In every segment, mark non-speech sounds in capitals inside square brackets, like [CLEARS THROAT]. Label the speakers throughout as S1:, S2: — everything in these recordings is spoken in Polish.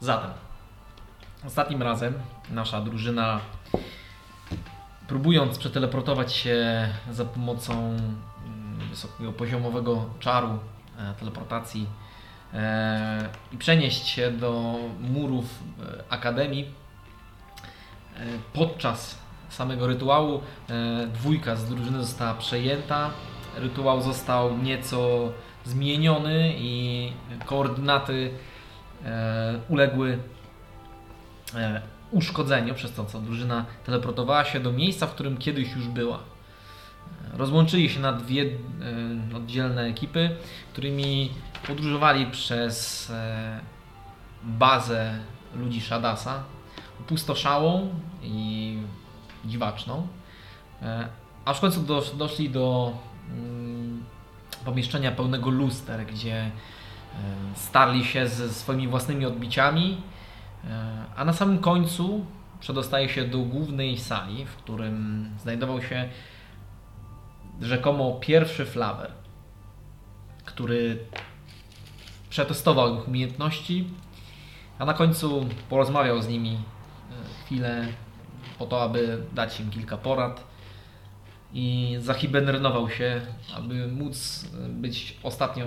S1: Zatem, ostatnim razem nasza drużyna, próbując przeteleportować się za pomocą mm, wysokiego poziomowego czaru e, teleportacji e, i przenieść się do murów e, Akademii, e, podczas samego rytuału e, dwójka z drużyny została przejęta. Rytuał został nieco zmieniony i koordynaty e, uległy e, uszkodzeniu, przez to co drużyna teleportowała się do miejsca, w którym kiedyś już była. E, Rozłączyli się na dwie e, oddzielne ekipy, którymi podróżowali przez e, bazę ludzi Shadasa, pustoszałą i dziwaczną, e, aż w końcu dosz, doszli do mm, pomieszczenia pełnego luster, gdzie E, starli się ze swoimi własnymi odbiciami, e, a na samym końcu przedostaje się do głównej sali, w którym znajdował się rzekomo pierwszy flawer, który przetestował ich umiejętności, a na końcu porozmawiał z nimi e, chwilę po to, aby dać im kilka porad i zahibernował się, aby móc e, być ostatnią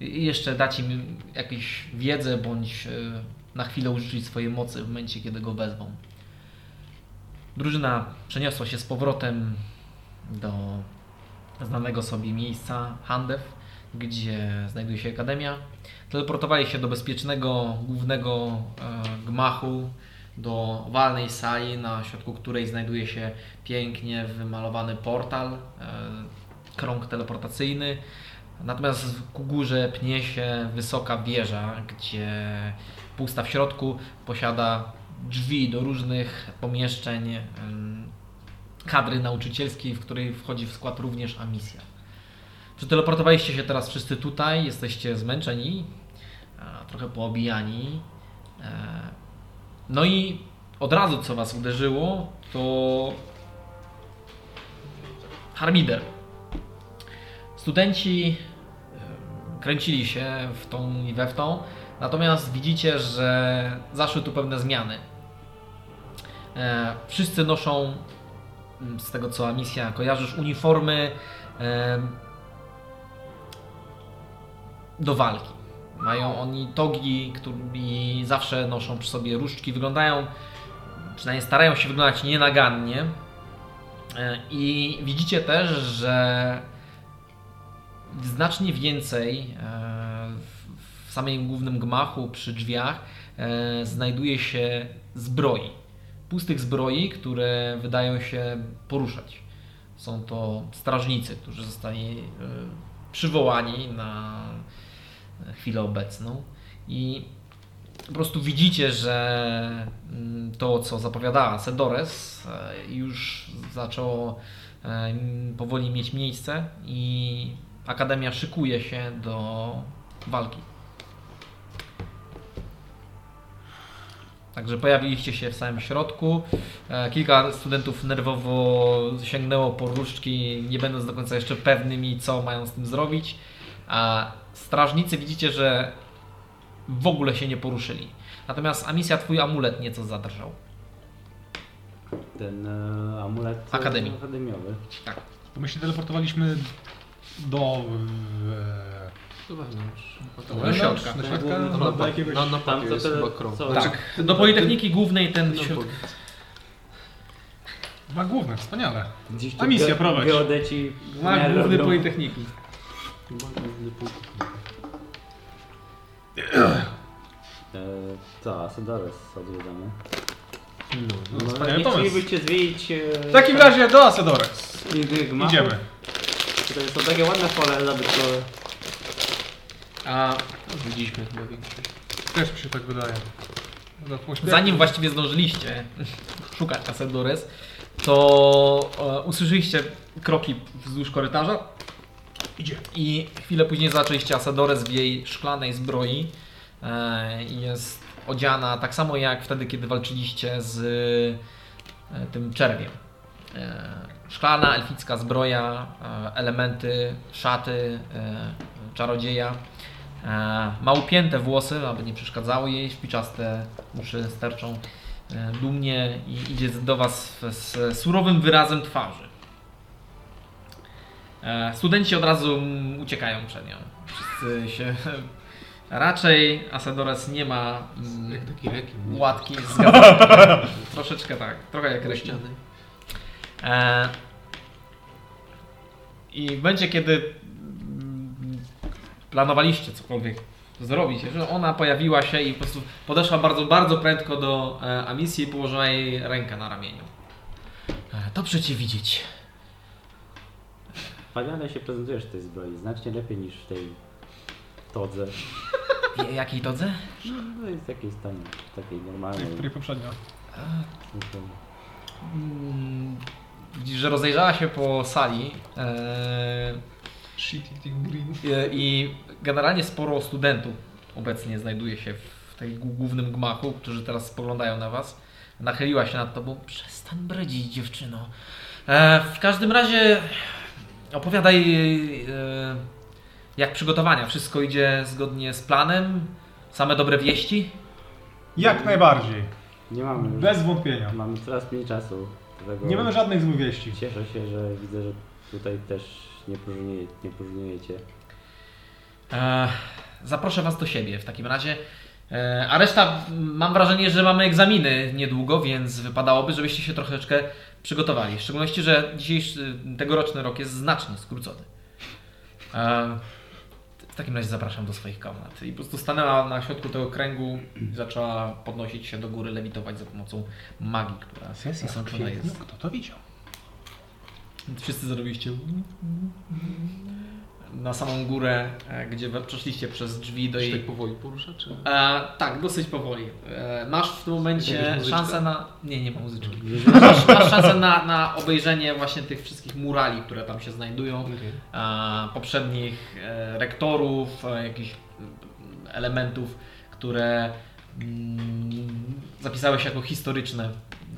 S1: i jeszcze dać im jakąś wiedzę, bądź e, na chwilę użyczyć swojej mocy w momencie, kiedy go wezwą. Drużyna przeniosła się z powrotem do znanego sobie miejsca Handew, gdzie znajduje się Akademia. Teleportowali się do bezpiecznego głównego e, gmachu, do walnej sali, na środku której znajduje się pięknie wymalowany portal, e, krąg teleportacyjny, Natomiast ku górze pnie się wysoka wieża, gdzie pusta w środku posiada drzwi do różnych pomieszczeń em, kadry nauczycielskiej, w której wchodzi w skład również Amisja. Przeteleportowaliście się teraz wszyscy tutaj, jesteście zmęczeni, a, trochę poobijani. e, No i od razu co was uderzyło, to Harmider. Studenci em, kręcili się w tą i we w tą, natomiast widzicie, że zaszły tu pewne zmiany. E, Wszyscy noszą, m, z tego co misja kojarzysz, uniformy em, do walki. Mają oni togi, którymi zawsze noszą przy sobie różdżki, wyglądają, przynajmniej starają się wyglądać nienagannie. E, I widzicie też, że znacznie więcej e, w- w samym głównym gmachu przy drzwiach e, znajduje się zbroi. Pustych zbroi, które wydają się poruszać. Są to strażnicy, którzy zostali e, przywołani na chwilę obecną i po prostu widzicie, że mm, to, co zapowiadała Sedores, e, już zaczęło e, powoli mieć miejsce i Akademia szykuje się do walki. Także pojawiliście się w samym środku. E, Kilka studentów nerwowo sięgnęło po różdżki, nie będąc do końca jeszcze pewnymi, co mają z tym zrobić. A strażnicy widzicie, że w ogóle się nie poruszyli. Natomiast Amisja, twój amulet nieco zadrżał.
S2: Ten e, amulet
S1: Akademii.
S2: akademiowy.
S1: Tak.
S3: Bo my się teleportowaliśmy do... E,
S4: No To wewnątrz.
S1: Do środka.
S3: do środka,
S4: No,
S3: do,
S4: na,
S3: do
S4: na,
S3: jakiegoś...
S4: na, na papier jest
S2: tele-
S4: chyba krąg.
S2: co-
S3: Znaczy,
S1: Tak. Do Politechniki Głównej ten
S4: No,
S1: środek.
S4: powiedz.
S3: Dwa główne, wspaniale.
S2: Gdzieś
S3: A misja prowadź.
S2: Geodeci
S1: Ma
S2: nie
S1: Główny
S2: robią.
S1: Politechniki.
S2: E, co, Asadores odwiedzamy.
S3: No,
S2: No,
S3: wspaniały
S2: nie
S3: pomysł.
S2: chcielibyście zwiedzić... E,
S3: W takim razie do Asadores.
S2: innych gmachów?
S3: Idziemy.
S2: Tutaj są takie ładne pole zabytkowe.
S1: A
S4: Widzieliśmy chyba większość.
S3: Też mi się tak wydaje. Do pośpiechu.
S1: Zanim właściwie zdążyliście szukać Asedores, to e, usłyszeliście kroki wzdłuż korytarza
S3: Idzie.
S1: i chwilę później zaczęliście Asedores w jej szklanej zbroi. E, i jest odziana tak samo jak wtedy, kiedy walczyliście z e, tym czerwiem. E, szklana, elficka zbroja, e, elementy, szaty e, czarodzieja. E, Ma upięte włosy, aby nie przeszkadzały jej, śpiczaste uszy sterczą e, dumnie i idzie do Was w- z surowym wyrazem twarzy. E, Studenci od razu mm, uciekają przed nią. Wszyscy się... [LAUGHS] Raczej Asadores nie ma mm,
S4: Jak taki rekin. nie?
S1: łatki zgadzam. Troszeczkę tak, trochę jak
S4: Do
S1: rekin.
S4: ściany.
S1: E, I będzie, kiedy mm, planowaliście cokolwiek zrobić, że ona pojawiła się i po prostu podeszła bardzo, bardzo prędko do e, Amisji i położyła jej rękę na ramieniu. E, Dobrze Cię widzieć.
S2: Wspaniale się prezentujesz w tej zbroi, znacznie lepiej niż w tej todze.
S1: W jakiej todze?
S2: No jest jakiejś tam takiej
S3: tej,
S2: normalnej.
S3: której poprzednio.
S1: E, Mm, Widzisz, że rozejrzała się po sali e,
S4: Shit eating green.
S1: E, I generalnie sporo studentów obecnie znajduje się w tej gó- głównym gmachu, którzy teraz spoglądają na was. Nachyliła się nad tobą. Przestań bredzić, dziewczyno. E, w każdym razie opowiadaj, e, jak przygotowania. Wszystko idzie zgodnie z planem? Same dobre wieści?
S3: Jak najbardziej.
S2: Nie mamy już,
S3: Bez wątpienia.
S2: mamy coraz mniej czasu. Dlatego
S3: Nie mamy żadnych złych wieści.
S2: Cieszę się, że widzę, że tutaj też nie, próżnieje, nie próżniujecie.
S1: E, zaproszę was do siebie w takim razie. E, a reszta, m, mam wrażenie, że mamy egzaminy niedługo, więc wypadałoby, żebyście się troszeczkę przygotowali. W szczególności, że dzisiejszy, tegoroczny rok jest znacznie skrócony. E, w takim razie zapraszam do swoich komnat. I po prostu stanęła na środku tego kręgu i zaczęła podnosić się do góry, lewitować za pomocą magii, która nasączona jest.
S3: No, Kto to widział?
S1: Wszyscy zrobiliście na samą górę, e, gdzie we- przeszliście przez drzwi do
S4: Czy
S1: jej
S4: tak powoli porusza, czy...
S1: E, tak, dosyć powoli. E, masz w tym
S4: Jakaś
S1: momencie
S4: muzyczka?
S1: szansę na. Nie, nie
S3: [LAUGHS]
S1: ma muzyczki. Masz, masz szansę na, na obejrzenie właśnie tych wszystkich murali, które tam się znajdują,
S4: Okej.
S1: e, poprzednich e, rektorów, e, jakichś mm, elementów, które mm, zapisały się jako historyczne.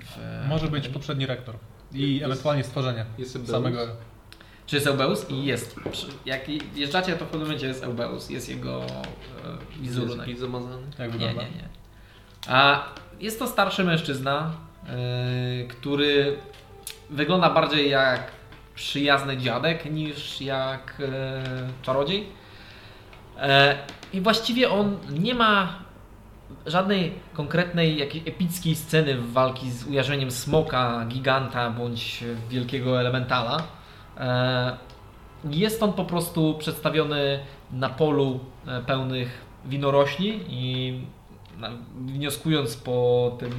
S1: W,
S3: Może być poprzedni rektor. I
S4: Jest-
S3: ewentualnie stworzenie
S4: Jest Ebeus.
S3: samego.
S1: Czy jest Eubeus? I jest. Przy- Jak jeżdżacie, to w pewnym momencie jest Eubeus, jest jego e, wizerunek.
S4: Jest zamazany.
S3: Jak
S1: Nie, nie,
S3: wygląda?
S1: nie. A jest to starszy mężczyzna, yy, który wygląda bardziej jak przyjazny dziadek niż jak yy, czarodziej. E, I właściwie on nie ma żadnej konkretnej jakiej epickiej sceny w walki z ujarzeniem smoka, giganta bądź wielkiego elementala. E, Jest on po prostu przedstawiony na polu e, pełnych winorośli i na- wnioskując po tym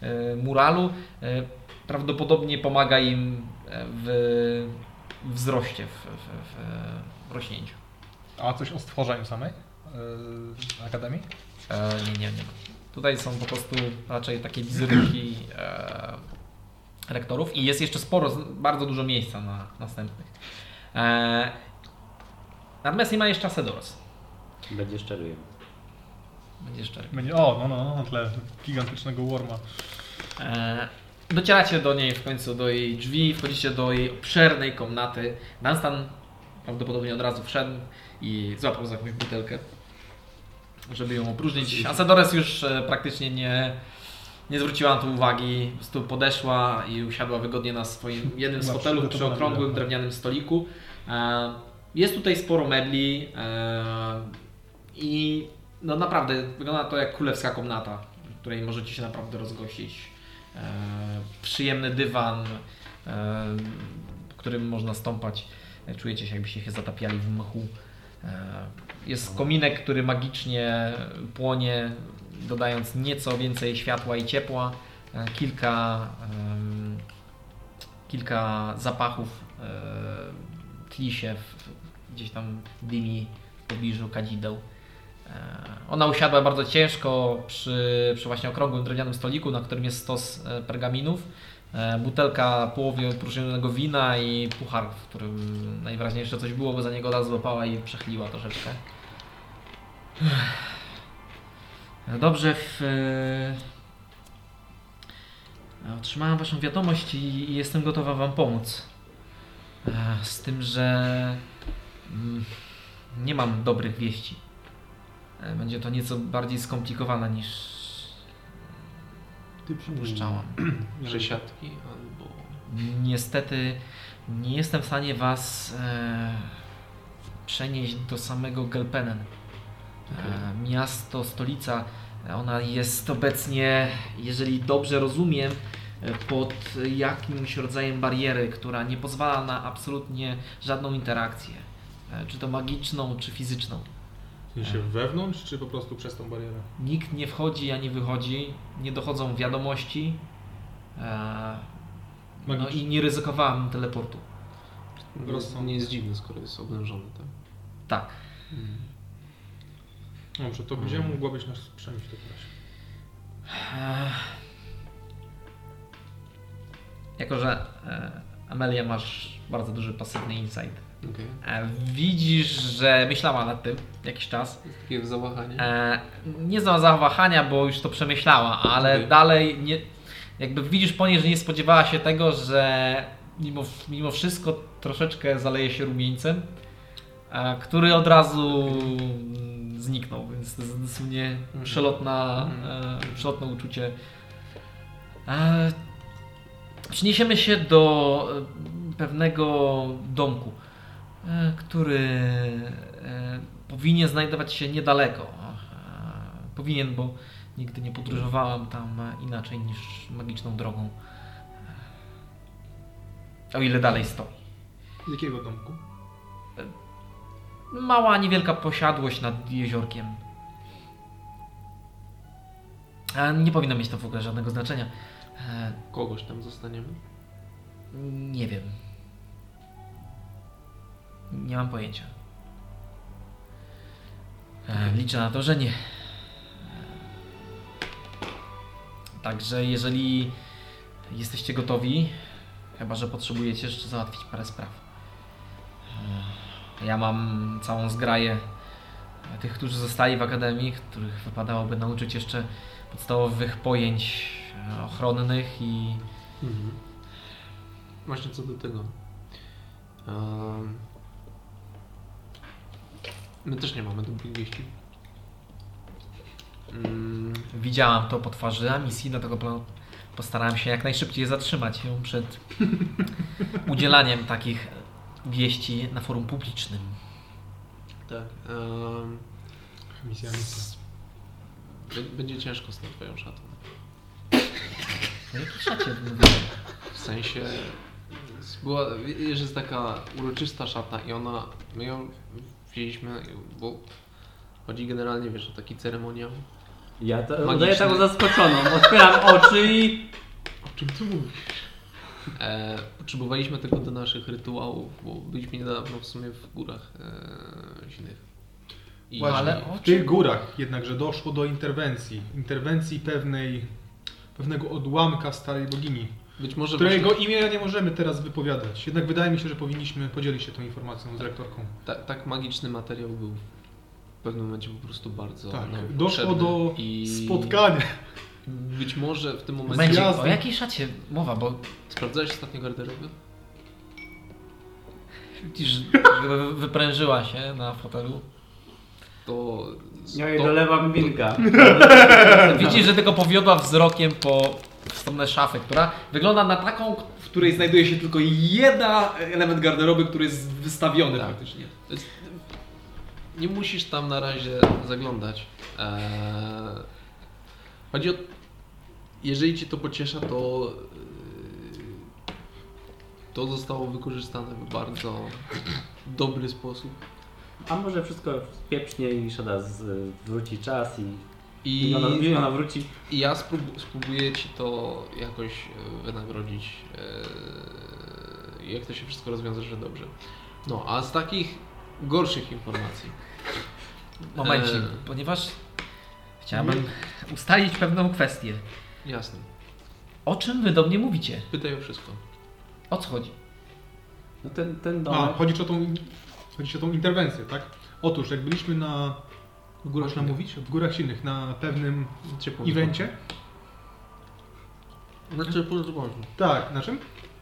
S1: e, muralu, e, prawdopodobnie pomaga im e, w wzroście, w, w, w rośnięciu.
S3: A coś o stworzeniu samej? Yy, Akademii?
S1: E, nie, nie, nie. Tutaj są po prostu raczej takie wizerunki e, rektorów i jest jeszcze sporo, z- bardzo dużo miejsca na następnych. E, natomiast nie ma jeszcze Asedoros.
S2: Będzie szczeruję.
S1: Będzie szczery.
S3: Będzie, o, no, no, no, na tle gigantycznego worma.
S1: E, docieracie do niej w końcu, do jej drzwi, wchodzicie do jej obszernej komnaty. Dunstan prawdopodobnie od razu wszedł i złapał za jakąś butelkę, żeby ją opróżnić. Asadores już e, praktycznie nie, nie zwróciła na to uwagi. Po prostu podeszła i usiadła wygodnie na swoim jednym z
S3: Była
S1: fotelów przy
S3: przygotowana
S1: okrągłym
S3: biurem.
S1: drewnianym stoliku. E, Jest tutaj sporo medli e, i no naprawdę wygląda to jak królewska komnata, w której możecie się naprawdę rozgościć. E, Przyjemny dywan, e, po którym można stąpać. E, Czujecie się jakbyście się zatapiali w mchu. E, Jest kominek, który magicznie płonie, dodając nieco więcej światła i ciepła. E, Kilka em, kilka zapachów e, tli się w, w- gdzieś tam dymi w pobliżu kadzideł. E, ona usiadła bardzo ciężko przy, przy właśnie okrągłym drewnianym stoliku, na którym jest stos e, pergaminów, e, butelka połowie opróżnionego wina i puchar, w którym najwyraźniejsze coś było, bo za niego raz złapała i przechyliła troszeczkę. Ech. Dobrze, w, e, Otrzymałem Waszą wiadomość i i jestem gotowa Wam pomóc. E, Z tym, że mm, nie mam dobrych wieści. E, Będzie to nieco bardziej skomplikowane niż
S4: Ty
S1: przypuszczałam.
S4: Że siatki albo...
S1: Niestety nie jestem w stanie Was e, przenieść do samego Gelpenen. E, miasto, stolica, e, ona jest obecnie, jeżeli dobrze rozumiem, e, pod jakimś rodzajem bariery, która nie pozwala na absolutnie żadną interakcję. E, czy to magiczną, czy fizyczną.
S5: W sensie wewnątrz, czy po prostu przez tą barierę?
S1: Nikt nie wchodzi ani wychodzi, nie dochodzą wiadomości. E, no
S5: Magiczne.
S1: i nie ryzykowałem teleportu.
S4: No, Rozsądnie. Nie jest dziwny, skoro jest oblężony, tak?
S1: Tak.
S5: Dobrze, No, to gdzie
S3: Mm.
S5: mogła być nas przemyć w takim razie?
S1: Ech. Jako, że e, Amelia masz bardzo duży pasywny insight.
S4: Okej.
S1: E, widzisz, że myślała nad tym jakiś czas.
S4: Jest takie zawahanie.
S1: E, nie za zawahania, bo już to przemyślała, ale
S4: Okej.
S1: dalej nie, jakby widzisz po niej, że nie spodziewała się tego, że mimo, mimo wszystko troszeczkę zaleje się rumieńcem, e, który od razu mm, zniknął, więc to jest dosłownie
S4: Mhm.
S1: przelotna,
S4: Mhm.
S1: e, przelotne uczucie. E, Przeniesiemy się do e, pewnego domku, e, który e, powinien znajdować się niedaleko. E, Powinien, bo nigdy nie podróżowałem tam e, inaczej niż magiczną drogą. E, O ile dalej stoi.
S5: Z jakiego domku?
S1: Mała, niewielka posiadłość nad jeziorkiem. E, Nie powinno mieć to w ogóle żadnego znaczenia. E,
S4: Kogoś tam zostaniemy.
S1: Nie wiem. Nie mam pojęcia. E, Liczę na to, że nie. E, Także jeżeli jesteście gotowi, chyba że potrzebujecie jeszcze załatwić parę spraw. E, Ja mam całą zgraję tych, którzy zostali w akademii, których wypadałoby nauczyć jeszcze podstawowych pojęć e, ochronnych i
S4: Mhm. Właśnie co do tego. Em, My też nie mamy dobrych wieści. Mm,
S1: Widziałam to po twarzy Amisji, dlatego po- postarałem się jak najszybciej zatrzymać ją
S5: [LAUGHS]
S1: przed udzielaniem takich wieści na forum publicznym.
S4: Tak. em,
S5: Misja, misja.
S4: b- Będzie ciężko z tą twoją szatą.
S1: O jakiej szacie mówiłem?
S4: W sensie z- była, wiesz, jest taka uroczysta szata i ona, my ją wzięliśmy, bo chodzi generalnie, wiesz, o taki ceremoniał.
S2: Ja to
S4: Magiczny.
S2: udaję taką zaskoczoną. Otwieram oczy i...
S5: O czym ty mówisz?
S4: E, potrzebowaliśmy tego do naszych rytuałów, bo byliśmy niedawno w sumie w górach e, zimnych. I
S5: Właśnie,
S1: ale o
S5: w tych
S1: czym-
S5: górach jednakże doszło do interwencji. Interwencji pewnej, pewnego odłamka starej bogini,
S4: być może
S5: którego
S4: właśnie,
S5: imienia nie możemy teraz wypowiadać. Jednak wydaje mi się, że powinniśmy podzielić się tą informacją z rektorką.
S4: ta, tak magiczny materiał był w pewnym momencie po prostu bardzo nam
S5: Tak, doszło
S4: No,
S5: do
S4: potrzebny i
S5: spotkania.
S4: Być może w tym momencie...
S1: Momencie,
S5: Zjazdy.
S1: o jakiej szacie mowa, bo
S4: Sprawdzałeś ostatnio garderobę?
S1: widzisz, wy- wyprężyła się na fotelu.
S4: To...
S2: Ja jej
S4: to-
S2: no dolewam
S4: [LAUGHS]
S2: wilka.
S1: Widzisz, że tylko powiodła wzrokiem po w stronę szafy, która wygląda na taką, w której znajduje się tylko jeden element garderoby, który jest wystawiony
S4: Tak.
S1: praktycznie.
S4: To jest- Nie musisz tam na razie zaglądać. Eee, chodzi o. Jeżeli ci to pociesza, to. eee, To zostało wykorzystane w bardzo dobry sposób.
S2: A może wszystko pieprznie i szada z- wróci czas i... I
S4: I,
S2: ona, i ona wróci.
S4: i ja sprób, spróbuję ci to jakoś e, wynagrodzić. Eee, jak to się wszystko rozwiąże, że dobrze. No, a z takich gorszych informacji.
S1: Momencik,
S4: Eee.
S1: ponieważ E, chciałbym ustalić pewną kwestię.
S4: Jasne.
S1: O czym wy do mnie mówicie?
S4: Pytaj o wszystko.
S1: O co chodzi?
S2: No ten, ten
S5: A,
S2: domek...
S5: chodzi o tą, chodzi ci o tą interwencję, tak? Otóż, jak byliśmy na,
S4: W
S5: można mówić, w Górach Silnych, na pewnym
S4: Ciepło.
S5: evencie.
S4: Na ciepłym zboczu.
S5: Tak, na czym?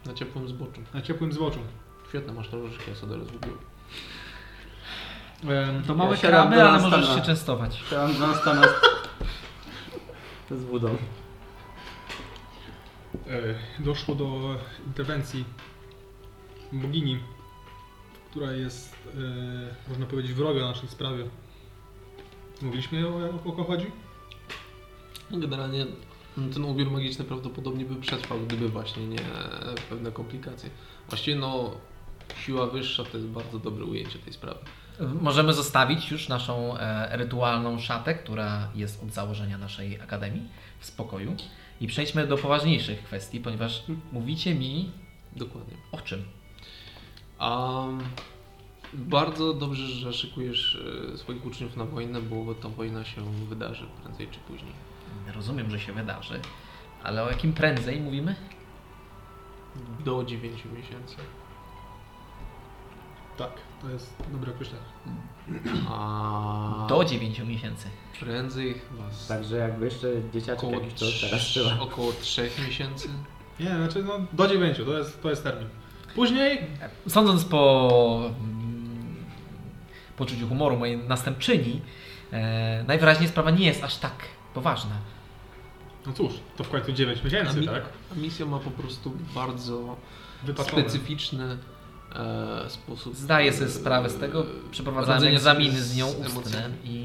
S4: Na ciepłym zboczu.
S5: Na ciepłym zboczu.
S4: Świetne, masz to różdżki, ja sobie rozgubiłem.
S5: Em,
S1: To małe
S2: siadam
S1: kraby,
S2: do
S1: ale
S2: Anstana.
S1: możesz się częstować.
S2: Chciałem Johnstona z... z budą.
S5: e, doszło do interwencji bogini, która jest, e, można powiedzieć, wroga naszej sprawie. Mówiliśmy o, o kogo chodzi?
S4: No Generalnie ten ubiór magiczny prawdopodobnie by przetrwał, gdyby właśnie nie pewne komplikacje. Właściwie no, siła wyższa to jest bardzo dobre ujęcie tej sprawy.
S1: Możemy zostawić już naszą e, rytualną szatę, która jest od założenia naszej akademii, w spokoju. I przejdźmy do poważniejszych kwestii, ponieważ mówicie mi
S4: Dokładnie.
S1: o czym?
S4: A mm, bardzo dobrze, że szykujesz e, swoich uczniów na wojnę, bo ta wojna się wydarzy prędzej czy później.
S1: Rozumiem, że się wydarzy, ale o jakim prędzej mówimy?
S4: Do 9 miesięcy.
S5: Tak, to jest dobre określenie.
S4: A
S1: Do 9 miesięcy.
S4: prędzej was
S2: Także jakby jeszcze dzieciaczek
S4: około,
S2: jakiś to teraz
S4: trz-
S2: trzeba.
S4: około 3 miesięcy.
S5: Nie, znaczy no, do dziewięciu, to jest, to jest termin. Później
S1: Sądząc po mm, poczuciu humoru mojej następczyni, e, najwyraźniej sprawa nie jest aż tak poważna.
S5: No cóż, to w końcu 9 miesięcy,
S4: mi-
S5: tak?
S4: a misja ma po prostu bardzo
S5: Wypaczone.
S4: specyficzny e, sposób.
S1: Zdaję sobie sprawę z tego,
S4: e,
S1: przeprowadzałem
S4: radzenia sobie
S1: egzaminy z nią
S4: z
S1: ustne
S4: emocjami.
S1: i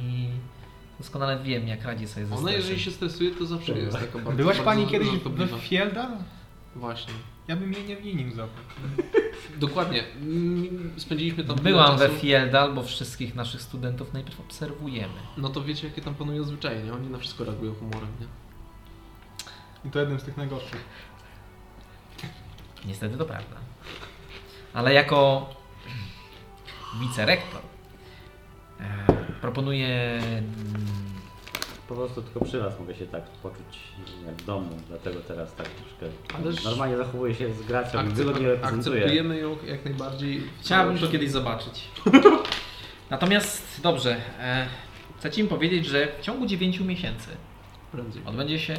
S1: doskonale wiem, jak radzi sobie ze
S4: Ona No, jeżeli się
S1: stresem.
S4: stresuje, to zawsze
S2: Dobra.
S4: jest taka bardzo
S5: Tak. Byłaś
S4: bardzo
S5: pani kiedyś
S4: żartobliwa.
S5: w Fielda?
S4: Właśnie.
S5: Ja bym jej nie winił za to.
S4: Dokładnie. Mm, Spędziliśmy tam tyle
S1: Byłam we
S4: czasu.
S1: Fieldal, bo wszystkich naszych studentów najpierw obserwujemy.
S4: No to wiecie, jakie tam panują zwyczaje, nie? Oni na wszystko reagują humorem, nie?
S5: I to jednym z tych najgorszych.
S1: Niestety to prawda. Ale jako [CLEARS THROAT] wicerektor e, proponuję mm,
S2: Po prostu tylko przy was mogę się tak poczuć jak w domu, dlatego teraz tak troszkę
S4: Ależ-
S2: normalnie zachowuję się z
S1: Tak,
S2: gracją i
S4: Akce-
S2: wygodnie
S4: ak-
S2: reprezentuję.
S4: akceptujemy ją jak najbardziej.
S1: Chciałabym to kiedyś zobaczyć. Natomiast dobrze, e, chcę Ci im powiedzieć, że w ciągu 9 miesięcy
S4: Prędzej.
S1: odbędzie się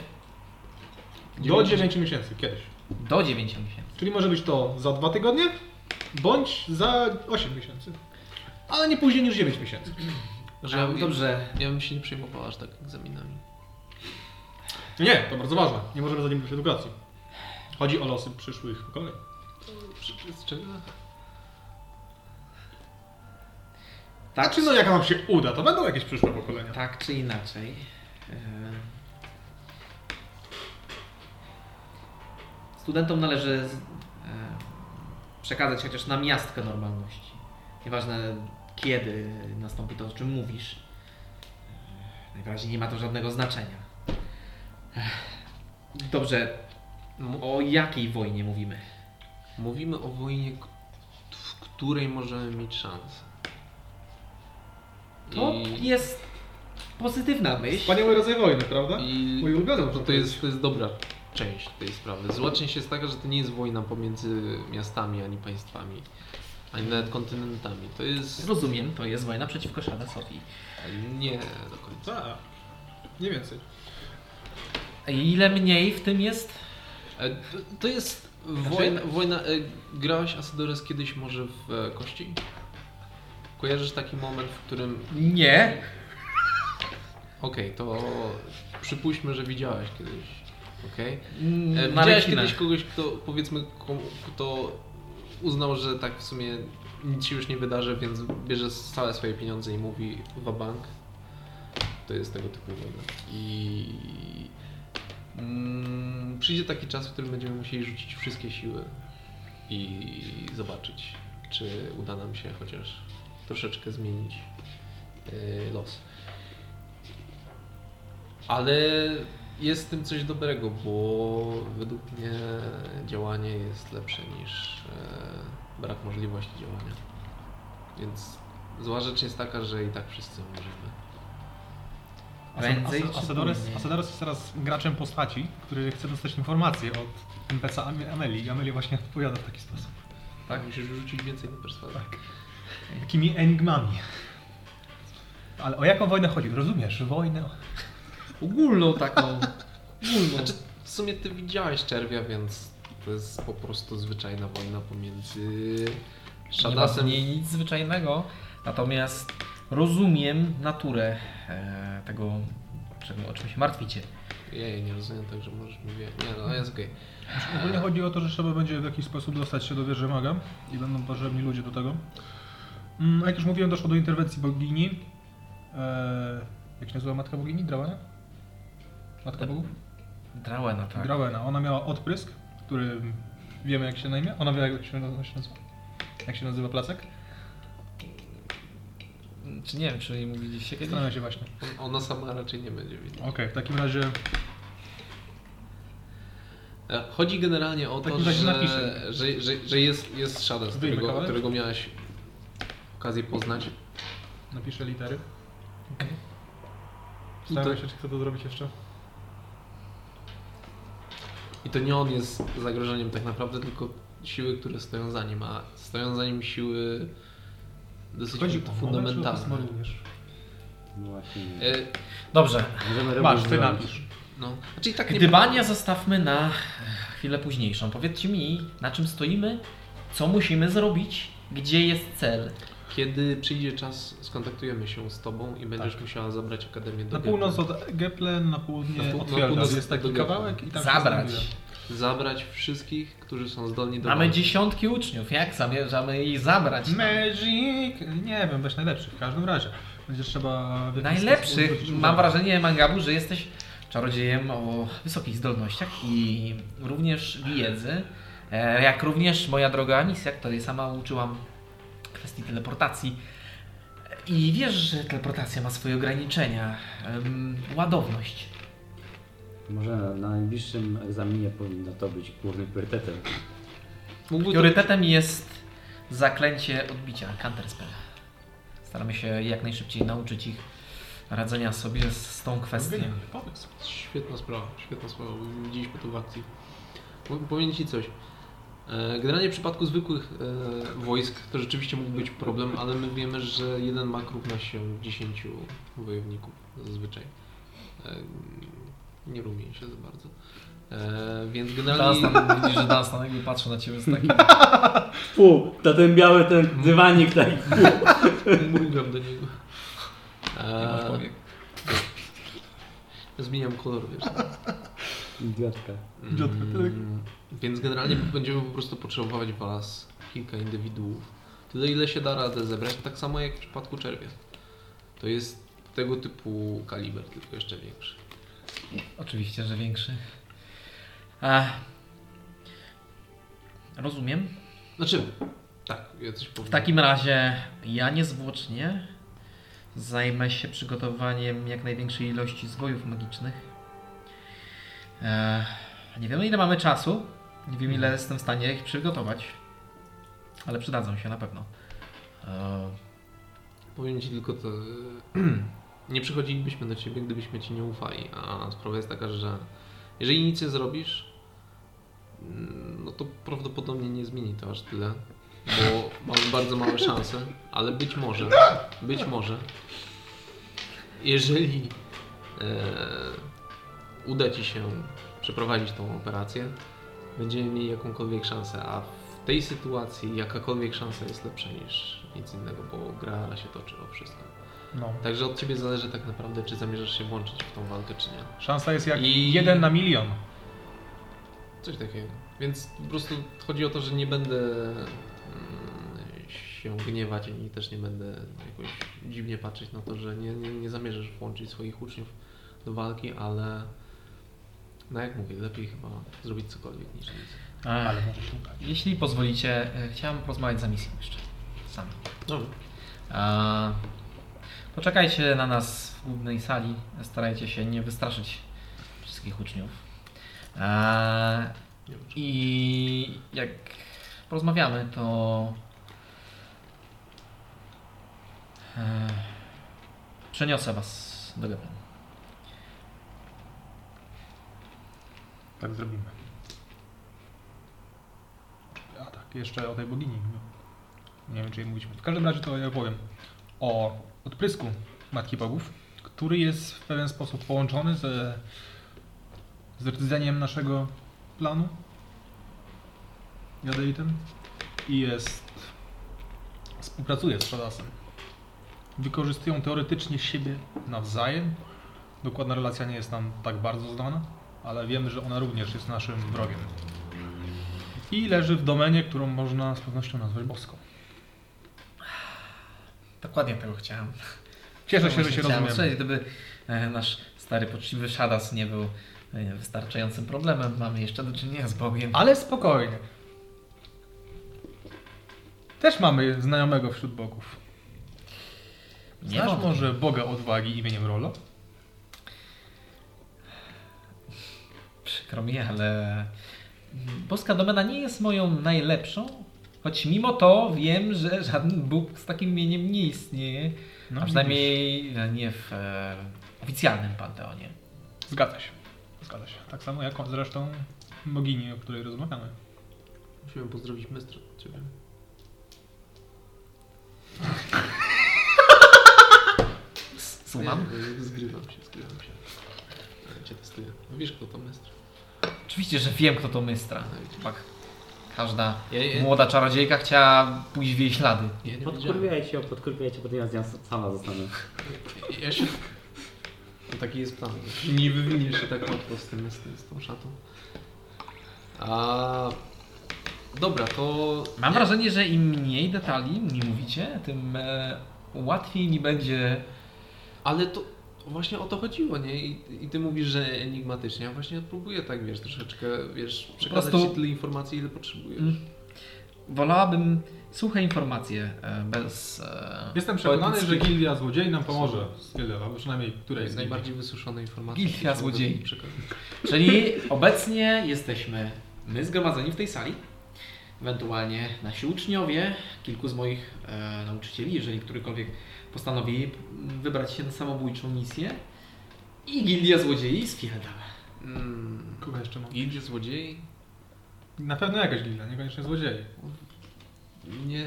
S5: Do 9 miesięcy, kiedyś.
S1: do 9 miesięcy.
S5: Czyli może być to za 2 tygodnie, bądź za 8 miesięcy. Ale nie później niż 9 miesięcy.
S4: Że
S1: A,
S4: ja, dobrze.
S1: dobrze,
S4: Ja bym się nie przejmowała aż tak egzaminami.
S5: Nie, to bardzo ważne. Nie możemy zaniedbać edukacji. Chodzi o losy przyszłych pokoleń.
S4: Z czego?
S5: Tak.
S1: tak,
S5: Znaczy, no jak nam się uda, to będą jakieś przyszłe pokolenia.
S1: tak czy inaczej. e, Studentom należy z- e, przekazać chociaż na miastkę normalności. Nieważne kiedy nastąpi to, o czym mówisz. E, Najwyraźniej nie ma to żadnego znaczenia. Ech. Dobrze,
S4: M-
S1: O jakiej wojnie mówimy?
S4: Mówimy o wojnie, k- w której możemy mieć szansę.
S1: To
S4: I-
S1: jest pozytywna myśl.
S5: Wspaniały rodzaj wojny, prawda?
S4: I
S5: Mój ulubiony,
S4: to,
S5: można
S4: to, jest,
S5: powiedzieć.
S4: to jest dobra część tej sprawy. Zła część jest taka, że to nie jest wojna pomiędzy miastami ani państwami, ani nawet kontynentami. To jest.
S1: Rozumiem, to jest wojna przeciwko Szadasowi.
S4: Nie do końca.
S5: Tak. Nie więcej.
S1: Ile mniej w tym jest?
S4: E, to- To jest
S5: Znaczy-
S4: wojna. wojna e, grałeś Asadores kiedyś może w e, kości? Kojarzysz taki moment, w którym.
S1: Nie.
S4: Okej, to przypuśćmy, że widziałeś kiedyś. Okej? E,
S1: Mm, Na
S4: Widziałeś
S1: rekinach.
S4: kiedyś kogoś, kto powiedzmy, komu- kto uznał, że tak w sumie nic się już nie wydarzy, więc bierze całe swoje pieniądze i mówi wabank. To jest tego typu wojna. I mm, przyjdzie taki czas, w którym będziemy musieli rzucić wszystkie siły i zobaczyć, czy uda nam się chociaż troszeczkę zmienić e, los. Ale jest w tym coś dobrego, bo według mnie działanie jest lepsze niż e, brak możliwości działania. Więc zła rzecz jest taka, że i tak wszyscy możemy.
S1: Prędzej
S5: Asa-
S1: czy
S5: Asadores,
S1: później?
S5: Asadores jest teraz graczem postaci, który chce dostać informacje od NPC Am- Ameli. I Amelia właśnie odpowiada w taki sposób.
S4: Tak, musisz rzucić więcej na perswazję.
S5: Tak. Takimi enigmami. Ale o jaką wojnę chodzi? Rozumiesz, wojnę.
S1: Ogólną [LAUGHS] taką. Ogólną.
S4: Znaczy, w sumie ty widziałeś czerwia, więc to jest po prostu zwyczajna wojna pomiędzy
S1: nie ma w
S4: Shadasem
S1: niej nic zwyczajnego. Natomiast Rozumiem naturę e, tego, czego, o czym się martwicie.
S4: Ja jej nie rozumiem, także możesz mi wie. Nie no, jest okej.
S5: Ogólnie chodzi o to, że trzeba będzie w jakiś sposób dostać się do wieży maga i będą potrzebni ludzie do tego. Mm, a jak już mówiłem, doszło do interwencji bogini. E, jak się nazywa matka bogini? Drawena? Matka bogów?
S1: Drawena, tak.
S5: Drawena. no. Ona miała odprysk, który wiemy jak się na imię. Ona wie jak się naz- się nazywa. Jak się nazywa placek?
S1: Czy nie wiem, czy jej mówiliście kiedyś?
S5: Zastanawiam się właśnie.
S4: On- Ona sama raczej nie będzie widać.
S5: Okej, w takim razie
S4: E, Chodzi generalnie o
S5: W
S4: to,
S5: takim razie
S4: że,
S5: napiszę.
S4: że, że, że jest, jest Shadow,
S5: tak Wyjmę
S4: którego,
S5: kawałek.
S4: którego miałeś okazję poznać.
S5: napiszę litery.
S1: Okej.
S5: Zastanawiam się, czy chcę to zrobić jeszcze.
S4: I to nie on jest zagrożeniem tak naprawdę, tylko siły, które stoją za nim, a stoją za nim siły dosyć
S5: Chodzi o moment, czy o pismo
S4: fundamentalne.
S5: również?
S2: No właśnie. nie.
S4: E,
S1: Dobrze.
S2: Możemy robić
S3: Masz, ty
S2: zrobić.
S3: napisz.
S4: no, znaczy i tak nie
S1: Gdybania zostawmy na e, chwilę późniejszą. Powiedzcie mi, na czym stoimy, co musimy zrobić, gdzie jest cel.
S4: Kiedy przyjdzie czas, skontaktujemy się z Tobą i będziesz musiała zabrać Akademię do
S5: Tak. Na
S4: Giełdy.
S5: północ od Geplen, na południe
S4: Na pół- na
S5: od Fjeldas
S4: północ
S5: jest
S4: do
S5: taki
S4: Geplen.
S5: kawałek
S1: tak
S5: i tam się
S1: Zabrać.
S5: znajduje.
S4: Zabrać wszystkich, którzy są zdolni do
S1: Mamy
S4: walki.
S1: dziesiątki uczniów, jak zamierzamy ich zabrać? tam?
S5: Magic! Nie wiem, weź najlepszych, w każdym razie. Będzie trzeba... w jakiś sposób
S1: Najlepszych,
S5: zwrócić
S1: mam
S5: uwagę.
S1: wrażenie, Mangabu, że jesteś czarodziejem o wysokich zdolnościach i również wiedzy. E, Jak również moja droga misja, której sama uczyłam kwestii teleportacji. I wiesz, że teleportacja ma swoje ograniczenia. Em, Ładowność.
S2: Może na, na najbliższym egzaminie powinno to być głównym priorytetem.
S4: Mógłby to
S1: Priorytetem jest zaklęcie odbicia, counterspell. Staramy się jak najszybciej nauczyć ich radzenia sobie z z tą kwestią.
S5: Wymień, Powiedz.
S4: być świetna sprawa, świetna sprawa, bo widzieliśmy to w akcji. Powiem- Powiem Ci coś. E, Generalnie w przypadku zwykłych e, wojsk to rzeczywiście mógł być problem, ale my wiemy, że jeden mak równa się 10 wojowników zazwyczaj. E, Nie równie się za bardzo. E, Więc generalnie... [LAUGHS]
S1: Dunstan, widzisz, że Dunstan jakby patrzył na ciebie z takim
S2: Fu, to ten biały ten dywanik taki.
S4: Mrugam do niego. E,
S1: powiek.
S4: zmieniam kolor, wiesz.
S2: Idiotka.
S5: Idiotka, tak.
S4: Więc generalnie będziemy po prostu potrzebować was kilka indywiduów. Tyle ile się da radę zebrać, tak samo jak w przypadku czerwia. To jest tego typu kaliber, tylko jeszcze większy.
S1: Oczywiście, że większy. A, rozumiem.
S4: Znaczy, tak, ja coś powiem.
S1: W takim razie ja niezwłocznie zajmę się przygotowaniem jak największej ilości zwojów magicznych. E, nie wiemy ile mamy czasu, nie wiem ile jestem w stanie ich przygotować, ale przydadzą się na pewno. E,
S4: Powiem ci tylko to. e, [CLEARS THROAT] Nie przychodzilibyśmy do ciebie, gdybyśmy ci nie ufali. A sprawa jest taka, że jeżeli nic nie zrobisz, mm, no to prawdopodobnie nie zmieni to aż tyle, bo [LAUGHS] mamy bardzo małe szanse, ale być może, być może, jeżeli e, uda ci się przeprowadzić tą operację, będziemy mieli jakąkolwiek szansę, a w tej sytuacji jakakolwiek szansa jest lepsza niż nic innego, bo gra się toczy o wszystko.
S5: No.
S4: Także od ciebie zależy tak naprawdę, czy zamierzasz się włączyć w tą walkę, czy nie.
S5: Szansa jest jak
S4: I-
S5: jeden na milion.
S4: Coś takiego. Więc po prostu chodzi o to, że nie będę mm, się gniewać i też nie będę jakoś dziwnie patrzeć na to, że nie, nie, nie zamierzasz włączyć swoich uczniów do walki, ale no jak mówię, lepiej chyba zrobić cokolwiek niż nic.
S1: e,
S5: Ale może się uda.
S1: jeśli pozwolicie, e, chciałem porozmawiać za misją jeszcze. Sam.
S4: Dobra.
S1: A, poczekajcie na nas w głównej sali. Starajcie się nie wystraszyć wszystkich uczniów. A, I jak porozmawiamy, to e, przeniosę Was do Geplen.
S5: Tak zrobimy. A tak, jeszcze o tej bogini. Nie wiem, czy jej mówiliśmy. W każdym razie to ja powiem o odprysku Matki Bogów, który jest w pewien sposób połączony ze, z rdzeniem naszego planu. Jadeitem. I jest... współpracuje z Shadasem. wykorzystują teoretycznie siebie nawzajem. Dokładna relacja nie jest nam tak bardzo znana, ale wiemy, że ona również jest naszym wrogiem. I leży w domenie, którą można z pewnością nazwać boską.
S1: Dokładnie tego chciałem.
S5: Cieszę się, że się
S1: Właśnie chciałem
S5: rozumiemy.
S1: usłyszeć, Gdyby e, nasz stary, poczciwy szadas nie był e, wystarczającym problemem, mamy jeszcze do czynienia z Bogiem.
S5: Ale spokojnie. Też mamy znajomego wśród bogów.
S1: Nie
S5: Znasz
S1: wątpię.
S5: może Boga odwagi imieniem Rolo?
S1: Przykro mi, ale boska domena nie jest moją najlepszą, choć mimo to wiem, że żaden Bóg z takim imieniem nie istnieje.
S5: No,
S1: a przynajmniej e, nie w e, oficjalnym panteonie.
S5: widzisz. Zgadza się. Zgadza się. Tak samo jak zresztą bogini, o której rozmawiamy.
S4: Musimy pozdrowić mistrza od ciebie.
S1: Słucham?
S4: Nie, Zgrywam się, zgrywam się. Ja Cię testuję. No Wiesz kto to mistrz.
S1: Oczywiście, że wiem, kto to mystra. Chłopak. Każda
S4: Ja, ja,
S1: młoda czarodziejka chciała pójść w jej ślady.
S4: ja nie wiedziałem.
S2: Podkurwiaj się, podkurwiaj się, potem ja z nią sama zostanę.
S4: Ja się... No taki jest plan. Nie wywiniesz się tak łatwo z, tym, z, tym, z tą szatą. A... Dobra, to...
S1: Mam wrażenie, że im mniej detali mi mówicie, tym e, łatwiej mi będzie.
S4: Ale to właśnie o to chodziło, nie? I, i ty mówisz, że enigmatycznie. Ja właśnie próbuję tak, wiesz, troszeczkę, wiesz, przekazać
S1: prostu-
S4: ci tyle informacji, ile potrzebujesz.
S1: Mm. Wolałabym suche informacje e, bez. E,
S5: Jestem przekonany, że
S1: poetyckich-
S5: gildia złodziei nam pomoże. Z wiele, albo przynajmniej której z najbardziej.
S4: najbardziej wysuszone informacje.
S1: Gildia
S4: które mogę
S1: złodziei.
S4: przekazać.
S1: Czyli obecnie jesteśmy my zgromadzeni w tej sali, ewentualnie nasi uczniowie, kilku z moich e, nauczycieli, jeżeli którykolwiek postanowi wybrać się na samobójczą misję i Gildia Złodziei z Fielda.
S4: Mm.
S5: Kogo jeszcze mam?
S4: Gildia złodziei?
S5: Na pewno jakaś gildia, niekoniecznie złodziei.
S4: Nie,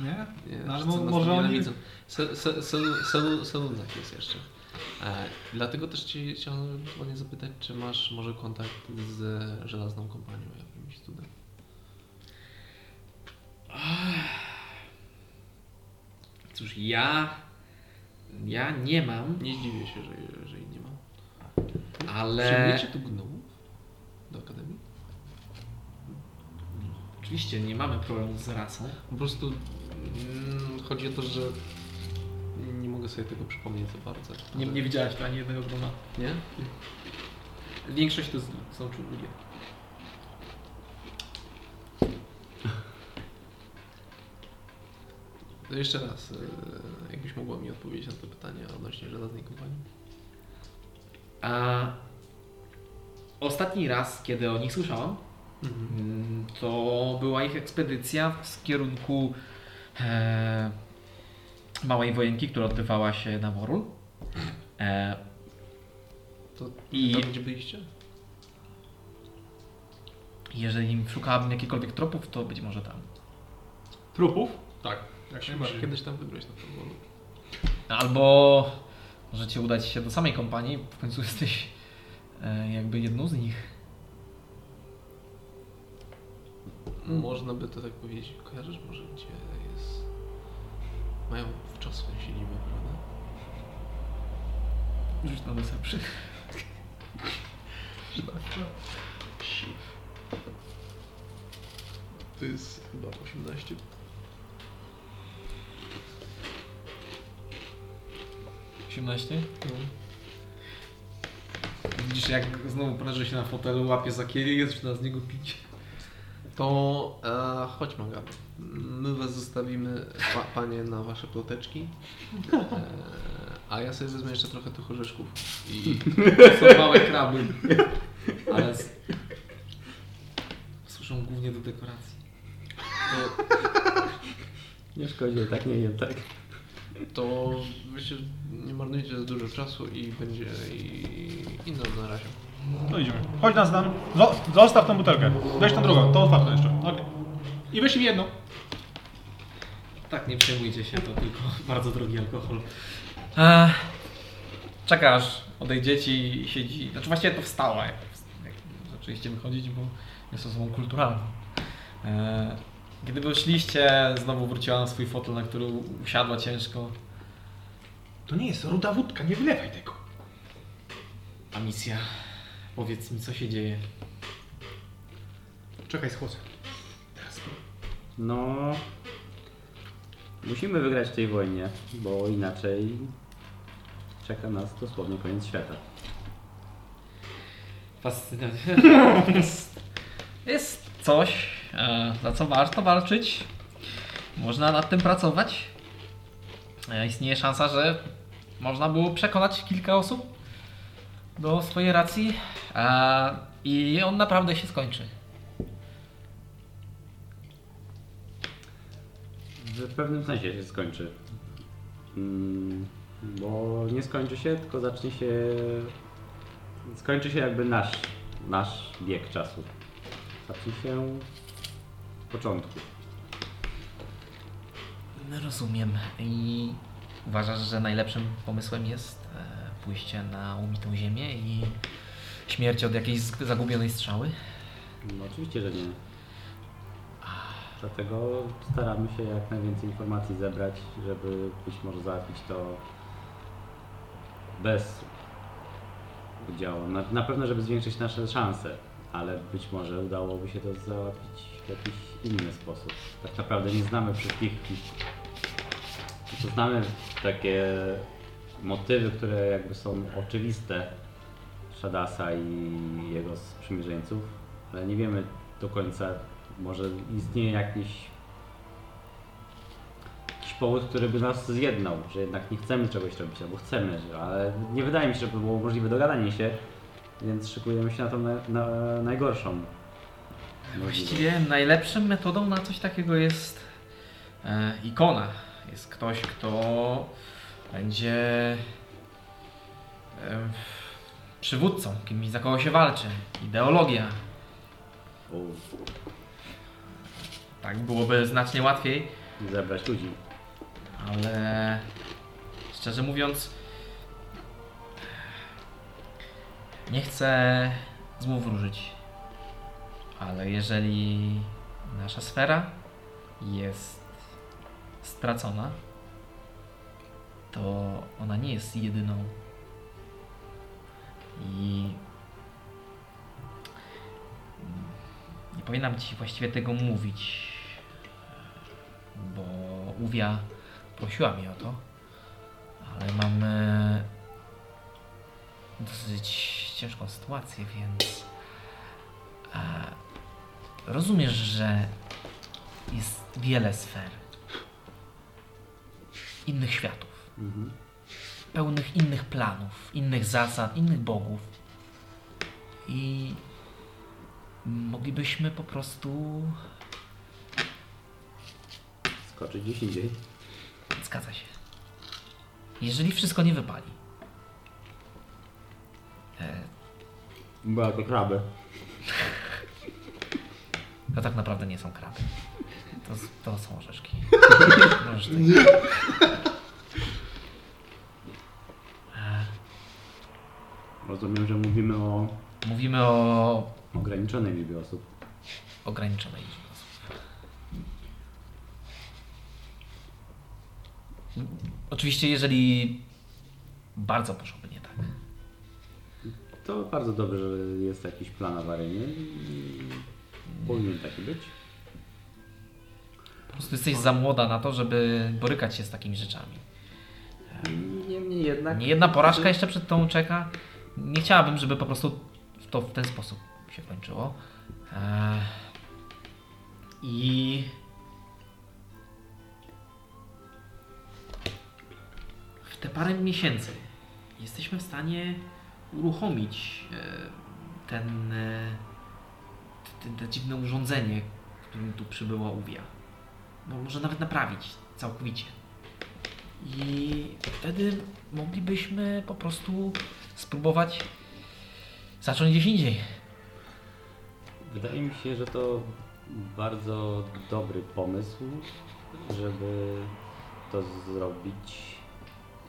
S5: Nie?
S4: nie.
S5: No, ale
S4: wszyscy
S5: mo-
S4: nas
S5: może oni-
S4: nienawidzą. Se- se- selu- selu- Selunek jest jeszcze. E, dlatego też ci chciałem ewentualnie zapytać, czy masz może kontakt z żelazną kompanią jakimś cudem?
S1: Cóż, ja. Ja nie mam,
S4: Nie zdziwię się, że, że jej nie ma.
S1: ale.
S4: Przyjmujecie tu gnomów do akademii?
S1: Oczywiście nie mamy problemu z rasą.
S4: Po prostu mm, chodzi o to, że nie mogę sobie tego przypomnieć za bardzo.
S1: Nie, nie widziałeś tu ani jednego grona.
S4: Nie?
S1: Większość to z- są czubuje.
S4: To jeszcze raz, e, jakbyś mogła mi odpowiedzieć na to pytanie odnośnie żelaznej kompanii?
S1: A ostatni raz, kiedy o nich słyszałam, mm, to była ich ekspedycja z kierunku e, małej wojenki, która odbywała się na Morul. E,
S4: To
S1: I
S4: Tam gdzie byliście?
S1: jeżeli szukałabym jakichkolwiek tropów, to być może tam.
S5: Trupów? Tak. Jak
S4: Musisz
S5: najbardziej.
S4: kiedyś tam wybrać na pewno.
S1: Albo możecie udać się do samej kompanii, w końcu [LAUGHS] jesteś e, jakby jedną z nich.
S4: Można by to tak powiedzieć. Kojarzysz może gdzie jest... Mają wczesne siedzibę, prawda?
S1: Rzuć na deception.
S4: To jest chyba 18. No.
S1: Widzisz, jak znowu pręży się na fotelu, łapie za kielich, zaczyna z niego pić.
S4: To e, chodź Magaby. My was zostawimy, pa, panie, na wasze ploteczki. E, a ja sobie wezmę jeszcze trochę tych orzeszków. I
S1: Są małe kraby. Ale z... służą głównie do dekoracji.
S4: to,
S2: Nie szkodzi, tak nie wiem, tak.
S4: to wy się nie marnujcie za dużo czasu i będzie i, i no, na razie.
S5: To idziemy. Chodź nas tam. Zo- Zostaw tą butelkę. Weź tą drugą, to otwarte jeszcze. Okej. I weź mi jedną.
S1: Tak, nie przejmujcie się, to tylko [LAUGHS] bardzo drogi alkohol. A, czekasz, E, odejdzie ci i siedzi. Znaczy właściwie to wstała, jak, jak zaczęliście wychodzić, bo jest osobą kulturalną. E, kiedy wyszliście, znowu wróciła na swój fotel, na który usiadła ciężko.
S5: To nie jest ruda wódka, nie wylewaj tego.
S1: A misja? Powiedz mi, co się dzieje.
S5: Czekaj, schłodzę. Teraz spróbuj.
S2: No. Musimy wygrać w tej wojnie, bo inaczej czeka nas dosłownie koniec świata.
S1: Fascynujące. [LAUGHS] Jest coś, e, za co warto walczyć. Można nad tym pracować. E, Istnieje szansa, że można było przekonać kilka osób do swojej racji. e, I on naprawdę się skończy.
S2: W pewnym sensie się skończy. Mm, Bo nie skończy się, tylko zacznie się. Skończy się jakby nasz, nasz bieg czasu. Zacznie się w początku.
S1: Rozumiem. I uważasz, że najlepszym pomysłem jest e, pójście na umitą ziemię i śmierć od jakiejś z- zagubionej strzały?
S2: No, oczywiście, że nie. Dlatego staramy się jak najwięcej informacji zebrać, żeby być może załatwić to bez udziału. Na, na pewno, żeby zwiększyć nasze szanse, ale być może udałoby się to załatwić w jakiś inny sposób. Tak naprawdę nie znamy wszystkich. To znamy takie motywy, które jakby są oczywiste Shadasa i jego sprzymierzeńców, ale nie wiemy do końca, może istnieje jakiś, jakiś powód, który by nas zjednał, że jednak nie chcemy czegoś robić, albo chcemy, że- ale nie wydaje mi się, żeby było możliwe dogadanie się, więc szykujemy się na tą na, na, najgorszą. możliwość.
S1: Właściwie najlepszą metodą na coś takiego jest e, ikona. Jest ktoś, kto będzie e, przywódcą, kimś za kogo się walczy. Ideologia.
S2: U,
S1: Tak byłoby znacznie łatwiej,
S2: zebrać ludzi.
S1: ale szczerze mówiąc, nie chcę znów wróżyć. Ale jeżeli nasza sfera jest stracona, to ona nie jest jedyną. I nie powinnam ci właściwie tego mówić, bo Uwia prosiła mnie o to, ale mam e, dosyć ciężką sytuację, więc e, rozumiesz, że jest wiele sfer innych światów,
S2: Mhm.
S1: pełnych innych planów, innych zasad, innych bogów i moglibyśmy po prostu
S2: Skoczyć gdzieś indziej.
S1: Zgadza się. Jeżeli wszystko nie wypali. E,
S2: Była jako krabę.
S1: To tak naprawdę nie są kraby. To, s- to są orzeszki. Możesz tak. E,
S2: Rozumiem, że mówimy o
S1: Mówimy o
S2: ograniczonej liczbie osób.
S1: ograniczonej liczbie osób. M, Oczywiście, jeżeli bardzo poszłoby nie tak.
S2: To bardzo dobrze, że jest jakiś plan awaryjny. i Powinien taki być.
S1: Po prostu jesteś za młoda na to, żeby borykać się z takimi rzeczami.
S2: Niemniej jednak.
S1: Nie jedna porażka jeszcze przed tą czeka. Nie chciałabym, żeby po prostu to w ten sposób się kończyło. Eee, I w te parę miesięcy jesteśmy w stanie uruchomić e, ten, e, t- t- to dziwne urządzenie, którym tu przybyła Uwia. Bo może nawet naprawić całkowicie. I wtedy moglibyśmy po prostu spróbować zacząć gdzieś indziej.
S2: Wydaje mi się, że to bardzo dobry pomysł, żeby to zrobić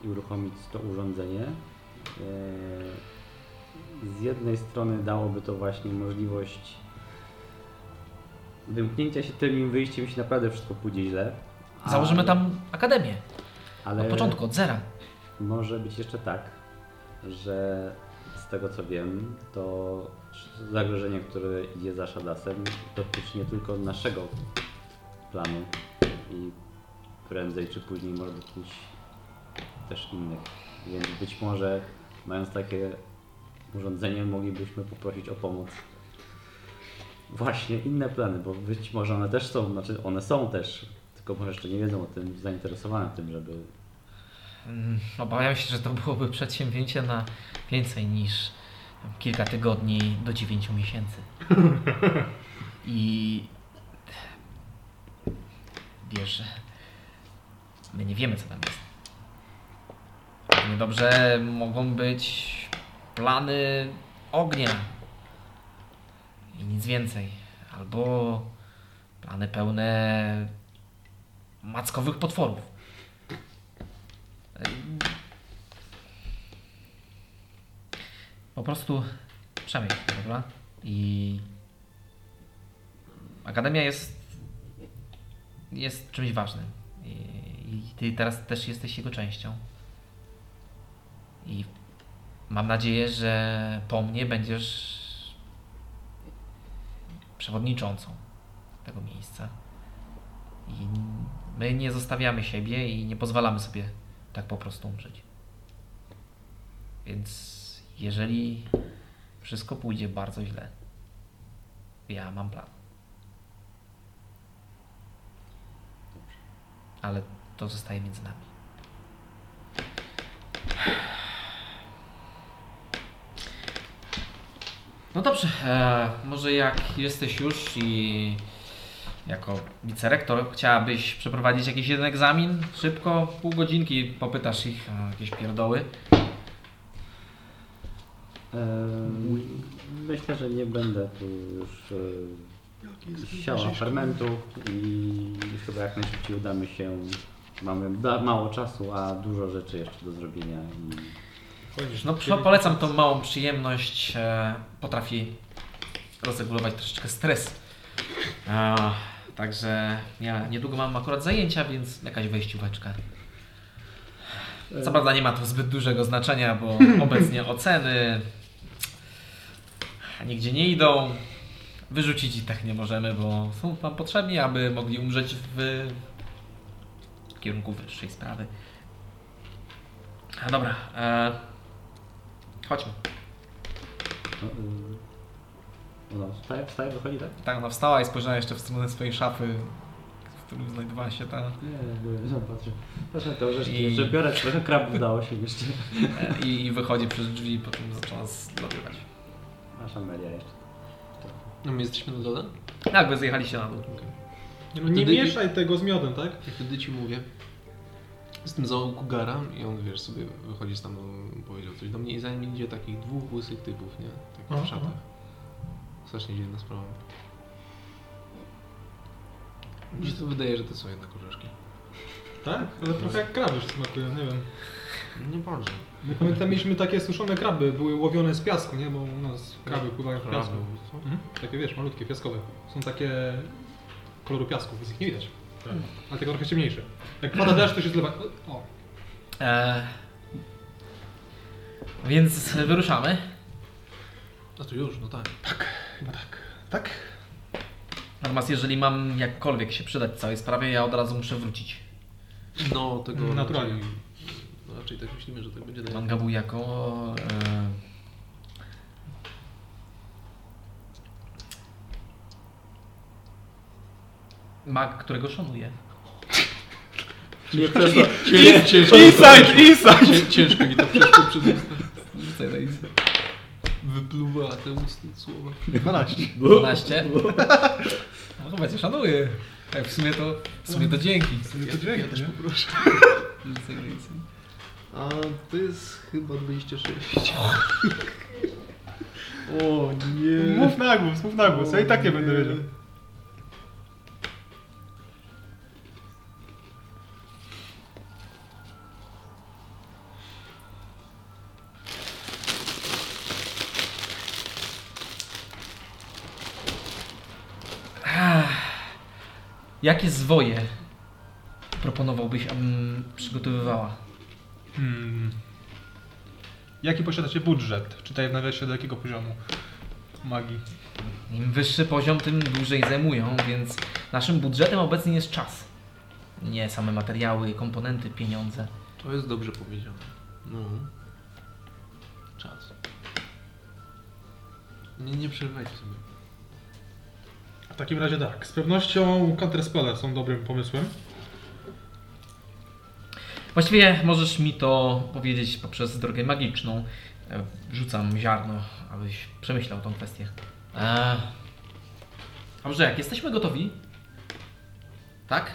S2: i uruchomić to urządzenie. Eee, Z jednej strony dałoby to właśnie możliwość wymknięcia się tym i wyjściem, jeśli naprawdę wszystko pójdzie źle.
S1: Założymy tam akademię
S2: ale
S1: od początku, od zera.
S2: Może być jeszcze tak, że z tego co wiem, to zagrożenie, które idzie za Shadasem, dotyczy nie tylko naszego planu i prędzej czy później może dotyczyć też innych. Więc być może mając takie urządzenie moglibyśmy poprosić o pomoc właśnie inne plany, bo być może one też są, znaczy one są też, tylko może jeszcze nie wiedzą o tym, zainteresowane tym, żeby
S1: Mm, Obawiam się, że to byłoby przedsięwzięcie na więcej niż kilka tygodni do 9 miesięcy. I wiesz, że my nie wiemy, co tam jest. Równie dobrze mogą być plany ognia i nic więcej. Albo plany pełne mackowych potworów. Po prostu przemyśl, dobra? I Akademia jest jest czymś ważnym. I, I ty teraz też jesteś jego częścią. I mam nadzieję, że po mnie będziesz przewodniczącą tego miejsca. I my nie zostawiamy siebie i nie pozwalamy sobie tak po prostu umrzeć. Więc jeżeli wszystko pójdzie bardzo źle, ja mam plan. Ale to zostaje między nami. No dobrze, e, może jak jesteś już i jako wicerektor chciałabyś przeprowadzić jakiś jeden egzamin, szybko, pół godzinki popytasz ich o jakieś pierdoły.
S2: Em, Myślę, że nie będę tu już e, siała fermentu i chyba jak najszybciej udamy się. Mamy da- mało czasu, a dużo rzeczy jeszcze do zrobienia. I
S1: No po- polecam tą małą przyjemność, e, potrafi rozregulować troszeczkę stres. E, także ja niedługo mam akurat zajęcia, więc jakaś wejścióweczka. Co prawda nie ma to zbyt dużego znaczenia, bo obecnie oceny nigdzie nie idą. Wyrzucić ich tak nie możemy, bo są nam potrzebni, aby mogli umrzeć w kierunku wyższej sprawy. A dobra, e, chodźmy.
S2: no, em, no, wstaje, wstaje, wychodzi tak?
S1: Tak, ona wstała i spojrzała jeszcze w stronę swojej szafy, w którym znajdowała się ta...
S2: Nie, nie, nie, patrzę. Patrzę na te
S1: I-
S2: orzeszki, jeszcze biorę trochę krabów dało się jeszcze.
S1: e, [LAUGHS] I, i wychodzi przez drzwi, potem zaczęła zlatywać.
S2: Nasza Amelia jeszcze.
S4: No my jesteśmy na dole?
S1: Tak, wy zjechaliście na dół.
S3: Nie, no nie
S4: Wtedy-
S3: mieszaj tego z miodem, tak?
S4: I wtedy ci mówię. Z tym zaułku gara i on wiesz sobie wychodzi tam, powiedział coś do mnie i za nim idzie takich dwóch łysych typów, nie? Takich
S3: Aha,
S4: w szatach. Strasznie dziwna sprawa. Mi się to wydaje, że to są jednak orzeszki.
S3: Tak? Ale trochę jak kraby już smakują, nie wiem.
S4: Nie bardzo.
S3: My pamiętam, mieliśmy takie suszone kraby, były łowione z piasku, nie? Bo u nas kraby pływają w piasku. Mhm. Takie wiesz, malutkie, piaskowe. Są takie koloru piasku, więc ich nie widać.
S1: Tak.
S3: Ale tego trochę ciemniejsze. Jak pada deszcz, to się zlewa. O,
S1: E, więc wyruszamy.
S4: A to już, no tak.
S3: chyba tak. Tak?
S1: Natomiast jeżeli mam jakkolwiek się przydać w całej sprawie, ja od razu muszę wrócić.
S4: No
S1: Mm,
S4: tego.
S3: Mm, Naturalnie.
S4: Raczej, no, raczej tak myślimy, że tak będzie dalej.
S1: Manga był jako... E, mag, którego szanuję.
S4: Nie przeszło. Inside, inside! Ciężko mi to przeszło przez usta.
S1: Rzucaj na izbę.
S4: Wypluwa te ustne słowa.
S1: 12. No chyba cię szanuję. Tak, w sumie to, w sumie to dzięki.
S4: Ja też poproszę.
S1: [LAUGHS]
S4: tak A to jest chyba 26. O nie.
S3: Mów na głos, mów na głos, ja i tak nie
S4: O
S3: będę wiedział.
S1: Jakie zwoje proponowałbyś, abym przygotowywała
S5: Hmm. Jaki posiadacie budżet? Czytaj w nawiasie do jakiego poziomu magii.
S1: Im wyższy poziom, tym dłużej zajmują, więc naszym budżetem obecnie jest czas. Nie same materiały, komponenty, pieniądze.
S4: To jest dobrze powiedziane. No. Czas. Nie, nie przerywajcie sobie.
S5: W takim razie tak, z pewnością counterspelle są dobrym pomysłem.
S1: Właściwie możesz mi to powiedzieć poprzez drogę magiczną. E, Rzucam ziarno, abyś przemyślał tą kwestię. E, Dobrze, jak jesteśmy gotowi, tak,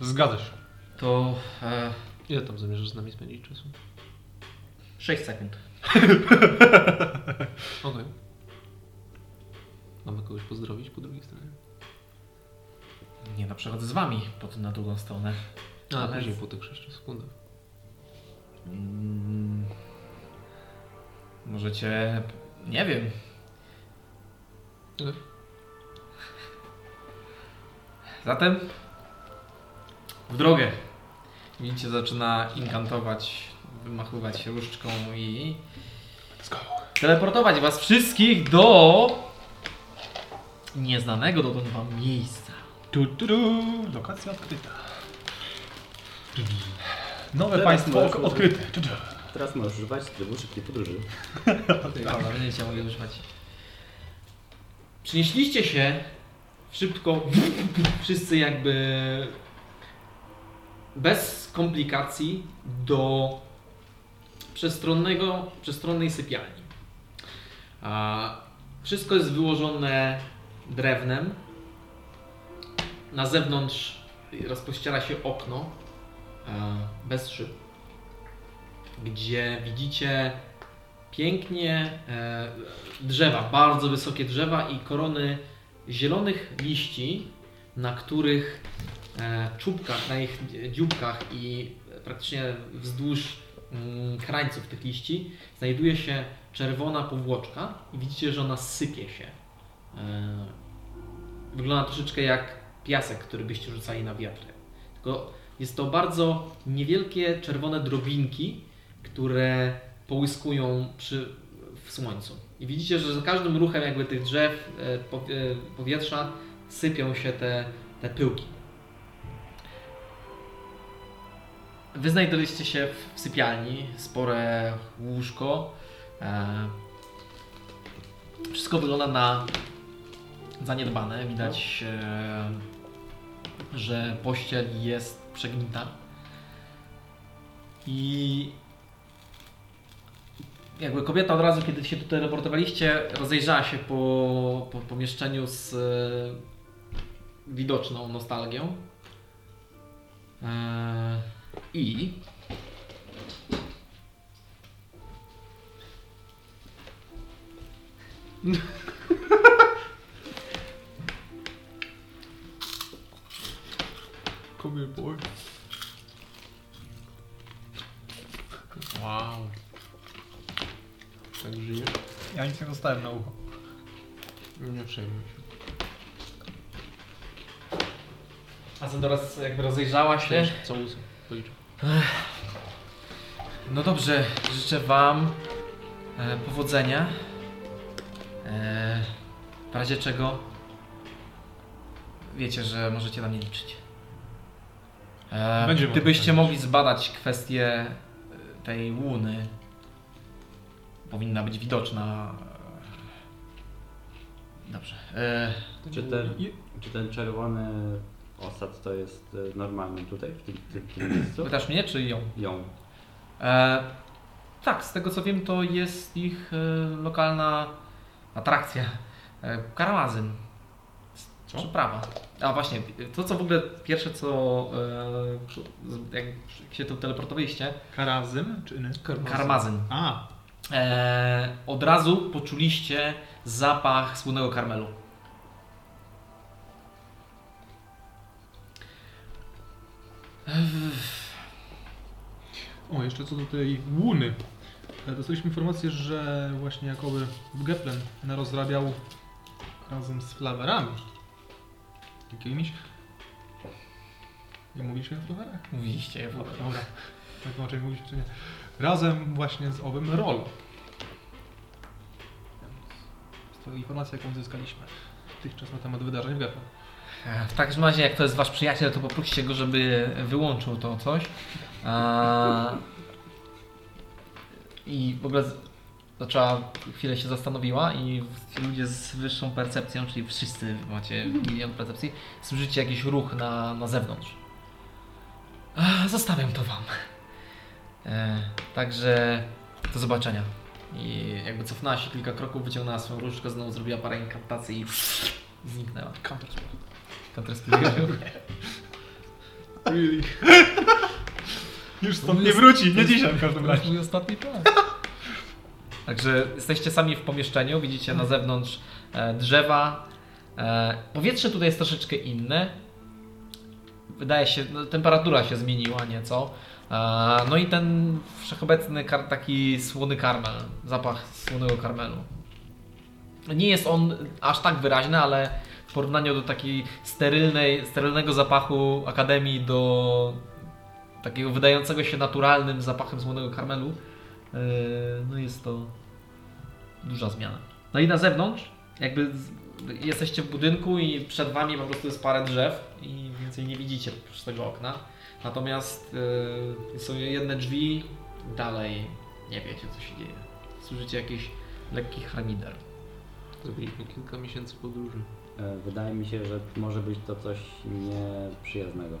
S5: Zgadza się.
S1: to e,
S4: Ile tam zamierzasz z nami spędzić czasu?
S1: 6 sekund.
S4: Okej. Mamy kogoś pozdrowić po drugiej stronie?
S1: Nie no, przechodzę z wami potem na drugą stronę.
S4: A,
S1: No, Ale-
S4: później po tych 6 sekundach.
S1: Mm, Możecie, nie wiem,
S4: Ile?
S1: Zatem w drogę. Widzicie, zaczyna inkantować, wymachywać się różdżką i teleportować was wszystkich do nieznanego dotąd wam miejsca.
S5: Tu, tu, tu. Lokacja odkryta. Tu, tu. Nowe
S2: Teraz
S5: państwo
S2: możesz-
S5: ok- odkryte. Tu, tu.
S2: Teraz możesz używać trybu szybkiej podróży.
S1: Ty, Dobra, będziecie mogli używać. Przynieśliście się szybko, [LAUGHS] wszyscy jakby bez komplikacji do przestronnego, przestronnej sypialni. A wszystko jest wyłożone drewnem. Na zewnątrz rozpościera się okno e, bez szyb, gdzie widzicie pięknie e, drzewa, bardzo wysokie drzewa i korony zielonych liści, na których e, czubkach, na ich dzióbkach i praktycznie wzdłuż mm, krańców tych liści znajduje się czerwona powłoczka i widzicie, że ona sypie się. E, wygląda troszeczkę jak piasek, który byście rzucali na wiatr. Tylko jest to bardzo niewielkie czerwone drobinki, które połyskują przy, w słońcu. I widzicie, że za każdym ruchem jakby tych drzew, e, pow- e, powietrza sypią się te, te pyłki. Wy znajdowaliście się w- w sypialni, spore łóżko. E, wszystko wygląda na zaniedbane. Widać, e, że pościel jest przegnita. I jakby kobieta od razu, kiedy się tutaj reportowaliście, rozejrzała się po, po pomieszczeniu z e, widoczną nostalgią. E, I.
S4: Come here, boy. Wow. Tak żyjesz?
S5: Ja nic nie dostałem na ucho.
S4: Nie przejmuj się.
S1: A teraz jakby rozejrzała się.
S4: Cześć, co łysy? Policzę.
S1: No dobrze, życzę Wam e, powodzenia. E, w razie czego wiecie, że możecie na mnie liczyć. E,
S5: Będziemy
S1: gdybyście
S5: na to
S1: mogli zbadać kwestię e, tej łuny, powinna być widoczna. E, Dobrze. E,
S2: Czy ten, czy ten czerwony osad to jest e, normalny tutaj, w tym, tym, tym miejscu?
S1: pytasz mnie, czy ją?
S2: Ją.
S1: E, tak, z tego co wiem, to jest ich e, lokalna atrakcja. E, karamazyn. Co? Przeprawa. A właśnie, to co w ogóle pierwsze co e, przy- z- jak się tu teleportowaliście,
S5: Karazym czy nie?
S1: karmazyn.
S5: A,
S1: E, od razu poczuliście zapach słonego karmelu.
S5: o jeszcze co do tej łuny. E, Dostaliśmy informację, że właśnie Jakoby Geplen rozrabiał razem z flawerami. Jakimiś? Nie mówiliśmy o flawerach? Tak,
S1: Mówiliście.
S5: Dobra. tak inaczej mówić, czy nie. Razem właśnie z owym Rolo. To informacja, jaką uzyskaliśmy dotychczas na temat wydarzeń w Geffen.
S1: E, W takim razie, jak to jest wasz przyjaciel, to poproście go, żeby wyłączył to coś. A... I w ogóle z- zaczęła, chwilę się zastanowiła i ci ludzie z wyższą percepcją, czyli wszyscy macie milion percepcji, słyszycie jakiś ruch na, na zewnątrz. A, zostawiam to wam. E, także do zobaczenia. I jakby cofnęła się kilka kroków, wyciągnęła swoją różdżkę, znowu zrobiła parę inkantacji i zniknęła. Counter-Strike.
S5: Really? [LAUGHS] Już stąd nie wróci, nie dzisiaj w każdym
S1: To jest
S5: razie.
S1: mój ostatni czas. [LAUGHS] Także jesteście sami w pomieszczeniu, widzicie na zewnątrz e, drzewa. E, powietrze tutaj jest troszeczkę inne. Wydaje się, no, temperatura się zmieniła nieco. E, no i ten wszechobecny kar, taki słony karmel, zapach słonego karmelu. Nie jest on aż tak wyraźny, ale w porównaniu do takiej sterylnej, sterylnego zapachu akademii do takiego wydającego się naturalnym zapachem słonego karmelu, yy, no jest to duża zmiana. No i na zewnątrz, jakby z- jesteście w budynku i przed wami po prostu jest parę drzew i więcej nie widzicie z tego okna. Natomiast yy, są jedne drzwi, dalej nie wiecie co się dzieje. Słyszycie jakiś lekki harmider.
S4: Zrobiliśmy kilka miesięcy podróży.
S2: E, Wydaje mi się, że może być to coś nieprzyjaznego.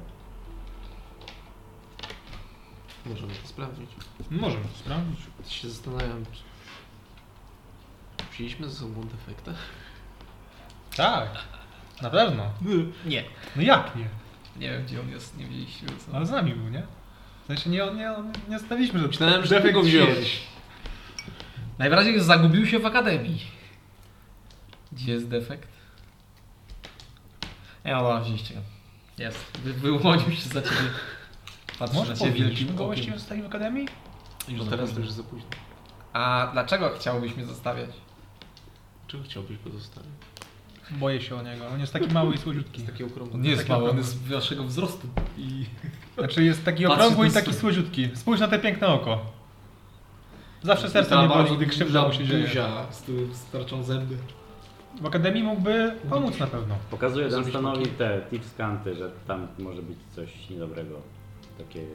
S4: Możemy to sprawdzić.
S5: Możemy sprawdzić.
S4: Się zastanawiam, czy... Przyjęliśmy ze sobą defekta?
S5: Tak, na pewno.
S1: Nie,
S5: No jak nie?
S1: nie wiem gdzie on jest, nie widzieliście co.
S5: Ale z nami był, nie? W sensie nie, nie, nie stawiliśmy, że
S4: Myślałem, że ty go wziąłeś.
S1: Najwyraźniej zagubił się w akademii. Gdzie jest defekt? Ja no, wzięliście go. Jest. Wy, wyłonił się za ciebie. Patrzy
S5: Może
S1: na ciebie
S5: powinniśmy
S1: wielkim
S5: go
S1: okiem.
S5: właściwie zostawić w Akademii?
S4: Już No teraz to już za późno.
S1: A dlaczego chciałbyś mnie zostawiać?
S4: Czego chciałbyś go zostawić?
S5: Boję się o niego, on jest taki mały i słodziutki.
S4: Jest taki okrągły.
S1: On nie jest
S5: Taki
S1: mały, on
S5: okrągły.
S1: jest waszego wzrostu. I...
S5: Znaczy jest taki
S1: Patrzę,
S5: okrągły i
S1: to jest-
S5: taki słodziutki. Spójrz na te piękne oko. Zawsze serce mnie boli, gdy krzywda mu się dzieje.
S1: Z którym starczą zęby.
S5: W Akademii mógłby pomóc na pewno.
S2: Pokazuję
S4: Zrobić
S2: Dunstanowi
S4: boki.
S2: te tips kanty, że tam może być coś niedobrego. Takie...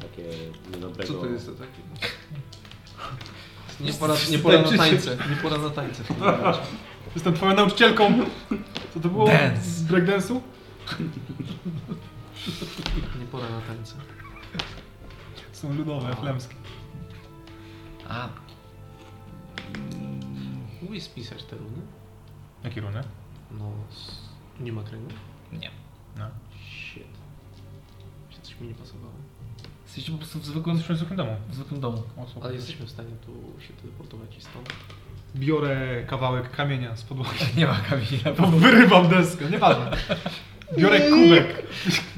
S2: Takie niedobrego...
S4: Co to jest za takie? Nie
S1: Jest-
S4: pora, nie pora na
S1: tańczy się.
S4: tańce. Nie pora na tańce. w tym momencie.
S5: Jestem twoją nauczycielką. Co to było?
S1: Dance.
S5: Z breakdance'u?
S4: Nie pora na tańce.
S5: Są ludowe, flamskie.
S1: A,
S4: Mógłbyś spisać te runy?
S5: Jakie runy?
S4: No, z... nie ma kręgu?
S1: nie.
S5: No.
S4: Shit. Się coś mi nie pasowało.
S1: Jesteście po prostu w
S5: Byłem
S1: zwykłym,
S5: w zwykłym domu.
S1: w zwykłym domu.
S5: O, super.
S4: Ale jesteśmy w stanie tu się teleportować i stąd.
S5: Biorę kawałek kamienia z podłogi. [LAUGHS]
S1: Nie ma kamienia.
S5: To wyrywam deskę, nieważne. Biorę kubek.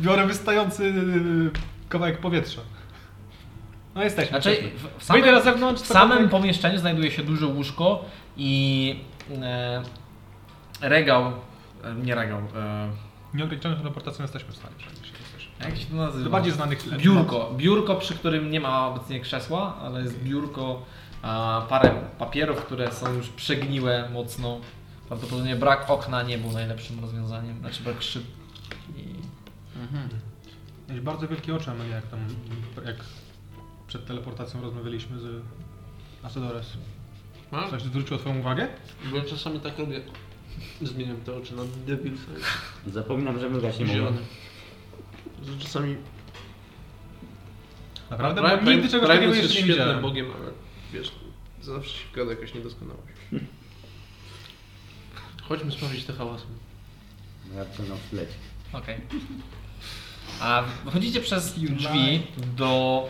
S5: Biorę wystający yy, kawałek powietrza. No jesteśmy.
S1: Znaczy,
S5: jesteśmy.
S1: w, w
S5: Wyjdę
S1: samym,
S5: na zewnątrz.
S1: W
S5: to
S1: samym
S5: tak-
S1: pomieszczeniu znajduje się duże łóżko i e, regał, e, nie regał, e,
S5: Nieograniczoną teleportacją jesteśmy w stanie przejść. jesteśmy.
S1: jak się to nazywa?
S5: Do bardziej znanych chleb.
S1: biurko, biurko, przy którym nie ma obecnie krzesła, ale jest biurko, a, parę papierów, które są już przegniłe mocno. Prawdopodobnie brak okna nie był najlepszym rozwiązaniem, znaczy brak szyb. I
S5: Miałeś bardzo wielkie oczy, Amelia, jak tam, jak przed teleportacją rozmawialiśmy z Asadores.
S4: Mam?
S5: Coś zwróciło twoją uwagę?
S4: No, Bo ja czasami tak robię. Zmieniam te oczy na debil face.
S2: Zapominam, że mrugać nie mogę.
S4: Zielony. Że czasami...
S5: Naprawdę?
S4: Prime-
S5: Bo nigdy
S4: Prime-
S5: czegoś
S4: Prime
S5: takiego
S4: jest
S5: jeszcze nie
S4: świetnym
S5: widziałem.
S4: bogiem, ale wiesz, zawsze się gada jakaś [LAUGHS] niedoskonałość. Chodźmy sprawdzić te hałasy.
S2: Ja będę wleć.
S1: Okej. A wchodzicie przez drzwi do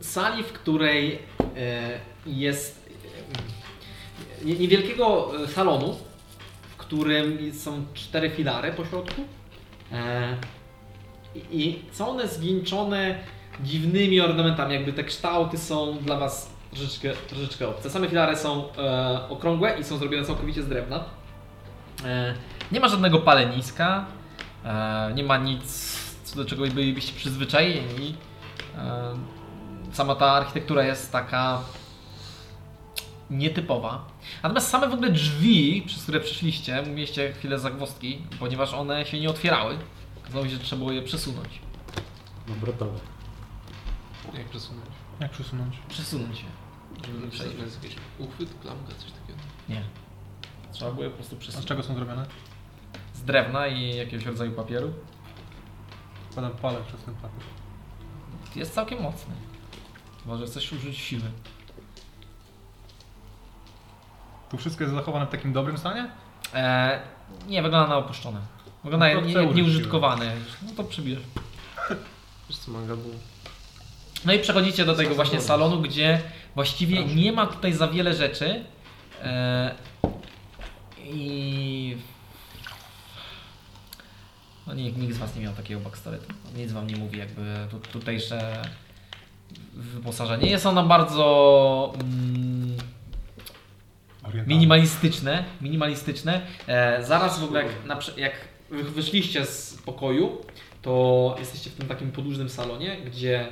S1: sali, w której e, jest e, nie- niewielkiego e, salonu, w którym są cztery filary po środku. E, i- I są one zwieńczone dziwnymi ornamentami, jakby te kształty są dla Was troszeczkę, troszeczkę obce. Same filary są e, okrągłe i są zrobione całkowicie z drewna. E, Nie ma żadnego paleniska, e, nie ma nic, co do czego bylibyście przyzwyczajeni. E, Sama ta architektura jest taka nietypowa. Natomiast same w ogóle drzwi, przez które przyszliście, mieliście chwilę zagwozdki, ponieważ one się nie otwierały. Okazało się, że trzeba było je przesunąć.
S2: Obrotowe.
S4: Jak przesunąć?
S5: Jak przesunąć?
S1: Przesunąć je. Żeby
S4: Żeby
S1: przejść.
S4: jest jakiś uchwyt, klamka, coś takiego.
S1: Nie. Trzeba było je po prostu
S5: A z
S1: przesunąć.
S5: czego są zrobione?
S1: Z drewna i jakiegoś rodzaju papieru.
S5: Wkładam palec przez ten papier.
S1: Jest całkiem mocny. Chyba, że chcesz użyć siły.
S5: Tu wszystko jest zachowane w takim dobrym stanie?
S1: E, nie, wygląda na opuszczone. Wygląda
S5: No to
S1: jak nie,
S5: chcę
S1: jak
S5: użyć
S1: nieużytkowane. No to przybierz.
S4: Wiesz co, manga był.
S1: No i przechodzicie do tego właśnie salonu, gdzie właściwie
S5: Proszę.
S1: nie ma tutaj za wiele rzeczy. E, I. No nikt, nikt z Was nie miał takiego backstoretu. Nic Wam nie mówi, jakby tu, tutejsze wyposażenie. Jest ono bardzo. Mm,
S5: Orientalne.
S1: Minimalistyczne, minimalistyczne. E, zaraz w ogóle jak, na, prze- jak wy- wyszliście z pokoju, to jesteście w tym takim podłużnym salonie, gdzie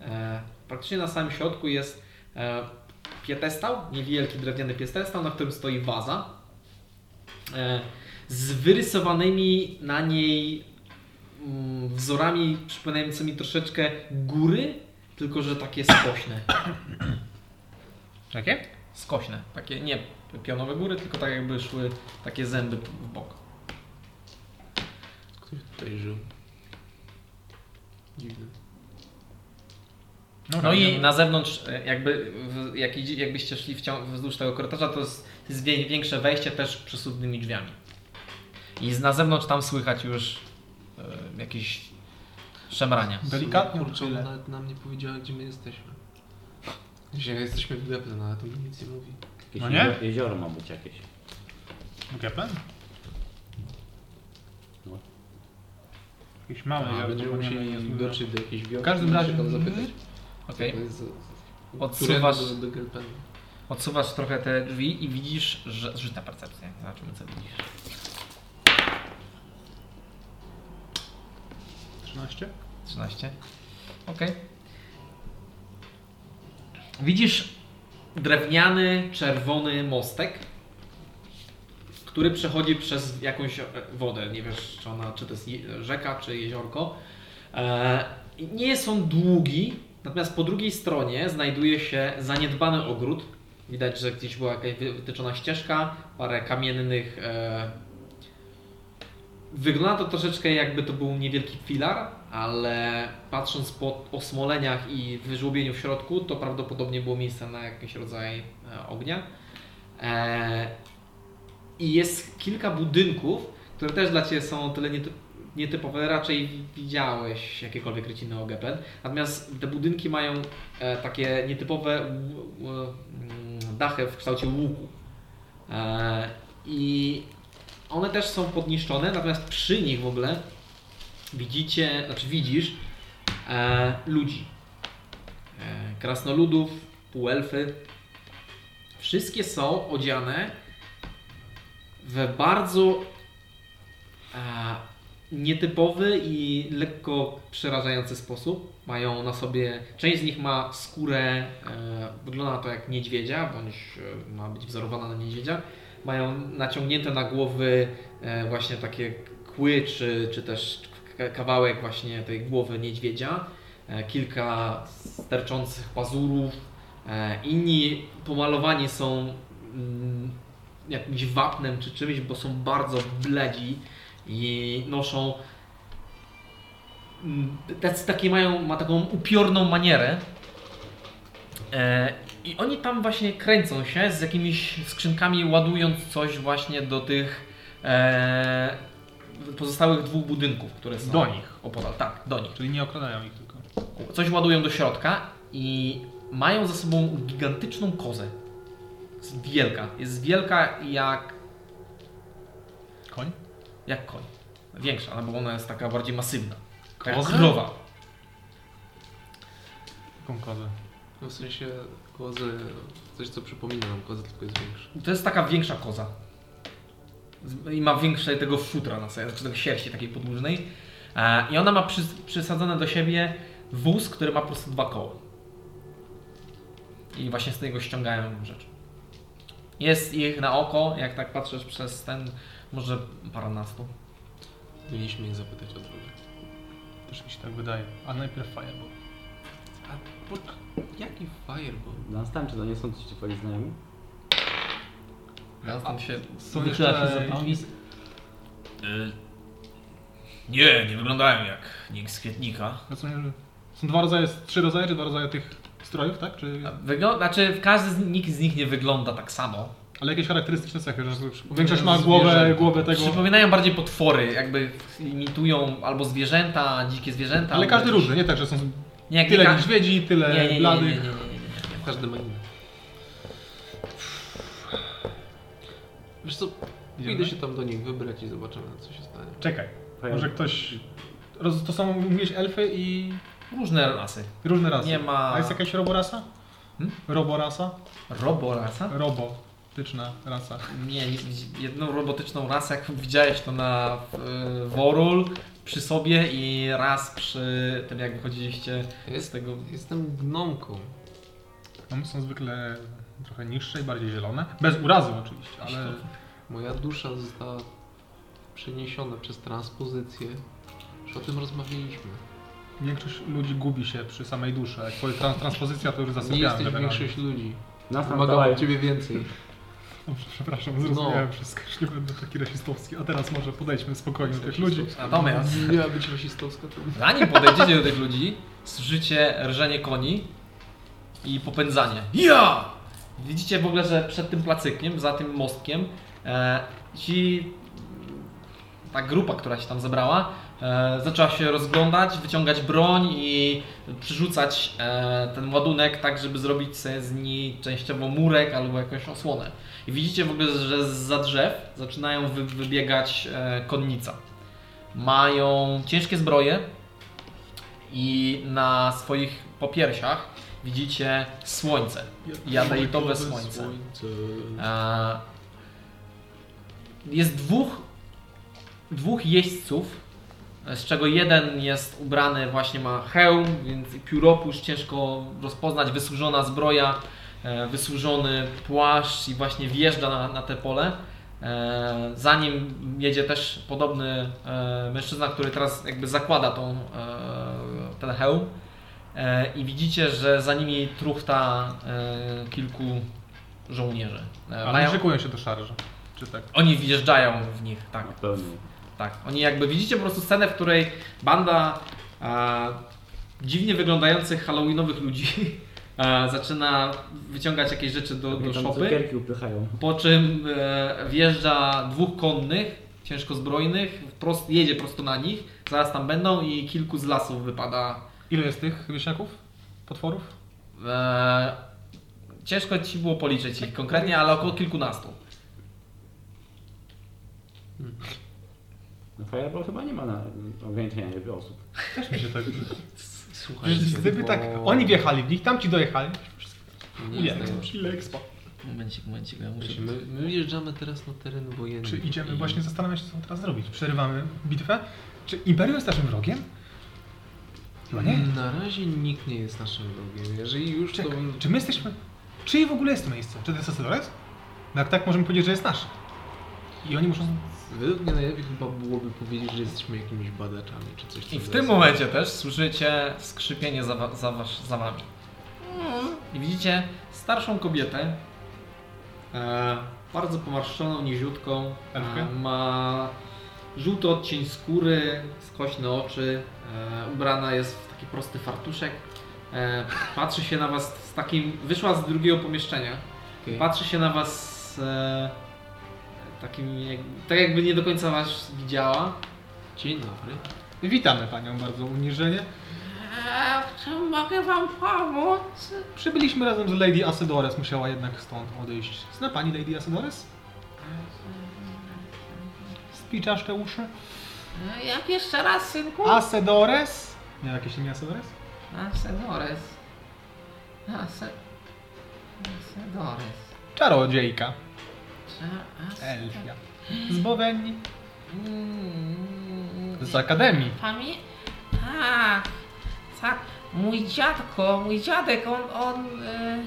S1: e, praktycznie na samym środku jest e, piedestał, niewielki drewniany piedestał, na którym stoi waza e, z wyrysowanymi na niej mm, wzorami przypominającymi troszeczkę góry, tylko że takie skośne.
S5: Jakie?
S1: Skośne, takie nie pionowe góry, tylko tak jakby szły takie zęby w bok.
S4: Który tutaj żył? Dziwny.
S1: No i na zewnątrz, e, jakby w, jak, idzie- jakbyście szli wciąż, wzdłuż tego korytarza, to jest, jest wie- większe wejście też przesuwnymi drzwiami. I z, na zewnątrz tam słychać już e, jakieś szemrania.
S5: Delikatnie
S4: Kurczę,
S5: tyle.
S4: ona nawet nam nie powiedziała, gdzie my jesteśmy. Dzisiaj jesteśmy w Geplen, ale to mi nic nie mówi.
S2: Jakieś
S5: No nie?
S2: jezio- jezioro ma być jakieś.
S5: Geplen?
S2: No.
S5: Jakieś małe.
S4: A,
S5: jak
S4: będziemy
S5: zapomniane
S4: musieli
S5: jest-
S4: dotrzeć do jakiejś wioski
S5: W każdym
S4: i
S5: razie-
S4: się tam zapytać.
S1: Okej.
S4: To jest-
S1: Odsuwasz-
S4: którędy Do, do Geplen.
S1: Odsuwasz trochę te drzwi i widzisz, że. Rzuć na percepcję. Zobaczymy, co widzisz.
S5: 13?
S1: 13. Ok. Widzisz drewniany, czerwony mostek, który przechodzi przez jakąś e, wodę. Nie wiesz, czy, ona, czy to jest je- rzeka, czy jeziorko. E, Nie jest on długi, natomiast po drugiej stronie znajduje się zaniedbany ogród. Widać, że gdzieś była jakaś wy- wytyczona ścieżka, parę kamiennych e, Wygląda to troszeczkę jakby to był niewielki filar, ale patrząc po osmoleniach i wyżłobieniu w środku, to prawdopodobnie było miejsce na jakiś rodzaj e, ognia. E, I jest kilka budynków, które też dla Ciebie są o tyle niety- nietypowe. Raczej widziałeś jakiekolwiek ryciny OGPN. Natomiast te budynki mają e, takie nietypowe ł- ł- mm, dachy w kształcie łuku. E, I one też są podniszczone, natomiast przy nich w ogóle widzicie, znaczy widzisz e, ludzi. E, krasnoludów, półelfy. Wszystkie są odziane w bardzo e, nietypowy i lekko przerażający sposób. Mają na sobie, część z nich ma skórę, e, wygląda to jak niedźwiedzia, bądź e, ma być wzorowana na niedźwiedzia. Mają naciągnięte na głowy e, właśnie takie kły, czy, czy też k- kawałek właśnie tej głowy niedźwiedzia. E, kilka sterczących pazurów. E, inni pomalowani są mm, jakimś wapnem czy czymś, bo są bardzo bledzi i noszą mm, tacy, takie mają, ma taką upiorną manierę e, i oni tam właśnie kręcą się z jakimiś skrzynkami ładując coś właśnie do tych e, pozostałych dwóch budynków, które są
S5: Do nich.
S1: opodal, tak, do nich
S5: Czyli nie okradają ich tylko.
S1: coś ładują do środka i mają za sobą gigantyczną kozę. Jest wielka. Jest wielka jak,
S5: Koń?
S1: jak koń. Większa, no bo ona jest taka bardziej masywna. Taka jak
S5: Koza?
S1: krowa.
S5: Jaką kozę?
S4: No w sensie kozy, coś co przypomina nam kozę, tylko jest większe.
S1: To jest taka większa znaczy koza. Z- I ma większe tego futra na sobie, czy tego sierści takiej podłużnej. E, I ona ma przy, przysadzone do siebie wóz, który ma po prostu dwa koła. I właśnie z niego ściągają rzeczy. Jest ich na oko, jak tak patrzysz przez ten, może paranastu.
S4: Mieliśmy ich zapytać o drogę.
S5: Też mi się tak wydaje. A najpierw Fireball.
S4: A po, jaki fireball?
S2: Dunstan, czy to no, nie są ci twoi znajomi?
S1: Dunstan się
S5: Są
S1: wychyla
S5: jeszcze-
S1: się za drzwi.
S6: y, Nie, nie wyglądają jak nikt z kwietnika.
S5: Rozumiem, że są dwa rodzaje, trzy rodzaje, czy dwa rodzaje tych strojów, tak? Czy...
S1: Wygląda, znaczy każdy z nikt z nich nie wygląda tak samo.
S5: Ale jakieś charakterystyczne cechy, że większość
S4: Nie,
S5: ma głowę,
S4: zwierzęta.
S5: głowę tego.
S1: Przypominają bardziej potwory, jakby imitują albo zwierzęta, dzikie zwierzęta.
S5: Ale
S1: albo
S5: każdy
S1: jakieś-
S5: różny, nie tak, że są
S1: Nie, jak
S5: tyle
S1: nie ka-
S5: niedźwiedzi,
S1: nie, nie,
S5: tyle
S1: nie, nie, nie, nie, nie,
S5: bladych.
S1: nie, nie.
S4: Każdy ma inny. Wiesz co, pójdę
S5: Idziemy?
S4: się tam do nich wybrać i zobaczymy co się stanie.
S5: Czekaj,
S2: Fajnie.
S5: może ktoś. Roz... To są, mówiłeś, elfy i
S1: Różne rasy.
S5: różne rasy.
S1: Nie ma-
S5: A jest jakaś roborasa? Hm?
S1: Hmm?
S5: Roborasa?
S1: Roborasa?
S5: Robotyczna rasa.
S1: Nie, jedną robotyczną rasę, jak widziałeś to na y, Worul przy sobie i raz przy tym, jak wychodziliście z
S4: Jest,
S1: tego.
S4: jestem gnomką.
S5: No, są zwykle trochę niższe i bardziej zielone. Bez urazy oczywiście, ale
S4: Moja dusza została przeniesiona przez transpozycję. Już o tym rozmawialiśmy.
S5: większość ludzi gubi się przy samej duszy. Jak powie trans transpozycja, to już
S4: Nie
S5: zasypiałem.
S4: jesteś
S5: generalnie.
S4: większość ludzi.
S2: Dunstan,
S4: Wymagałem
S2: dawaj.
S4: od ciebie
S5: [LAUGHS]
S4: więcej.
S5: O, No, Przepraszam, zrozumiałem
S1: No.
S5: wszystko. Już nie będę taki rasistowski. A teraz może podejdźmy spokojnie do tych ludzi.
S1: Natomiast
S4: Nie miała być rasistowska to...
S1: zanim podejdziecie do tych ludzi, słyszycie rżenie koni i popędzanie. Ja! Widzicie w ogóle, że przed tym placykiem, za tym mostkiem, e, ci, ta grupa, która się tam zebrała, e, zaczęła się rozglądać, wyciągać broń i przerzucać e, ten ładunek tak, żeby zrobić sobie z niej częściowo murek albo jakąś osłonę. I widzicie w ogóle, że za drzew zaczynają wy, wybiegać e, konnica. Mają ciężkie zbroje i na swoich popiersiach widzicie słońce. Jadeitowe słońce. E, Jest dwóch, dwóch jeźdźców, z czego jeden jest ubrany właśnie ma hełm, więc i pióropusz ciężko rozpoznać, wysłużona zbroja, e, wysłużony płaszcz i właśnie wjeżdża na, na te pole. E, Za nim jedzie też podobny e, mężczyzna, który teraz jakby zakłada tą, e, ten hełm. E, I widzicie, że za nimi truchta e, kilku żołnierzy. E,
S5: Ale
S1: Mają,
S5: nie szykują się do szarży. Czy tak?
S1: oni wjeżdżają w nich, tak.
S2: Na pewno.
S1: Tak, oni jakby widzicie po prostu scenę, w której banda e, dziwnie wyglądających halloweenowych ludzi [LAUGHS] e, zaczyna wyciągać jakieś rzeczy do, do
S2: Tam
S1: szopy,
S2: cukierki upychają.
S1: po czym e, wjeżdża dwóch konnych, ciężko zbrojnych, wprost, jedzie prosto na nich, zaraz tam będą i kilku z lasów wypada.
S5: Ile jest tych wieśniaków? Potworów?
S1: E, ciężko ci było policzyć ich konkretnie, ale około kilkunastu.
S2: No Fireball chyba nie ma na ograniczenia liczby osób.
S5: Też mi się tak
S4: Słuchajcie,
S5: Gdyby
S4: bo-
S5: tak oni wjechali w nich, tamci dojechali.
S4: Nie
S5: Ile?
S4: jest najlepsze.
S5: Ile expa?
S1: Momencik, momencik, ja muszę...
S4: My, my wjeżdżamy teraz na teren wojenny.
S5: Czy idziemy
S4: i-
S5: właśnie zastanawiam się, co teraz zrobić? Przerywamy bitwę? Czy Imperium jest naszym wrogiem? Chyba nie.
S4: Na razie nikt nie jest naszym wrogiem. Jeżeli już to...
S5: Czekaj, czy my jesteśmy... Czyje w ogóle jest to miejsce? Czy to jest Asylores? No jak tak, możemy powiedzieć, że jest nasz. I oni muszą...
S4: Według mnie najlepiej chyba byłoby powiedzieć, że jesteśmy jakimiś badaczami czy coś. co
S1: I w
S4: za-
S1: tym momencie też słyszycie skrzypienie za, wa- za, wasz- za wami. I widzicie starszą kobietę, e, bardzo pomarszczoną, niziutką.
S5: Elfkę?
S1: E, ma żółty odcień skóry, skośne oczy, e, ubrana jest w taki prosty fartuszek. E, patrzy się na was z takim... Wyszła z drugiego pomieszczenia.
S4: Okej.
S1: Patrzy się na was z, e, takim... Jak, tak jakby nie do końca was widziała.
S4: Dzień dobry.
S5: Witamy panią bardzo uniżenie.
S1: Czy mogę wam pomóc?
S5: Przybyliśmy razem z Lady Asedores, musiała jednak stąd odejść. Zna pani Lady Asedores? Spiczasz te uszy?
S1: No, Jak jeszcze raz, synku?
S5: Asedores? Miał jakieś imię Asedores?
S1: Asedores. Ase... Asedores.
S5: Czarodziejka.
S1: Czy... As...
S5: Elfia. Z Bowenii.
S1: Mm,
S5: Z z akademii.
S7: Pamię... Tak, tak. Mój dziadko, mój dziadek, on, on... y,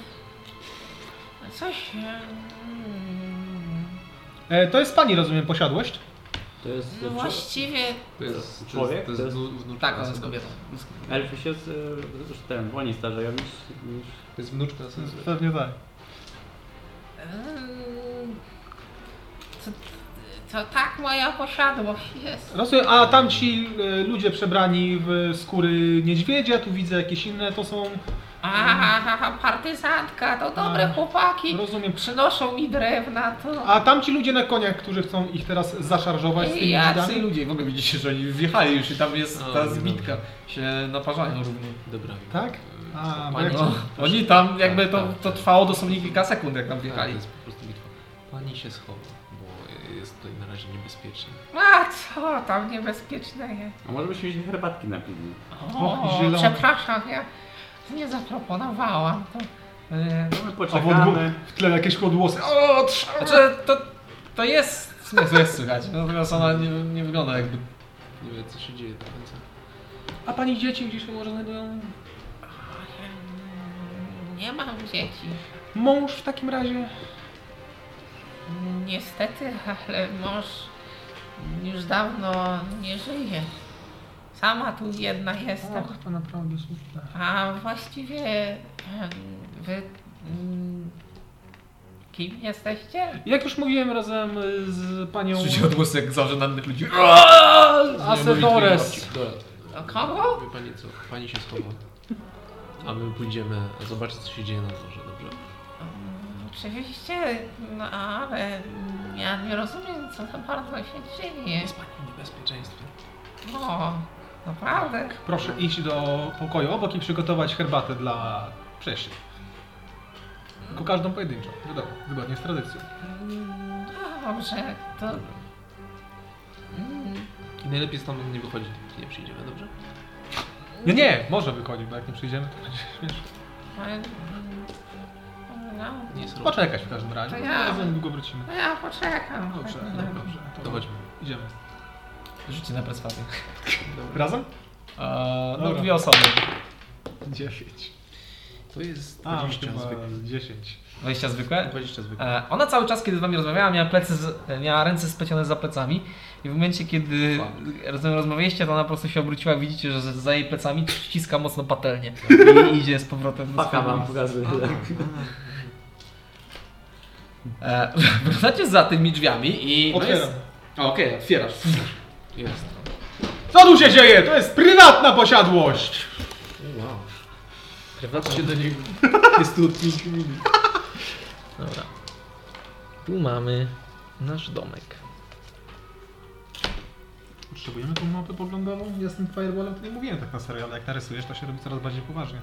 S7: Coś... y, mm,
S5: E, to jest pani, rozumiem, posiadłość?
S2: To jest
S7: No
S2: e,
S7: właściwie...
S4: To jest
S2: Człowiek?
S4: To
S2: To
S4: jest,
S2: jest-
S4: to jest wnuczka
S1: Tak, on jest
S4: Asyda.
S1: kobietą.
S2: Elfy się z, e, już ten, oni starzeją niż, niż...
S4: To jest wnuczka
S5: To jest
S4: Asyda.
S5: Pewnie tak.
S7: ym, To, to tak moja posiadłość jest.
S5: Rozumiem, a tamci e, ludzie przebrani w skóry niedźwiedzia, tu widzę jakieś inne, to są,
S7: A, partyzantka, to dobre
S5: A.
S7: chłopaki.
S5: rozumiem, przy-
S7: Przynoszą mi drewna, to...
S5: a tamci ludzie na koniach, którzy chcą ich teraz zaszarżować z tymi
S7: Jacy
S5: widami?
S1: ludzie, w ogóle widzicie, że oni wjechali już i tam jest
S4: A,
S1: ta
S4: nie
S1: zbitka, się naparzają równie.
S4: Dobra. wiem.
S5: Tak? A,
S4: Pani-
S5: bo jak-
S1: No, oni tam jakby
S4: Tak,
S1: to,
S4: tak.
S1: to trwało dosłownie kilka sekund jak tam
S4: Tak, to
S1: wjechali.
S4: jest po prostu bitwa. Pani się schowa, bo jest tutaj na razie niebezpiecznie.
S7: A co tam niebezpieczne jest?
S2: A może byśmy się herbatki napili?
S7: O,
S5: zielony.
S7: przepraszam, ja nie zaproponowałam. To, e,
S2: No my
S5: A w, odbu-
S2: poczekamy.
S5: w tle jakieś odłosy.
S1: O, trz- znaczy, to, to jest, w sumie to jest słychać, natomiast ona nie, nie wygląda jakby...
S4: Nie wiem, co się dzieje do końca.
S1: A pani dzieci gdzieś się może znajdują?
S7: mm, nie mam dzieci.
S5: Mąż w takim razie.
S7: Niestety, ale mąż już dawno nie żyje. Sama tu jedna jestem.
S5: Och, to naprawdę smutne.
S7: A właściwie em, wy mm, kim jesteście?
S5: Jak już mówiłem razem y, z panią
S1: Słyszycie odgłosy jak zażenanych ludzi.
S5: Asedores.
S4: Dobra.
S7: O kogo?
S4: Wie pani co, pani się schowa. A my pójdziemy zobaczyć, co się dzieje na dworze, dobrze?
S7: Mm, Oczywiście, no ale mm, ja nie rozumiem, co tam bardzo się dzieje.
S4: Jest pani w niebezpieczeństwie.
S7: No, naprawdę.
S5: Proszę iść do pokoju obok i przygotować herbatę dla przeszłych. Tylko każdą pojedynczą, wiadomo, zgodnie z tradycją.
S7: Mm, No dobrze, to. Mm,
S4: I najlepiej stamtąd nie wychodzić, dopóki nie przyjdziemy, dobrze?
S5: Nie, nie, może wychodzić, bo jak nie przyjdziemy, to będzie śmieszne.
S7: ale, mm, No,
S4: Nie jest robić.
S5: Poczekać w każdym razie,
S7: To
S5: bo
S7: ja.
S5: razem długo wrócimy.
S7: no ja poczekam.
S5: Dobrze,
S7: Tak,
S5: dobrze,
S7: no.
S5: dobrze.
S4: To chodźmy.
S5: Idziemy.
S1: Rzućcie na perswazję.
S5: Razem?
S1: Eee, no
S5: Dobra.
S1: dwie osoby.
S5: 10.
S4: To jest
S5: A,
S4: 20
S5: chyba
S4: zwykłych.
S5: 10.
S1: 20 zwykłe.
S4: 20 zwykłych.
S1: E, Ona cały czas, kiedy z wami rozmawiała, miała, plecy z, miała ręce splecione za plecami i w momencie, kiedy rozumiem, rozmawialiście, to ona po prostu się obróciła widzicie, że za za jej plecami ściska mocno patelnię i idzie z powrotem do
S2: Paka
S1: swojego
S2: wam
S1: miejsca.
S2: pokazuję.
S1: E, [LAUGHS] Wracacie za tymi drzwiami i... no
S5: Otwieram.
S1: A, Okej, otwierasz.
S4: Jest.
S5: Co tu się dzieje? To jest prywatna posiadłość!
S4: Wow. Prywatnie się do niego. Jest tu odcisk mini.
S1: Dobra. Tu mamy nasz domek.
S5: Potrzebujemy tą mapę poglądową? Ja z tym fireballem to nie mówiłem tak na serio, ale jak narysujesz, to się robi coraz bardziej poważnie.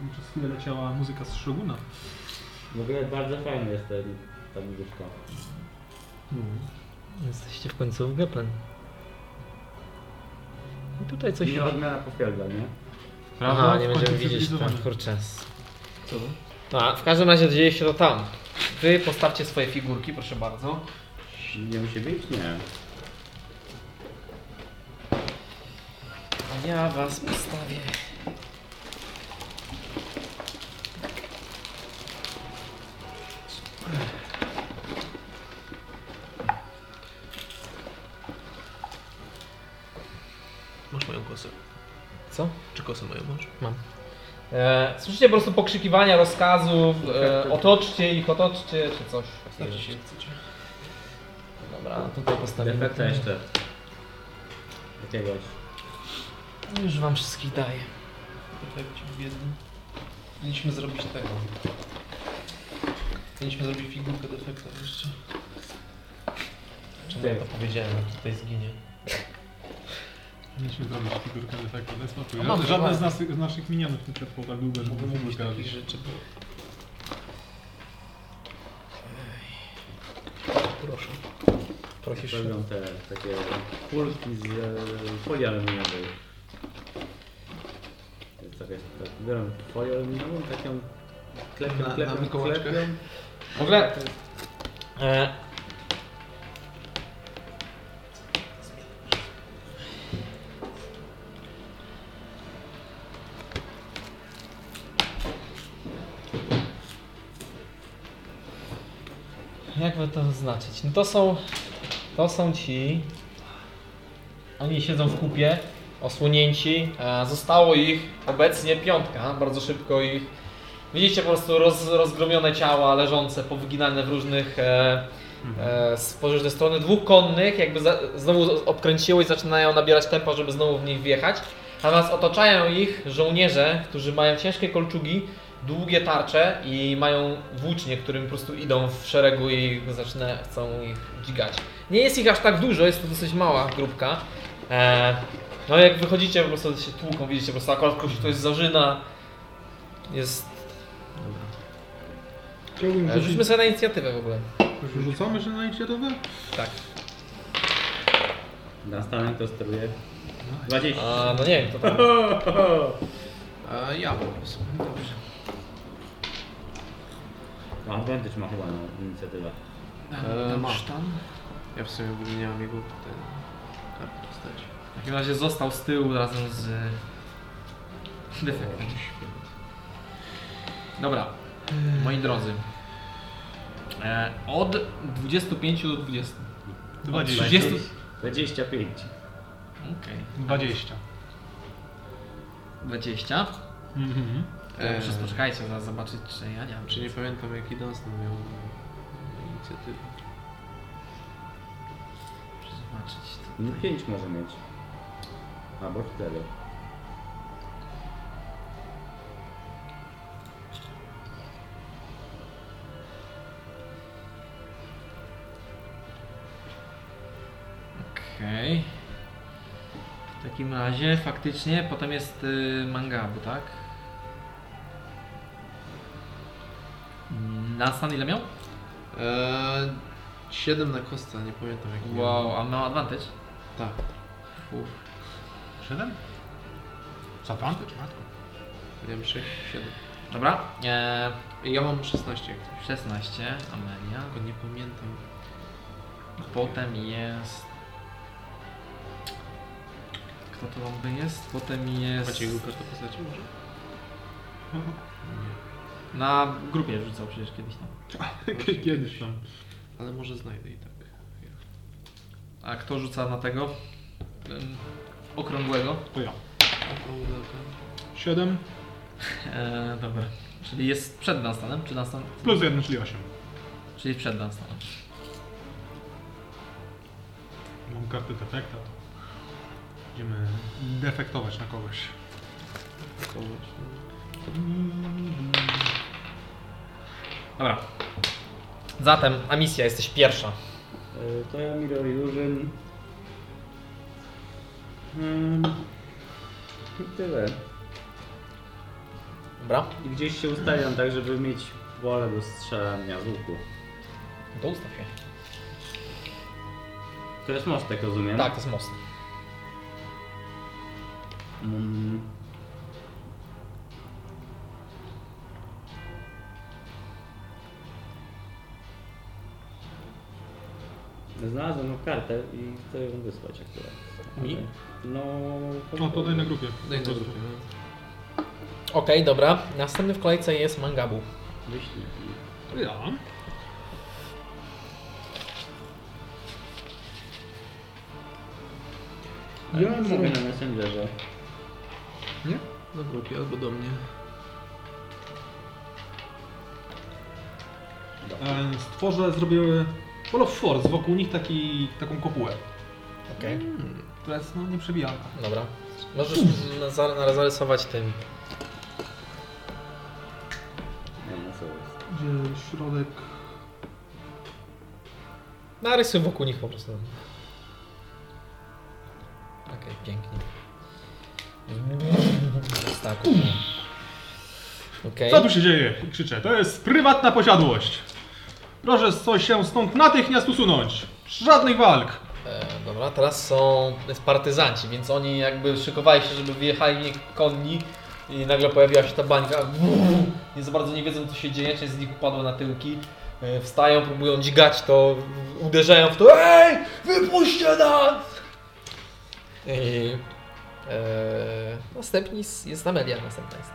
S5: Mi Przez chwilę leciała muzyka z Shoguna.
S2: W ogóle bardzo fajny jest ten, ta muzyczka.
S1: Jesteście w końcu w Geplen. I tutaj coś...
S2: Nie odmiana popielga, nie?
S1: Aha, nie będziemy widzieć tam, kurczę. Co? A, w każdym razie dzieje się to tam. Wy postawcie swoje figurki, proszę bardzo.
S2: Nie musi być? Nie.
S1: A ja was postawię.
S4: Masz moją kosę.
S1: Co?
S4: Czy kosę moją masz?
S1: E, słyszycie po prostu pokrzykiwania, rozkazów, e, otoczcie ich, otoczcie, czy coś.
S4: Znaczy się, jak chcecie.
S1: Dobra, no tutaj postawimy.
S2: Defekta jeszcze. Jakiegoś.
S1: Już wam wszystkich daję.
S4: Poczekajcie, biedny. Tak, Mieliśmy zrobić tego. Mieliśmy zrobić figurkę defekta jeszcze. Czemu ja to powiedziałem, jak tutaj zginie?
S5: Mieliśmy zrobić tak figurkę defektu, bez spokój.
S1: A mamy,
S5: Żadne
S1: mamy.
S5: z, nas, z naszych minionów nie przetrwał tak długo, żeby
S4: Mogę mówić
S5: figurkę
S4: takich
S5: robić.
S4: rzeczy, bo... Proszę.
S1: Prosisz.
S2: Robią te takie kulki z e, folii aluminiowej. To jest Takie, tak, biorą folię aluminową, taką klepią,
S4: Na- na
S2: klepią,
S4: wykołaczkę?
S2: klepią.
S1: W ogóle E, Jakby to znaczyć? No to są, to są ci. Oni siedzą w kupie, osłonięci. E, Zostało ich obecnie piątka, bardzo szybko ich. Widzicie po prostu roz, rozgromione ciała leżące, powyginane w różnych e, e, z pożycznej strony. Dwóch konnych jakby za, znowu z- obkręciło i zaczynają nabierać tempa, żeby znowu w nich wjechać. Natomiast otaczają ich żołnierze, którzy mają ciężkie kolczugi, długie tarcze i mają włócznie, którym po prostu idą w szeregu i zaczyna, chcą ich dźgać. Nie jest ich aż tak dużo, jest to dosyć mała grupka. E, no jak wychodzicie po prostu się tłuką, widzicie po prostu akurat kogoś ktoś zarzyna. Jest...
S3: Chciałbym
S1: E, rzućmy
S3: rzucić...
S1: sobie na inicjatywę w ogóle.
S5: Rzucamy się na inicjatywę?
S1: Tak.
S2: Nastawiam to steruje. 20.
S1: A, no nie wiem, to tam...
S4: A ja po prostu. Dobrze.
S2: Ma advantage ma chyba na inicjatywę.
S4: E, masz tam? Ja w sumie w ogóle nie mam jego ten karty dostać.
S1: W takim razie został z tyłu razem z... defektem. Dobra, moi drodzy. E, od 25 do 20.
S5: 20.
S1: 30.
S2: 25.
S1: Okej.
S5: 20.
S1: 20.
S5: Mhm.
S1: E, Przez poczekajcie, zaraz zobaczyć, czy ja nie mam.
S4: Czy nie pamiętam jaki Dunstan miał inicjatywę.
S1: Czy zobaczyć. To...
S2: No 5 może mieć. Albo 4.
S1: Okej. W takim razie faktycznie potem jest y, mangabu, tak? Mm, Nastan ile miał?
S4: E, 7 na kostce, nie pamiętam jaki miał.
S1: Wow, a miał advantage?
S4: Tak.
S1: Uf.
S5: 7? Za pan?
S4: Miałem 6, 7.
S1: Dobra, e,
S4: Ja mam 16 jak coś.
S1: 16, Amelia.
S4: Tylko nie pamiętam.
S1: Potem jest... Kto to wam jest? Potem jest...
S4: Macie jego kartę postaci może?
S1: Na grupie rzucał przecież kiedyś tam.
S5: [LAUGHS] Kiedyś no. tam.
S4: Ale może znajdę i tak.
S1: A kto rzuca na tego? Em, Okrągłego.
S5: To ja.
S4: Okrągłego.
S5: 7
S1: E, dobra. Czyli jest przed Dunstanem, czy Dunstan?
S5: plus 1, czyli 8.
S1: Czyli przed Dunstanem.
S5: Mam kartę defekta, to będziemy defektować na kogoś.
S4: To właśnie.
S1: Dobra. Zatem, a misja jesteś pierwsza.
S2: E, To ja Mirror Illusion. Mm. I tyle.
S1: Dobra.
S2: I gdzieś się ustawiam tak, żeby mieć pole do strzelania z łuku.
S1: No To ustaw się.
S2: To jest mostek, rozumiem?
S1: Tak, to jest most.
S2: Mm. Znalazłem tą kartę i chcę ją wysłać akurat.
S1: Mi?
S2: Ale- No...
S5: No to daj na grupie.
S4: Daj na grupie. no.
S1: Okej, dobra. Następny w kolejce jest Mangabu.
S2: Wyślij.
S5: Ja.
S2: Ja mogę na Messengerze.
S4: Na grupie albo do mnie. tak.
S5: E, Stworzę zrobiły Wall of Force, wokół nich taki, taką kopułę,
S1: Okej.
S5: która jest no, nieprzebijalna.
S1: Dobra. Możesz na- za- na- zarysować tym.
S2: Nie, no co jest.
S5: Gdzie środek...
S1: Narysuj wokół nich po prostu. Okej, pięknie. Tak. Okej.
S5: Co tu się dzieje? Krzyczę. To jest prywatna posiadłość. Proszę coś się stąd natychmiast usunąć. Żadnych walk.
S1: E, dobra, teraz są jest partyzanci, więc oni jakby szykowali się, żeby wyjechali nie konni i nagle pojawiła się ta bańka. Nie za bardzo nie wiedzą co się dzieje, część z nich upadła na tyłki. E, Wstają, próbują dźgać to, w- uderzają w to. Ej, wypuśćcie nas! I, e, następni s- jest Amelia, następna jest.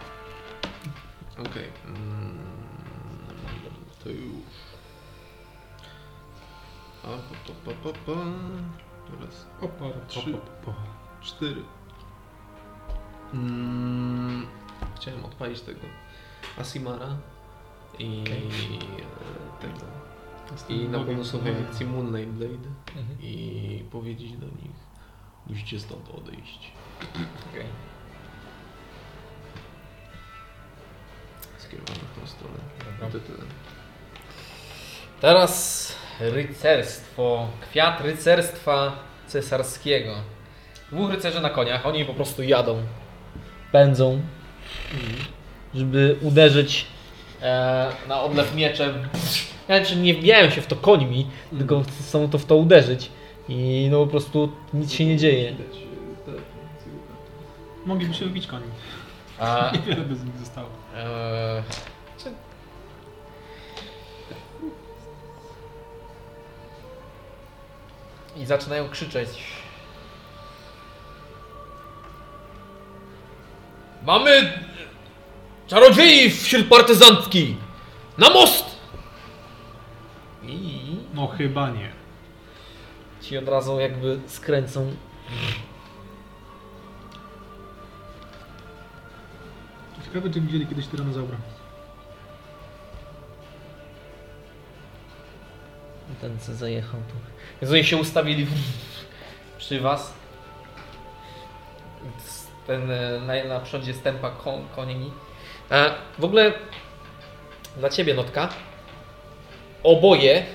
S4: Okej. Mm, to już. A, pa, pa, pa, pa, pa. Raz,
S8: Opa,
S4: trzy, cztery. Mm, chciałem odpalić tego Asimara i e, tego. I na
S1: Mhm.
S4: bonusowej akcji Moonlight Blade i powiedzieć do nich musicie stąd odejść.
S1: Okej.
S4: Skierowane w tą stronę.
S1: Dobra.
S4: To tyle.
S1: Teraz rycerstwo, kwiat rycerstwa cesarskiego. Dwóch rycerzy na koniach, oni po prostu jadą, pędzą, żeby uderzyć e, na odlew mieczem. Ja znaczy nie wbijają się w to końmi, tylko chcą to w to uderzyć i no po prostu nic się nie dzieje.
S4: Widać, e, te-
S5: Mogliby się
S1: [LAUGHS]
S5: wybić koni.
S1: A,
S5: Niewiele by z nich zostało.
S1: Eee, I zaczynają krzyczeć. Mamy czarodziei wśród partyzantki! Na most! I
S5: No chyba nie.
S1: ci od razu jakby skręcą.
S5: Ciekawe, czy widzieli kiedyś tyranozaura.
S1: Ten co zajechał tu. Więc oni się ustawili przy was. Ten e, na, na przodzie stępa kon, koniemi. E, w ogóle dla ciebie notka. Oboje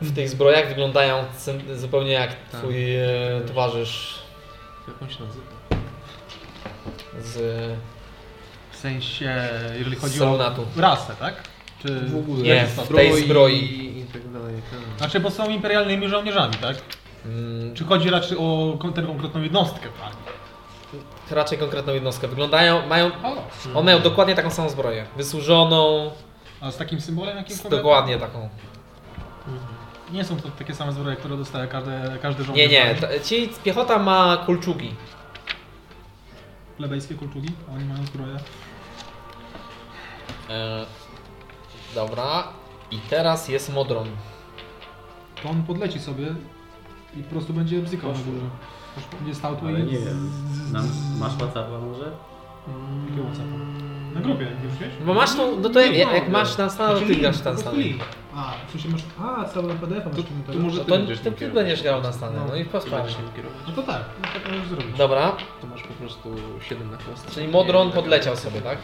S1: w tych zbrojach wyglądają cen- zupełnie jak
S4: Tak.
S1: twój e, towarzysz
S4: Jak on się nazywa?
S1: z
S5: W sensie, jeżeli chodzi
S1: Solonatu.
S5: o rasę, tak? Czy...
S1: Nie, w tej zbroi.
S4: I tak dalej. tak.
S5: Znaczy, bo są imperialnymi żołnierzami, tak?
S1: Mm,
S5: Czy chodzi raczej o kon- tę konkretną jednostkę, tak?
S1: raczej konkretną jednostkę. Wyglądają, mają, one mają dokładnie taką samą zbroję. Wysłużoną,
S5: A z takim symbolem jakim
S1: z,
S5: kobieta?
S1: dokładnie taką.
S5: Nie są to takie same zbroje, które dostaje każde, każdy
S1: Nie,
S5: żołnierz. tak?
S1: nie, to- ci piechota ma kulczugi.
S5: Plebejskie kulczugi, a oni mają zbroje.
S1: E, dobra. I teraz jest Modron.
S5: To on podleci sobie i po prostu będzie bzykał na górze. Będzie stał tu
S2: Ale
S5: i...
S2: nie wiem. Nam, masz WhatsAppa może?
S5: Jakie WhatsApp? Na grupie, już wiesz?
S1: Bo masz tą, no to jak, jak masz ten stan, to ty grasz ten stan.
S8: A, przecież masz... A, cały PDF masz. tu,
S4: To może
S1: No
S4: ty
S1: to
S4: będziesz
S1: ty,
S4: nim
S1: ty
S4: kierować.
S1: będziesz grał na stany, no i
S4: Ty
S1: posprawdź.
S4: będziesz nim kierować.
S8: No to tak, no tak możesz zrobić.
S1: Dobra,
S4: To masz po prostu 7 na kostce.
S1: czyli Modron podleciał sobie, tak?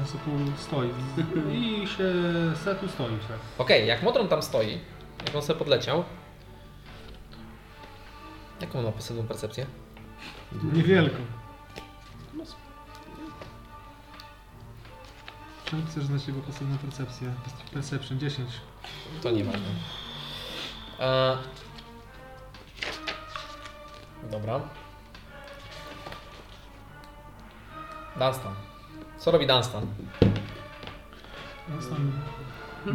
S5: On sobie tu
S1: [LAUGHS]
S5: stoi i się se tu stoi. tak.
S1: Okej, jak Modron tam stoi, jak on sobie podleciał. Jaką on ma pasywną percepcję?
S5: Niewielką.
S1: No.
S5: Czemu chcesz znać jego pasywną percepcję? Perception 10.
S1: To nie ważne. E... Dobra. Dunstan. Co robi Dunstan?
S5: No,
S1: Mm.
S5: stan-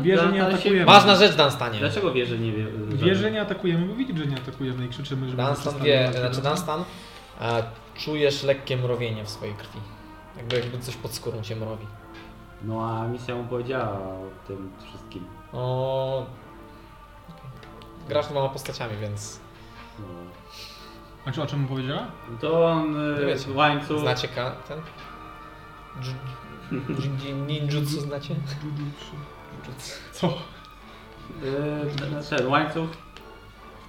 S5: Wie, że nie
S2: ale się-
S5: atakujemy.
S1: Ważna rzecz Dunstanie.
S2: Dlaczego wie, że nie wie? że-
S5: Wie, że nie atakujemy, bo widzi, że nie atakujemy i krzyczymy, żeby...
S1: Dunstan
S5: przestali
S1: wie,
S5: walczyć.
S1: znaczy Dunstan, e, czujesz lekkie mrowienie w swojej krwi. Jakby, jakby coś pod skórą cię mrowi.
S2: No a misja mu powiedziała o tym wszystkim.
S1: O... No, okej. Grasz dwoma postaciami, więc
S2: No.
S5: Znaczy o czym mu powiedziała?
S2: No To on
S1: No
S2: y,
S1: wiecie,
S2: w łańcuch...
S1: znacie ka ten? Dż- dż- Ninjutsu znacie?
S5: Co?
S2: y, ten- Ten łańcuch.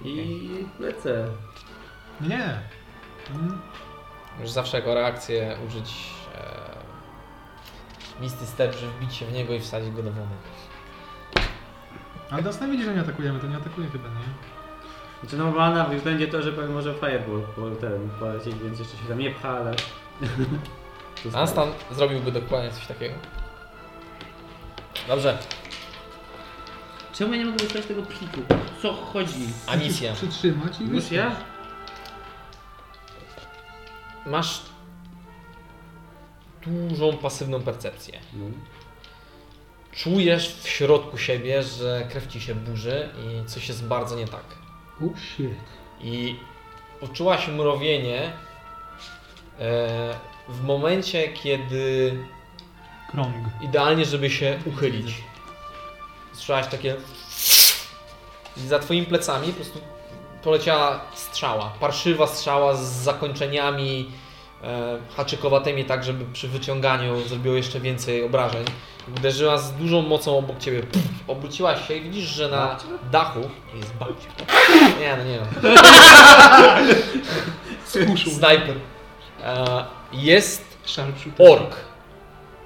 S2: I lecę.
S5: Nie. Mm,
S1: Już zawsze jako reakcję użyć e, misty step, żeby wbić się w niego i wsadzić go do wody.
S5: Ale Dunstan widzi, że nie atakujemy, to nie atakuje chyba, nie?
S2: Znaczy normalna wyjść będzie to, że pewnie może fireball po ten polecieć, więc jeszcze się tam nie pcha, ale... [LAUGHS]
S1: Anstan zrobiłby dokładnie coś takiego. Dobrze,
S9: Czemu ja nie mogę dostać tego pliku? Co chodzi?
S1: Anicja.
S5: Przytrzymać i...
S2: Już ja?
S1: Masz
S2: znaczy,
S1: dużą pasywną percepcję.
S2: No.
S1: Czujesz w środku siebie, że krew ci się burzy i coś jest bardzo nie tak.
S10: Oh shit.
S1: I poczułaś mrowienie e, w momencie, kiedy
S5: Krąg.
S1: idealnie, żeby się uchylić. Słyszałaś takie... I za twoimi plecami po prostu poleciała strzała. Parszywa strzała z zakończeniami e, haczykowatymi, tak żeby przy wyciąganiu zrobiło jeszcze więcej obrażeń. Uderzyła z dużą mocą obok ciebie. Pff, obróciłaś się i widzisz, że na dachu jest babcia. Nie, no nie no. Snajper. E, jest
S4: Sharpshooter.
S1: ork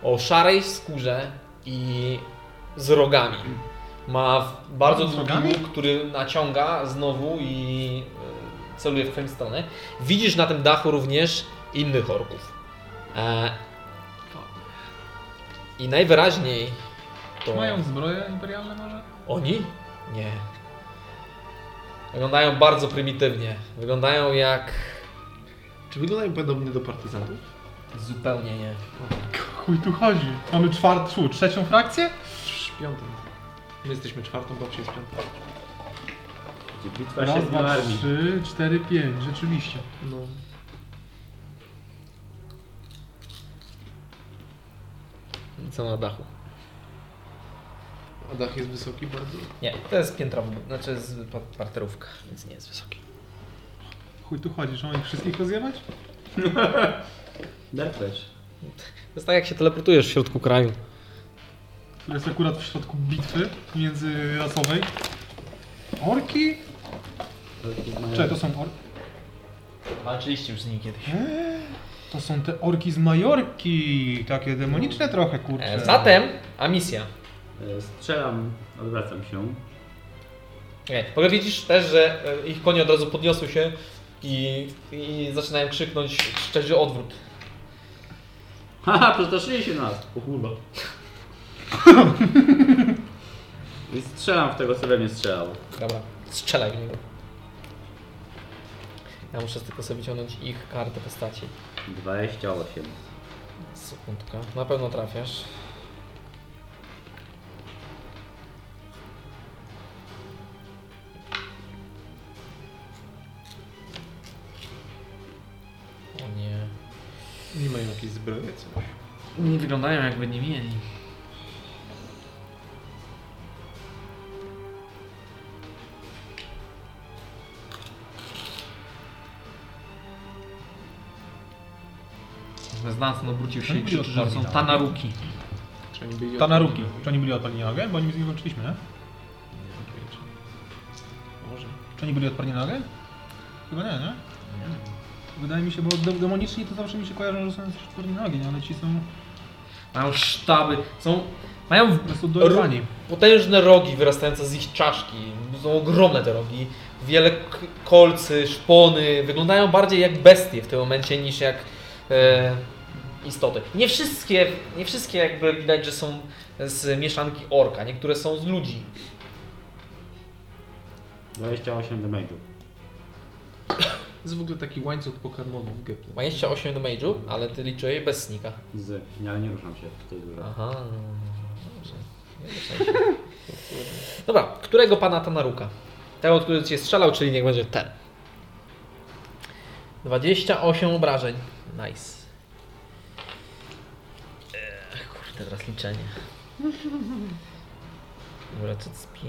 S1: o szarej skórze i z rogami. Ma w- bardzo
S5: Z
S1: długi
S5: rogami?
S1: łuk, który naciąga znowu i e, celuje w twoją stronę. Widzisz na tym dachu również innych orków. E, I najwyraźniej to...
S5: Mają zbroje imperialne może?
S1: Oni? Nie. Wyglądają bardzo prymitywnie. Wyglądają jak...
S4: Czy wyglądają podobnie do partyzantów?
S1: Zupełnie nie.
S5: Chuj tu chodzi. Mamy czwartą, trzecią frakcję?
S4: Piątą. My jesteśmy czwartą, babcia jest piątą.
S2: Gdzie Bitwa
S5: Raz,
S2: siedmiu
S5: dwa,
S2: armii.
S5: trzy, cztery, pięć. Rzeczywiście.
S4: No.
S1: Co na dachu?
S4: A dach jest wysoki bardzo.
S1: Nie, to jest piętra, w- znaczy jest pa- parterówka, więc nie jest wysoki.
S5: Chuj tu chodzi, że mam ich wszystkich rozjebać?
S2: Darkwatch.
S1: To jest tak jak się teleportujesz w środku kraju.
S5: Który jest akurat w środku bitwy międzyrasowej. Orki? Czekaj, to są orki.
S1: Walczyliście już z nim kiedyś.
S5: Eee, To są te orki z Majorki, takie demoniczne trochę, kurczę.
S1: E, zatem, a misja.
S2: E, Strzelam, odwracam się.
S1: Nie, w ogóle widzisz też, że e, ich konie od razu podniosły się i, i zaczynają krzyknąć szczerze odwrót.
S2: Haha, przestraszyli się nas. O kurwa. [LAUGHS] I strzelam w tego, co we mnie strzelał.
S1: Dobra, strzelaj w niego. Ja muszę tylko sobie wyciągnąć ich kartę postaci.
S2: 28.
S1: Sekundka. Na pewno trafiasz. O nie.
S4: Nie mają jakiejś zbroi, coś.
S11: Nie wyglądają jakby nie mieli. Znacen obrócił się i krzyczy, że są tanaruki.
S4: Czy oni byli
S5: Tanaruki. Czy oni byli odparni na nogę? Bo oni z nich walczyliśmy, nie?
S4: Może.
S5: Czy oni byli odparni na nogę? Chyba nie, nie? Wydaje mi się, bo de- demoniczni to zawsze mi się kojarzą, że są odporni na ogień, ale ci są
S11: Mają sztaby, są... Mają
S5: po prostu dojebani.
S1: Potężne rogi wyrastające z ich czaszki. Są ogromne te rogi. Wiele k- kolcy, szpony. Wyglądają bardziej jak bestie w tym momencie niż jak e, istoty. Nie wszystkie, nie wszystkie jakby widać, że są z mieszanki orka. Niektóre są z ludzi.
S2: 28 damage'u.
S4: To jest w ogóle taki łańcuch pokarmowy w Geple.
S1: 28 do mage'u, ale ty liczyłeś bez snika.
S2: Z, nie, ale nie ruszam się w tej górze.
S1: Aha. dobrze. Nie ruszaj się. Dobra, którego pana Tanaruka? Tego, który cię strzelał, czyli niech będzie ten. 28 obrażeń. Nice. Ech, kurde, teraz liczenie. Dobra, to jest 5.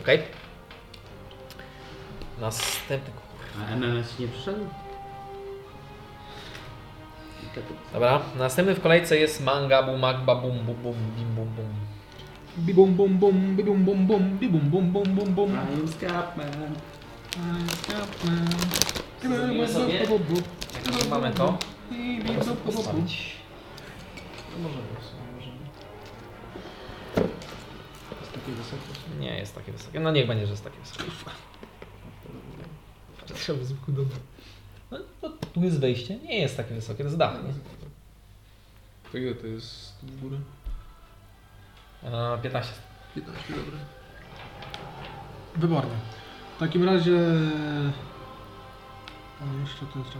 S1: Okej. Następny
S2: A MMS ci nie przyszedł? I tak
S1: Dobra, następny w kolejce jest manga, bum, magba, bum, bum, bum, bim, bum, bum.
S5: Bi bum bum bum, bi bum bum bum, bi bum bum bum bum bum.
S2: Brian Scapman.
S11: Zrobimy sobie- Jak już mamy to,
S1: Postawić. Nie jest takie wysokie. No niech będzie, że jest takie wysokie.
S4: Trzeba zwykły dom.
S1: No, no, tu jest wejście. Nie jest takie wysokie, to jest dach, nie?
S4: To ile to jest w górę?
S1: E, 15.
S4: 15, dobra.
S5: Wybornie. W takim razie... O, jeszcze to jeszcze...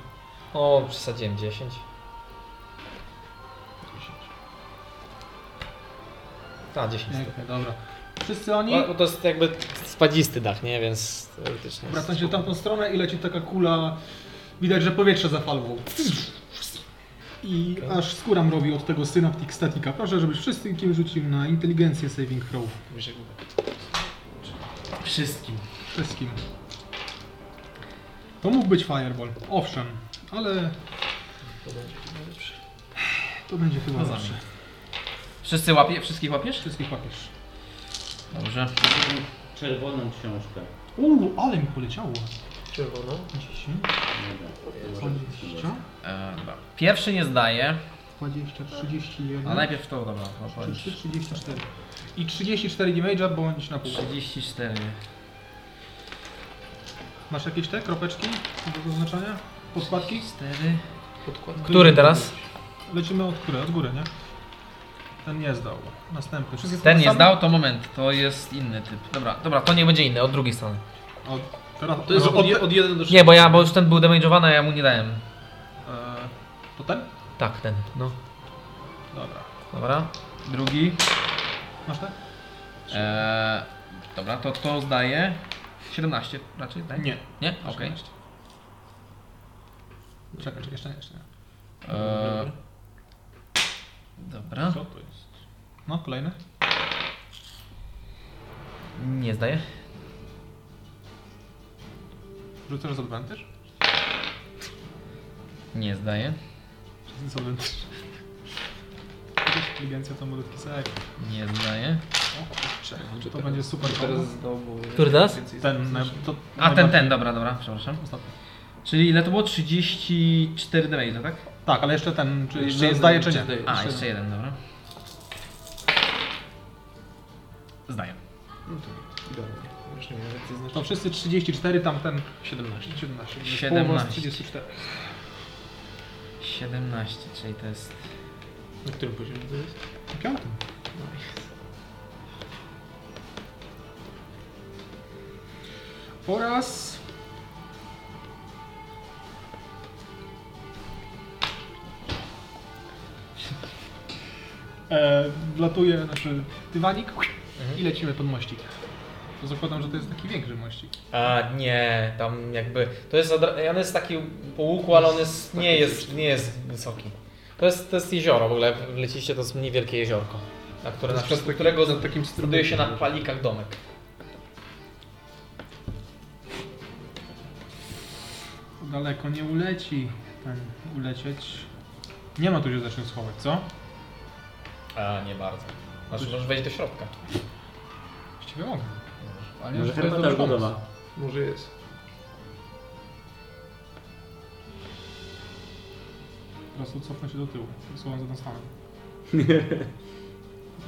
S12: O, przesadziłem 10. 10. A, 10.
S5: Nie, okej, dobra. Wszyscy oni
S12: No, to jest jakby spadzisty dach, nie? Więc teoretycznie.
S5: wracają się w tamtą stronę i leci taka kula. Widać, że powietrze zafalło. I aż skóra mrowi od tego synaptic statika. Proszę, żebyś wszystkim rzucił na inteligencję saving throw.
S1: Wszystkim.
S5: Wszystkim. To mógł być fireball, owszem, ale... To będzie chyba
S1: To
S5: lepsze.
S1: Wszyscy łapie, wszystkich łapiesz?
S5: Wszystkich papież.
S1: Dobrze.
S2: Czerwoną książkę.
S5: Uuu, ale mi poleciało.
S12: Czerwono.
S5: 10,
S2: Dobra.
S5: 20,
S1: E, dobra. Pierwszy nie zdaje,
S5: 20,
S1: a
S5: 31,
S1: No najpierw to dobra, opowiedz.
S5: 33, 34. I 34 damage'a bądź na pół.
S1: 34.
S5: Masz jakieś te kropeczki do zaznaczania? Podkładki?
S1: 4.
S4: Podkładka.
S12: Który teraz?
S5: Lecimy od góry, od góry, nie? Ten nie zdał. Następny. Wszystkie
S1: Ten nie
S5: same?
S1: zdał, to moment, to jest inny typ. Dobra, dobra, to nie będzie inny, od drugiej strony.
S5: O, teraz,
S4: To jest
S5: o,
S4: od,
S5: te-
S4: je, od 1 do 6.
S12: Nie, bo ja, bo już ten był damage'owany, a ja mu nie dałem.
S5: e, to ten?
S12: Tak, ten, no.
S5: Dobra.
S12: Dobra.
S1: Drugi.
S5: Masz ten?
S1: Eee, dobra, to to zdaje. 17 raczej, tak?
S5: Nie.
S1: Nie? Okej.
S5: Czekaj, czekaj, jeszcze nie, jeszcze nie.
S1: Eee, dobra.
S5: Co to jest? No, kolejny.
S12: Nie zdaje.
S5: Rzucasz z advantage?
S1: Nie zdaje.
S5: Z advantage. [LAUGHS] Widzisz, Inteligencja to malutki sek.
S1: Nie zdaje.
S5: O kurczę, to będzie super
S4: Znaczy, Teraz
S5: teraz.
S4: znowu.
S12: Który teraz?
S5: Ten, naj- to
S1: A ten,
S5: najbardziej-
S1: ten, dobra, dobra, przepraszam.
S5: Ostatni.
S1: Czyli ile to było? 34 damage, tak?
S5: Tak, ale jeszcze ten, czy jeszcze zdaje, czy nie?
S1: A, jeszcze jeden, dobra. Zdaję.
S4: Już nie wiem, jak to znaczy.
S5: To wszyscy 34, tamten
S4: 17.
S5: 17.
S1: 17.
S5: 34.
S1: 17, czyli to jest...
S4: Na którym poziomie to jest?
S5: Piątym. Oraz... [LAUGHS] E, wlatuje nasz dywanik i lecimy pod mościk. To zakładam, że to jest taki większy mościk.
S12: A nie, tam jakby. To jest. odra- On jest taki po łuku, ale on jest, nie, jest, nie jest wysoki. To jest, to jest jezioro w ogóle. Lecicie to jest mniej wielkie jeziorko. Na które na przykład, którego
S4: na takim
S12: buduje się na palikach domek.
S5: Daleko nie uleci ten ulecieć. Nie ma tu się zacznie schować, co?
S12: A nie bardzo. Znaczy, możesz wejść do środka.
S5: Właściwie mogę. Ale
S2: Może
S5: już to jest
S2: herbata
S5: dobry pomysł.
S2: gotowa.
S4: Może jest.
S5: Teraz tu cofnę się do tyłu. Wysuwam za tym samym.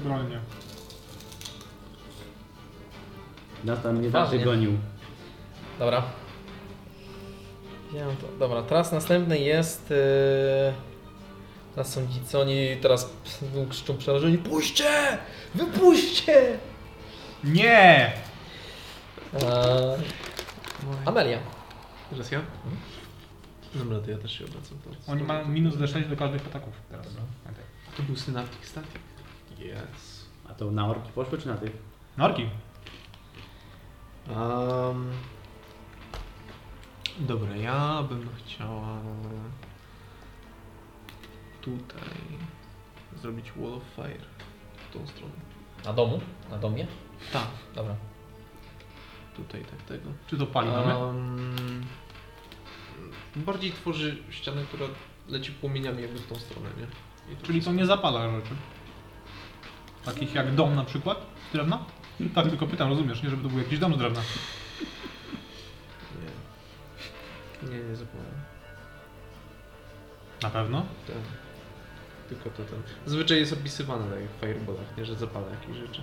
S5: Broń
S2: Nas tam nie
S12: Ważnie.
S2: dalej gonił.
S12: Dobra. Wziąłem to. Dobra, teraz następny jest. Yy... Teraz są ci, co oni teraz krzyczą przerażeni. Puśćcie! Wypuśćcie!
S5: Nie!
S12: Eee,
S5: No.
S12: Amelia.
S4: Teraz ja? Mhm. Dobra, to ja też się obracam. To,
S5: Oni mają minus D6 do każdych ataków teraz. Pamiętaj.
S4: to był synaptic static. Yes.
S2: A to na orki poszły czy na tych?
S5: Norki!
S4: Um, dobra, ja bym chciała tutaj zrobić Wall of Fire w tą stronę.
S12: Na domu? Na domie?
S4: Tak,
S12: Dobra.
S4: tutaj tak tego.
S5: Czy to pali mamy?
S4: Em, bardziej tworzy ścianę, która leci płomieniami jakby w tą stronę, nie? I to
S5: Czyli to nie zapala rzeczy. Takich jak dom na przykład? Z drewna? Tak, tylko pytam, rozumiesz, nie żeby to był jakiś dom z drewna.
S4: Nie, nie, nie zapomniałem.
S5: Na pewno?
S4: Tak. Tylko to ten. Zwyczaj jest opisywane tak jak w fireballach, nie, że zapala jakieś rzeczy.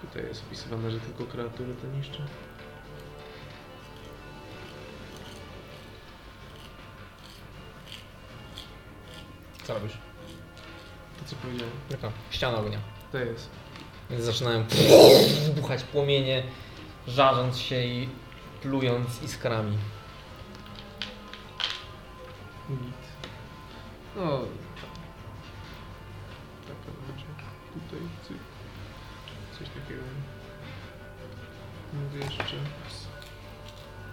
S4: Tutaj jest opisywane, że tylko kreatury to niszczy.
S12: Co robisz?
S4: To co powiedziałem.
S12: Taka ściana ognia.
S4: To jest.
S12: Więc zaczynają buchać płomienie, żarząc się i plując iskrami.
S4: No. Taka Tak, będzie tutaj cyk. coś takiego. Mogę jeszcze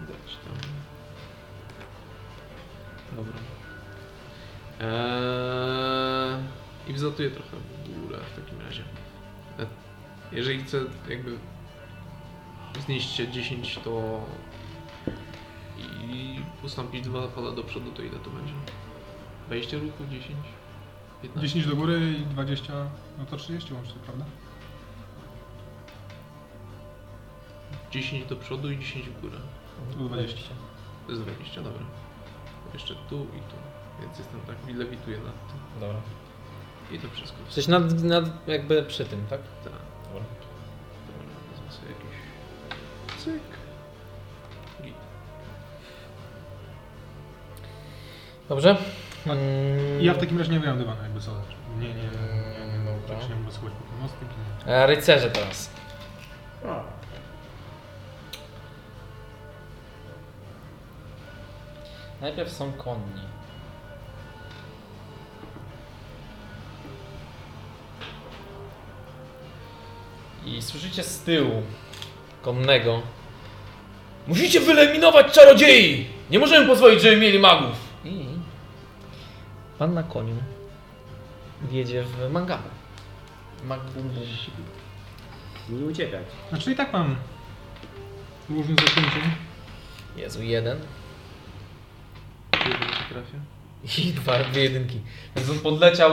S4: dać tam. Dobra. Eee, I wzlatuję trochę w górę w takim razie. E, Jeżeli chcę jakby znieść się 10, to i ustąpić dwa pola do przodu, to ile to będzie? 20 ruchów, 10? 15?
S5: 10 do góry i 20, no to 30 łącznie, prawda?
S4: 10 do przodu i 10 w górę.
S5: Tu 20.
S4: To jest 20, dobra. Jeszcze tu i tu. Więc jestem tak, lewituję nad tym.
S1: Dobra.
S4: I to wszystko.
S1: Jesteś nad, nad jakby przy tym, tak?
S4: Tak.
S1: Dobra.
S4: Dobra, wezmę sobie jakiś cyk. Git.
S1: Dobrze?
S5: Tak. I
S12: Mm.
S5: ja w takim razie nie miałem dywanu, jakby co. Nie, nie, nie, nie, nie.
S1: Dobra.
S5: Tak się nie mogę słuchać po tym mostku. nie.
S1: E, Rycerze teraz. Najpierw są konni. I słyszycie z tyłu konnego. Musicie wyeliminować czarodziei! Nie możemy pozwolić, żeby mieli magów! I pan na koniu wjedzie w mangabu. Mag bum bum.
S2: Nie uciekać.
S5: Znaczy i tak mam różne zaklęcie.
S1: Jezu, jeden.
S4: Jeden się trafia.
S1: I [LAUGHS] dwa, dwie jedynki. Więc on podleciał.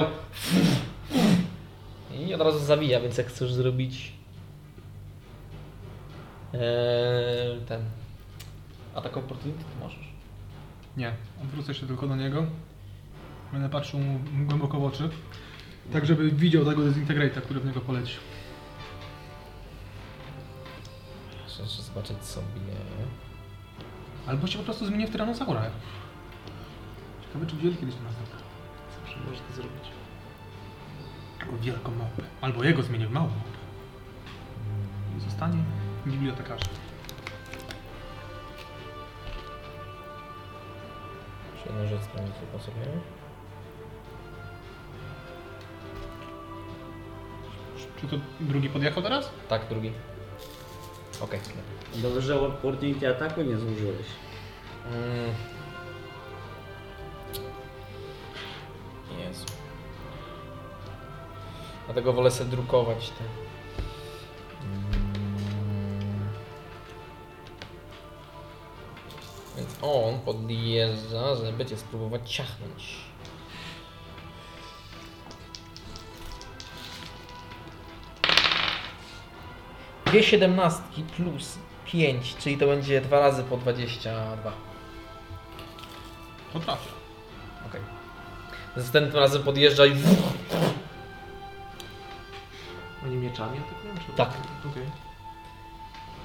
S1: I od razu zabija, więc jak chcesz zrobić. Eee, ten. Atak opportunity to możesz.
S5: Nie, odwrócę się tylko do niego. Będę patrzył mu głęboko w oczy. Tak, żeby widział tego dezintegrate'a, który w niego poleci.
S1: Muszę jeszcze zobaczyć sobie.
S5: Albo się po prostu zmienię w tyranozaura. Ciekawe, czy widzieli kiedyś tyranozaura.
S4: Zawsze można to zrobić.
S5: Albo tak wielką małpę. Albo jego zmienię w małą małpę. I zostanie bibliotekarzem.
S1: 7 rzecz sprawdzić tylko sobie.
S5: Czy to drugi podjechał teraz?
S1: Tak, drugi. Okej.
S2: Dobrze, że opportunity ataku nie zużyłeś.
S1: Mm. Jezu. Dlatego wolę sobie drukować te. Mm. Więc on podjeżdża, żeby cię spróbować ciachnąć. Dwie siedemnastki plus pięć, czyli to będzie dwa razy po 22.
S5: To trafia.
S1: Okej. Następnym razem podjeżdża i...
S4: Oni mieczami atakują, czy?
S1: Tak.
S4: Okej.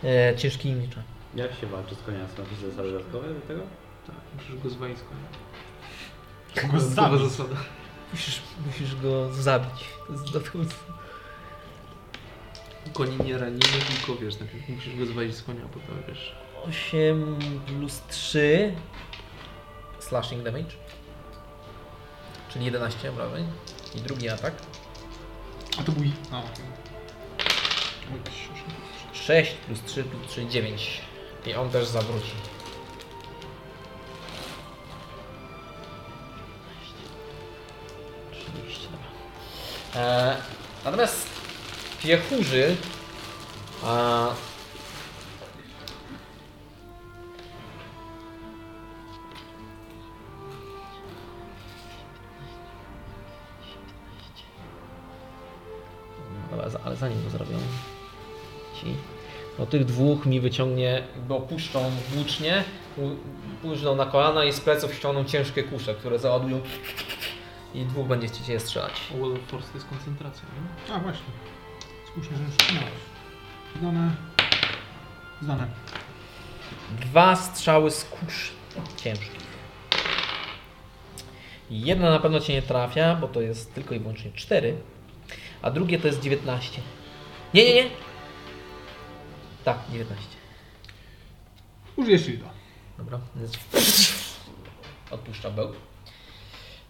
S1: E, ciężkimi mieczami.
S2: Jak się walczy z koniami? Są jakieś zasady dodatkowe do tego?
S4: Tak, musisz go zwalić z konia.
S5: Go
S4: Dodatkowa zasada.
S1: Musisz, musisz go zabić. Z dodatkowy-
S4: Koni nie ranimy, tylko wiesz, najpierw musisz go zwalić z konia, bo to wiesz.
S1: 8 plus 3 slashing damage. Czyli 11 obrażeń. I drugi atak.
S5: A to bój. No,
S1: 6 plus 3 plus 3, 9. I on też zawróci. E, natomiast piechurzy a, Dobra, za- ale zanim to zrobią ci, no tych dwóch mi wyciągnie, bo puszczą włócznie, u- pójdą na kolana i z pleców ściągną ciężkie kusze, które załadują i dwóch będzie chcieć je strzelać.
S4: O, Wall of Force to jest koncentracja, nie?
S5: A właśnie. Słusznie, że już miałeś. Znane. Znane.
S1: Dwa strzały z kusz ciężkich. Jedna na pewno cię nie trafia, bo to jest tylko i wyłącznie 4, a drugie to jest 19. Nie, nie, nie. Tak, 19.
S5: Użyję shielda.
S1: Dobra, więc odpuszcza bełk.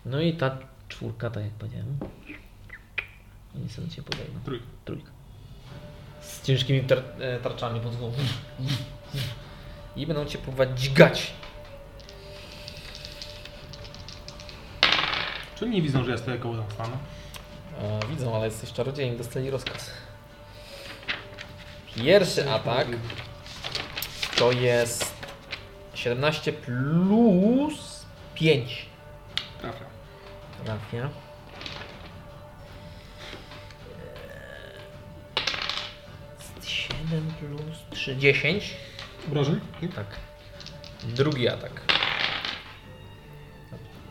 S1: No i ta czwórka, tak jak powiedziałem. Oni sobie się podejmą.
S5: Trójka.
S1: Trójka. Z ciężkimi tar e, tarczami pod głową. I będą cię próbować dźgać.
S5: Czy nie widzą, że ja stoję koło Dunstana?
S1: O, E, widzą, ale jesteś czarodziejem, dostali rozkaz. Pierwszy atak to jest 17 plus 5.
S5: Trafia.
S1: Trafia. Eee, 7 plus 3, 10.
S5: Obrażeń?
S1: Tak. Drugi atak.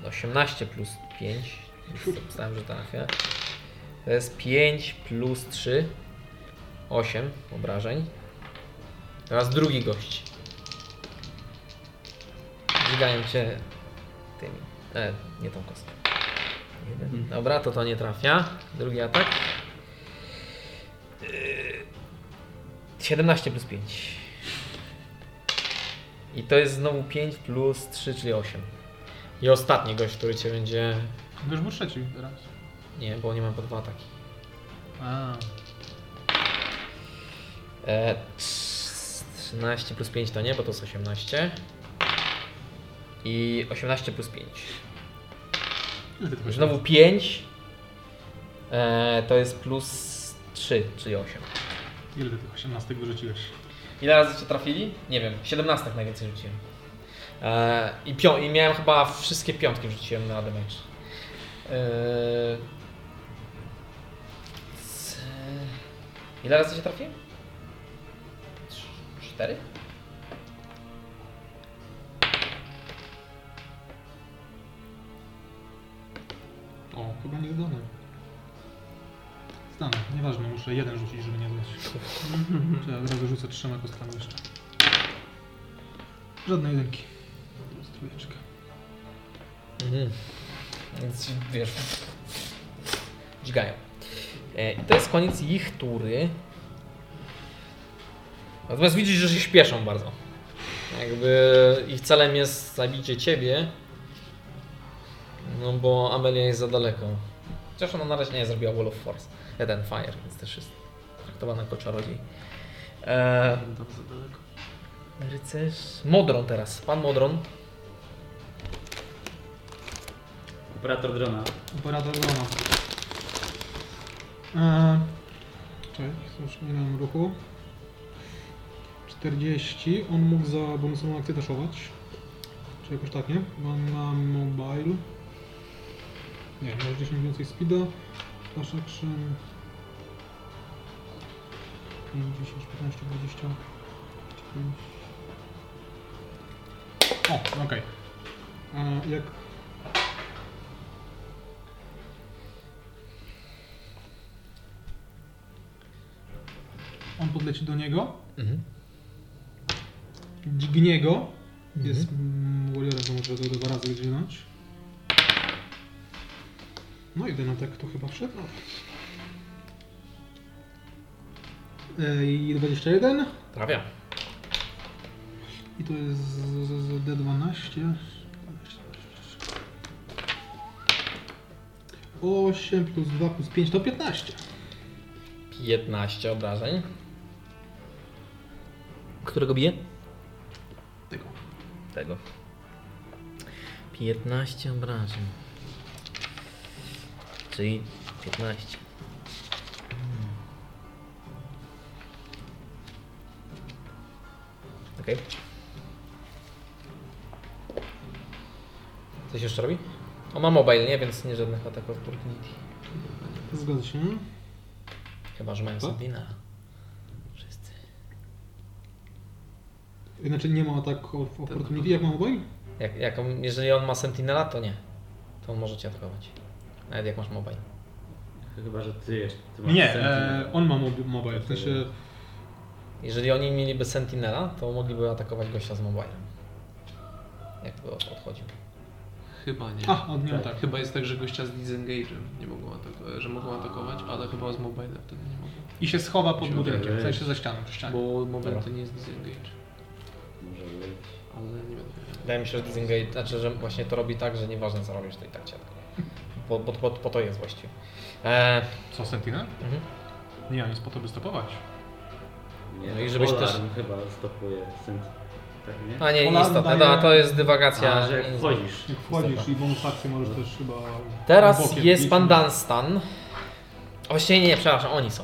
S1: 18 plus 5. Już Zapisałem, że trafia. To jest 5 plus 3. 8 obrażeń. Teraz drugi gość. Dźgają cię tymi. E, nie tą kostką. Jeden. Dobra, to to nie trafia. Drugi atak. Yy, 17 plus 5. I to jest znowu 5 plus 3, czyli 8. I ostatni gość, który cię będzie.
S5: Już był trzeci teraz.
S1: Nie, bo nie mam po dwa ataki.
S5: A.
S1: E, trz- 13 plus 5 to nie, bo to jest 18. I 18 plus 5.
S5: Ile ty tego
S1: Znowu 5. E, to jest plus 3, czyli 8.
S5: Ile ty tych 18 wyrzuciłeś?
S1: Ile razy cię trafili? Nie wiem, 17 najwięcej rzuciłem. E, i, pią- I miałem chyba wszystkie piątki rzuciłem na damage. E, c- ile razy cię trafiłem? Trz- Cztery?
S5: O, chyba nie zdane. Zdane, nieważne, muszę jeden rzucić, żeby nie [LAUGHS] zdać. Czy ja od razu rzucę trzema kostkami jeszcze. Żadnej jedynki. Jest trójeczka.
S1: Mhm. Więc wiesz. Dźgają. E, I to jest koniec ich tury. Natomiast widzisz, że się śpieszą bardzo. Jakby ich celem jest zabicie ciebie. No bo Amelia jest za daleko. Chociaż ona na razie nie zrobiła Wall of Force. Jeden Fire, więc też jest traktowana jako czarodziej. E, rycerz. Modron teraz. Pan Modron.
S2: Operator drona.
S5: Operator drona. Eee, Cześć, już nie mam ruchu. 40. On mógł za bonusową akcję daszować. Czy jakoś tak, nie? Bo on ma mobile. Nie, ma 10 więcej speeda. Dash action. 5, 10, 15, 20. 5. O, okej. Okay. Jak on podleci do niego,
S1: Mhm.
S5: dźgnie go. Jest mm, warriorem, to może go dwa razy dźgnąć. No i ten atak to chyba wszedł. E, I 21.
S1: Trafia.
S5: I to jest z- z- z D12. 8 plus 2 plus 5 to 15.
S1: 15 obrażeń. Którego bije?
S5: Tego.
S1: Tego. 15 obrażeń. Czyli 15. Mm. Okej. Coś jeszcze robi? O, ma mobile, nie? Więc nie żadnych ataków opportunity.
S5: Zgadza się.
S1: Chyba, że mają
S5: Co?
S1: Sentinela. Wszyscy.
S5: Znaczy nie ma ataku of opportunity, jak mam obaj?
S1: Jak, jak on, jeżeli on ma Sentinela, to nie. To on może cię atakować. Nawet jak masz mobile.
S2: Chyba, że ty jeszcze. Ty masz
S5: Nie,
S2: sentinel.
S5: e, on ma mobi- mobile, w sensie
S1: Jeżeli oni mieliby Sentinela, to mogliby atakować gościa z mobilem. Jakby od- odchodził.
S4: Chyba nie.
S5: A, od niego tak.
S4: Chyba jest tak, że gościa z disengage'em nie mogą atakować, że mogą atakować, ale chyba z mobilem wtedy nie mogą.
S5: I się schowa pod
S2: Się
S5: budynkiem, w
S2: odejdzie.
S5: sensie za ścianą, przy
S12: Tak.
S5: ścianie.
S4: Bo mobile
S1: Dobra.
S4: to nie jest disengage,
S2: Może być.
S4: ale nie będę wiedział.
S1: Wydaje mi się, że Disengage, znaczy, że właśnie to robi tak, że nieważne co robisz, to i tak cię atakuje.
S12: Po, po, po, po to jest właściwie. E,
S5: Co, Sentinel?
S12: mhm.
S5: Nie, on jest po to, by stopować.
S2: Nie,
S12: No i żebyś
S2: Polar
S12: też-
S2: chyba stopuje sent... Tak, nie?
S12: A nie,
S5: Ona
S12: nieistotne.
S5: daje-
S12: No, to jest dywagacja.
S2: A, że jak wchodzisz.
S3: Jak wchodzisz i bonus akcję możesz też chyba...
S12: Teraz
S3: bokiem no.
S12: jest
S3: iść.
S12: pan Dunstan. A Właściwie nie, nie, przepraszam, oni są.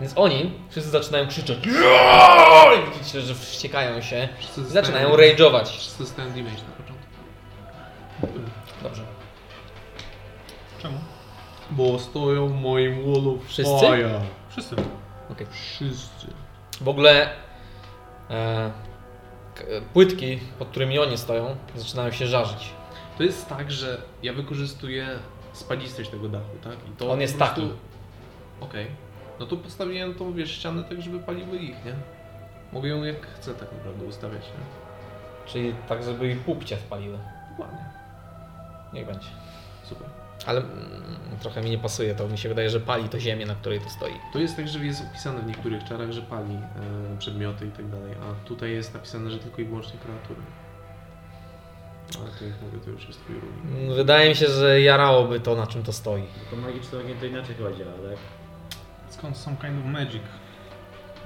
S12: Więc oni wszyscy zaczynają krzyczeć. "Joj!" Widzicie, że wściekają się.
S4: Wszyscy
S12: i Zaczynają
S4: zostają-
S12: rage'ować.
S4: Wszyscy zostają damage na początku.
S12: Dobrze.
S5: Czemu?
S4: Bo stoją w moim wallu
S12: Wszyscy?
S4: fire.
S5: Wszyscy.
S12: Okej.
S4: Wszyscy.
S12: W ogóle e, k- e, płytki, pod którymi oni stoją, zaczynają się żarzyć.
S4: To jest tak, że ja wykorzystuję spadzistość tego dachu, tak? I to
S12: On jest
S4: po prostu-
S12: taki.
S4: Okej. No to postawiłem tą, wiesz, ścianę tak, żeby paliły ich, nie? Mogę ją jak chcę tak naprawdę ustawiać, nie?
S12: Czyli tak, żeby i pupcie wpaliły.
S4: Dokładnie.
S12: Niech będzie.
S4: Super.
S12: Ale mm, trochę mi nie pasuje, to mi się wydaje, że pali to ziemię, na której to stoi.
S4: To jest tak, że jest opisane w niektórych czarach, że pali e, przedmioty i tak dalej, a tutaj jest napisane, że tylko i wyłącznie kreatury. Ale to jak mówię, to już jest twój równik.
S12: Mm, Wydaje mi się, że jarałoby to, na czym to stoi.
S2: Tylko magiczny ogień to inaczej chyba działa, tak?
S5: Skąd some kind of magic?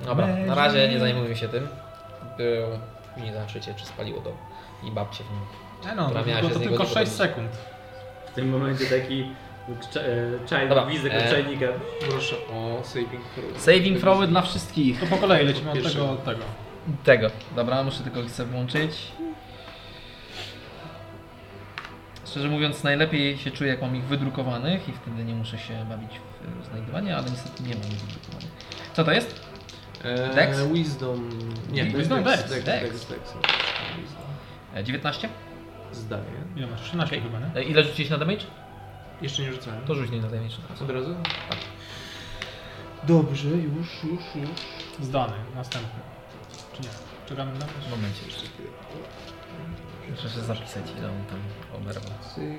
S12: Dobra, na razie nie zajmujmy się tym. Był, później zobaczycie, czy spaliło go i babcie w nim.
S5: E no,
S12: Która
S5: to,
S12: miała się z
S5: to, to
S12: niego
S5: tylko
S12: nie
S5: 6
S12: podobać.
S5: sekund.
S2: W tym momencie taki cza- e, czaj,
S12: Dobra,
S2: wizyk
S12: e,
S2: od czajnika.
S4: Proszę o saving throw.
S1: Saving throwy dla wszystkich.
S5: To po kolei lecimy od
S4: Pierwszy.
S5: tego, od tego.
S1: Tego. Dobra, muszę tylko chcę włączyć. Szczerze mówiąc, najlepiej się czuję, jak mam ich wydrukowanych i wtedy nie muszę się bawić w znajdowanie, ale niestety nie mam ich wydrukowanych. Co to jest?
S4: E,
S1: Dex?
S4: Wisdom... Nie,
S1: Wisdom,
S4: Dex,
S1: Dex,
S4: Dex,
S1: Dex.
S4: Dex, Dex. Wisdom.
S1: E, 19?
S4: Zdaję.
S5: Ile masz? 13
S1: Okej.
S5: chyba, nie?
S1: E, Ile rzuciłeś na damage?
S4: Jeszcze nie rzucałem.
S1: To rzuć nie na damage teraz.
S4: Od razu?
S1: Tak.
S4: Dobrze, już, już, już.
S5: Zdany, następny. Czy nie? Czekamy na
S1: W momencie jeszcze. Muszę się zapisać, ile on tam oberwał.
S4: Cyk.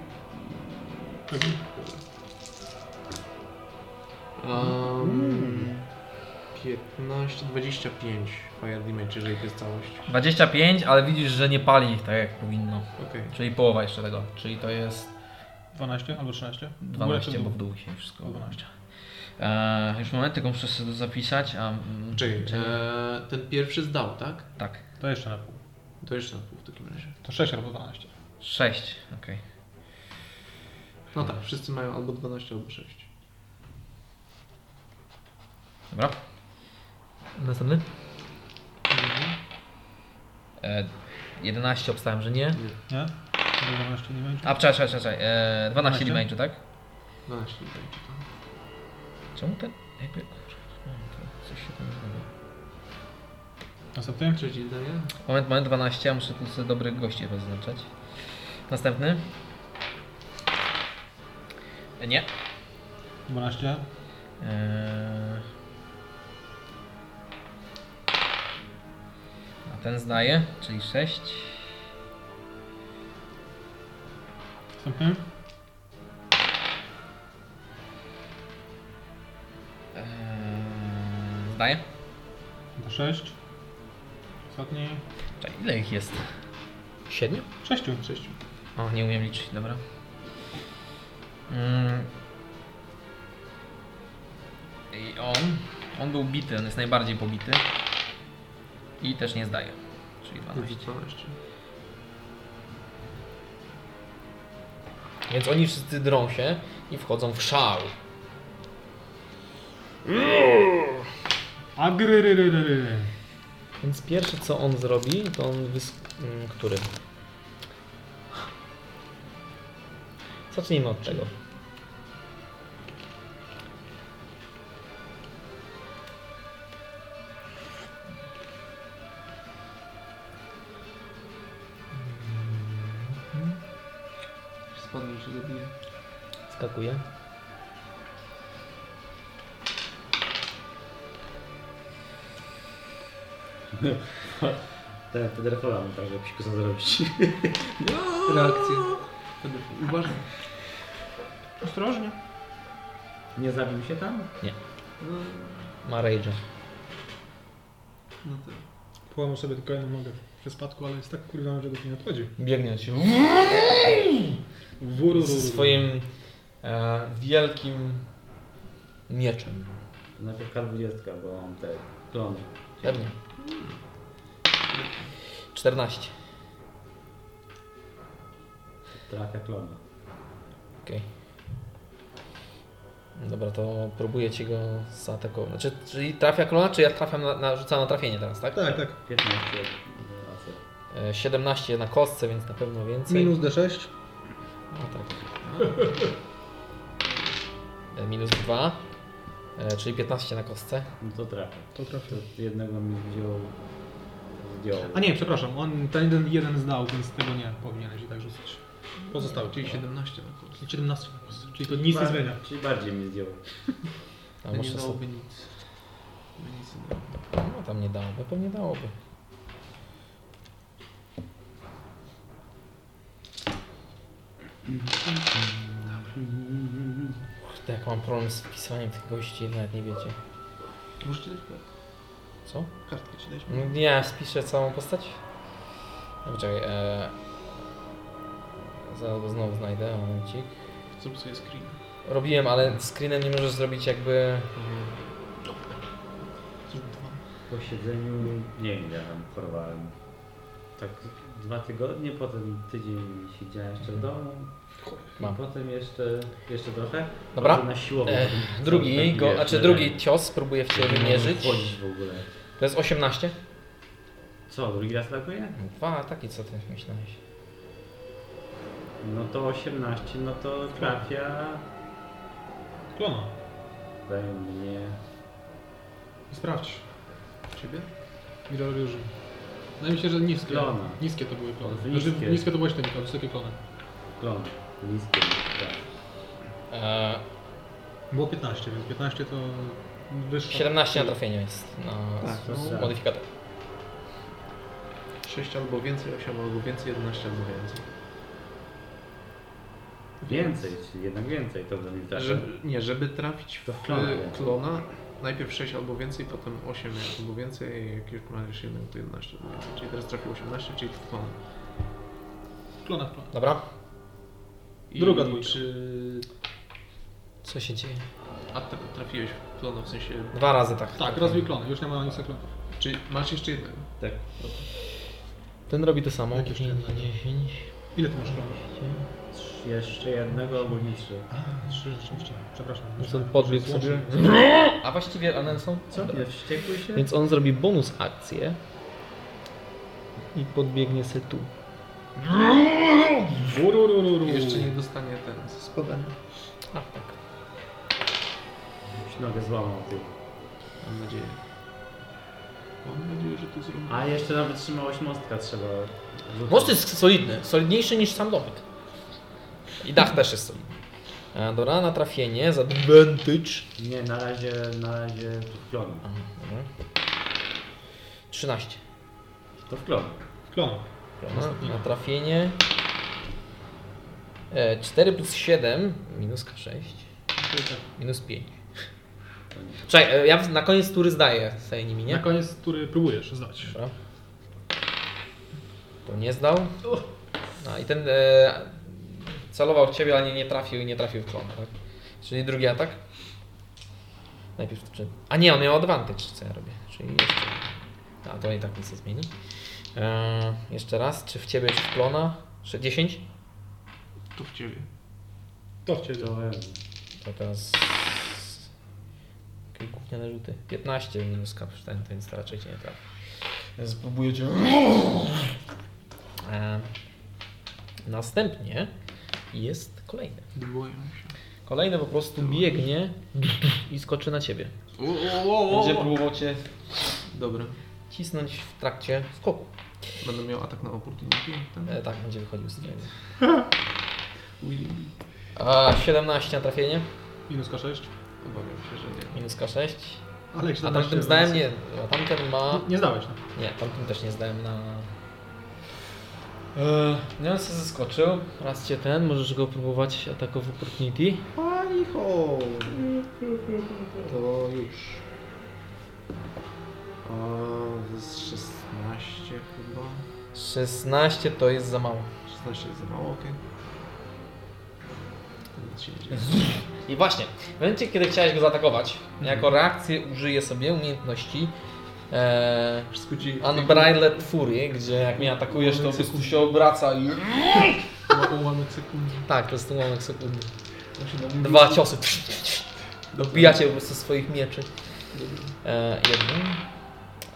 S5: Pewnie.
S4: Um, 15, 25 fire damage, jeżeli to jest całość.
S1: 25, ale widzisz, że nie pali ich tak jak powinno.
S4: Okej.
S1: Czyli połowa jeszcze tego. Czyli to jest
S5: 12 albo 13? W górę
S1: 12,
S5: czy w
S1: bo
S5: dół?
S1: w dół się wszystko
S5: 12.
S1: E, już moment, tylko muszę sobie to zapisać, a... mm,
S4: Czyli
S1: czy-
S4: e, ten pierwszy zdał, tak?
S1: Tak,
S5: To jeszcze na pół.
S4: To jeszcze na pół w takim razie.
S5: To 6 albo 12.
S1: 6, okej.
S4: No tak, wszyscy mają albo 12, albo 6.
S1: Dobra. Następny? E, 11 obstałem, że nie.
S5: Nie? Albo 12 nie będzie?
S1: A, czekaj, czekaj, czekaj. E, 12
S5: 12?
S1: damage'u, tak?
S4: 12 damage, tak?
S1: Czemu ten... Jakby... kurczę, no, to Coś się tam zmieniło.
S5: Następny?
S4: Trzeci daje.
S1: Moment, moment, 12, ja muszę tu sobie dobrych gości wyznaczać. Następny? E, nie.
S5: 12.
S1: Eee. A ten zdaje, czyli 6.
S5: Następny?
S1: Eee, zdaje.
S5: To 6. Ostatni.
S1: Czekaj, ile ich jest?
S12: 7?
S5: 6.
S4: 6.
S1: O, nie umiem liczyć, dobra. Mm. I on. On był bity, on jest najbardziej pobity. I też nie zdaje. Czyli 12.
S4: 12.
S12: Więc oni wszyscy drą się i wchodzą w szał.
S5: Agryryryryry.
S12: Więc pierwsze co on zrobi, to on wys... mm, który? Zacznijmy od tego.
S4: Spadnie się zabije.
S12: Skakuje.
S2: Te, te drefola mam tak, żeby się zrobić. [LAUGHS]
S4: Reakcje. Wtedy Uważaj.
S5: Ostrożnie.
S2: Nie zabił się tam?
S4: No,
S12: Ma rage'a.
S4: no tak.
S3: Połamał sobie tylko jedną nogę przy spadku, ale jest tak kurwa, że go się nie odchodzi.
S12: Biegnie się
S3: Wuru,
S12: ze swoim
S1: e, wielkim mieczem.
S2: Najpierw K20, bo mam te klony.
S1: Pewnie. 14.
S2: Trafia klony.
S1: Okej. Dobra, to próbujecie go zaatakować. Znaczy, czyli trafia klona, czy ja trafiam na, na, rzucam na trafienie teraz, tak?
S5: Tak, tak.
S2: 15 razy.
S1: E, 17 na kostce, więc na pewno więcej.
S5: tak. Minus D6.
S1: No tak. E, Minus 2, e, czyli 15 na kostce.
S2: No to trafia.
S5: To trafię.
S2: To jednego mi wziął. Zdjął.
S5: A nie, przepraszam, on ten jeden, jeden zdał, więc tego nie powinieneś i tak rzucać. Pozostały, czyli 7,
S4: Czyli 17 na kurs.
S5: 17. Czyli to nic nie zmienia.
S2: Czyli bardziej mi zdjął.
S1: A
S4: To nie
S1: może sobie...
S4: dałoby nic. By nic nie dało.
S1: No tam nie dałoby, pewnie dałoby. Kurde, jak mam problem z wpisaniem tych gości, nawet nie wiecie.
S4: Możecie dać kartkę.
S1: Co?
S4: Kartkę ci dać.
S1: No Nie, spiszę całą postać. No Poczekaj, e... Zaraz go znowu znajdę, momencik.
S4: Zrób sobie screen.
S1: Robiłem, ale screenem nie możesz zrobić jakby...
S4: Zrób dwa.
S2: Po siedzeniu, nie wiem, ja tam chorowałem. Tak dwa tygodnie, potem tydzień siedziałem jeszcze w domu.
S1: Mam.
S2: I potem jeszcze, jeszcze trochę.
S1: Dobra.
S2: Potem Na siłową.
S1: E,
S2: Potem
S1: Drugi,
S2: cały
S1: go,
S2: ten,
S1: znaczy
S2: No, wiesz,
S1: drugi
S2: leżenie.
S1: cios spróbuję w
S2: Nie
S1: ciebie
S2: mogłem
S1: mierzyć.
S2: Chodzić w ogóle.
S1: To jest 18.
S2: Co, drugi raz tak atakuje?
S1: Dwa ataki, co ty myślałeś?
S2: No to 18, no to trafia.
S5: Klona.
S2: We mnie.
S13: I sprawdź.
S4: Ciebie?
S13: Ile robię użył. Wydaje mi się, No że niskie.
S2: Klona.
S13: Niskie to były klony.
S2: To
S5: No,
S13: Niskie,
S5: Znaczy,
S2: niskie.
S13: niskie to byłeś ten, a wysokie klony.
S2: Klon. Niskie. Tak.
S1: E,
S5: Było 15, więc 15 to wyższe.
S1: 17 na trafienie jest na
S2: Tak,
S1: s-
S2: tak.
S1: modyfikator.
S4: 6 albo więcej, 8 albo więcej, 11 albo więcej.
S2: Więcej, czyli jednak więcej to będzie tak.
S4: Że, nie, żeby trafić
S2: To
S4: w
S2: w klona, nie?
S4: klona, klona najpierw 6 albo więcej, potem 8 albo więcej, jak już planujesz jednego, to 11 albo więcej. Czyli teraz trafił 18, czyli w klona.
S5: Klona, klona.
S1: Dobra.
S4: I
S5: Druga dwójka.
S4: Czy
S1: Co się dzieje?
S4: a te- trafiłeś w klona, w sensie,
S1: Dwa razy tak.
S13: Tak, rozwój klony, już nie ma nic klonów.
S4: czy masz jeszcze jednego?
S1: Ten robi to samo.
S13: Jakie jeszcze
S1: 9, 10.
S13: Ile ty masz klonów?
S2: Trzy- Jeszcze jednego albo nie trzy.
S5: Trzy rzeczywiście, przepraszam.
S2: No
S1: Więc on podbiegł No sobie. A właściwie one są.
S2: Co? Nie wściekły się?
S1: Więc on zrobi bonus akcję. I podbiegnie se tu.
S5: Ururururu.
S4: Jeszcze nie dostanie ten spadania.
S1: A tak.
S2: Już Nogę złamał ty.
S4: Mam nadzieję. Mam nadzieję, że to zrobię.
S2: A jeszcze na wytrzymałość mostka trzeba. rzucić.
S1: Most jest solidny. Solidniejszy niż sam domek. I dach też jest solidny. E, Dobra, na trafienie. Za advantage.
S2: Nie, na razie, na razie w klon.
S1: A, dobra. 13.
S2: To w klon.
S5: Klona.
S1: No, Na trafienie. E, 4 plus 7 minus K6. Minus 5. Czekaj, e, ja w- na koniec tury zdaję sobie nimi,
S13: Na
S1: nie?
S13: koniec, który próbujesz zdać.
S1: Dobra. To nie zdał. No i ten e, celował w ciebie, ale nie, nie trafił i nie trafił w klon, tak? Czyli drugi atak. Najpierw czy... A nie, on miał advantage, co ja robię. Czyli jeszcze... A to i tak nic nie zmieni. E, jeszcze raz, czy w ciebie, czy w klona? Jeszcze 10?
S4: To w ciebie.
S5: To w ciebie.
S2: To
S1: To teraz... Jakie gówniane rzuty. 15 minus kapszten, więc to raczej cię nie trafi. Spróbujecie... E, następnie jest kolejny.
S4: Boję się.
S1: Kolejny po prostu biegnie i skoczy na ciebie.
S4: O, o, o, o,
S14: Będzie
S4: o.
S14: próbował cię
S4: Dobra.
S1: Cisnąć w trakcie skoku.
S4: Będę miał atak na opportunity. Ten?
S1: E, tak, będzie wychodził z niego.
S4: Willy.
S1: A 17 na trafienie,
S13: Minus K6.
S4: Obawiam się, że nie.
S1: minus K6.
S13: Ale jak się
S1: A
S13: zadasz,
S1: tamten
S13: to jest-
S1: zdałem nie, a tamten ma...
S13: Nie zdałeś,
S5: tak.
S13: no.
S1: Nie, tamten też nie zdałem na... E, no on się zaskoczył. Raz cię ten, możesz go próbować atakować w opportunity.
S4: To już. O, z 16 chyba.
S1: 16 to jest za mało.
S4: 16 jest za mało, okej. nic się nie dzieje.
S1: I właśnie, w momencie, kiedy chciałeś go zaatakować, jako reakcję użyję sobie umiejętności e,
S4: Wszystko ci...
S1: Unbridled Fury, gdzie jak mnie atakujesz, to po prostu się obraca i...
S4: Ma ułamek sekundy.
S1: Tak, to jest ten ułamek sekundy.
S4: To się nam-
S1: Dwa ciosy. Dobijacie po prostu swoich mieczy. E, jednym.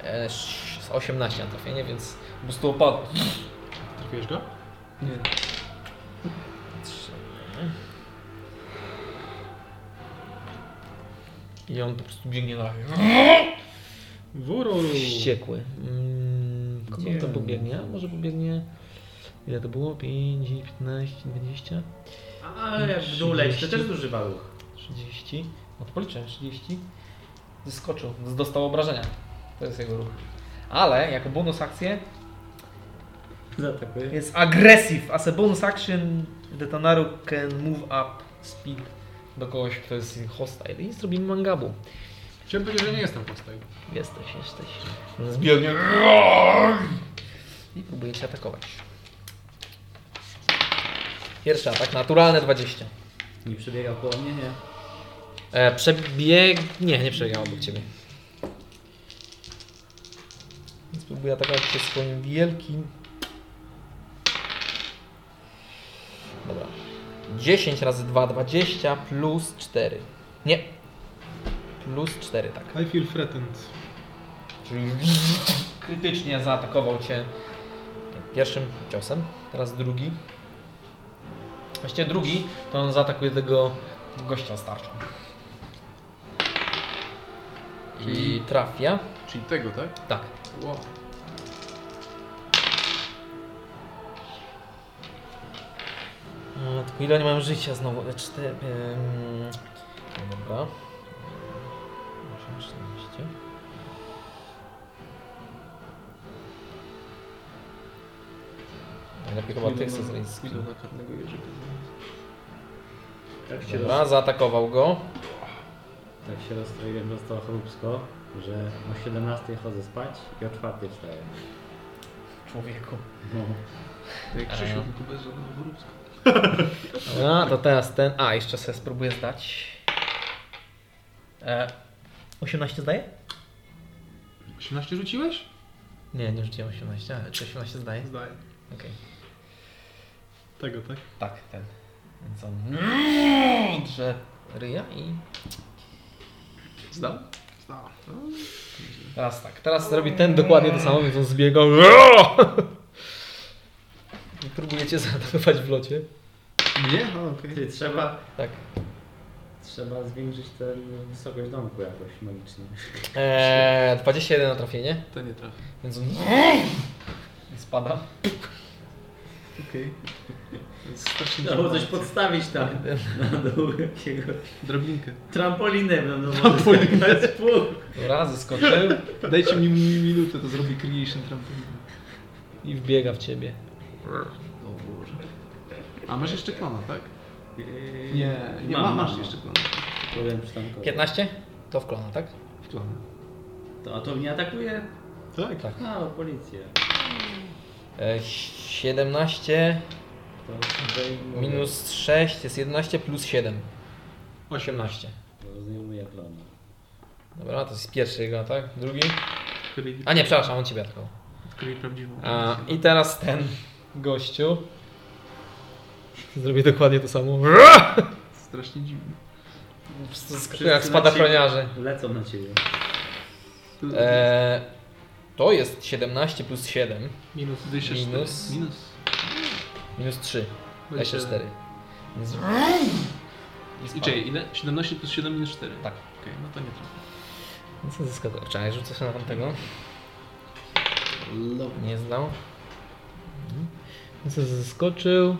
S1: E, sz- 18 na trafienie, więc po prostu opadł.
S5: Trafiłeś go?
S4: Nie.
S1: I on po prostu biegnie na
S5: Wuru.
S1: Wściekły. Mm, kogo
S15: Gdzie
S1: to
S15: on?
S1: pobiegnie? A Może pobiegnie. Ile to było? 5, 15, 20,
S15: Ale jak w dół leci, to też duży baluch.
S1: 30. No to policzyłem 30. Zeskoczył, z- dostał obrażenia. To jest jego ruch. Ale jako bonus akcję
S15: Zatakuje.
S1: jest aggressive. As a bonus action, the Tanaru can move up speed do kogoś, kto jest hostile. I zrobimy mangabu.
S5: Chciałem powiedzieć, że nie jestem postaj.
S1: Jesteś, jesteś. Zbiegnie. I próbuje cię atakować. Pierwszy atak, naturalne 20.
S15: Nie przebiegał koło mnie, nie.
S1: E, przebieg... Nie, nie przebiegał obok ciebie. Więc próbuję atakować się swoim wielkim. Dobra. 10 razy 2, 20 plus 4. Nie. Plus 4, tak.
S5: I feel threatened.
S1: Czyli krytycznie zaatakował cię pierwszym ciosem, teraz drugi. Właściwie drugi, to on zaatakuje tego gościa z tarczą. I trafia.
S4: [LAUGHS] Czyli tego, tak?
S1: Tak.
S4: Wow.
S1: E, Tylko ile nie mam życia znowu? E, Cztery. em, no Dobra. 8, 14. Najlepiej chyba ty chcesz zrobić z
S4: Idą na karnego jeżyka.
S2: Tak się, roz...
S1: Dobra, zaatakował go.
S2: tak się rozstroiłem dostało chrupsko, że o 17 chodzę spać i o 4 wstaję.
S1: Człowieku.
S2: No.
S4: Tak jak Krzysiu,
S1: Eee.
S4: tylko bez żadnego wróbska.
S1: Dobra, to teraz ten. A, jeszcze sobie spróbuję zdać. E, 18 zdaje?
S5: 18 rzuciłeś?
S1: Nie, nie rzuciłem 18, ale czy 18 zdaje?
S5: Zdaję.
S1: Okej.
S5: Tego, tak?
S1: Tak, ten. Więc on drze ryja i...
S4: Zdał?
S5: Zdałem.
S1: Teraz tak, teraz zrobi ten dokładnie to samo, więc on zbiega. [LAUGHS] I próbujecie zaatakować w locie.
S4: Nie? A, okej.
S2: Ty, trzeba,
S1: Tak.
S2: No. trzeba zwiększyć tę wysokość domku jakoś magicznie.
S1: Eee, 21 na trafienie,
S4: To nie trafi.
S1: więc on... I spada.
S4: Okej. To jest Strasznie
S2: Trzeba było coś
S4: dziwne.
S2: podstawić tam na dół jakiegoś.
S4: Drobinkę.
S2: Trampolinę będą Trampolinę.
S1: Dobra, zeskoczył
S4: Dajcie mi mi- minutę, to zrobi creation trampolin.
S1: i wbiega w ciebie.
S4: O Boże. A masz jeszcze klona, tak?
S2: Yy,
S4: Nie, nie ma, masz jeszcze klona.
S2: Powiem przy tamko.
S1: 15? To w klona, tak?
S4: Klona.
S2: To, a to mnie atakuje?
S5: Tak.
S1: Tak.
S2: A, policja.
S1: E, 17
S2: To tutaj mówię.
S1: minus 6 jest 11 plus 7. 18.
S2: To Zdejmuję plany.
S1: Dobra, to jest pierwszy jego atak, drugi.
S4: Kryj,
S1: A nie, przepraszam, on ciebie atakował.
S4: kryj prawdziwą.
S1: A, I teraz ten gościu. Zrobię dokładnie to samo.
S4: Strasznie dziwne.
S1: To jak spadachroniarze.
S2: Lecą na ciebie.
S4: To-
S1: E, to jest 17 plus 7,
S5: Minus.
S4: 24.
S1: minus-
S4: Minus.
S1: minus 3, 24. Więc... I
S4: I
S1: spadł.
S4: czekaj, ile? 17 plus 7 minus 4.
S1: Tak.
S4: Okej, no to nie trafi.
S1: Nic nie zyskał. Czekaj, rzucę się na tamtego.
S4: Low.
S1: Nie znał. Mhm. Więc zeskoczył.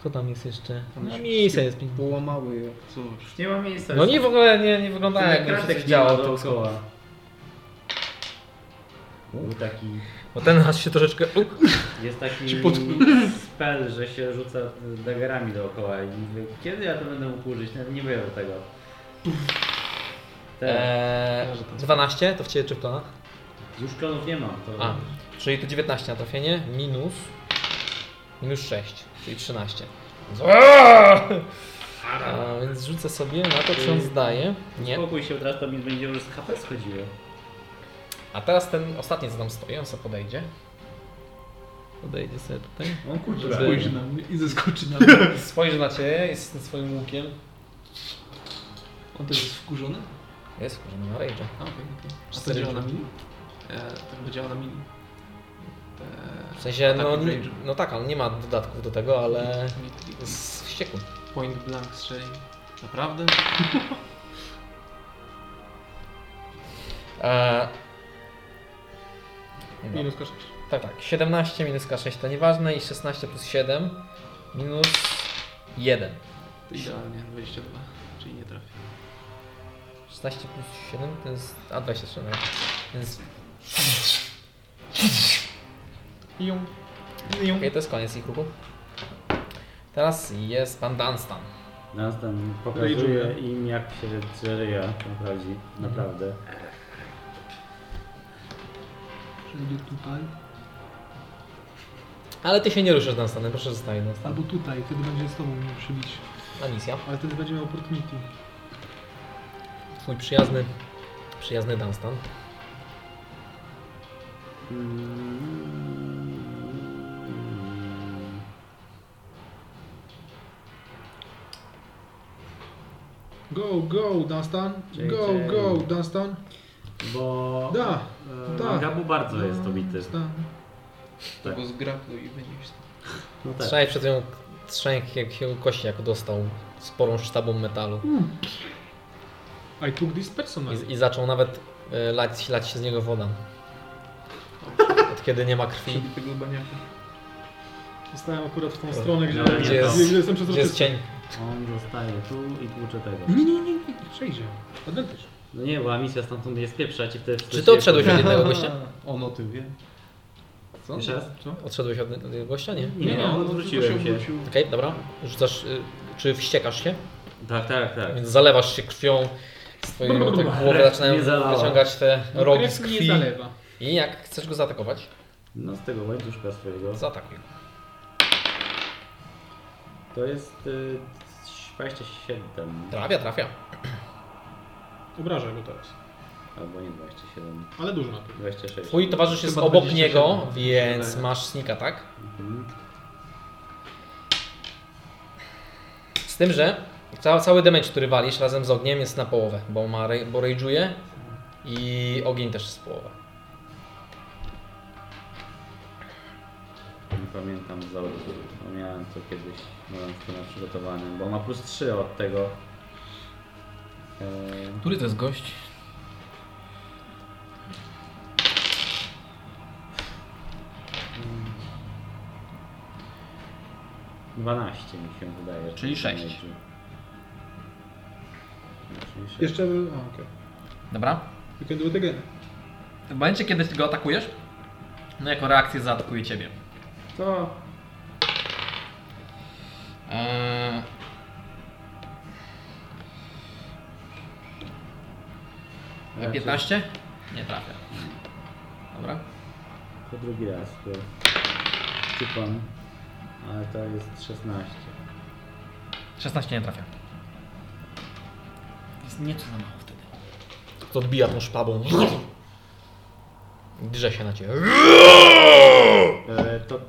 S1: Kto tam jest jeszcze?
S4: Tam
S1: Na
S4: już
S1: miejsce jest pięć.
S4: Połamały ją. Cóż.
S2: Nie ma miejsca.
S1: No nie w ogóle nie, nie wygląda
S2: Tyle
S1: jakby się
S2: kratek
S1: coś
S2: nie ma no.
S1: działo. tylko-
S2: dookoła. Był taki...
S1: Bo ten nas się troszeczkę...
S2: Jest taki
S4: Się potknął.
S2: spell, że się rzuca e, daggerami dookoła i mówię, kiedy ja to będę mógł użyć? Nawet nie wiem tego. Te,
S1: Eee, 12 to w ciebie czy w planach?
S2: Już klonów nie mam. To
S1: A, czyli to 19 na trafienie, minus... Minus 6, czyli 13. Więc- Aaaa! A, więc rzucę sobie na to, czy on zdaje. Nie.
S2: Spokój się, od razu to mi będzie już z HP schodziło.
S1: A teraz ten ostatni, co tam stoi, on sobie podejdzie. Podejdzie sobie tutaj.
S2: On kurczę.
S1: Spójrz
S16: na mnie i zaskoczy na
S1: [LAUGHS] Spojrzy na Ciebie, jest z tym swoim łukiem.
S4: On też jest wkurzony?
S1: Jest, może ma rage'a.
S4: A, okej, okej. A to
S1: Cztery
S4: działa na
S1: drzwi.
S4: mili? E, to chyba działa na mili. E,
S1: W sensie, no,
S4: Ataku
S1: nie-
S4: rage'u.
S1: no tak, on nie ma dodatków do tego, ale
S4: mit- mit-
S1: jest wściekły.
S4: Point blank strzeli. Naprawdę?
S1: E, no.
S5: Minus K6.
S1: Tak, tak. 17 minus K6 to nieważne i 16 plus 7 minus 1.
S4: To idealnie, 22. Czyli nie trafi.
S1: 16 plus 7 to jest. A 23, no. Więc. Jum. Okej, to jest koniec ich ruchu. Teraz jest pan Dunstan.
S2: Nas tam pokazuje im jak się drzeja naprawdę. naprawdę.
S16: Przejdzie tutaj,
S1: Ale ty się nie ruszysz Dunstanem, proszę zostań Dunstan.
S16: albo tutaj, wtedy będzie z tobą mnie przybić.
S1: Anisja.
S16: Ale wtedy będzie miał opportunity.
S1: Twój przyjazny. Przyjazny Dunstan.
S16: Go, go, Dunstan.
S2: Dzień,
S16: Go,
S2: dzień.
S16: go, Dunstan.
S2: Bo
S16: Da,
S2: e,
S16: tak.
S2: Gabu bardzo jest obity.
S16: Dunstan.
S4: To
S2: Tak.
S4: go zgrapluj i będziesz...
S2: No tak.
S1: Trzymaj przed nią trzęk jak się kości, jak dostał sporą sztabą metalu.
S5: Hmm. I took this personal.
S1: I, i zaczął nawet e, lać, lać się z niego woda. Od kiedy nie ma krwi.
S4: Czyli tego baniaka.
S5: Zostałem akurat w tą stronę, gdzie,
S2: no, Gdzie
S5: gdzie,
S1: jest-
S5: gdzie
S1: Gdzie
S5: jestem
S1: jest
S5: przezroczysty.
S1: cień?
S2: On zostaje tu i tłucze tego.
S5: Nie, nie, nie, nie, nie, przejdzie. Advantage.
S2: No nie, bo misja stamtąd jest pieprzać i wtedy wszyscy
S1: Czy
S2: się-
S1: ty odszedłeś od jednego gościa?
S4: [LAUGHS] On o tym wie. Co?
S2: Jeszcze raz?
S4: Co?
S1: Odszedłeś od jednego gościa? Nie.
S2: Nie,
S5: no,
S2: nie,
S4: on
S2: odwróciłem się.
S4: obrócił.
S1: Okej, dobra. Rzucasz, y, czy wściekasz się?
S2: Tak, tak, tak.
S1: Więc zalewasz się krwią. Z twojej te głowy
S2: krew
S1: zaczynają
S2: mnie zalała.
S1: wyciągać te rogi
S5: No, Krew
S1: z
S5: nie
S1: krwi.
S5: zalewa.
S1: I jak chcesz go zaatakować,
S2: No z tego łańcuszka swojego.
S1: zaatakuj.
S2: To jest y, 27.
S1: Trafia, trafia.
S5: Obrażę go teraz.
S2: Albo nie 27.
S5: Ale dużo na pewno.
S2: 26.
S1: Twój towarzysz jest
S4: Chyba
S1: obok
S4: 27.
S1: niego, więc
S4: Myślę.
S1: masz snika, tak?
S2: Mhm.
S1: Z tym, że ca cały damage, który walisz razem z ogniem jest na połowę, bo ma ra- bo rage'uje i ogień też jest połowę.
S2: Nie pamiętam załogu. Miałem to kiedyś, miałem to na przygotowanym, bo ma plus 3 od tego. Eee,
S17: Który to jest gość?
S2: mm. 12 mi się wydaje. że
S17: Czyli
S2: to
S17: sześć.
S2: będzie. No, Czyli 6.
S5: Jeszcze... A, okej.
S17: Dobra.
S5: You can do it again.
S17: W momencie, kiedy go atakujesz, no jako reakcję zaatakuje ciebie.
S2: To
S17: Eee...
S2: Raczej.
S17: 15? E, Nie trafia. Dobra.
S2: To drugi raz, to typam, ale to jest 16.
S17: 16 nie trafia. Jest nieco za mało wtedy.
S1: To odbija tą szpabą. Drze się na ciebie.
S2: E, to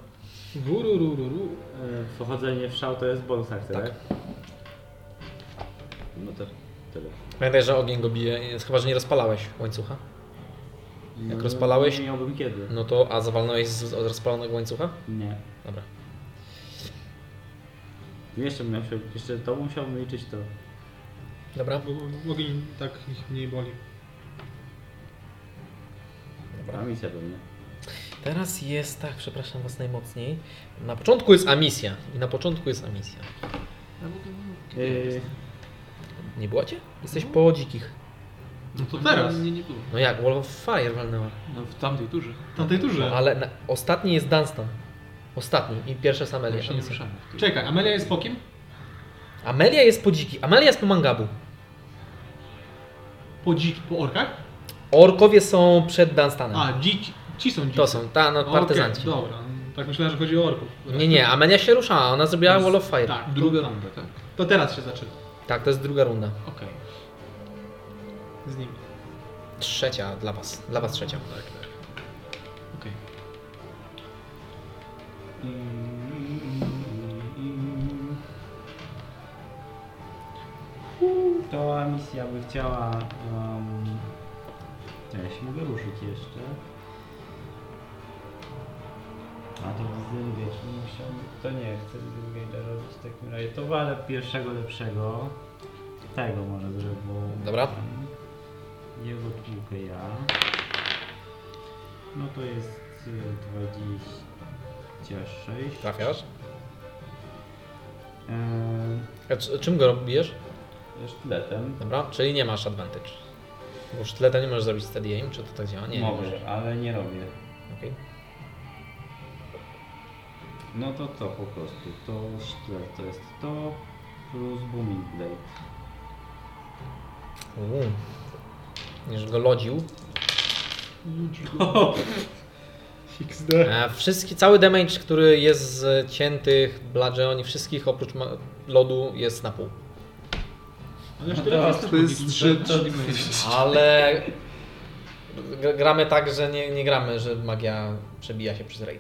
S5: Wururururu.
S2: e, pochodzenie w szał to jest bonus akcja, tak? No to tyle.
S1: Pamiętaj, że ogień go bije, jest- chyba że nie rozpalałeś łańcucha.
S2: No,
S1: rozpalałeś?
S2: Nie miałbym kiedy.
S1: No to, a zawalnąłeś z od rozpalonego łańcucha?
S2: Nie.
S1: Dobra.
S2: Jeszcze bym musiał, jeszcze to musiałbym liczyć to.
S1: Dobra.
S5: Bo Ogień tak ich mniej boli.
S1: Dobra.
S2: A misja pewnie.
S1: Teraz jest tak, przepraszam was najmocniej. Na początku jest amisja. I na początku jest amisja.
S2: E,
S1: Nie była cię? Jesteś po dzikich.
S4: No to
S5: teraz.
S4: Nie, nie było.
S1: No jak, Wall of Fire walnęła.
S4: No w tamtej turze.
S5: W tamtej
S1: No,
S5: turze.
S1: ale na, ostatni jest Dunstan. Ostatni i pierwsze same
S4: Ale się nie
S1: Amelia.
S4: ruszamy.
S5: Czekaj, Amelia jest po kim?
S1: Amelia jest po dziki. Amelia jest po mangabu.
S5: Po dzik, po orkach?
S1: Orkowie są przed Dunstanem.
S5: A, dzici. Ci są dzici.
S1: Tak. to są, ta, no,
S5: Okej,
S1: partyzanci.
S5: dobra. Tak myślałem, że chodzi o orków.
S1: nie, nie, Amelia się ruszała, ona zrobiła Wall of Fire.
S5: Tak,
S4: Druga
S5: to-
S4: runda, tak?
S5: To teraz się zaczyna.
S1: Tak, to jest druga runda.
S5: Okej. Z nimi.
S1: Trzecia dla was. Dla was trzecia.
S5: Okej.
S2: Mm. To misja by chciała. Um, ja się mogę ruszyć jeszcze. A to z wiesz, nie chciałbym, to nie chcę Zengage'a robić w takim razie. To walę pierwszego lepszego. Tego może zrobię. bo-
S1: Dobra.
S2: Jego tłukę ja. No to jest y, 26.
S1: Trafiasz. E,
S2: Eee,
S1: A E, c- czym go bijesz?
S2: sztyletem.
S1: Dobra, czyli nie masz advantage. Bo sztyletem nie możesz zrobić steady aim, czy to tak działa? Nie, nie możesz.
S2: Mogę, ale nie robię.
S1: Okej.
S2: No to to po prostu. To sztylet to jest to plus booming blade.
S1: Uuu. Będziesz go lodził.
S5: XD.
S1: E, Wszystki, cały damage, który jest z ciętych bludgeoni, wszystkich oprócz ma- lodu jest na pół.
S5: Ale sztylet jest
S4: To jest trzy,
S5: to,
S1: Ale gr- gramy tak, że nie, nie gramy, że magia przebija się przez rage.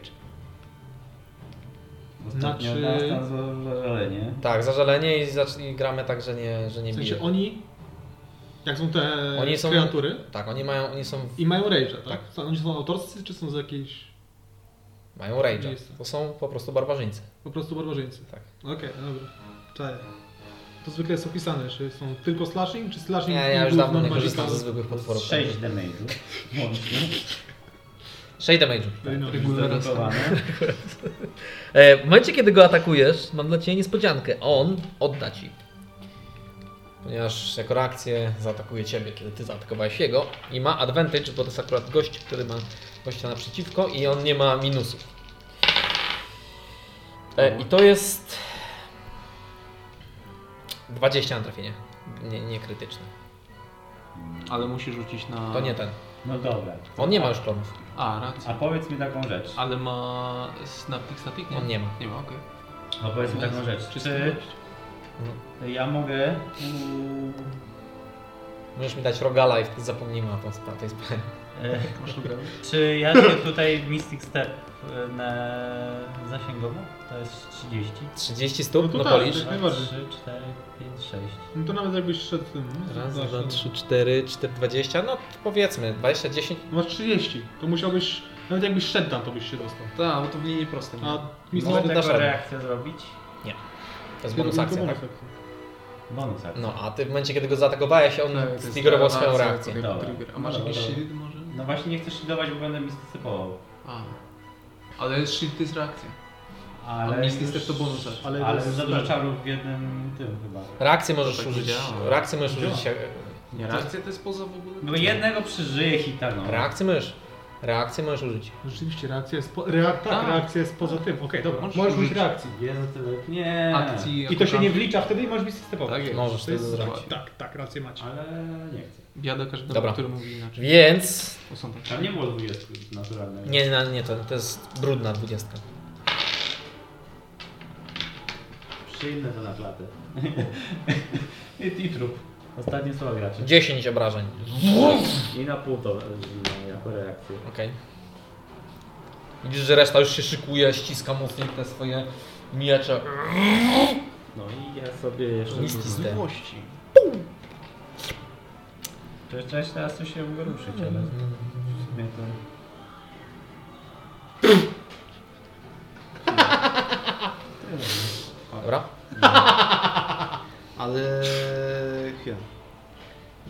S2: Ostatnio
S5: Znaczy-
S2: znaczy... nas tam zażalenie.
S1: Tak, zażalenie i, zacz- i gramy tak, że nie, że nie
S5: W
S1: bije.
S5: sensie oni, jak są te
S1: Oni są-
S5: kreatury
S1: Tak, oni mają, oni są,
S5: i mają rage'a, tak?
S1: Tak.
S5: Co, Oni są autorscy, czy są z jakiejś
S1: mają rage'a.
S5: Jest.
S1: To są po prostu barbarzyńcy.
S5: po prostu barbarzyńcy?
S1: Tak.
S5: Okej, dobra. Czaję. To zwykle jest opisane, czy są tylko slashing, czy slashing
S1: Nie,
S5: i
S1: ja już
S5: główną
S1: dawno nie
S5: magical?
S1: korzystam ze zwykłych
S2: To
S1: potworów.
S2: jest 6 damage'u łącznie. Tak
S1: 6 damage'u.
S5: No,
S1: tak,
S2: Zredukowane.
S1: E, w momencie, kiedy go atakujesz, mam dla Ciebie niespodziankę. On odda Ci. Ponieważ jako reakcję zaatakuje Ciebie, kiedy Ty zaatakowałeś jego. I ma advantage, bo to jest akurat gość, który ma gościa naprzeciwko i on nie ma minusów. E, I to jest... 20 na trafienie. Nie, nie krytyczne.
S4: Ale musi rzucić na...
S1: To nie ten.
S2: No dobra.
S1: On nie ma już klonów.
S4: A, racja.
S2: A powiedz mi taką rzecz.
S4: Ale ma snapik, snapik?
S1: On nie ma.
S4: Nie ma, okej.
S2: A No powiedz mi taką rzecz. Czy ja mogę. mm,
S1: Możesz mi dać rogala i wtedy zapomnimy o tą spra- tej sprawie.
S2: e, Czy ja się tutaj Mystic Step e, na zasięgowo? To jest 30.
S1: 30 stóp,
S5: No to
S1: no
S5: tak.
S1: polisz.
S2: 2,
S5: najbardziej.
S2: 3, 4, 5, 6.
S5: no to nawet jakbyś szedł tym... no,
S1: Raz,
S5: zobacz,
S1: dwa,
S5: no.
S1: trzy, cztery, cztery, dwadzieścia, no powiedzmy, dwadzieścia, dziesięć.
S5: Masz 30, No, to musiałbyś, nawet jakbyś szedł tam, to byś się dostał.
S4: Tak, bo to w linii prostej.
S5: A
S1: No,
S2: Mogę
S5: mistrz...
S1: to
S2: taką
S1: dasz radę.
S2: reakcję zrobić?
S1: To
S5: No,
S1: jest bonus akcja, tak?
S2: Bonus akcja.
S1: No, a ty w momencie, kiedy go zaatakowałeś, on
S4: Tak,
S1: zigerował swoją reakcję.
S2: Dobra.
S4: Trigger. A masz
S2: Dobra,
S4: jakiś
S2: dobra.
S4: shield może?
S2: No właśnie nie chcę shieldować, bo będę mistycypował.
S4: A. Ale shield to jest reakcja.
S2: Ale
S4: A Misty Step
S2: już-
S4: to bonus akcja.
S2: Ale, ale już za dużo czarów w jednym tym chyba.
S1: Reakcję możesz
S4: tak
S1: użyć,
S4: działa.
S1: reakcję możesz użyć, e,
S4: Nie, reakcja to jest poza w ogóle...
S2: No jednego no. przeżyję hitaną.
S1: reakcję możesz, reakcję możesz użyć.
S5: Rzeczywiście, reakcja jest, po, reak, tak,
S4: Tak.
S5: reakcja jest poza tym. Okej, dobra,
S4: Możesz
S5: możesz użyć
S4: użyć.
S5: reakcji.
S2: Jezu, tyle. Nie.
S4: Akcji
S5: I to się
S4: jako
S5: nie
S4: tam-
S5: wlicza wtedy i możesz mistrz stepować.
S4: Tak jest.
S1: Możesz
S5: To
S1: to
S5: jest
S1: zrobić.
S4: dokładnie.
S5: Tak, tak, rację macie.
S2: Ale nie chcę.
S4: Biada każdemu,
S1: Dobra.
S4: który mówi inaczej.
S1: Więc,
S4: To są takie.
S2: Tam nie było 20 naturalnego.
S1: nie, nie, nie, to, to jest brudna dwudziestka.
S2: Przyjemne to na klatę. [LAUGHS] I, I trup. Ostatnie słowa graczy.
S1: 10 obrażeń.
S2: I na pół to e, jako reakcję.
S1: Okej. Widzisz, że reszta już się szykuje, ściska mocniej te swoje miecze.
S2: No i ja sobie jeszcze...
S1: Misty step.
S4: Miłości.
S2: Cześć, cześć, teraz tu się mogę ruszyć, ale... W sumie to...
S1: Dobra.
S4: Ale chwila.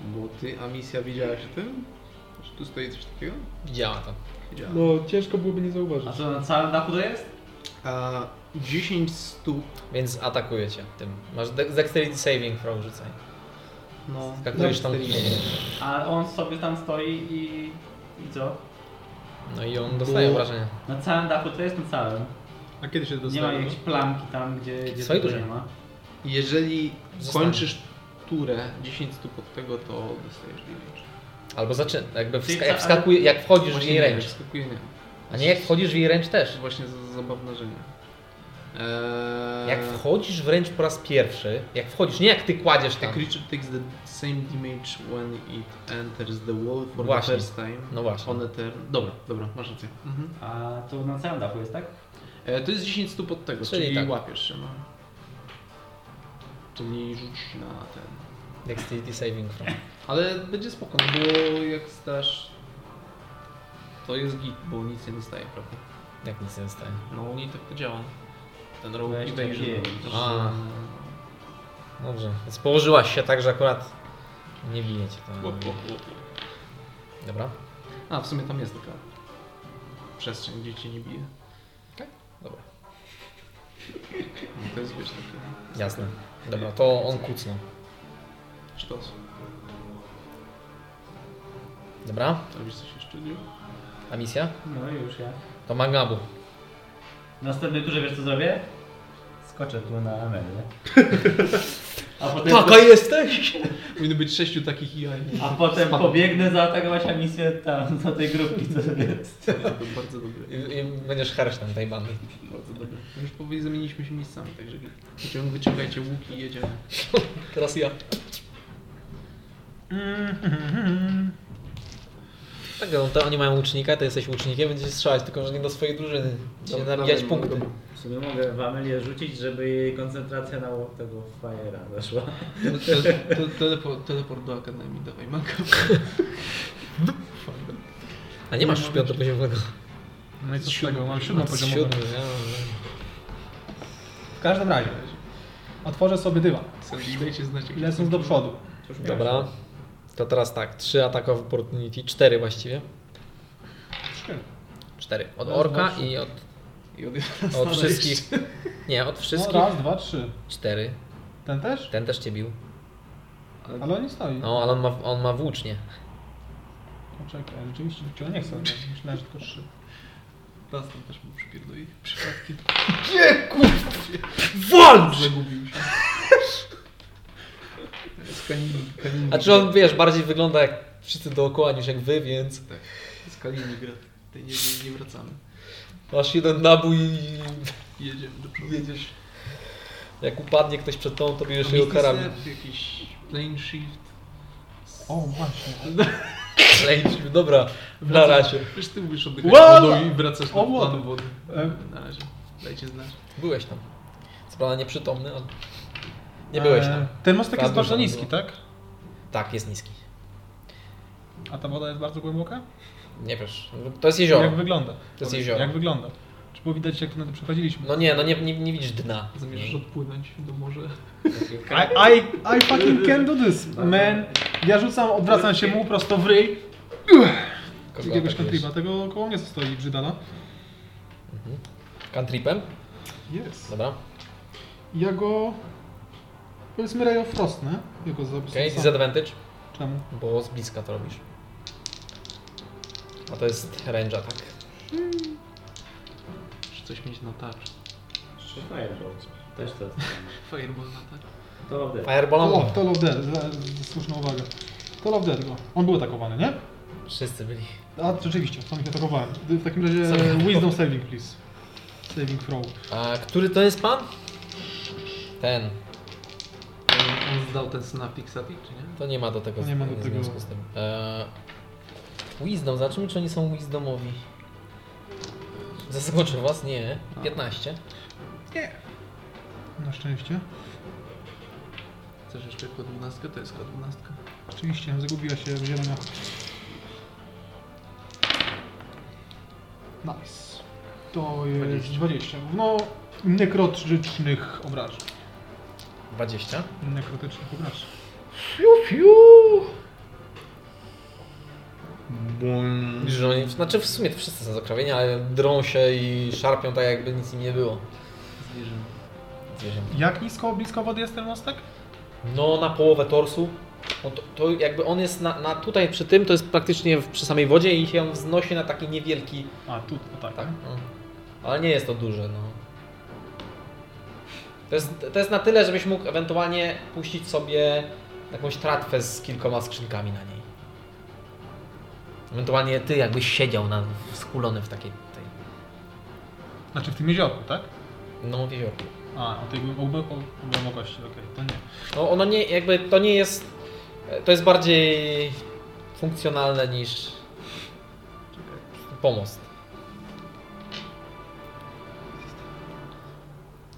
S4: Bo ty, a misja widziałaś o tym? Czy tu stoi coś takiego?
S1: Widziała to.
S4: Widziałem.
S5: No, ciężko byłoby nie zauważyć.
S2: A co, na całym dachu to jest?
S4: A 10 stóp,
S1: Więc atakuje cię tym. Masz de- dexterity saving throw rzucaj.
S4: no...
S1: Skakujesz tam
S4: czterdzieści.
S2: A on sobie tam stoi i... I co?
S1: No i on dostaje
S4: Bo-
S1: obrażenia.
S2: Na całym dachu to jest na całym.
S5: A kiedy się
S2: Nie ma
S5: dostaje?
S2: jakiejś plamki tam, gdzie, gdzie
S1: Stoi
S2: tego
S1: dużo.
S2: nie ma.
S4: Jeżeli
S1: Zostanie.
S4: kończysz turę 10 stóp od tego, to dostajesz damage.
S1: Albo zaczyna, jakby wska-
S2: Czyli
S1: jak,
S2: co,
S1: wskakuje, jak wchodzisz w
S4: Właśnie
S1: jej
S4: nie,
S1: ręcz.
S4: skakuje nie.
S1: A nie jak wchodzisz w jej ręcz też.
S4: Właśnie za- za zabawne, że nie. Eee, Eee,
S1: Jak wchodzisz wręcz po raz pierwszy, jak wchodzisz, nie jak ty kładziesz
S4: A
S1: tam.
S4: creature takes the same damage when it enters the wall for
S1: Właśnie.
S4: the first time.
S1: No właśnie.
S4: On a turn. Dobra, dobra, masz rację. Mhm.
S2: A to na całym dachu jest, tak?
S4: E, to jest 10 stóp od tego,
S1: Czyli
S4: czyli,
S1: tak.
S4: łapiesz się. No. Czyli rzuć na ten.
S1: Dexterity saving from.
S4: Ale będzie spoko, no bo jak zdasz, to jest git, bo nic nie dostaje, prawda?
S1: Jak nic nie zostaje.
S4: No u niej tak to działa. Ten rogue
S2: Weź tak
S4: evasion.
S2: pięć.
S1: A. Dobrze, więc położyłaś się tak, że akurat nie bije cię to.
S4: Łop, łop, łop.
S1: Dobra,
S4: A, w sumie tam jest taka przestrzeń, gdzie cię nie bije. Tak?
S1: dobra,
S4: No to jest, wiesz, taki
S1: jasne. Dobra, to on kucnął.
S4: sztos.
S1: Dobra,
S4: To robisz coś jeszcze, nie?
S1: a misja?
S2: No i już ja.
S1: To Magnabu.
S2: W następnej turze wiesz co zrobię? Skoczę tu na Amelię. A potem,
S4: Tak,
S1: jesteś!
S4: Powinno być sześciu takich jaj.
S2: a potem
S4: Spadł.
S2: pobiegnę zaatakować misję tam, do tej grupki, co jest.
S4: To bardzo dobre.
S1: I, i będziesz hersztem tej bandy.
S4: Bardzo dobre. Już powoli zamieniliśmy się miejscami, także wycią- wyciągajcie łuki i jedziemy.
S1: Teraz ja.
S5: Mm,
S1: Tak, no to oni mają łucznika, ty jesteś łucznikiem, będziesz strzelać, tylko że nie do swojej drużyny. Będziecie
S4: Dobra,
S1: nabijać
S4: dobra,
S1: punkty.
S4: dobra.
S2: W sumie mogę w Amelię rzucić, żeby jej koncentracja na tego fajera zaszła.
S4: No, Te, te, teleport, teleport do akademii, dawaj manga.
S1: A nie masz już piątopoziomowego.
S5: [LAUGHS] No i co z tego, mam
S1: No,
S5: siódmą
S1: to
S5: poziomową.
S1: siódmy, nie?
S5: W każdym razie, otworzę sobie dywan.
S4: Sobie Dajcie znać, jak
S5: Lecąc do przodu.
S1: Dobra. To teraz tak, trzy ataki of opportunity, cztery właściwie.
S5: Trzy.
S1: Cztery. Od
S5: Raz,
S1: orka
S5: dwa, trzy.
S1: i od,
S4: I od
S1: od wszystkich. Nie, od wszystkich.
S5: No, raz, dwa, trzy.
S1: Cztery.
S5: Ten też?
S1: Ten też cię bił.
S5: Ale on nie stoi.
S1: No, ale on ma, on ma włócznie.
S5: Poczekaj, rzeczywiście rzuciło, nie chcę. Myślałem, że tylko trzy.
S4: Nas tam też mu przypierdoli przypadkiem.
S1: Walcz!
S4: Zagubił się. Z Kaliningradu.
S1: A czy on, wiesz, bardziej wygląda jak wszyscy dookoła niż jak wy, więc
S4: Z Kaliningrad. Tutaj nie, nie, nie wracamy.
S1: masz jeden nabój i
S4: Jedziemy do przodu.
S1: jedziesz. Jak upadnie ktoś przed tobą, to bierzesz jego
S4: Misty
S1: karabin. [LAUGHS]
S4: Step, jakiś plane shift.
S5: O, właśnie.
S1: Lęcił, dobra, na razie.
S4: Wiesz, ty mówisz oddychać
S5: Ła!
S4: wodą i wracasz do
S5: O, wodą.
S4: planu wody.
S5: E,
S4: Na razie. Dajcie znać.
S1: Byłeś tam. Co prawda nieprzytomny, ale... Nie byłeś
S5: e,
S1: tam.
S5: Ten mostek
S1: Za
S5: jest bardzo
S1: dużo
S5: niski,
S1: było.
S5: tak?
S1: Tak, jest niski.
S5: A ta woda jest bardzo głęboka?
S1: Nie wiesz, to jest jezioro.
S5: Jak wygląda?
S1: To jest jezioro.
S5: Jak wygląda? Czy było widać, jak na to przechodziliśmy?
S1: No nie, no nie, nie, nie widzisz dna.
S4: Zamierzasz odpłynąć do morza.
S5: I, I, I fucking can do this,
S1: Tak.
S5: man. Ja rzucam, odwracam się mu prosto w ryj.
S1: Kogo
S5: Jakiegoś
S1: atakujesz?
S5: kontriba, tego koło mnie no. stoi brzydana.
S1: Cantripem?
S5: Jest.
S1: Dobra.
S5: Ja go... Powiedzmy Ray of Frost, nie? Ja go
S1: Okej,
S5: zapisałem.
S1: okay, disadvantage,
S5: Czemu?
S1: bo z bliska to robisz. A to jest tak? range atak.
S4: Czy coś mieć na tarczy.
S2: Fireball. Też to jest.
S4: Fireball na tarczy.
S2: To wtedy.
S1: Fireballą.
S5: O, Toll of Dead, za, za słuszną uwagę. Toll of Dead, go. On był atakowany, nie?
S1: Wszyscy byli.
S5: A, rzeczywiście, sam ich atakowałem. W takim razie
S1: Sam-
S5: wisdom saving, please. Saving throw.
S1: A który to jest pan? Ten.
S4: On, on zdał ten snap Pixatic, czy nie?
S1: To nie ma do tego
S5: To nie ma do
S1: w
S5: tego-
S1: związku z tym. Eee, wisdom, zobaczymy czy oni są wisdomowi. Zaskoczy was? Nie. 15.
S5: Na szczęście.
S4: Chcesz jeszcze kod 12? To jest kod 12.
S5: Oczywiście, zagubiła się zielona. Nice. To jest 20. No, nekrotycznych obrażeń.
S1: 20.
S5: Nekrotycznych obrażeń.
S1: Widzisz, że oni, znaczy w sumie to wszyscy są zakrawieni, ale drą się i szarpią tak jakby nic im nie było.
S4: Zwierzę.
S1: Zwierzęta.
S5: Jak nisko, blisko wody jest ten mostek?
S1: No na połowę torsu. No to, to jakby on jest na, na tutaj przy tym, to jest praktycznie w, przy samej wodzie i się wznosi na taki niewielki.
S5: A, tu, to tak.
S1: Tak. No. Ale nie jest to duże, no. To jest, to jest na tyle, żebyś mógł ewentualnie puścić sobie jakąś tratwę z kilkoma skrzynkami na niej. Ewentualnie ty jakbyś siedział na, skulony w takiej tej
S5: Znaczy w tym jeziorku, tak?
S1: No, w jeziorku.
S5: A, o tej głębo- o- o głębokości, okej, to nie.
S1: No ono nie, jakby to nie jest, to jest bardziej funkcjonalne niż pomost.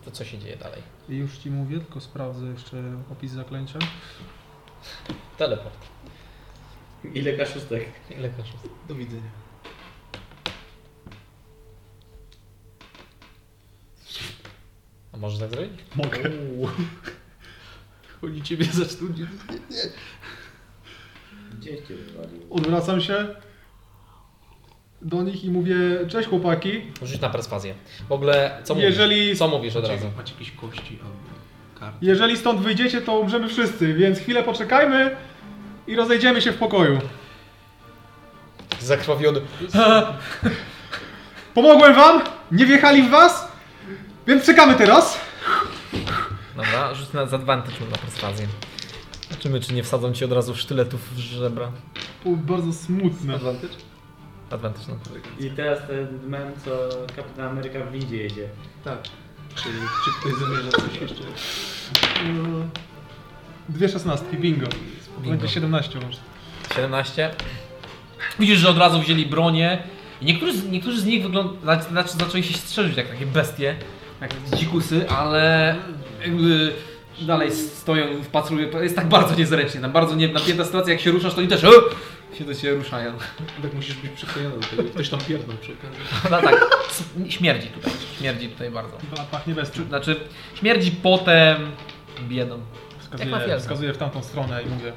S1: To co się dzieje dalej?
S5: I Już ci mówię, tylko sprawdzę jeszcze opis zaklęcia.
S1: Teleport.
S18: Ile kaszustek?
S1: Ile kosztuje?
S4: Do widzenia.
S1: A możesz tak zrobić?
S4: Oni ciebie zaczną... Nie, nie.
S2: Gdzie cię wywalił?
S5: Odwracam się do nich i mówię, cześć chłopaki.
S1: Rzuć na perswazję. W ogóle, co mówisz?
S5: Jeżeli-
S1: Co mówisz od razu?
S4: Macie jakieś kości albo karty?
S5: Jeżeli stąd wyjdziecie, to umrzemy wszyscy, więc chwilę poczekajmy i rozejdziemy się w [LAUGHS] pokoju.
S1: Zakrwawiony.
S5: Pomogłem wam, nie wjechali w was, więc czekamy teraz.
S1: Dobra, rzuć na z advantage na perswazję. Zobaczymy, czy nie wsadzą ci od razu sztyletów w żebra.
S5: O, bardzo smutne.
S1: Advantage no. na
S2: I teraz ten mem, co Kapitan Ameryka w windzie jedzie.
S4: Tak. Czy, czy ktoś zamierza coś jeszcze?
S5: Dwie szesnastki, bingo.
S1: Bingo.
S5: Będzie 17 może.
S1: 17. Widzisz, że od razu wzięli bronię. I niektórzy, z- niektórzy z nich wygląda, znaczy, zaczęli się strzelać jak takie bestie, jak dzikusy, ale jakby dalej stoją i wpatrują. To jest tak bardzo niezręcznie, tam bardzo nie, napięta sytuacja, jak się ruszasz, to oni też e, się do ciebie ruszają.
S4: Tak musisz być przyklejony do tego. Ktoś tam pierdol przy okazji.
S1: [LAUGHS] No tak, s- śmierdzi tutaj, śmierdzi tutaj bardzo.
S5: Chyba Pachnie bestią.
S1: Znaczy, śmierdzi potem biedą. Jak
S5: Wskazuję,
S1: mafiozny.
S5: wskazuję w tamtą stronę i mówię.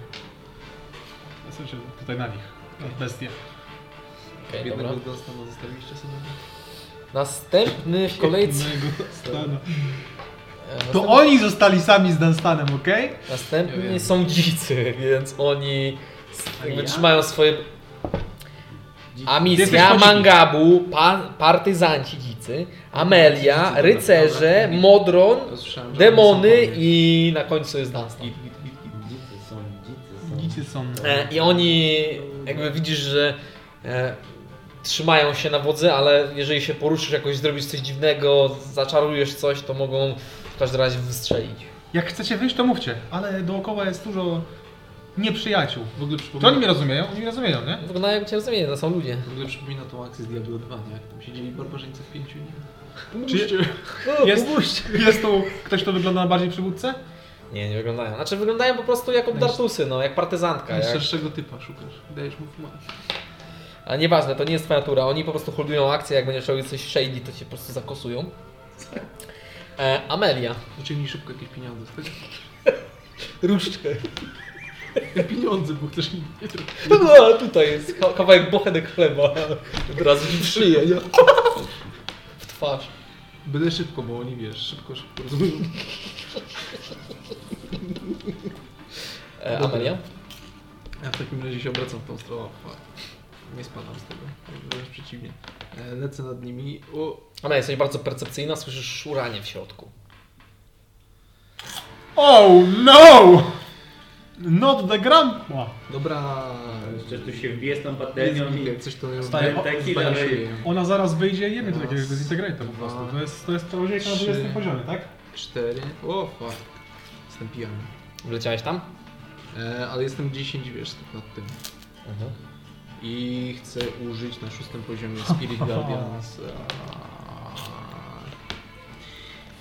S5: W sensie tutaj na nich, na bestie.
S1: Okej,
S4: Jednego z nas tam zostawiliście sobie?
S1: Następny w kolejce... E,
S5: Mego Stana. To oni zostali sami z Danstanem, okej?
S1: Następni
S4: Nie wiem.
S1: są dzicy, więc oni s- jakby trzymają swoje. A misja
S5: Jesteś
S1: Mangabu, pa, partyzanci dzicy, Amelia,
S4: No, dobra,
S1: rycerze,
S4: dobra.
S1: modron,
S4: To słyszałem, że
S1: demony
S4: oni są podobni.
S1: i na końcu jest Dunstan.
S2: Dzicy są, dzicy są.
S5: Widzicie są.
S1: E, I oni jakby widzisz, że e, trzymają się na wodzy, ale jeżeli się poruszysz jakoś, zrobisz coś dziwnego, zaczarujesz coś, to mogą w każdym razie wystrzelić.
S5: Jak chcecie wyjść, to mówcie, ale dookoła jest dużo nieprzyjaciół.
S4: W ogóle
S5: To oni
S4: przypomina,
S5: mnie rozumieją, oni mnie rozumieją, nie?
S1: Wyglądają jak cię rozumieją, to są ludzie.
S4: w ogóle przypomina tą akcję z Diablo 2, nie? Jak tam siedzieli barbarzyńcy w pięciu, nie?
S5: Czy
S1: No,
S5: jest, jest tu ktoś, kto wygląda na bardziej przywódcę?
S1: Nie, nie wyglądają. Znaczy wyglądają po prostu jak obdartusy, no, jak partyzantka. Jak...
S4: Szerszego typa szukasz. Dajesz mu fumar.
S1: A nieważne, to nie jest twoja tura. Oni po prostu holdują akcję, jak będziesz robił coś shady, to cię po prostu zakosują. E, [LAUGHS] Amelia.
S4: Wyciągnij Znaczy, szybko jakieś pieniądze tak? [LAUGHS] z tego.
S1: Różdżkę.
S4: Pieniądze, bo chcesz mi...
S1: No, tutaj jest ka- kawałek bochenek chleba. Od razu ci w szyję, [LAUGHS] nie? W twarz.
S4: Byle szybko, bo oni wiesz, szybko, szybko rozumieją.
S1: E, Amelia.
S4: Ja w takim razie się obracam w tą stronę. Fuck. Nie spadam z tego. Wręcz przeciwnie. E, Lecę nad nimi. O,
S1: Amelia, jesteś bardzo percepcyjna, słyszysz szuranie w środku.
S5: Oh no! Not the grandpa!
S4: dobra.
S2: Jeszcze tu się wbije z tą baterią
S4: Jest
S2: i...
S4: Coś to ją
S5: Wstaję,
S4: zba-
S2: taki
S4: zbaniaszuję.
S5: Ona zaraz wyjdzie i jemy do takiego
S4: Raz,
S5: zintegrate po prostu. To jest to jest czarodziejka na
S4: trzy.
S5: 20 poziomie, tak?
S4: Cztery. O, fuck. Jestem pijany.
S1: Wleciałeś tam?
S4: E, ale jestem 10, wiesz, nad tym.
S1: Mhm.
S4: I chcę użyć na szóstym poziomie
S2: [LAUGHS]
S4: Spirit Guardians. Eee,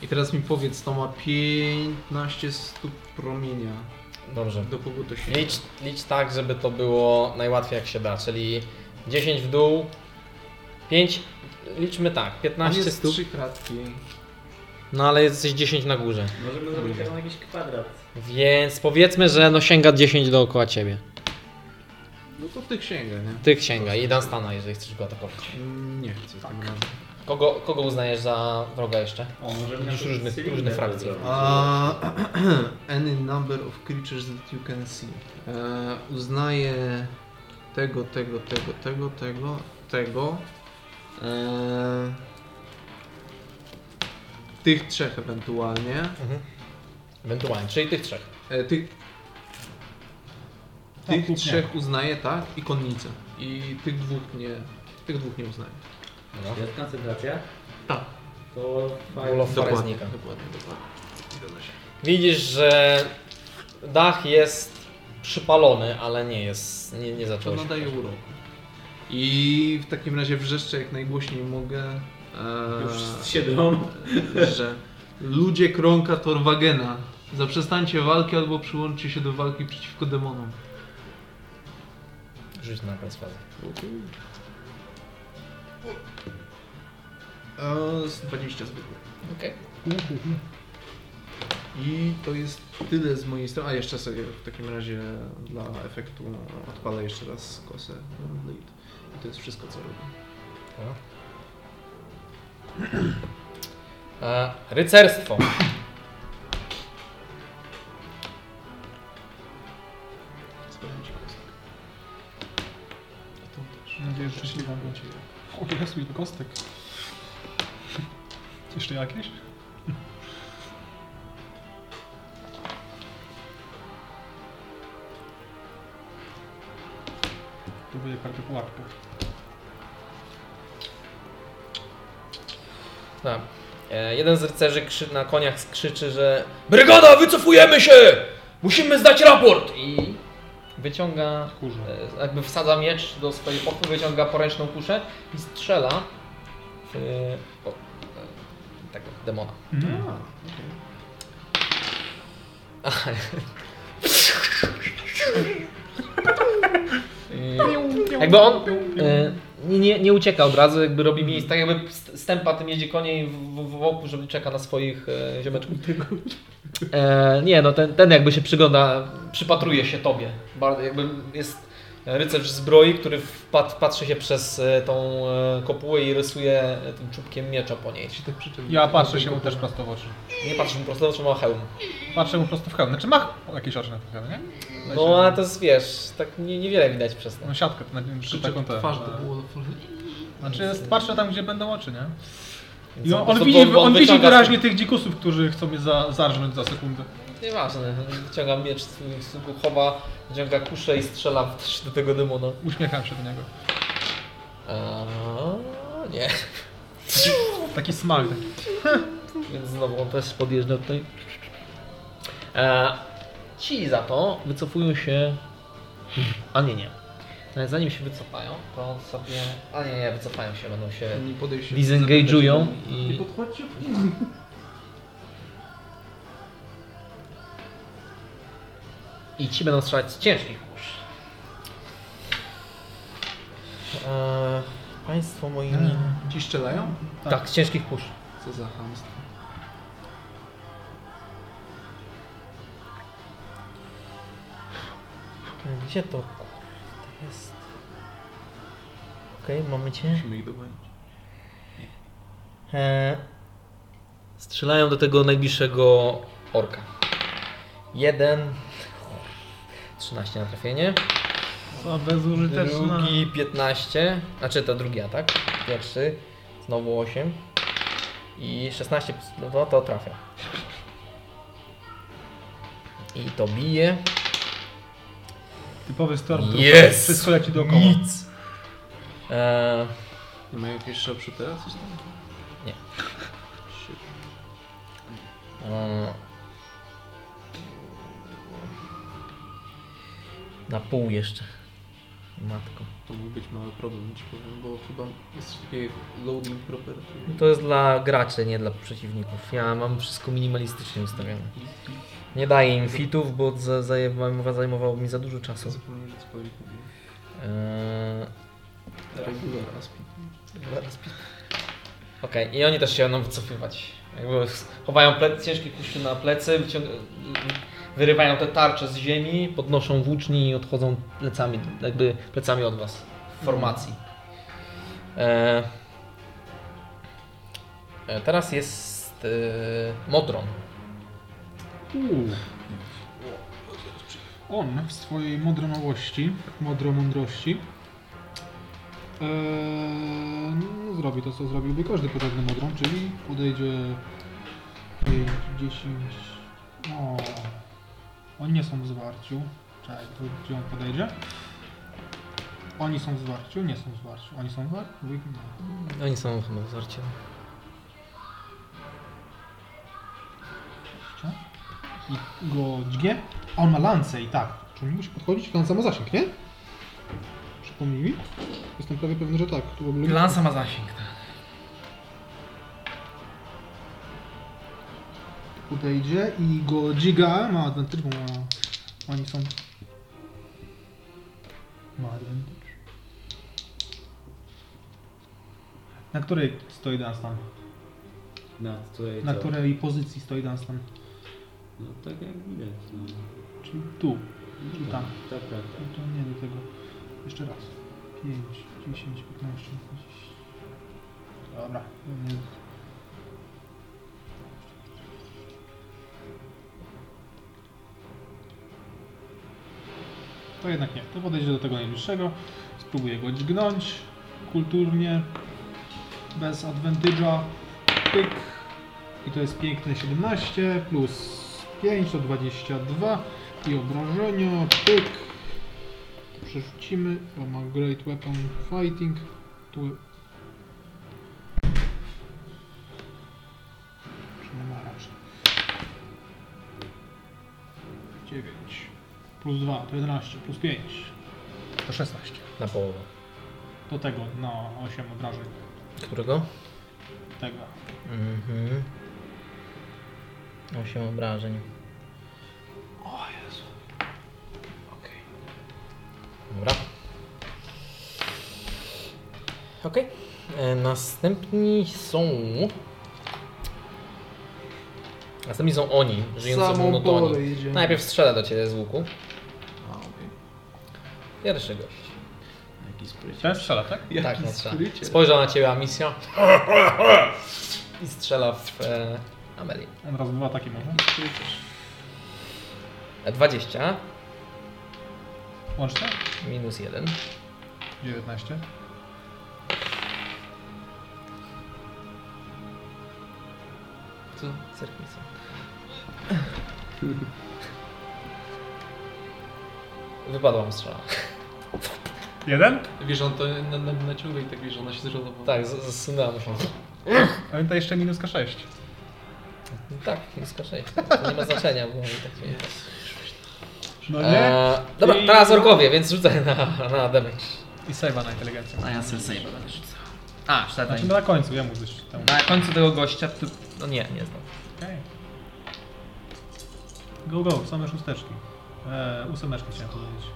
S4: I teraz mi powiedz, to ma 15 stóp promienia.
S1: Dobrze.
S4: Do kogo to się...
S1: Licz, licz tak, żeby to było najłatwiej jak się da, czyli 10 w dół, 5, liczmy tak,
S4: On
S1: 15
S4: jest
S1: stóp,
S4: 3 kratki.
S1: no ale jesteś 10 na górze,
S2: Możemy zrobić taką jakiś kwadrat.
S1: więc powiedzmy, że no sięga 10 dookoła ciebie.
S4: No to ty księga, nie?
S1: Ty sięga i dan stana, jeżeli chcesz go atakować.
S4: Mm, Nie chcę tak.
S1: Kogo, kogo uznajesz za wroga jeszcze?
S2: O, możemy
S1: Już
S2: na przykład
S1: różne-
S2: cylinder
S1: różne frakcje.
S2: zrobić.
S4: [CLEARS THROAT] any number of creatures that you can see. Eee, uznaję tego, tego, tego, tego, tego, tego. Eee, tych trzech ewentualnie.
S1: Ewentualnie, czyli tych trzech.
S4: E, tych
S5: Tak,
S4: tych
S5: lub nie.
S4: trzech uznaję, tak? I konnicę. I tych dwóch nie. Tych dwóch nie uznaję.
S1: No.
S2: Jest koncentracja?
S4: Tak.
S2: To
S1: Wall of Fire
S4: Dokładnie,
S1: znika.
S4: dokładnie, dokładnie. Zgadza się.
S1: Widzisz, że dach jest przypalony, ale nie jest, nie, nie
S4: To
S1: zaczął się. tak
S4: nadaje urok. I w takim razie wrzeszczę jak najgłośniej mogę,
S2: Już
S4: e,
S2: z siedmą.
S4: że ludzie krąka Torwagena, zaprzestańcie walki albo przyłączcie się do walki przeciwko demonom.
S1: Rzuć na perswazję.
S4: E, z 20 zwykłych.
S1: Okej.
S4: I to jest tyle z mojej strony. A jeszcze sobie w takim razie dla efektu odpalę jeszcze raz kosę na Blade. I to jest wszystko co robię.
S1: E, Rycerstwo.
S4: Sprawdzam ci kostek. I tą też.
S5: Mam nadzieję, że szczęśliwa będzie. O, Jezu, ile kostek. Jeszcze jakieś? Próbuję kartę pułapkę.
S1: Tak. E, jeden z rycerzy krzy, na koniach skrzyczy, że Brygada, wycofujemy się! Musimy zdać raport! I wyciąga,
S5: Kurzu.
S1: e, jakby wsadza miecz do swojej pochwy, wyciąga poręczną kuszę i strzela w e, o, e, tego demona.
S5: Mm.
S1: E, jakby on e, nie, nie, nie ucieka od razu, jakby robi miejsce, tak jakby st- stępa tym jedzie konie i w, w, wokół, żeby czeka na swoich e, ziomeczków. E, nie, no ten, ten jakby się przygląda, przypatruje się tobie. Bardzo, jakby jest rycerz zbroi, który wpat, patrzy się przez e, tą e, kopułę i rysuje e, tym czubkiem miecza po niej.
S4: Ci tak przyczepię.
S5: Ja patrzę się mu też prosto w oczy.
S1: Nie patrzy mu prosto, trzyma hełm.
S5: Patrzę mu prosto w hełm. Znaczy ma jakieś oczy na tym hełmie, nie?
S1: No ale to jest, wiesz, tak nie, niewiele widać przez to.
S5: No siatkę, to na nim
S4: Przyczep twarz do było.
S5: e. Znaczy jest, patrzę tam, gdzie będą oczy, nie? I
S1: Co, po
S5: on, No, on
S1: prostu
S5: widzi, on widzi
S1: wyciąga
S5: wyraźnie tych dzikusów, którzy chcą mnie za, zarżnąć za sekundę.
S1: Swój, nieważne, wyciąga miecz swój, swój chowa, wyciąga kuszę i strzela w, też do tego demona.
S5: Uśmiecham się do niego.
S1: A, nie.
S5: Taki smak. Taki.
S1: Więc znowu on też podjeżdża tutaj. E, ci za to wycofują się. A nie, nie. Ale Zanim się wycofają, to sobie. A nie, nie, wycofają się, będą się.
S4: Nie podejść się.
S1: Disengage'ują
S19: Nie
S1: i.
S19: podchodźcie.
S1: I ci będą strzelać z ciężkich kusz. E, państwo moi.
S5: E,
S4: Ci strzelają?
S1: Tak. tak, z ciężkich kusz.
S4: Co za hamstwo.
S1: E, Gdzie to kurde jest? Okej, mamy cię.
S4: Musimy ich dogonić.
S1: E, Strzelają do tego najbliższego orka. Jeden. 13 na trafienie.
S5: To bezużyteczna.
S1: Drugi 15. Znaczy to drugi atak. Pierwszy. Znowu 8. I 16 plus 2 to trafia. I to bije.
S5: Typowy storm.
S1: Jest!
S5: Wszystko leci dookoła.
S1: E,
S4: Nie ma jakiejś szopszu teraz? Coś tam?
S1: Nie.
S4: Shit.
S1: E, Na pół jeszcze. Matko.
S4: To mógł być mały problem, ci powiem, bo chyba jest coś takiego jak loading property.
S1: To jest dla graczy, nie dla przeciwników. Ja mam wszystko minimalistycznie ustawione. Nie daję im fitów, bo za- zajmowa- zajmowało mi za dużo czasu.
S4: Zapomniałem, że cokolwiek mówię.
S1: Eee, Tak.
S4: Regular aspect.
S1: Okej, i oni też się będą wycofywać. Jakby chowają plec, ciężkie kuszy na plecy, wyciąg- wyrywają te tarcze z ziemi, podnoszą włóczni i odchodzą plecami, jakby plecami od was. W formacji. E, e, teraz jest e, Modron.
S5: On w swojej modromałości, modromądrości, eee, no, zrobi to, co zrobiłby każdy podobny modrom, czyli podejdzie 5, 10. O, oni nie są w zwarciu. Czekaj, to gdzie on podejdzie? Oni są w zwarciu? Nie są w zwarciu. Oni są w zwarciu? Bo ich nie ma.
S1: Oni są chyba wzorcie.
S5: i go dźgnie. A on ma lancę i tak.
S20: Czy on nie musi podchodzić? Lanza ma zasięg, nie? Przypomnij mi? Jestem prawie pewny, że tak. To byłoby logiczne.
S21: Lansa ma zasięg, tak.
S20: podejdzie i go dźga. Ma advantage, bo ma... Oni są... Ma advantage.
S5: Na której stoi Dunstan?
S2: Na której
S5: Na
S2: co?
S5: której pozycji stoi Dunstan?
S2: No tak jak widać. No.
S5: Czyli tu. Czyli tam.
S2: Tak, tak, tak.
S5: No To nie do tego. Jeszcze raz. 5, 10, 15, 20. Dobra. Nie. To jednak nie. To podejdzie do tego najbliższego. Spróbuję go dźgnąć. Kulturnie. Bez advantage'a. Pyk. I to jest piękne 17 plus 5 to 22 i obrażenia. Pyk. To przerzucimy. To ma Great Weapon Fighting. Tu. Czy nie ma raczej? 9 plus 2 to 11 plus 5 to 16.
S1: Na połowę.
S5: Do tego na 8 obrażeń.
S1: Którego?
S5: Tego.
S1: Mhm. Osiem obrażeń. O Jezu. Okej. Dobra. Okej. E, Następni są... Następni są oni, żyjący w monotonii. Najpierw strzela do Ciebie z łuku.
S21: A, okej.
S1: Pierwszy gość.
S21: Jaki spryt.
S5: Ten strzela, tak?
S1: tak, no strzela. Spojrzał na Ciebie misja. I strzela w e, Amelię.
S5: On raz dwa takie może.
S1: E, 20
S5: Łącznie?
S1: minus 1.
S5: 19.
S4: Co?
S1: Serwisem. [LAUGHS] Wypadła mu strzała.
S5: Jeden?
S4: Wiesz, on to na, na, naciąga i tak wiesz, ona się zrozumowała.
S1: Tak, z- zsunęła mu się.
S5: Pamiętaj jeszcze minuska 6.
S1: Tak, blisko 6. To nie ma znaczenia, bo i tak się...
S5: No
S1: Eee, dobra,
S5: I-
S1: teraz orkowie, więc rzucaj na, na damage.
S5: I save'a na inteligencję.
S21: A ja Cersei'a będę rzucał. A,
S5: Znaczy
S21: cztery.
S5: no na końcu, ja mu coś tam.
S21: Na końcu tego gościa ty...
S1: No nie, nie znam.
S5: Okej. Go, go, same szósteczki. Eee, ósemeczki chciałem powiedzieć.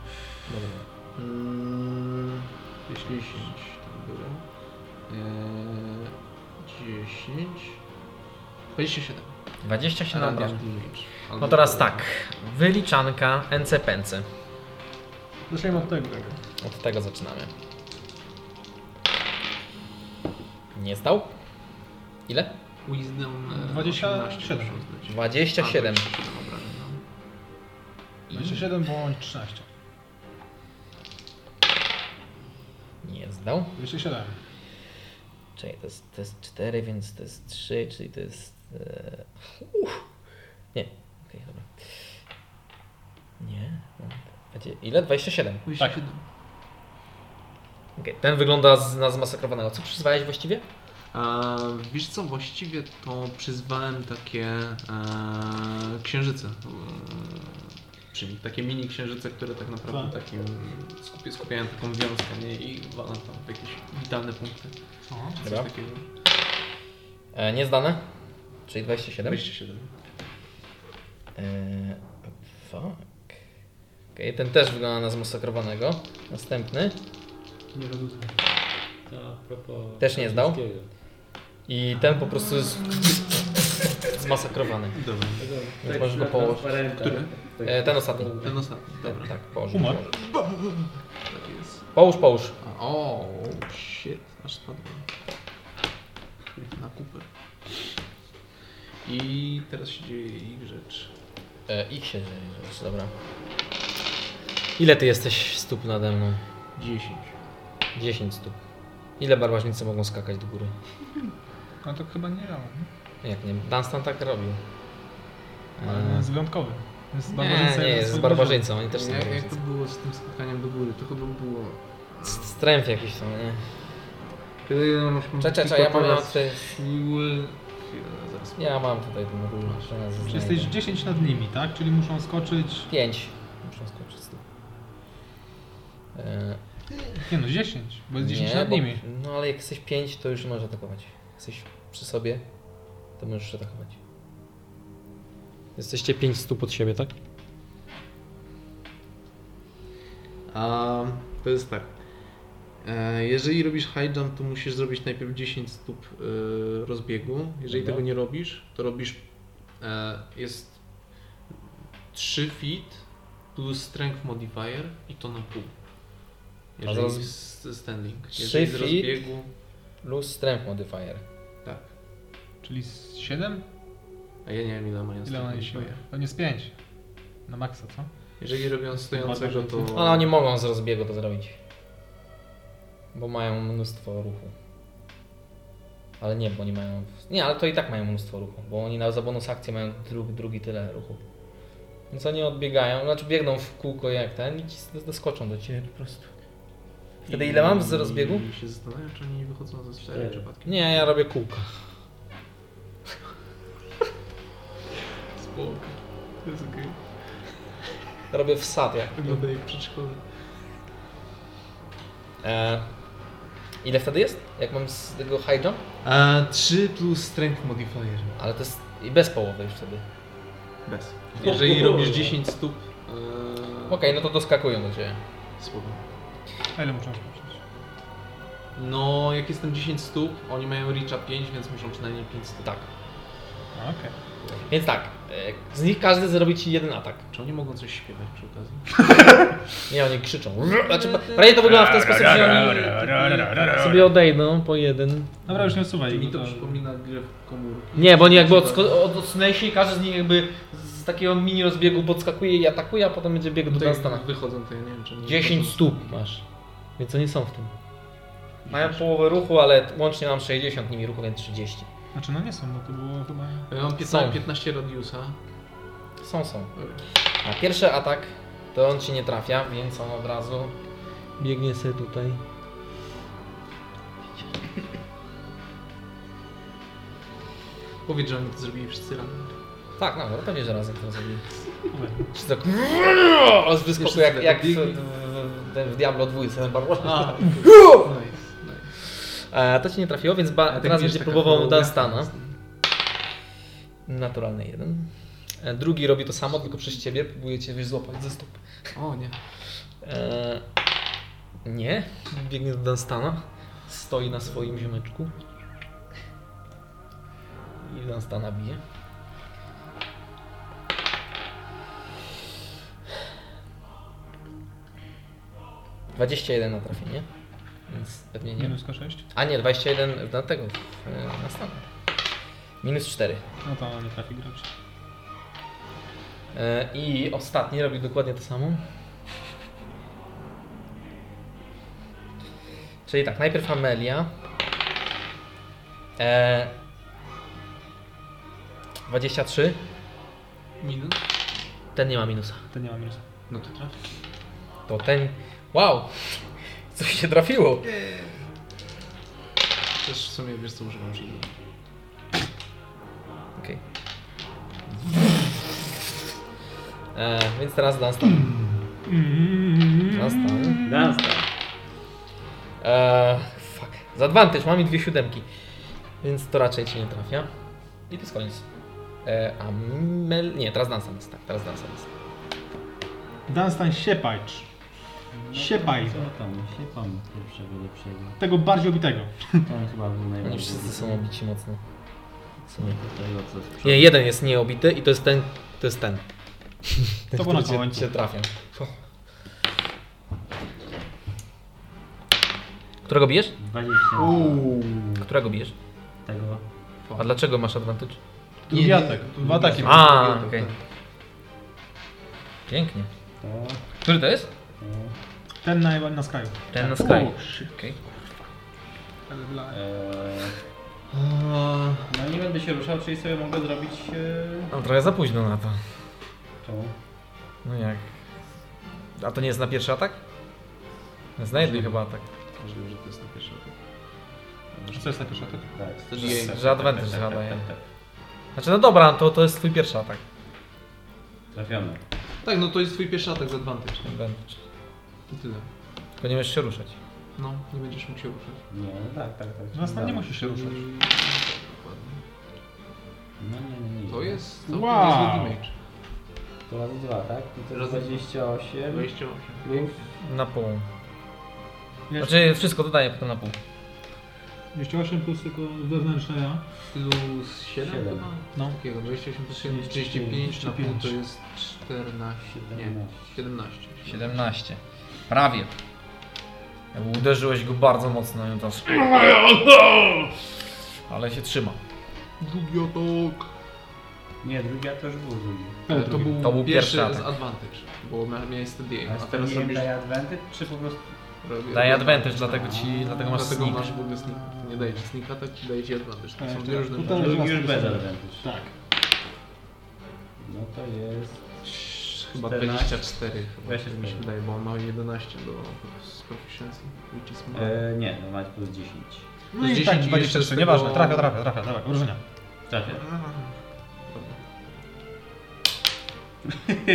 S4: Mm,
S5: 10.
S4: 10 tam było. E, Eee, 10. 27.
S1: 27 obrażeń.
S4: damage.
S1: No teraz tak. Wyliczanka NC pęcy.
S5: Zacznijmy od tego.
S1: Od tego zaczynamy. Nie stał? Ile?
S4: Wisdom e,
S5: 27.
S4: 18 muszę zdać.
S1: 27.
S4: A, 27 obrażeń, no.
S1: Mm.
S5: 27 bądź 13.
S1: Nie zdał.
S5: 27.
S1: Czyli to jest, to jest 4, więc to jest 3, czyli to jest. E... Uff. Nie. Okej, dobra. Nie. Będzie- Ile? 27.
S4: 27.
S1: Okej, Ten wygląda z, na zmasakrowanego. Co przyzwałeś właściwie?
S4: A, wiesz co, właściwie to przyzwałem takie e, księżyce. E, czyli takie mini księżyce, które tak naprawdę
S5: Tak.
S4: takim skupia, skupiają taką wiązkę nie? i walam tam w jakieś witalne punkty. Coś
S1: Dobra.
S4: takiego.
S1: E, niezdane. Czyli 27.
S4: 27.
S1: Eee, fuck. Okej, ten też wygląda na zmasakrowanego. Następny.
S2: Nie rozumiem. A propos...
S1: Też nie zdał?
S2: wszystkiego.
S1: I ten po prostu jest [LAUGHS] zmasakrowany.
S4: Dobra.
S2: Tak,
S1: Więc możesz go położyć.
S4: Który?
S1: E, ten ostatni.
S4: Ten ostatni. Dobra.
S1: Ten, tak, położ.
S5: Umarł.
S1: położ.
S4: Taki jest.
S1: Połóż, połóż.
S4: A, O, shit, aż spadłem. Na kupę. I teraz się dzieje ich rzecz.
S1: E, ich się rzecz, dobra. Ile ty jesteś stóp nade mną?
S4: 10.
S1: 10 stóp. Ile barbarzyńcy mogą skakać do góry?
S5: No to chyba nie działa.
S1: Jak nie, Dunstan tak robił.
S5: Ale on jest wyjątkowy. Jest
S1: Mm. nie, nie, jest z barbarzyńcą, oni też są
S4: jak, jak
S1: barbarzyńcy.
S4: to było z tym skakaniem do góry? To chyba było...
S1: Stręf jakiś tam, nie?
S4: Kiedy masz
S1: Czekaj, czekaj, ja mam
S4: teraz
S1: ja mam tutaj...
S4: siły... chwilę, zaraz.
S1: Ja mam tutaj ten ogólny szczęście.
S5: Czy jesteś 10 nad nimi, tak? Czyli muszą skoczyć...
S1: 5. Muszę skoczyć z tego. E,
S5: Nie no, 10, bo jest 10
S1: nie,
S5: nad
S1: bo-
S5: nimi.
S1: No ale jak jesteś 5, to już nie możesz atakować. Jak Jesteś przy sobie, to możesz atakować.
S22: Jesteście 5 stóp od siebie, tak?
S4: A to jest tak. E, Jeżeli robisz high jump, to musisz zrobić najpierw 10 stóp e, rozbiegu. Jeżeli
S1: Dobra.
S4: tego nie robisz, to robisz e, jest 3 feet plus strength modifier i to na pół. Jeżeli
S1: zroz-
S4: z z standing.
S1: 3
S4: Jeżeli z
S1: feet?
S4: rozbiegu,
S1: Plus strength modifier.
S4: tak.
S5: Czyli z 7?
S4: A ja nie wiem ile mają
S5: Ile
S4: strength
S5: ona jest siły?
S4: modifier.
S5: To nie z 5. Na maksa, co?
S4: Jeżeli robią stojącego, to...
S1: Ale oni No, mogą z rozbiegu to zrobić. Bo mają mnóstwo ruchu. Ale nie, bo oni mają. Nie, ale to i tak mają mnóstwo ruchu, bo oni na za bonus akcję mają drugi, drugi tyle ruchu. Więc oni odbiegają, znaczy biegną w kółko jak ten i ci s- doskoczą do ciebie po prostu. Wtedy ile mam z rozbiegu?
S4: I się zastanawiam, czy oni nie wychodzą ze sfery
S2: Cztery.
S4: przypadkiem.
S1: Nie, ja robię kółka.
S4: Spoko. To jest okej.
S1: Robię wsad jak.
S4: Wygląda jak przedszkole.
S1: E, ile wtedy jest? Jak mam z tego high jump?
S4: A 3 plus strength modifier.
S1: Ale to jest i bez połowy już wtedy.
S4: Bez. Jeżeli robisz 10 stóp. e,
S1: Okej, no to doskakują do ciebie.
S4: Spoko.
S5: A ile muszą skoczyć?
S4: No, jak jestem 10 stóp, oni mają reacha 5, więc muszą przynajmniej 5 stóp.
S1: Tak.
S5: A, No, Okej.
S1: Więc tak, e, z nich każdy zrobi ci jeden atak.
S4: Czy oni mogą coś śpiewać przy okazji?
S1: Nie, oni krzyczą. Znaczy, prawie to wygląda w ten sposób, że oni sobie odejdą po jeden.
S5: Dobra, już nie odsuwaj.
S4: Mi
S5: no
S4: to przypomina grę w komórki.
S1: Nie, bo oni jakby odsko- od- odsunęli się i każdy z nich jakby z takiego mini rozbiegu podskakuje i atakuje, a potem będzie biegł do
S4: Tutaj
S1: Dunstana.
S4: wychodzą, to ja nie wiem, czy nie
S1: 10 stóp masz, więc oni są w tym. Mają połowę ruchu, ale łącznie mam 60 nimi ruchu, więc 30.
S5: Znaczy, no nie są, bo to było chyba...
S4: Ja mam 15,
S1: Są.
S4: 15 radiusa.
S1: Są, są. A pierwszy atak to on ci nie trafia, więc on od razu biegnie sobie tutaj.
S4: Powiedz, że oni to zrobili wszyscy razem.
S1: Tak, no, no pewnie, że razem to zrobili.
S5: Dobra.
S1: Czy tak [LAUGHS] z wyskoku jak, jak w, w, w, w Diablo 2 ten barbarzysta.
S4: A, [LAUGHS] nice, nice.
S1: [LAUGHS] E, To ci nie trafiło, więc ba-
S4: A tak
S1: teraz
S4: wiesz,
S1: będzie
S4: taka
S1: próbował
S4: choreografia
S1: Dunstana.
S4: jest, nie?
S1: Naturalny jeden. E, Drugi robi to samo, tylko przez ciebie próbuje cię wiesz, złapać ze stóp.
S4: O nie.
S1: E, nie, biegnie do Dunstana. Stoi na swoim ziomeczku. I Dunstana bije. Dwadzieścia jeden na trafienie. Więc pewnie nie.
S5: Minus 6.
S1: A nie, 21 na tego, w, e, na stan. Minus 4.
S5: No to nie trafi gracz.
S1: E, I ostatni robi dokładnie to samo. Czyli tak, najpierw Amelia. E, 23.
S4: Minut?
S1: Ten nie ma minusa.
S5: To nie ma minusa.
S4: No to trafi.
S1: To ten. Wow! Coś się trafiło.
S4: Też w sumie wiesz co używam shieldu.
S1: Okej. E, więc teraz Dunstan. Dunstan.
S2: Dance.
S1: Eee, fuck. Z advantage mam i dwie siódemki. Więc to raczej ci nie trafia. I to jest koniec. Eee, a mel... Nie, teraz Dansan jest, tak. Teraz Dansan jest.
S5: Dunstan siepajcz.
S4: No
S5: Siepaj.
S2: Co tam? Siepam pierwszego lepszego.
S5: Tego bardziej obitego.
S2: Ten chyba był najbardziej.
S1: Oni wszyscy są obici mocno. W sumie.
S2: Tego, co z przodu.
S1: Nie, jeden jest nieobity i to jest ten... To jest ten. Tak
S5: To było na
S1: który cię,
S5: końcu.
S1: cię trafia. Którego bijesz?
S2: 20.
S1: Którego bijesz?
S2: Tego.
S1: A dlaczego masz advantage?
S5: Drugi atak. Dwa ataki.
S1: A, okej. Pięknie.
S2: To.
S1: Który to jest?
S5: Ten na, na skraju.
S1: Ten na skraju. Okej.
S2: Eee, no nie będę się ruszał, czyli sobie mogę zrobić. Eee,
S1: No trochę za późno na to.
S2: czemu?
S1: No jak? A to nie jest na pierwszy atak? Znajdź chyba atak.
S4: Możliwe, że to jest na pierwszy atak.
S5: Czy to jest taki szatek?
S2: Tak.
S4: Jej.
S1: Że advantage zadaje.
S2: [LAUGHS]
S1: Znaczy, no dobra, to, to jest twój pierwszy atak.
S2: Trafiony.
S4: Tak, no to jest twój pierwszy atak z advantage.
S1: Advantage.
S4: I tyle.
S1: Tylko nie możesz się ruszać.
S4: No, nie będziesz mógł się ruszać.
S2: Nie, no tak, tak, tak.
S5: No, tam nie musisz się ruszać.
S4: Mm, dokładnie.
S2: No nie, nie, nie.
S4: To jest całkiem
S5: Wow.
S4: niezły damage.
S2: To razy dwa, tak? I to jest
S4: Razy dwa.
S2: 28
S4: 28.
S2: plus...
S1: Na pół. Znaczy, wszystko dodaję potem na pół.
S23: 28 plus tylko wewnętrzne ja.
S4: Plus 7
S2: Siedem.
S4: chyba?
S23: No.
S4: Takiego, 28 plus 7, 35, na pół to jest 14, nie, 17.
S24: 17. Prawie.
S1: Jakby Uderzyłeś go bardzo mocno i on teraz... Ale się trzyma.
S4: Drugi atak.
S2: Nie, drugi, a to już był drugi.
S4: Ale to był,
S1: To był
S4: pierwszy,
S1: pierwszy
S4: z
S1: atak.
S4: advantage, bo mia- miałeś
S2: A
S4: DA, a
S2: jest
S4: teraz
S2: to nie
S4: robisz...
S2: daje advantage, czy po prostu...
S4: robię-
S1: Daje advantage, dlatego ci... dlatego masz
S4: Dlatego
S1: sneak.
S4: masz w ogóle sneak. Ty nie dajesz sneak attack, ty dajesz advantage. To są
S23: Tak,
S4: dwie
S23: tak.
S4: różne
S23: Tutaj-
S4: rzeczy.
S2: Drugi No już
S23: raz
S2: bez
S23: pisałem.
S2: advantage.
S23: Tak.
S2: No to jest...
S4: Chyba
S2: 14.
S4: 24 chyba, tak
S2: 24.
S4: mi się wydaje, bo on ma 11 do z proficiency, which is more.
S2: E, nie, no mać plus 10.
S5: No
S4: Z
S5: i
S4: 10
S5: tak,
S4: i
S5: 23,
S4: jeszcze
S5: nieważne,
S4: tego-
S5: trafia, trafia, trafia, dawaj, urożenia.
S2: Trafia.
S23: [LAUGHS]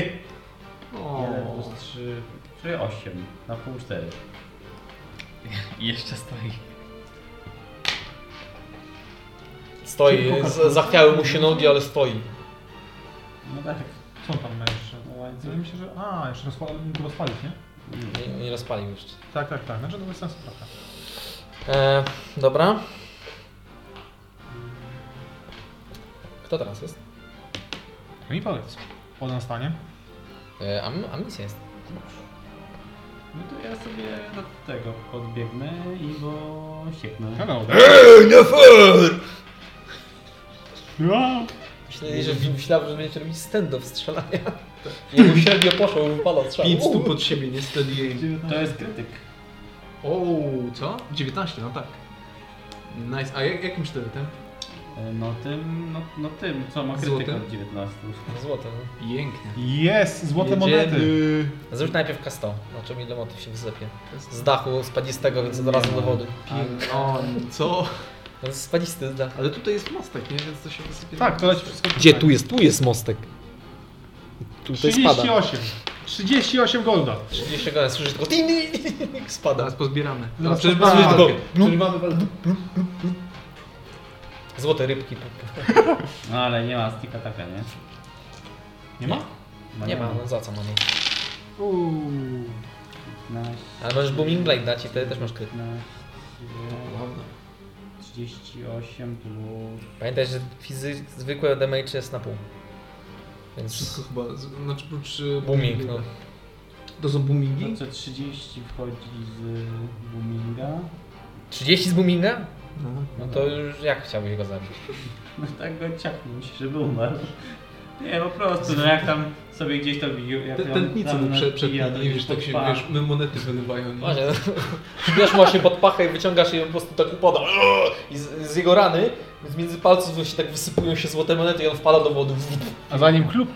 S4: O,
S2: 1 plus 3... Czyli 8. Na pół 4.
S24: I jeszcze stoi.
S1: Stoi, z- zachwiały mu się nogi, ale stoi.
S2: No tak.
S5: Co on tam ma jeszcze?
S2: No łańcuch.
S5: Wydaje mi się, że... A, jeszcze rozpa... mógł rozpalić, nie?
S2: Mhm.
S1: Nie, nie rozpalił jeszcze.
S5: Tak, tak, tak, znaczy to bez sensu trochę.
S1: E, dobra. Kto teraz jest?
S5: To mi No powiedz, on stanie?
S1: E, am, amicja jest.
S2: No to ja sobie do tego podbiegnę i go sieknę.
S5: Hello there. Wow.
S1: Myśleli, że myślałem, że będziecie robić stand-up [LAUGHS] strzelania. I mu średnio poszło, mu wypadał strzał.
S4: 5 stóp od siebie, niestety jej.
S2: To jest krytyk.
S4: O, co? 19, no tak. Nice, a jak, jakim sztyletem?
S2: E, No tym, no, no tym, co ma krytyk
S4: Złotem?
S2: od 19.
S1: Złote.
S4: Pięknie.
S5: Jest, złote monety.
S4: Jedziemy.
S1: no. Zrób najpierw kasto. Znaczy ile motyw się wysypie. Z dachu spadistego, więc od razu do wody.
S4: O, co?
S1: To jest spadisty z dachu.
S4: Ale tutaj jest mostek, nie? Więc to się wysypie.
S5: Tak, to leci wszystko tak.
S1: jest? Tu jest mostek. Tutaj
S5: 38. 38 golda.
S1: 30 godzin, słyszysz tylko tin, tin, spada.
S4: Teraz pozbieramy.
S5: No,
S4: Teraz
S5: przecież mamy
S4: pozbieramy.
S1: Złote rybki.
S2: No ale nie ma stika taka, nie?
S5: Nie ma?
S2: No
S1: Nie ma, no za co mamy.
S2: 15,
S1: Ale możesz Booming Blade dać i wtedy też masz kryt.
S2: 15,
S4: Ładno.
S2: 38 plus...
S1: Pamiętaj, że fizy... zwykłe damage jest na pół. Więc
S4: Wszystko chyba, z- znaczy prócz... e,
S1: booming, no.
S4: To są boomingi?
S2: To No, co 30 wchodzi z boominga.
S1: 30 z boominga?
S4: No.
S1: No to już jak chciałbyś go zabić?
S2: No tak go ciachnął się, żeby umarł. Nie, po prostu, no jak tam sobie gdzieś to bił, jak
S4: Ten-
S2: on
S4: Tętnicy
S2: tam
S4: mu przed, przed
S2: napija, to
S4: nimi, wiesz, tak
S2: pod
S4: się,
S2: pach.
S4: wiesz, my monety wylewają. nie?
S1: Właśnie, [LAUGHS] bierz mu się pod pachę i wyciągasz i on po prostu tak upada. I z, z jego rany, z między palców się tak wysypują się złote monety i on wpada do wody.
S5: A za nim klub.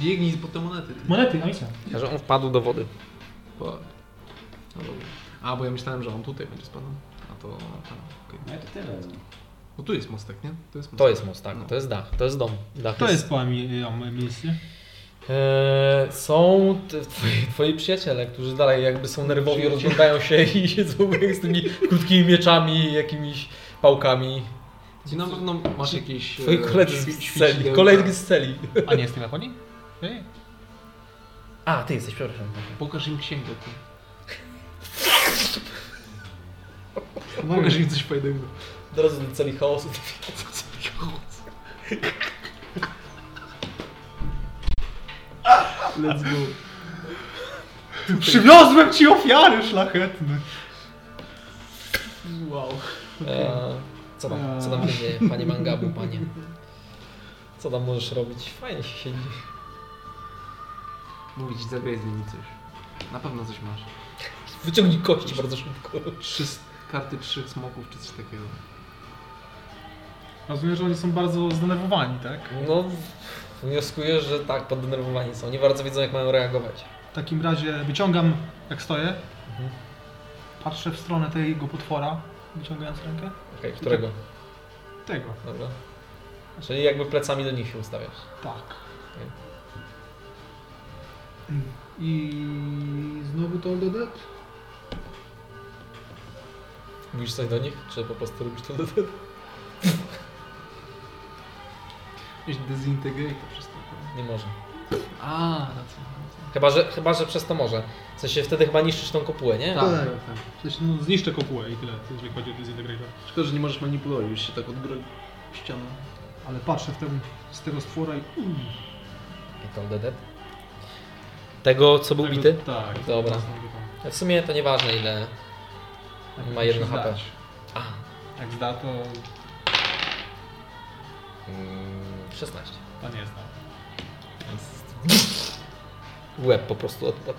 S4: Biegnij po te monety. Ty.
S5: Monety, a misja.
S1: Że on wpadł do wody.
S4: Po... No dobra. A, bo ja myślałem, że on tutaj będzie spadał. A to tam, okej.
S2: No i to tyle.
S4: Bo tu jest mostek, nie? To jest mostek.
S1: To jest most, tak.
S4: No.
S1: To jest dach, to jest dom. Dach
S5: To jest po misji.
S1: Eee, są t- twoi, twoi przyjaciele, którzy dalej jakby są nerwowi, rozglądają się i siedzą z tymi krótkimi mieczami, jakimiś pałkami.
S4: Ty na pewno no, masz jakieś...
S1: Twoi
S4: e, tak.
S1: koledzy
S4: ćwi-
S1: z celi.
S4: ćwiczydełka.
S1: Koledzy z celi.
S5: A nie jest tyle po nim? Ej.
S1: A, ty jesteś, przepraszam.
S4: Pokaż im księgę. Ty. Pokaż im coś fajnego.
S1: Od razu do celi chaosu.
S4: Let's go.
S5: Przywiozłem ci ofiary szlachetne.
S4: Wow.
S1: Eee, co tam, co tam się dzieje, panie Mangabu, panie? Co tam możesz robić? Fajnie się siedzi.
S4: Mówić, zagraj z nimi coś. Na pewno coś masz.
S1: Wyciągnij kości bardzo szybko.
S4: Trzy s- karty trzech smoków czy coś takiego.
S5: Rozumiem, że oni są bardzo zdenerwowani, tak?
S1: No, wnioskuję, że tak, poddenerwowani są. Nie bardzo wiedzą, jak mają reagować.
S5: W takim
S1: Mhm.
S5: razie wyciągam, jak stoję. Patrzę w stronę tego potwora wyciągając rękę.
S1: Okej, którego?
S25: Tego.
S1: Dobra. Czyli jakby plecami do nich się ustawiasz.
S25: Tak.
S1: Okej.
S25: I znowu to do dead?
S1: Mówisz coś do nich, czy po prostu robisz to do
S25: Jakiś dezintegrate przez to.
S1: Nie może.
S4: A, racja.
S1: Chyba że, chyba, że przez to może. W sensie wtedy chyba niszczysz tą kopułę, nie?
S4: Tak.
S25: W sensie, no, zniszczę kopułę i tyle, jeżeli chodzi o dezintegrator.
S4: Szkoda, że nie możesz manipulować, już się tak odbroni ścianą.
S25: Ale patrzę w ten, z tego stwora i... Mm,
S1: Piton Dedet. Tego, co był
S25: tego-
S1: bity?
S25: Tak. tak.
S1: Dobra.
S25: teraz mam go tam.
S1: W sumie to nieważne ile Mhm. ma
S5: Musi
S1: jedno HP.
S5: zdać.
S1: A.
S5: Jak zda, to
S1: Mm, 16.
S5: to nie zda.
S1: Łeb po prostu odpadł.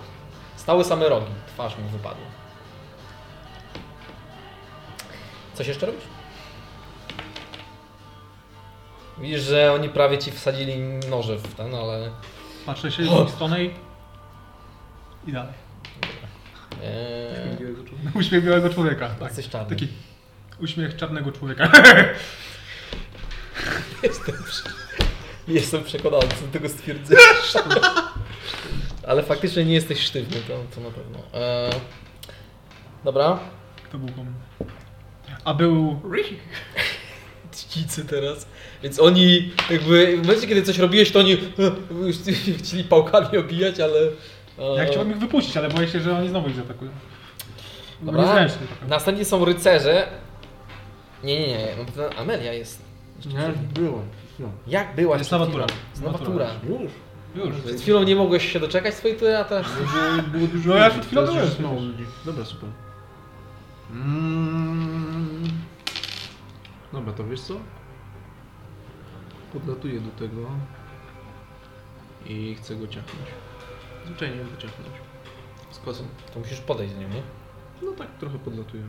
S1: Stały same rogi, twarz mu wypadła. Coś jeszcze robisz? Widzisz, że oni prawie ci wsadzili noże w ten, ale
S5: Patrzę się w drugą stronę i... I dalej.
S1: Eee,
S5: [LAUGHS] Uśmiech białego człowieka. Tak.
S1: jesteś czarny.
S5: Taki uśmiech czarnego człowieka. [LAUGHS]
S1: Jestem, prze- jestem przekonany co do tego
S5: [LAUGHS]
S1: stwierdzenia. Ale faktycznie nie jesteś sztywny, to, to na pewno. Eee, dobra.
S5: To był komun. A był...
S1: Czcicy teraz. Więc oni jakby w momencie, kiedy coś robiłeś, to oni e, e, [LAUGHS] chcieli pałkami obijać, ale... e,
S5: Ja chciałbym ich wypuścić, ale boję się, że oni znowu ich zaatakują.
S1: Dobra.
S5: Niezręcznie trochę.
S1: Następnie są rycerze. Nie, nie, nie. no to Amelia jest.
S26: Nie, było. No.
S1: Jak byłaś?
S5: Jest
S1: przed
S5: nowa tura.
S1: chwilą?
S5: Jest
S1: Nowa
S5: nowa
S1: tura.
S26: Już.
S5: Już.
S1: Przed chwilą nie mogłeś się doczekać swojej tury, a teraz...
S26: Było, było dużo
S5: No ja
S26: ludzi,
S5: przed chwilą
S26: teraz już
S5: byłem
S26: jest mało
S5: przecież.
S26: ludzi. Dobra, super. Mm. Dobra, to wiesz co?
S4: Podlatuję do tego i chcę go ciachnąć. Zwyczajnie go ciachnąć. Z kosą.
S1: To musisz podejść do niego, nie?
S4: No tak trochę podlatuję.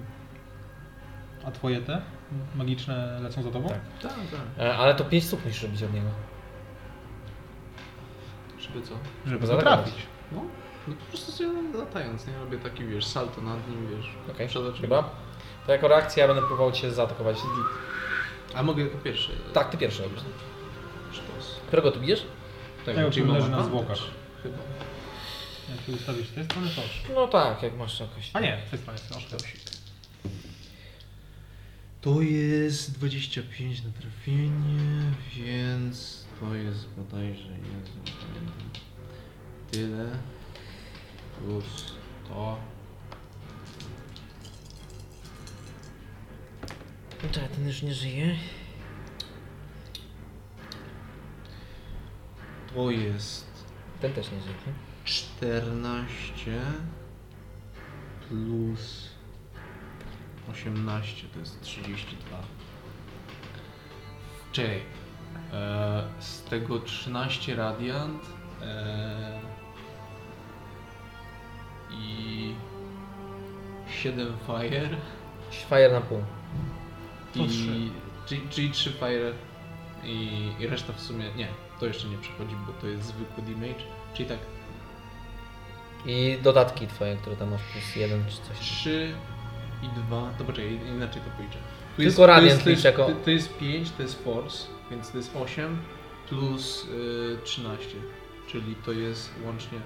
S5: A twoje te magiczne lecą za tobą?
S1: Tak.
S4: Tak, tak.
S1: E, Ale to 5 stóp musisz robić od niego.
S4: Żeby co?
S5: Żeby
S1: Zaatakować. Tak,
S5: zatrafić.
S4: No po prostu sobie latając, nie? Robię taki, wiesz, salto nad nim, wiesz.
S1: Okej,
S4: Przed oczami.
S1: chyba. To jako reakcja ja będę próbował cię zaatakować.
S4: A mogę jako pierwszy.
S1: Tak, ty pierwszy robisz. no.
S4: Sztos.
S1: Którego tu bijesz?
S5: Tego, który
S4: Jima
S5: Tak leży
S4: ma
S5: na
S4: advantage.
S5: zwłokach.
S4: Chyba.
S5: Jak się ustawisz z tej strony, to...
S1: No tak, jak masz jakoś...
S5: A nie, z tej strony. Proszę.
S4: To jest 25 na trafienie, więc to jest bodajże Jezu, pamiętam. tyle plus to.
S1: Czekaj, ten już nie żyje.
S4: To jest
S1: Ten też nie żyje. nie?
S4: 14 plus 18 to jest 32. Czekaj. E, z tego 13 radiant e, i 7 fire
S1: Fire na pół.
S5: To
S4: i
S5: trzy.
S4: czyli, czyli 3 fire i, i reszta w sumie nie, to jeszcze nie przechodzi, bo to jest zwykły damage. Czyli tak
S1: I dodatki twoje, które tam masz, plus jeden czy coś.
S4: 3 i 2. To poczekaj, inaczej to policzę. Tu
S1: Tylko
S4: to
S1: radiant
S4: jest, to,
S1: licz
S4: jest,
S1: jako-
S4: to, to jest 5, to jest force, więc to jest 8 plus y, 13, czyli to jest łącznie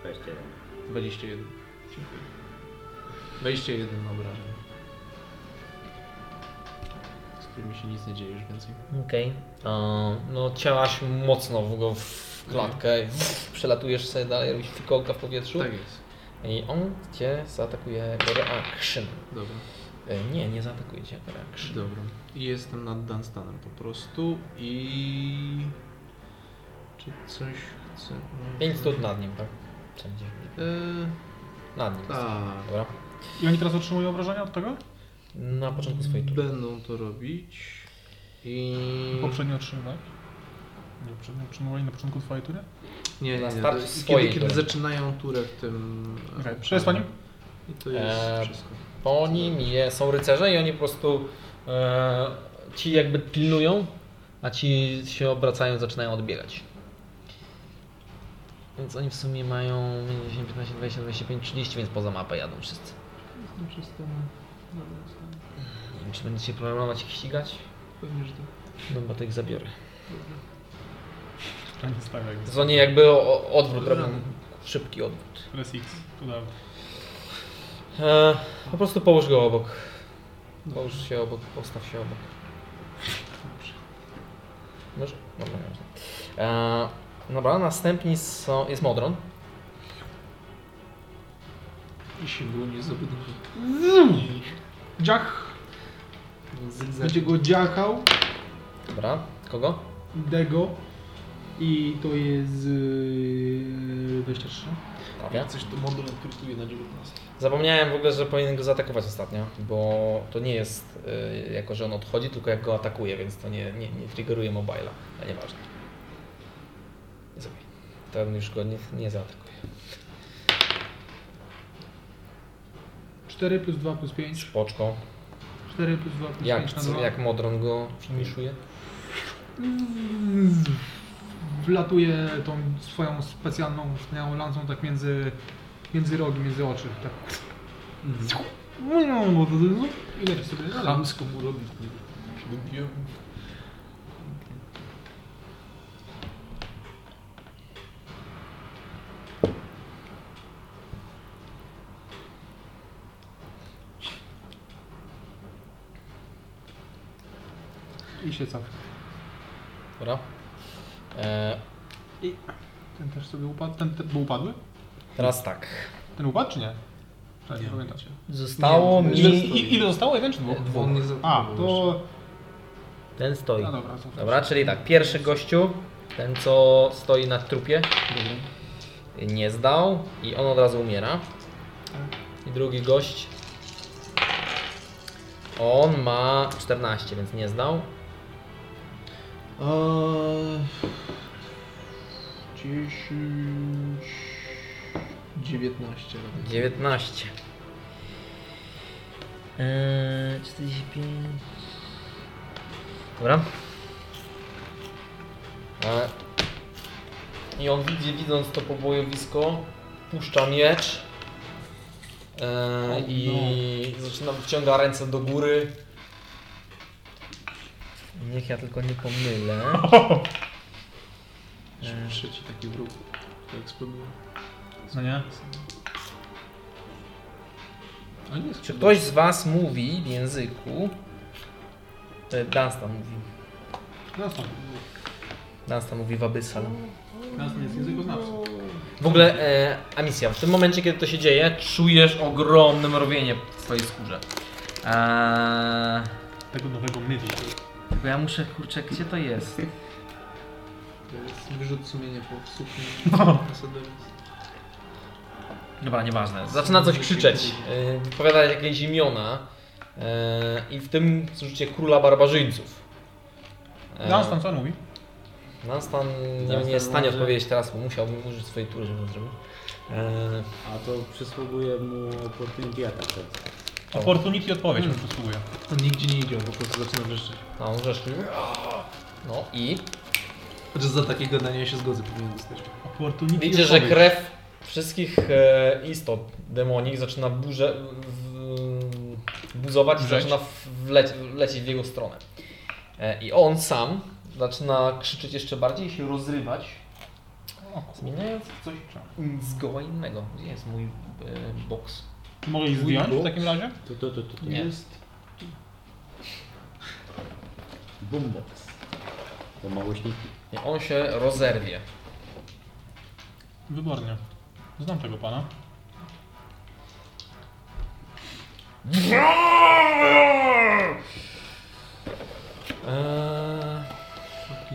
S27: 21.
S4: 21. Dziękuję. 21 obrażeń. Z którymi się nic nie dzieje już więcej.
S1: Okej. Okay. No ciałaś mocno w go w klatkę i przelatujesz sobie dalej, robisz fikołka w powietrzu.
S4: Tak jest.
S1: I on cię zaatakuje jako reaction.
S4: Dobra.
S1: E, Nie, nie zaatakuje cię jako reaction.
S4: Dobra. I jestem nad Dunstanem po prostu i... Czy coś chcę...
S1: Pięć stóp nad nim, tak? Wszędzie.
S4: Eee,
S1: Nad nim. jest.
S4: tak.
S1: Dobra.
S5: I oni teraz otrzymują obrażenia od tego?
S1: Mm. Na początku swojej tury.
S4: Będą to robić. I.
S5: Poprzednio otrzymywali? Nie, poprzednio otrzymywali na początku twojej tury?
S4: Nie,
S1: Na
S4: nie, nie.
S1: start
S4: to-
S1: swojej
S4: Kiedy, kiedy
S1: tury.
S4: zaczynają turę w tym.
S1: No.
S5: Okej, przejść po nim?
S4: I to jest
S1: Eee,
S4: wszystko.
S1: Po nim je, są rycerze i oni po prostu e, ci jakby pilnują, a ci się obracają, zaczynają odbiegać. Więc oni w sumie mają 10, 15, 20, 25, 30, więc poza mapę jadą wszyscy. Nie wiem, czy będziecie planować ich ścigać?
S3: Pewnie, że tak.
S1: No bo to ich zabiorę.
S5: To nie tak, stawia jakby.
S1: To nie jakby o, o- odwrót robią. Szybki odwrót.
S5: To jest X. To dawno.
S1: E, po prostu połóż go obok. Połóż się obok, postaw się obok. Może? Dobra, nieważne. e, Dobra, następni są, jest Modron.
S4: I się broni za budynku.
S1: Hmm.
S5: Dziach. Będzie go dziachał.
S1: Dobra, kogo?
S5: Dego. I to jest... Yy, 23.
S1: Tawia.
S4: Coś to modul odkrytuje na 19.
S1: Zapomniałem w ogóle, że powinien go zaatakować ostatnio, bo to nie jest y, jako, że on odchodzi, tylko jak go atakuje, więc to nie, nie, nie triggeruje mobile'a, ale nieważne. Nie zabij. To on już go nie, nie zaatakuje.
S5: 4 plus 2 plus 5.
S1: Spoczko.
S5: 4 plus 2 plus
S1: Jak,
S5: 5 na 2.
S1: jak Modron go finiszuje?
S5: Wlatuje tą swoją specjalną wspaniałą lancą tak między, między rogi, między oczy. Tak.
S1: Mhm.
S5: No, bo to- I leci sobie dalej.
S4: Chamsko mu robić, nie wiem. Przydobiłem.
S5: I się cofnie.
S1: Dobra. E,
S5: Ten też sobie upadł. Ten, ten był upadły?
S1: teraz tak.
S5: Ten upadł czy nie? Tak, nie pamiętacie.
S1: Zostało
S4: Nie,
S5: Ile,
S1: mi...
S5: i, ile zostało? Jeden czy dwóch?
S4: On nie za...
S5: A, to...
S1: Ten stoi.
S5: No dobra, to
S1: Dobra, czyli tak, pierwszy gościu, ten co stoi na trupie, nie zdał i on od razu umiera. I drugi gość, on ma 14, więc nie zdał.
S4: Eee, 10... 19 robię.
S1: 19. Eee, 45. Dobra. Eee. I on widzi, widząc to pobojowisko, puszcza miecz. Eee, I zaczyna wciąga ręce do góry. Niech ja tylko nie [LAUGHS] pomylę. E.
S4: Eee. Trzeci taki wróg. To eksploduje.
S5: No nie? No
S4: A nie
S1: Czy
S4: eksploduje.
S1: ktoś z Was mówi w języku? E, Dunstan mówi.
S5: Został.
S1: Dunstan mówi w Abyssal.
S5: Nas nie jest językoznawcą.
S1: W ogóle, e, Amicia, w tym momencie, kiedy to się dzieje, czujesz ogromne mrowienie w twojej skórze. Eee,
S5: Tego nowego myli.
S1: tylko ja muszę, kurczę, gdzie to jest?
S4: To jest wyrzut sumienia po sukni. [LAUGHS]
S1: Dobra, nieważne. Zaczyna coś krzyczeć, e, wypowiadać jakieś imiona e, i w tym słyszycie króla barbarzyńców. E,
S5: Dunstan, co on mówi?
S1: Dunstan nie, nie
S2: Dunstan
S1: jest w stanie
S2: może-
S1: odpowiedzieć teraz, bo musiałbym użyć swojej tury, żeby to zrobić. E,
S2: A to przysługuje mu tak? opportunity attack teraz.
S5: Opportunity odpowiedź
S1: Hmm.
S5: mu przysługuje.
S4: On nigdzie nie idzie, on po prostu zaczyna wrzeszczeć.
S1: no, rzeszki. No i
S4: Chociaż za takie gadanie się zgodzę powinien dostać.
S5: Opportunity
S1: Widzicie, że
S5: odpowiedź.
S1: krew wszystkich e, istot demonik zaczyna burze, w, buzować i
S5: Brzeć.
S1: zaczyna w- wleć, lecieć w jego stronę. E, I on sam zaczyna krzyczeć jeszcze bardziej i się rozrywać,
S5: O, kurwa.
S1: zmieniając w coś zgoła innego. Gdzie jest mój e, box?
S5: Mogę ich zdjąć w takim razie?
S2: Tu, tu, tu, tu, tu.
S1: Nie.
S2: Jest. Boombox. To ma głośniki.
S1: I on się rozerwie.
S5: Wybornie. Znam tego pana.
S1: Eee,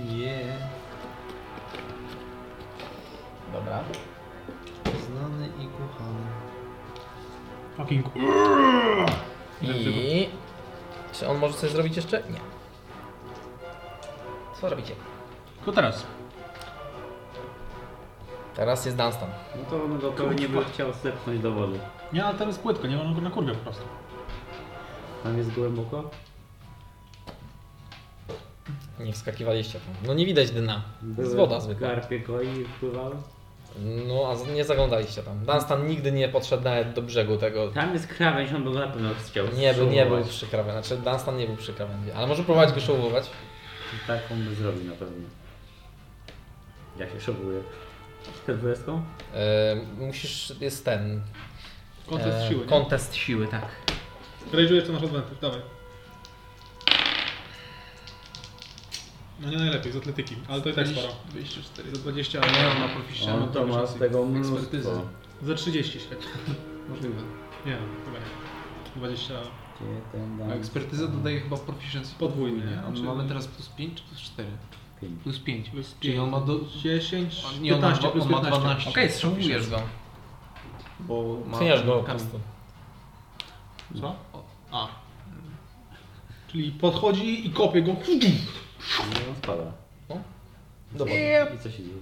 S4: Nie,
S1: dobra.
S4: znany i kochany.
S5: Fucking
S1: I... Czy on może coś zrobić jeszcze? Nie. Co robicie?
S5: To teraz.
S1: Teraz jest Dunstan.
S2: No to on go pewnie by chciał zepchnąć do wody.
S5: Nie, ale teraz płytko, nie mam go na kurwie po prostu.
S1: E,
S2: Tam jest głęboko?
S1: Nie wskakiwaliście tam. No nie widać dna.
S2: Byłem
S1: Jest woda zwykła.
S2: w garpie koi i wpływałem.
S1: No, a z- nie zaglądaliście tam. Dunstan nigdy nie podszedł nawet do brzegu tego.
S2: Tam jest krawędź, on by go na pewno chciał
S1: Nie był, nie był
S2: spróbować.
S1: przy krawędzi. Znaczy, Dunstan nie był przy krawędzi. Ale może próbować go szołować.
S2: Tak on by zrobił na pewno. Ja się szokuję. Czterdziestką?
S1: E, musisz, jest ten.
S5: Kontest
S1: e,
S5: siły, nie?
S1: Kontest siły, tak.
S5: Realizujesz to nasz advantage, dawaj. No nie najlepiej, z atletyki, ale to i tak sporo.
S4: 204.
S5: Za 20,
S4: Nie no.
S5: ale
S4: mam na proficientu,
S2: On to ma z
S4: szansy.
S2: tego
S4: Ekspertyzy.
S2: mnóstwo.
S5: za 30 średnio.
S4: Możliwe.
S5: Nie, no, chyba nie. 20,
S2: Gdzie ten
S4: A
S2: dam?
S4: ekspertyza dodaje chyba proficiency
S5: Podwójnie,
S4: podwójnie. A my
S5: czy-
S4: Tak. mamy teraz plus 5 czy plus 4?
S2: Pięć.
S4: Plus 5.
S5: plus 5,
S4: Czyli on ma do-
S5: 10,
S4: on- nie, on ma
S5: 15
S4: dwa-
S5: plus
S4: on ma
S5: 15.
S4: 12.
S1: Okej, strzałujesz go.
S4: Bo ma
S1: Ceniasz go po
S4: kamień.
S1: prostu.
S5: Co? A. Czyli podchodzi i kopie go.
S2: No on spada.
S1: Dobra.
S2: I co się dzieje?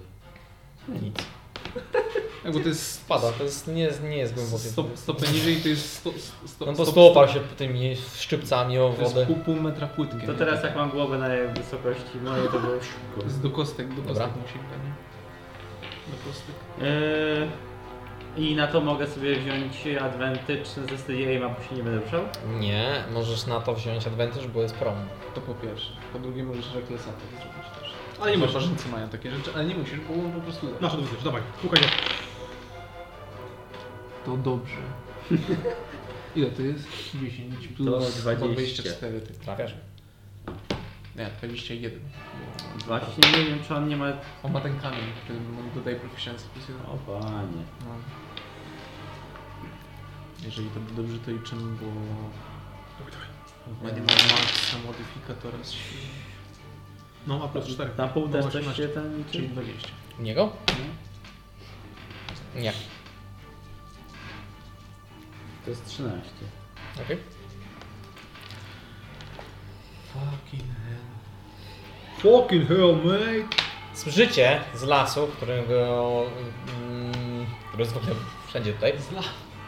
S4: Hmm.
S1: Nic.
S4: Jakby to jest
S1: Spada, to jest, nie, jest- nie jest głębokie.
S4: stop, stopę niżej, to jest sto, sto,
S1: On
S4: stop,
S1: po prostu oparł się tymi szczypcami o
S4: To jest
S1: wodę.
S4: pół, pół metra płytkie.
S2: To
S4: nie?
S2: teraz jak mam głowę na wysokości mojej, to było szybko.
S4: To [LAUGHS] jest do kostek, do kostek
S1: Dobra.
S4: musimy, nie? Do kostek.
S2: Eee, I na to mogę sobie wziąć advantage ze studia i mam się nie będę ruszał?
S1: Nie, możesz na to wziąć advantage, bo jest prom.
S4: To po pierwsze. Po drugie możesz reklesa to zrobić też. No.
S5: Ale nie możesz.
S4: Parzyńcy mają takie rzeczy, ale nie musisz, bo po prostu...
S5: Masz odwrócić, dawaj, słuchaj.
S4: To dobrze. [LAUGHS] Ile to jest? 10
S2: To
S4: plus
S2: 20.
S4: 24. ty.
S1: Trafiasz?
S4: Nie, 21.
S2: Właśnie nie wiem, czy on nie ma...
S4: On ma ten kamień, który mu dodaje proficiency plus 1.
S2: O panie.
S4: No. Jeżeli to dobrze to liczymy, bo... Ma nie ma maxa modyfikatora z siły,
S5: No, ma plus 4.
S2: Na pół też coś
S5: 18.
S2: się ten
S4: czyli
S2: liczy?
S4: 20.
S1: Niego?
S2: Mhm.
S1: Nie.
S2: To jest 13.
S1: Okej.
S4: Fucking hell.
S5: Fucking hell, mate!
S1: Słyszycie z lasu, którego. Mm, który jest w ogóle wszędzie tutaj.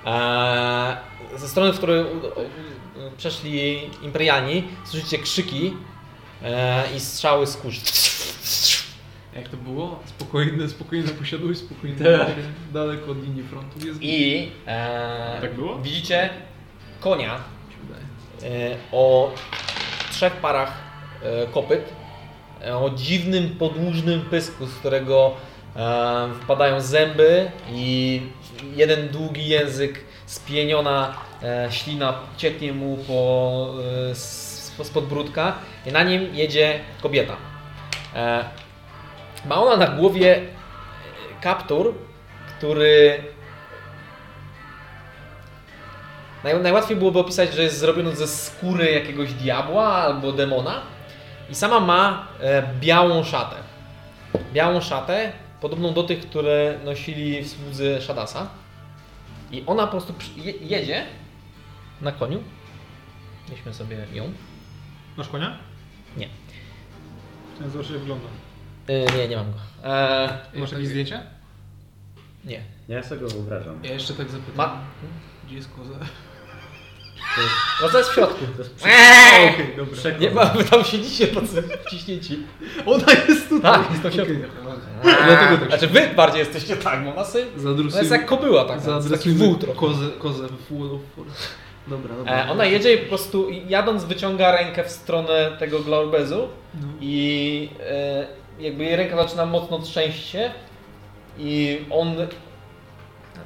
S1: E, ze strony, w której u- u- przeszli Imperiani, słyszycie krzyki e, i strzały z kurz.
S4: Jak to było? Spokojne, spokojne posiadłość, spokojne
S2: Tak.
S4: życie, daleko od linii frontu jest
S1: I. E,
S5: Tak było?
S1: Widzicie konia
S4: mi się wydaje.
S1: e, o trzech parach e, kopyt, e, o dziwnym, podłużnym pysku, z którego e, wypadają zęby i jeden długi język, spieniona e, ślina cieknie mu po, e, s- po- spod bródka i na nim jedzie kobieta. E, ma ona na głowie e, kaptur, który Naj, najłatwiej byłoby opisać, że jest zrobiony ze skóry jakiegoś diabła albo demona. I sama ma e, białą szatę. Białą szatę, podobną do tych, które nosili w słudzy Shadasa. I ona po prostu przy- je, jedzie na koniu. Weźmy sobie ją.
S5: Masz konia?
S1: Nie.
S5: Chciałem zobaczyć jak wygląda.
S1: E, nie, nie mam go. E,
S4: Masz jakieś zdjęcia?
S1: nie.
S2: Ja sobie go wyobrażam.
S4: Ja jeszcze tak zapytam.
S1: Ma.
S4: Gdzie jest
S1: [LAUGHS]
S4: koza?
S1: No to jest w środku.
S2: To jest
S1: Eee!
S2: przekonany.
S1: Nie ma, wy tam siedzicie tacy wciśnięci.
S4: Ona jest tutaj!
S1: Tak, jest to w środku. Dlatego tak. Znaczy wy bardziej jesteście tak, bo ona sy- Ona jest
S4: Zadrusujmy,
S1: jak kobyła taka, z taki wół
S4: zadrusujmy
S1: trochę.
S4: kozę, kozę w Wall of Force. Dobra, dobra.
S1: E, ona jedzie i po prostu i jadąc wyciąga rękę w stronę tego Glaurbezu i e, jakby jej ręka zaczyna mocno trzęść się i on...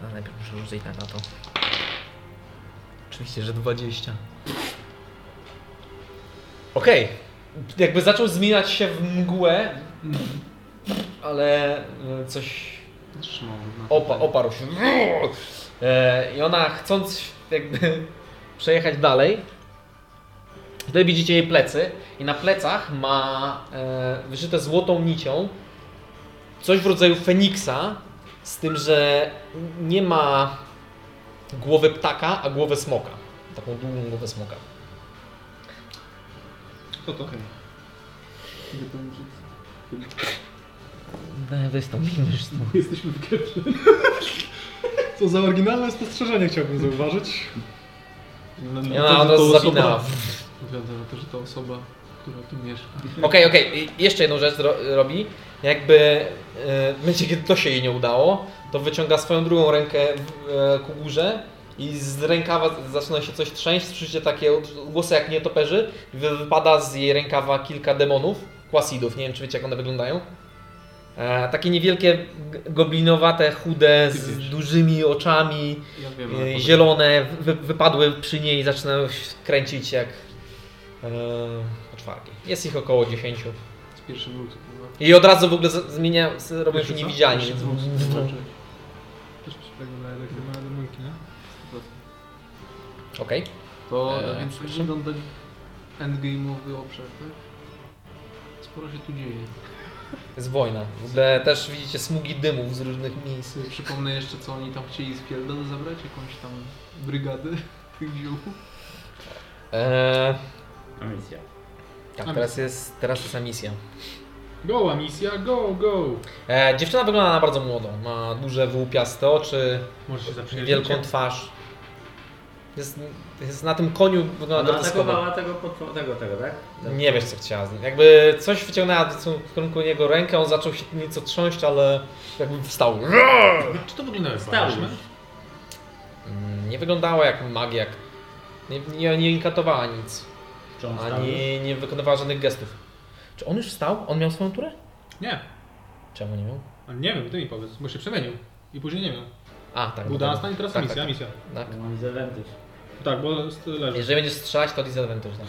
S1: No, najpierw muszę rzucić na to. Oczywiście, że 20. Okej. Jakby zaczął zmieniać się w mgłę, Mhm. ale e, coś
S4: Trzymał na
S1: Opa, oparł się. E, I ona chcąc jakby przejechać dalej, wtedy widzicie jej plecy i na plecach ma e, wyszyte złotą nicią coś w rodzaju feniksa, z tym, że nie ma głowy ptaka, a głowę smoka. Taką długą głowę smoka.
S5: Kto to?
S1: No, Wystąpimy już
S5: Jesteśmy w [LAUGHS] grze. Co za oryginalne spostrzeżenie chciałbym zauważyć.
S4: No,
S1: I ona od razu zawinęła.
S4: Wygląda na to, że ta osoba, która tu mieszka.
S1: Okej, okej, i jeszcze jedną rzecz ro- robi. jakby e, w momencie, kiedy to się jej nie udało, to wyciąga swoją drugą rękę e, ku górze i z rękawa zaczyna się coś trzęść, słyszycie takie od- głosy jak nietoperzy i wy- wypada z jej rękawa kilka demonów, kwasidów, nie wiem czy wiecie jak one wyglądają. E, takie niewielkie, g- goblinowate, chude, z dużymi oczami,
S4: Ja wiem,
S1: e,
S4: ale
S1: zielone, wy, wypadły przy niej i zaczynają się kręcić jak e, poczwarki. Jest ich około 10.
S4: z pierwszym lutem. no.
S1: I od razu w ogóle z- zmienia, z- robią się
S5: Wiecie co?
S1: niewidzialni.
S5: Wiecie
S1: więc-
S5: co? Zobaczyć. Też mi się tak wydaje, jak te małe demonki, nie?
S1: Okej.
S4: To
S1: Eee,
S4: eee, więc przegląda endgame'owy obszar, tak? Sporo się tu dzieje.
S1: Jest wojna. W ogóle też widzicie smugi dymów z różnych miejsc.
S4: Sobie Przypomnę jeszcze, co oni tam chcieli z Pierdol zabrać, jakąś tam brygadę [LAUGHS] tych ziółków.
S1: Eee,
S2: A misja.
S1: tak, teraz jest, teraz jest ta misja.
S5: Go, a misja, go, go!
S1: Eee, dziewczyna wygląda na bardzo młodą. Ma duże wyłupiaste oczy,
S28: Może się zaprzyjaźnić.
S1: wielką twarz. Jest, jest na tym koniu wygląda
S2: Ona
S1: groteskowo.
S2: No, atakowała tego, potwo- tego, tego, tak?
S1: Nie wiesz co chciała z nim. Jakby coś wyciągnęła w kierunku jego rękę, on zaczął się nieco trząść, ale jakby wstał.
S28: Czy to wygląda jak
S29: Wstał
S28: baśń?
S29: już.
S1: Mm, Nie wyglądała jak magiak. Nie, nie, nie inkatowała nic.
S2: Czy on stał już?
S1: Ani nie wykonywała żadnych gestów. Czy on już wstał? On miał swoją turę?
S5: Nie,
S1: Czemu nie miał?
S5: ale nie wiem, ty mi powiedz, bo się przemienił. I później nie miał.
S1: A, tak.
S5: Był
S1: dobra.
S5: Dunstan i teraz
S1: Tak,
S5: misja,
S1: tak,
S5: misja.
S1: tak.
S2: To Mam zawentyż.
S5: Tak, bo st- leży.
S1: Jeżeli będziesz strzelać, to disadvantage. Tak.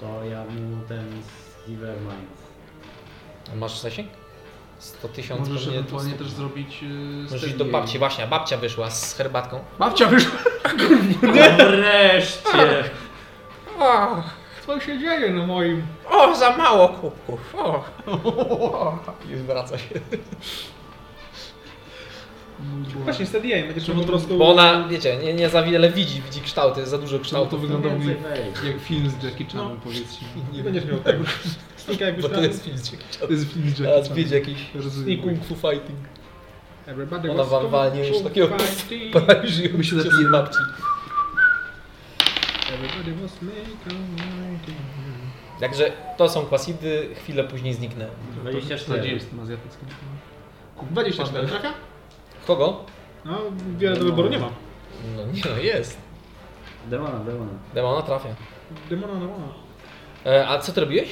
S2: To ja mu ten z Nevermind. [LAUGHS]
S1: A Masz zasięg? 100 tysięcy.
S4: Możesz
S1: pewnie
S4: ewentualnie
S1: tu-
S4: też zrobić yy,
S1: Możesz iść
S4: steady
S1: do
S4: game.
S1: babci, właśnie, a babcia wyszła z herbatką.
S4: Babcia wyszła!
S2: No Wreszcie!
S1: O,
S5: Co się dzieje na moim...
S1: o za mało kubków. O.
S4: [LAUGHS]
S1: I zwraca się.
S5: Właśnie, Stadium, będziesz po prostu...
S1: Bo ona, wiecie, nie, nie za wiele widzi, widzi kształty, jest za dużo
S4: Kształt to
S1: kształtów.
S4: wyglądał mi
S2: Więcej wejdź.
S4: jak film z Jackie
S1: No.
S4: Chanem, powiedzmy.
S5: Nie będziesz miał
S1: [LAUGHS]
S5: tego. Snika jakbyś
S1: Bo to
S5: tam...
S1: jest film.
S4: To jest film z
S1: Teraz
S4: Jackie
S1: widzi
S4: Chanem.
S1: jakiś i
S4: Rozumiem.
S1: kung fu fighting.
S5: Everybody
S1: Ona
S5: was
S1: wam walnie już
S5: kung fu
S1: takiego [LAUGHS]
S5: fighting.
S1: Paraliżują się z babci.
S5: Everybody was make a mighty-
S1: Także to są kwasidy, chwilę później zniknę.
S2: 24.
S4: 40 azjatyckim.
S5: 24, trafia?
S1: Kogo?
S5: No, wiele do wyboru nie ma.
S1: No nie no, jest.
S2: Demona, demona.
S1: Demona trafia.
S5: Demona, demona.
S1: E, a co ty robiłeś?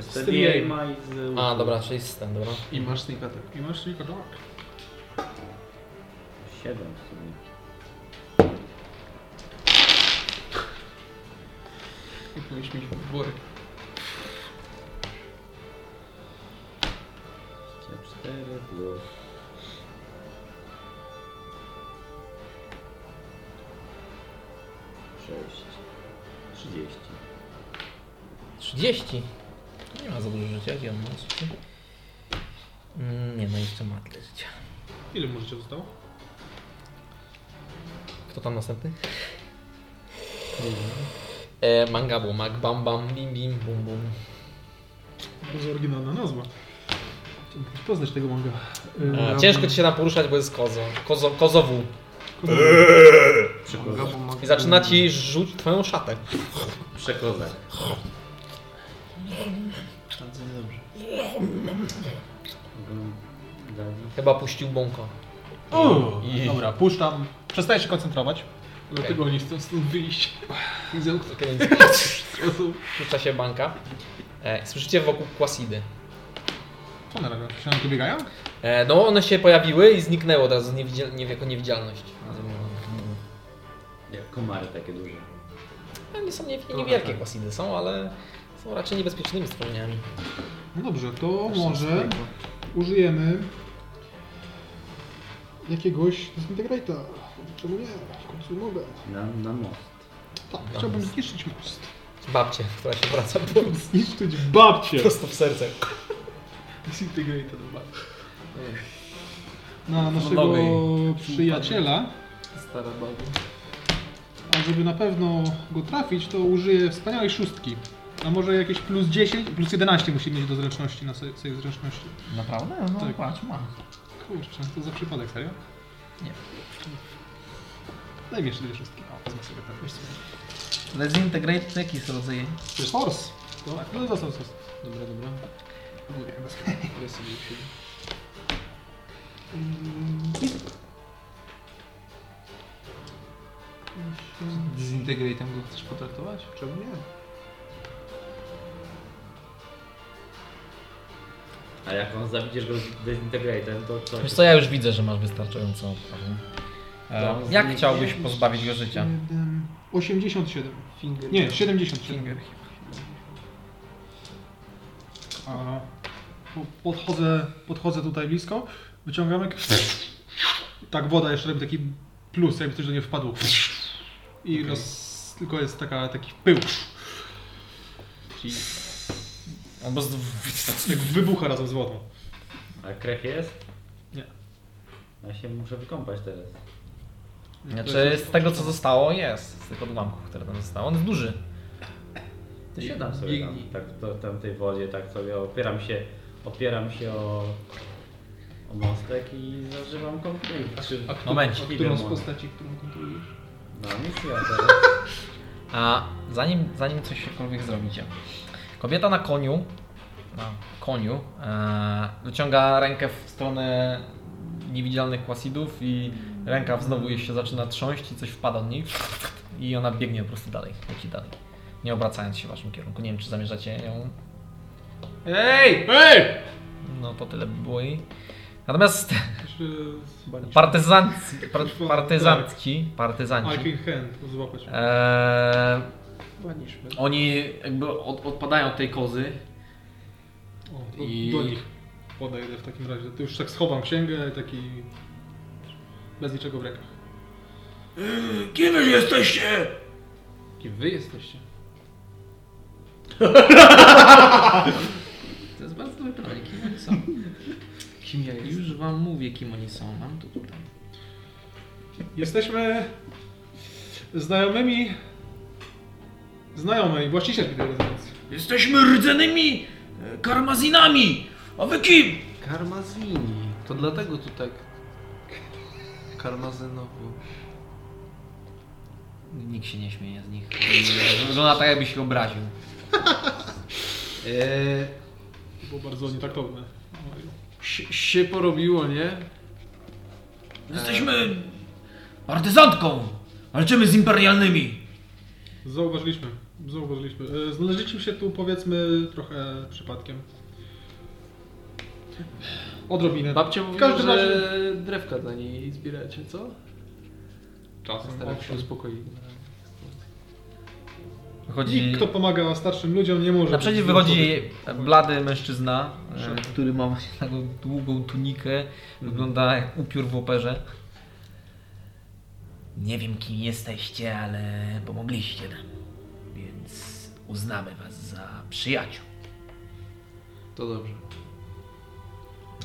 S2: Z Tediaima i z...
S1: A, dobra, czyli system, dobra.
S4: I masz sneak attack.
S5: I masz tylko dark.
S2: 7 w sumie.
S4: Powinieneś mieć worek.
S2: 24 plus... Sześć. 30.
S1: 30. Nie ma za dużo życia, gdzie on ma życie? Mm, Nie no, jeszcze ma tyle życia.
S5: Ile mu życia zostało?
S1: Kto tam następny? E, mangabu, mag, bam, bam, bim, bim, bum, bum.
S5: Bardzo oryginalna nazwa. Chciałbym poznać tego manga.
S1: E, ciężko ci się tam poruszać, bo jest kozo. kozo kozowu.
S5: E,
S1: I zaczyna ci rzuć twoją szatę.
S2: Przekozak.
S4: Bardzo niedobrze.
S1: Chyba puścił bąka.
S28: I... Dobra, puszczam. Przestaję się koncentrować.
S4: Dlatego oni chcą stąd wyjść. I
S1: [LAUGHS]
S4: zamknąć
S1: Kiedy
S4: sposób.
S1: Rzuca się banka. E, słyszycie wokół Kwasidy.
S28: Co one robią? Się na to biegają?
S1: E, no one się pojawiły i zniknęły od razu niewidzial- nie, jako niewidzialność.
S2: Jak komary takie duże.
S1: No, nie są nie, niewielkie Kwasidy są, ale są raczej niebezpiecznymi stworzeniami.
S5: No dobrze, to może użyjemy jakiegoś disintegrata. Czemu nie? W końcu mogę.
S2: Na, na most.
S5: Tak, chciałbym zniszczyć most.
S1: Babcie, która się wraca po
S5: Zniszczyć babcię!
S1: prosto w serce.
S4: Disintegrator babcia.
S5: Na naszego
S1: nowej.
S5: przyjaciela.
S4: Stara babcia.
S5: A żeby na pewno go trafić, to użyję wspaniałej szóstki. A może jakieś plus 10, plus 11 musi mieć do zręczności, na sobie zręczności.
S30: Naprawdę? No
S5: Tak.
S30: patrz, ma.
S5: Kurczę, to za przypadek, serio?
S30: Nie.
S5: Daj mi jeszcze dwie szóstki. O, wezmę sobie tak. Wiesz co?
S30: Dezintegrate to jaki jest rodzaj?
S5: Tak, Force. To, no to są sos.
S4: Dobra, dobra.
S31: Próbuję, bez
S4: Ja sobie się... Zintegratem go chcesz potraktować?
S31: Czemu nie?
S2: A jak on zawidziesz go z dezintegratem, to co?
S1: Wiesz co, ja już widzę, że masz wystarczającą oprawę. E, Jak chciałbyś pozbawić go życia?
S5: 7, 87.
S4: Finger.
S5: Nie, 77.
S4: Finger.
S31: A, po- podchodzę, podchodzę tutaj blisko, wyciągam jak... Tak woda jeszcze robi taki plus, jakby coś do niej wpadło. I roz, tylko jest taka, taki pył.
S1: Albo z...
S31: Jak wybucha razem z wodą.
S2: A krew jest?
S31: Nie.
S2: Ja się muszę wykąpać teraz.
S1: Znaczy, z tego co zostało jest, z tych odłamków, które tam zostało. On jest duży.
S2: Ty siadam sobie tam,
S4: biegnij.
S2: tak to, tam w tej wodzie, tak sobie opieram się, opieram się o, o mostek i zażywam kąpieli. Czy-
S5: A, któ-
S1: Momencik.
S5: a którą z
S2: Idę,
S5: postaci, którą kontrolujesz?
S2: No nic nie ma teraz.
S1: A zanim, zanim coś cokolwiek zrobicie, kobieta na koniu, na koniu, e, wyciąga rękę w stronę niewidzialnych kwasidów i ręka znowu jej się zaczyna trząść i coś wpada od niej i ona biegnie po prostu dalej, leci dalej, nie obracając się w waszym kierunku. Nie wiem, czy zamierzacie ją
S31: Ej! Ej!
S1: No to tyle by było jej. Natomiast [LAUGHS]
S5: Jeszcze z-
S1: partyzanci, par, partyzantki, partyzanci,
S5: Arcane Hand złapać.
S1: eee,
S4: Baniszmy.
S1: oni jakby od, odpadają od tej kozy.
S5: O, do,
S1: I-
S5: do nich podejdę w takim razie. To już tak schowam księgę i taki... Bez niczego w rękach.
S32: Kim wy jesteście?
S4: Kim wy jesteście?
S1: To jest bardzo dobre pytanie, kim oni [LAUGHS] są?
S4: Kim ja jestem?
S1: Już wam mówię, kim oni są, mam tu tutaj.
S5: Jesteśmy znajomymi... Znajomej, właściciel tej rezydencji.
S32: Jesteśmy rdzonymi e, karmazinami! A wy kim?
S4: Karmazini. To dlatego tu tak... Karmazynowo.
S1: Nikt się nie śmieje z nich. Wygląda tak, jakby się obraził.
S4: Eee,
S5: To było bardzo nietaktowne.
S4: si- się porobiło, nie?
S32: Jesteśmy partyzantką! Walczymy z imperialnymi!
S5: Zauważyliśmy, zauważyliśmy. E, Znaleźliśmy się tu powiedzmy trochę przypadkiem. Odrobinę.
S4: Babcia
S5: W
S4: mówiła,
S5: każdym
S4: że
S5: razie-
S4: drewka dla niej zbieracie, co?
S5: Czasem.
S4: Staram się
S5: owszem.
S4: uspokoić.
S1: Wychodzi,
S5: Nikt, kto pomaga starszym ludziom, nie może.
S1: naprzeciw
S5: być
S1: wychodzi
S5: złodziejem.
S1: jej blady mężczyzna, e, który ma właśnie taką długą tunikę. Wygląda jak upiór w operze.
S32: Nie wiem kim jesteście, ale pomogliście nam. Więc uznamy was za przyjaciół.
S4: To dobrze.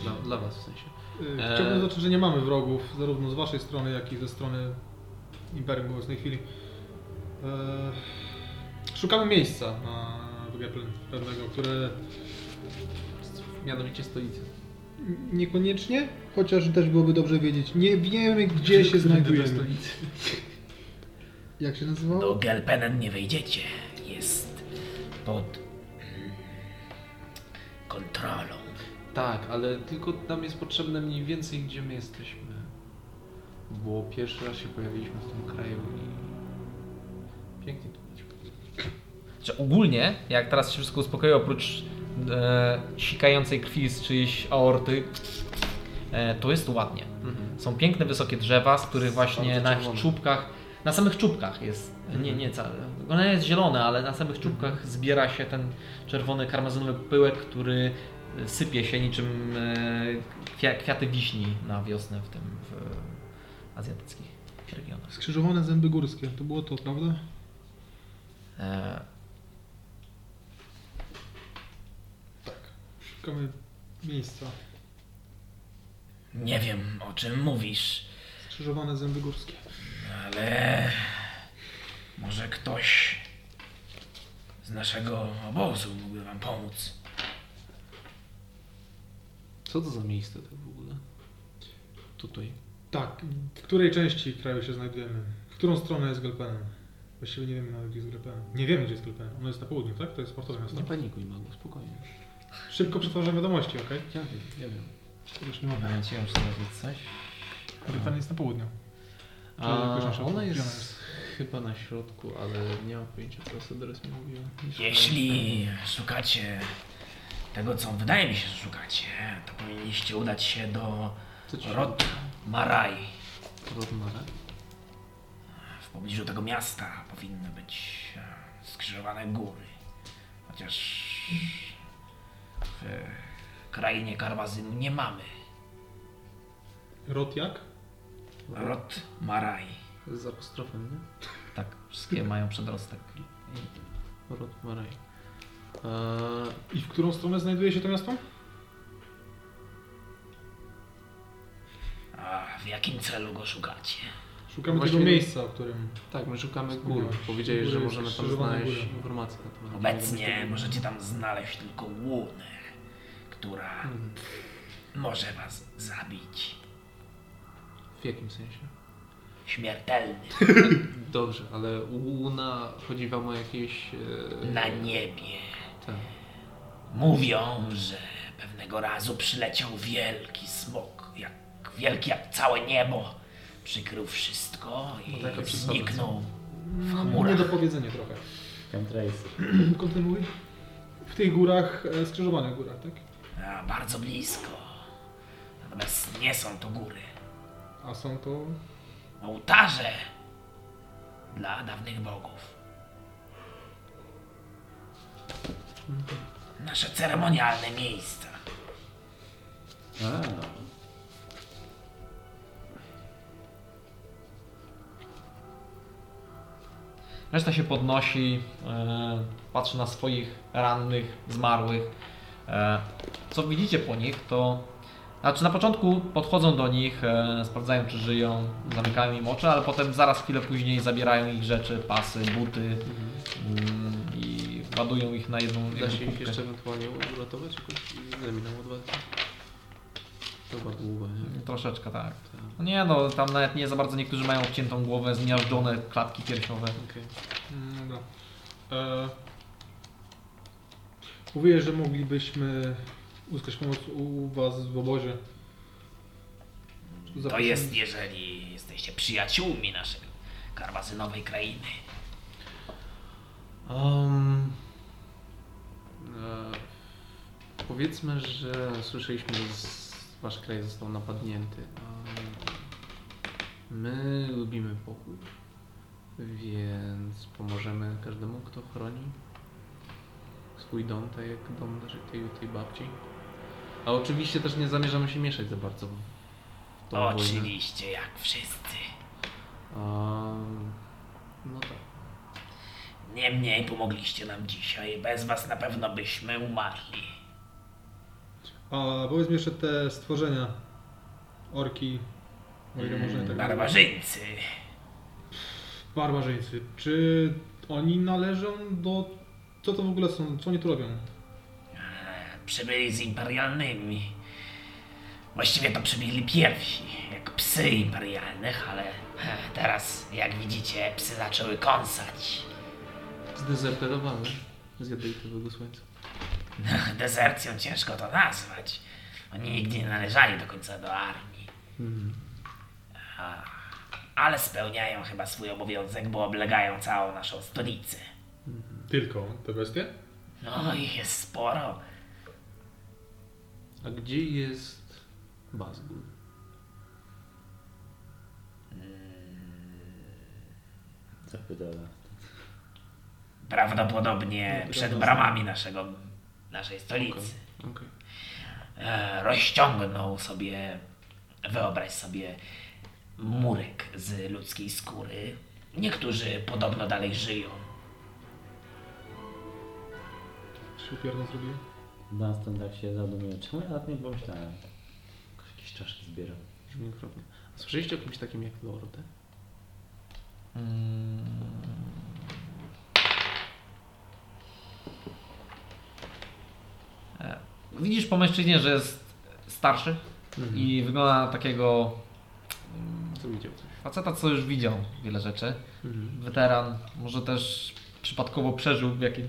S4: Dla, dla was w sensie.
S5: E, Chciałbym
S4: Eee.
S5: zaznaczyć, że nie mamy wrogów, zarówno z waszej strony, jak i ze strony Imperium w obecnej chwili. Eee, Szukamy miejsca na Wygeplin pewnego, które
S4: Mianowicie stolicy.
S5: niekoniecznie, chociaż też byłoby dobrze wiedzieć. Nie wiemy, gdzie się znajdujemy.
S4: Stolicy.
S5: Jak się nazywało?
S32: Do Gelpenen nie wejdziecie. Jest pod kontrolą.
S4: Tak, ale tylko nam jest potrzebne mniej więcej, gdzie my jesteśmy. Bo pierwszy raz się pojawiliśmy w tym kraju i... Pięknie tu być.
S1: Że ogólnie, jak teraz się wszystko uspokoi, oprócz e, sikającej krwi z czyjejś aorty, e, to jest ładnie. Są piękne, wysokie drzewa, z których właśnie
S4: Mhm. Bardzo
S1: na ich
S4: czerwone. Mhm.
S1: czubkach, na samych czubkach jest, nie, nie całe, ona jest zielona, ale na samych czubkach zbiera się ten czerwony, karmazynowy pyłek, który sypie się niczym e, kwia- kwiaty wiśni na wiosnę w tym w e, azjatyckich regionach.
S5: Skrzyżowane zęby górskie, to było to, prawda?
S1: E,
S5: Szukamy miejsca.
S32: Nie wiem o czym mówisz,
S5: Skrzyżowane zęby górskie.
S32: ale może ktoś z naszego obozu mógłby wam pomóc.
S4: Co to za miejsce tak w ogóle? Tutaj.
S5: Tak, w której części kraju się znajdujemy? W którą stronę jest Gelpenem? Właściwie nie wiemy nawet, gdzie jest Gelpenem. Nie wiemy, gdzie jest Gelpenem. Ono jest na południu, tak? To jest portowe miasto.
S4: Nie panikuj, Magu, spokojnie.
S3: Szybko przetwarzam wiadomości, okej?
S4: Ja wiem, ja wiem.
S3: Już nie mogę.
S1: Chciałem sprawdzić coś.
S5: Brytania jest na południu.
S4: A
S5: jakoś nasza
S4: ona
S5: ulubiona
S4: jest,
S5: jest.
S4: chyba na środku, ale nie mam pojęcia, co Sedres mi mówiła.
S6: Jeśli szukacie tego, co wydaje mi się, że szukacie, to powinniście udać się do
S4: Co ci
S6: Rod Maraj.
S4: Rodmara?
S6: W pobliżu tego miasta powinny być e, skrzyżowane góry. Chociaż w e, krainie Karmazynu nie mamy
S3: Rot jak?
S6: Rod Maraj.
S4: Z apostrofem, nie?
S1: Tak, wszystkie mają przedrostek.
S4: Rodmaraj. Eee,
S3: I w którą stronę znajduje się to miasto?
S6: A w jakim celu go szukacie?
S3: Szukamy
S4: Właśnie-
S3: tego miejsca, o którym...
S4: tak, my szukamy gór.
S3: Wspomniałeś.
S4: Powiedzieli, że
S3: Góry,
S4: możemy tam
S3: skrzyżowane
S4: znaleźć
S3: góry.
S4: informacje na temat.
S6: Obecnie możecie tam znaleźć tylko łunę, która
S4: Hmm,
S6: może was zabić.
S4: W jakim sensie?
S6: Śmiertelny
S4: Dobrze, ale Łuna chodzi wam o jakieś... eee,
S6: na niebie.
S4: Tak.
S6: Mówią, że pewnego razu przyleciał wielki smok, jak wielki jak całe niebo. Przykrył wszystko i
S4: taka przysada,
S6: zniknął.
S3: No,
S6: chmurach.
S3: nie do powiedzenia trochę. [CLEARS THROAT]
S2: Chemtrailsy.
S3: Kontynuuj. W tych górach, e, skrzyżowanych górach, tak?
S6: A, bardzo blisko. Natomiast nie są to góry.
S3: A są to...
S6: Ołtarze dla dawnych bogów.
S4: Mhm.
S6: Nasze ceremonialne miejsca.
S2: A,
S1: Reszta się podnosi, e, patrzy na swoich rannych, zmarłych. E, co widzicie po nich, to. Znaczy na początku podchodzą do nich, e, sprawdzają czy żyją, zamykają im oczy, ale potem zaraz chwilę później zabierają ich rzeczy, pasy, buty mm, i ładują ich na jedną
S4: Mhm. Da
S1: jakby
S4: się ich
S1: kubkę.
S4: jeszcze ewentualnie uratować? jakoś? Ile minęło? Dwa dni? Chyba długo, nie?
S1: Troszeczkę tak.
S4: Tak.
S1: No Nie no, tam nawet nie za bardzo niektórzy mają obciętą głowę, zmiażdżone klatki piersiowe.
S4: Okej.
S3: Mm, Dobra. E... Mówiłeś, że moglibyśmy uzyskać pomoc u was w obozie.
S6: To
S3: Zapraszamy-
S6: jest, jeżeli jesteście przyjaciółmi naszej karmazynowej krainy.
S4: Um, e, powiedzmy, że słyszeliśmy, że z- wasz kraj został napadnięty. Um, my lubimy pokój, więc pomożemy każdemu, kto chroni swój dom, tak jak dom naszej- tej, tej babci. A oczywiście też nie zamierzamy się mieszać za bardzo w w tą wojnę.
S6: Oczywiście, jak wszyscy.
S4: Um, no tak.
S6: Niemniej pomogliście nam dzisiaj. Bez was na pewno byśmy umarli.
S3: A powiedz mi jeszcze te stworzenia. Orki.
S5: No
S3: O ile można je tak
S6: Hmm, Barbarzyńcy.
S3: Barbarzyńcy. Czy oni należą do... Co to w ogóle są? Co oni tu robią?
S6: Przybyli z imperialnymi. Właściwie to przybyli pierwsi, jako psy imperialnych, ale he, teraz, jak widzicie, psy zaczęły kąsać.
S4: Zdezerterowany z jadowitego słońca.
S6: Dezercją ciężko to nazwać. Oni nigdy nie należeli do końca do armii. A, ale spełniają chyba swój obowiązek, bo oblegają całą naszą stolicę.
S3: Tylko te bestie?
S6: No, ich jest sporo.
S4: A gdzie jest Bazgul?
S2: zapytała.
S6: Prawdopodobnie przed bramami naszego, naszej stolicy.
S4: No, Okej.
S6: E, rozciągnął sobie, wyobraź sobie, murek z ludzkiej skóry. Niektórzy podobno dalej żyją.
S3: Czy pierno zrobiłem?
S2: Dunstan tak się zadumuje. Czemu ja nad nim pomyślałem? Jakieś czaszki zbieram.
S4: Brzmi okropnie. A słyszeliście o kimś takim jak Lorde?
S1: Hmm. E, Widzisz po mężczyźnie, że jest starszy
S6: Mhm.
S1: i wygląda na takiego
S4: Co widział coś?
S1: faceta, co już widział wiele rzeczy. Mhm. Weteran, może też przypadkowo przeżył w jakiejś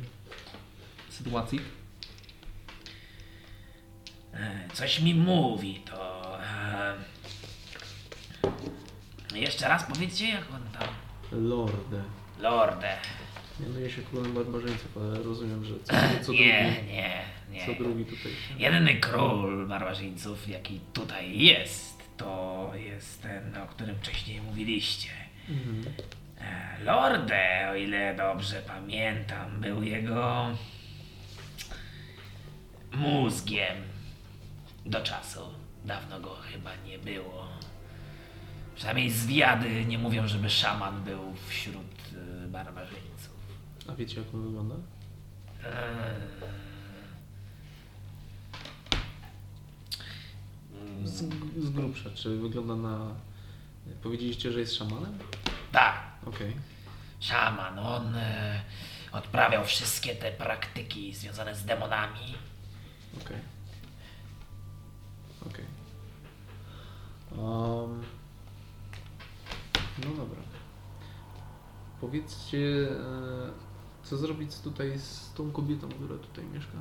S1: sytuacji.
S6: e, coś mi mówi, to... E, jeszcze raz powiedzcie, jak on tam...
S4: Lorde.
S6: Lordę.
S4: Mianuje się królem barbarzyńców, ale rozumiem, że co, co
S6: Nie, nie,
S4: drugi.
S6: nie.
S4: Co drugi tutaj.
S6: Jedyny król barbarzyńców, jaki tutaj jest, to jest ten, o którym wcześniej mówiliście. E, Lorde, o ile dobrze pamiętam, był jego mózgiem do czasu. Dawno go chyba nie było. Przynajmniej zwiady nie mówią, żeby szaman był wśród e, barbarzyńców.
S4: A wiecie jak on wygląda? Z, z grubsza, czy wygląda na... Powiedzieliście, że jest szamanem?
S6: Tak,
S4: Okej.
S6: Szaman, on e, odprawiał wszystkie te praktyki związane z demonami.
S4: Okej. Okej. Em, no dobra. Powiedzcie, e, co zrobić z- tutaj z tą kobietą, która tutaj mieszka?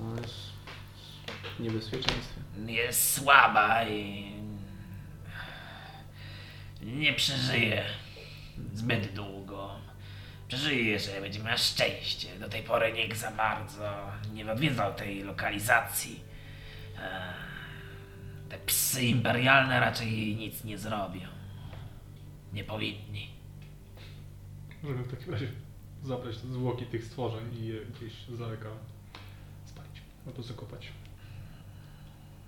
S4: Ona jest w niebezpieczeństwie.
S6: Jest słaba i nie przeżyje zbyt długo. Przeżyje, jeżeli będzie miała szczęście. Do tej pory nikt za bardzo nie odwiedzał tej lokalizacji. E, Te psy imperialne raczej jej nic nie zrobią. Nie powinni.
S3: Możemy w takim razie zabrać te zwłoki tych stworzeń i je gdzieś z daleka spalić albo zakopać.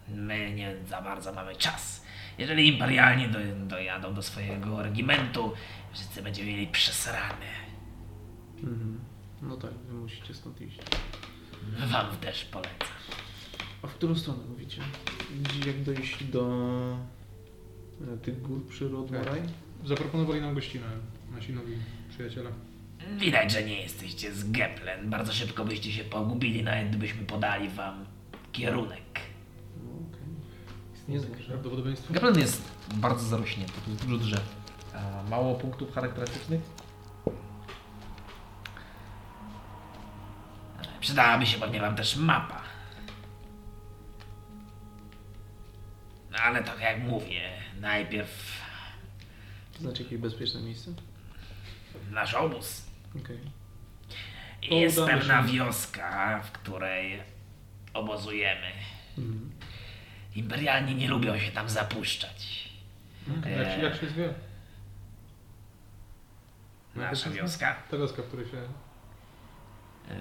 S6: My nie za bardzo mamy czas. Jeżeli imperialni do, dojadą do swojego regimentu, wszyscy będziemy mieli przesrane.
S4: No tak, wy musicie stąd iść.
S6: Wam też polecam.
S4: A w którą stronę mówicie? Gdzie- Jak dojść do e, tych gór przy Rodmoraj?
S3: Zaproponowali nam gościnę nasi nowi przyjaciele.
S6: Widać, że nie jesteście z Geplen. Bardzo szybko byście się pogubili, nawet gdybyśmy podali wam kierunek.
S4: No, okej. Nie znam, że...
S3: Prawdopodobieństwo.
S1: Geplen jest bardzo zarośnięty, tu jest dużo drzew. A mało punktów charakterystycznych.
S6: Przydałaby się pewnie wam też mapa. No, Ale tak jak mówię, najpierw
S4: To znaczy jakieś bezpieczne miejsce?
S6: nasz obóz.
S4: Okej. To
S6: Jest
S4: udamy
S6: pewna
S4: się.
S6: wioska, w której obozujemy.
S4: Mhm.
S6: Imperialni nie lubią się tam zapuszczać.
S3: Hmm.
S4: Eee.
S3: Jak się, jak się zwie?
S6: Nasza
S3: Jaka
S6: wioska.
S3: Ta wioska, w której się...
S1: Eee...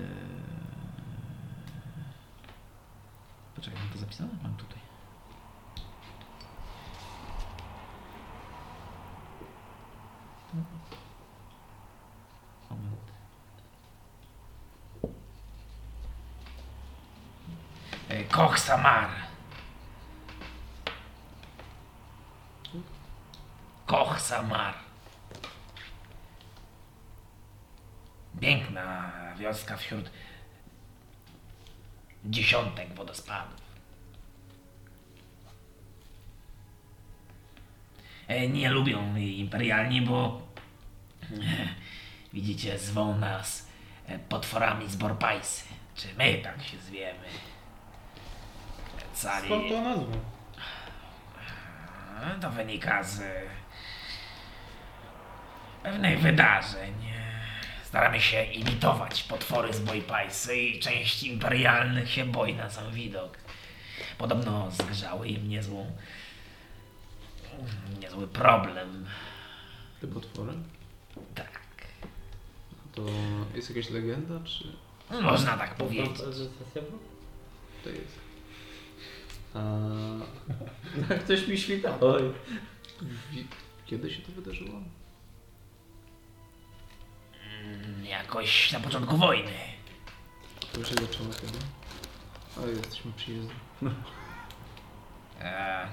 S1: Poczekaj, mam to zapisane? Mam tutaj. Moment.
S4: tak.
S6: E, Koch Samar. Koch Samar. Piękna wioska wśród dziesiątek wodospadów. E, Nie lubią jej imperialni, bo e, widzicie, zwą nas e, potworami z Borpajsy. Czy my tak się zwiemy? Cali.
S3: Skąd to nazwę?
S6: A, No, To wynika z e, pewnych wydarzeń. Staramy się imitować potwory z Boipajsy i część imperialnych się boi na sam widok. Podobno zgrzały im niezłą, niezły problem.
S4: Te potwory?
S6: Tak,
S4: To jest jakaś legenda, czy
S6: można tak powiedzieć.
S4: to jest?
S33: Ktoś mi świta. Oj.
S4: Wi- Kiedy się to wydarzyło?
S6: Mm, Jakoś na początku wojny.
S4: To się zaczęło kiedy? A jesteśmy przyjezdni.
S6: E,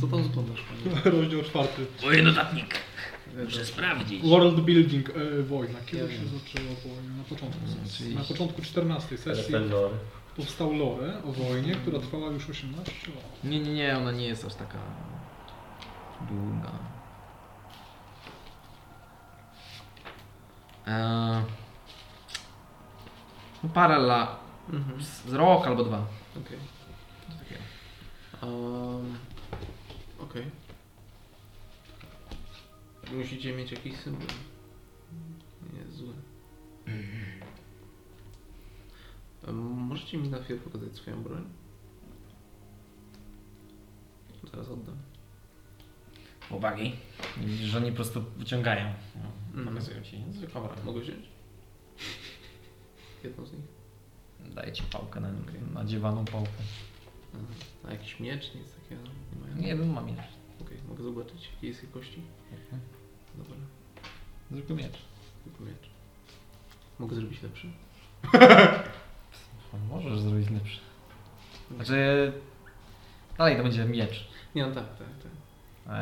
S4: Co tam oglądasz, panie?
S3: [LAUGHS] Rozdział czwarty.
S6: Mój notatnik. Muszę sprawdzić.
S3: World Building e, Wojna. Kiedy
S4: Ja
S3: się
S4: wiem.
S3: zaczęła wojna? Na początku
S2: Czyli-
S3: Na początku 14 sesji
S2: ten lore.
S3: powstał lore o wojnie, która trwała już 18 lat.
S1: Nie, nie, nie, ona nie jest aż taka długa. Eee, E, No parę lat,
S4: Mhm.
S1: z z rok albo dwa.
S4: Okej.
S1: Coś takiego.
S4: Um, Okej. Musicie mieć jakiś symbol. Nie zły. Mhm. Em, Um, Możecie mi na chwilę pokazać swoją broń? Zaraz oddam.
S6: Chłopaki,
S1: Widzisz, że oni po prostu wyciągają. No,
S4: Mhm.
S1: Pokazują ci. No, Zwykła broń.
S4: Mogę wziąć? Jedną z nich.
S1: Daję ci pałkę na nadziewaną pałkę.
S4: A jakiś miecz? Nic takiego nie mają?
S1: Nie wiem, mam ile.
S4: Okej, mogę zobaczyć. Gdzie jest jej kości? Mhm. Dobra,
S1: Zwykły miecz.
S4: tylko miecz. Mogę zrobić lepszy?
S1: No, Możesz zrobić lepszy. Znaczy, dalej to będzie miecz.
S4: Nie, no tak, tak, tak.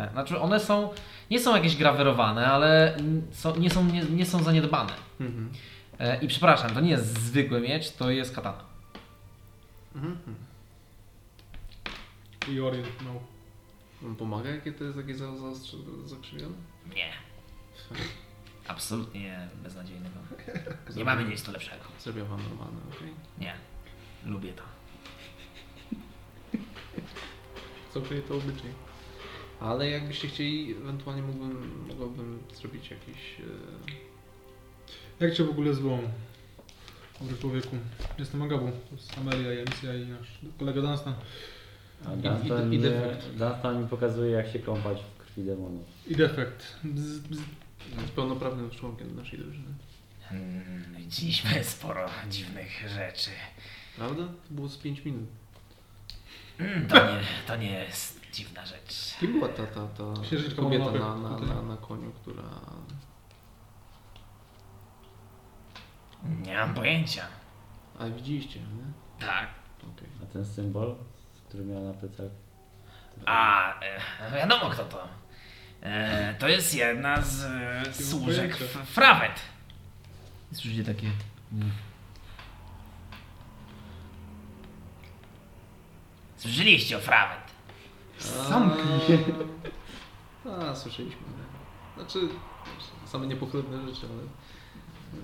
S1: E, Znaczy one są, nie są jakieś grawerowane, ale mm, są, nie, są, nie, nie są zaniedbane.
S4: Mhm.
S1: E, I przepraszam, to nie jest zwykły miecz, to jest katana.
S4: Mhm.
S3: I Orient, no.
S4: On pomaga, jakie to jest takie za, za, zakrzywione?
S6: nie. Absolutnie
S4: [LAUGHS]
S6: beznadziejnego. Nie mamy nic tu lepszego.
S4: Zrobię wam normalne, okej?
S6: Nie. Lubię to.
S4: Całkowicie to obyczaj. Ale jakbyście chcieli, ewentualnie mógłbym, mogłabym zrobić jakiś... E...
S3: Jak cię w ogóle zwołą? Dobry człowieku. Jestem Agabu. To jest Amelia, i Alicja i nasz kolega Dunstan.
S2: A
S4: I-
S2: Dunstan
S4: i- i
S2: mnie-
S4: defekt.
S2: Dunstan mi pokazuje, jak się kąpać w krwi demonów.
S3: I defekt. Bzz, bzz.
S4: Jest pełnoprawnym członkiem naszej drużyny.
S6: Mm, Widzieliśmy sporo dziwnych rzeczy.
S4: Prawda? To było z 5 minut.
S6: Mm, To nie, to nie jest dziwna rzecz.
S4: Kim była ta, ta, ta
S3: Księżniczka
S4: kobieta
S3: Monopy
S4: na, na,
S3: tutaj.
S4: na, na koniu, która...
S6: Nie mam pojęcia.
S4: A widzieliście, nie?
S6: Tak.
S4: Okej.
S2: A ten symbol, który miał na plecach?
S6: A, e, wiadomo kto to. E, to jest jedna z e, służek
S3: pojęcia.
S6: f- Frawet.
S1: Słyszycie takie...
S6: Słyszeliście o Frawet.
S4: Zamknij A, słyszeliśmy. nie? Znaczy, same niepochlebne rzeczy, ale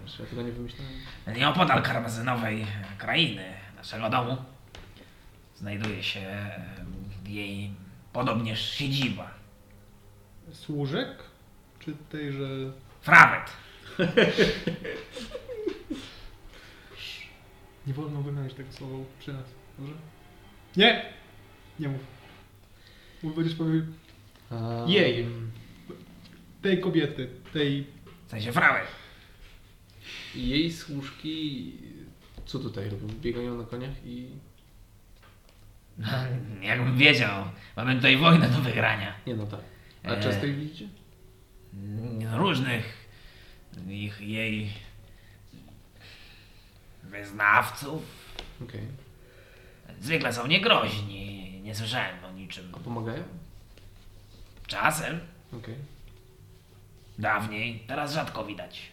S4: wiesz, ja tego nie wymyślałem.
S6: Nieopodal karmazynowej e, krainy naszego domu znajduje się e, jej podobnież siedziba.
S3: Służek? Czy tejże...
S6: Frawet.
S3: Nie wolno wymieniać tego słowa przy nas, dobrze? Nie! Nie mów. Bo będziesz powiedział
S4: Um.
S3: Jej. tej kobiety, tej...
S6: W sensie Frawet.
S4: Jej służki, co tutaj robią? Biegają na koniach i...
S6: No, Jakbym wiedział, mamy tutaj wojnę do wygrania.
S4: Nie no tak. A
S6: Eee.
S4: często ich widzicie?
S6: Mm, Różnych ich, jej wyznawców.
S4: Okej.
S6: Zwykle są niegroźni. Nie słyszałem o niczym.
S4: A pomagają?
S6: Czasem,
S4: Okej.
S6: dawniej, teraz rzadko widać.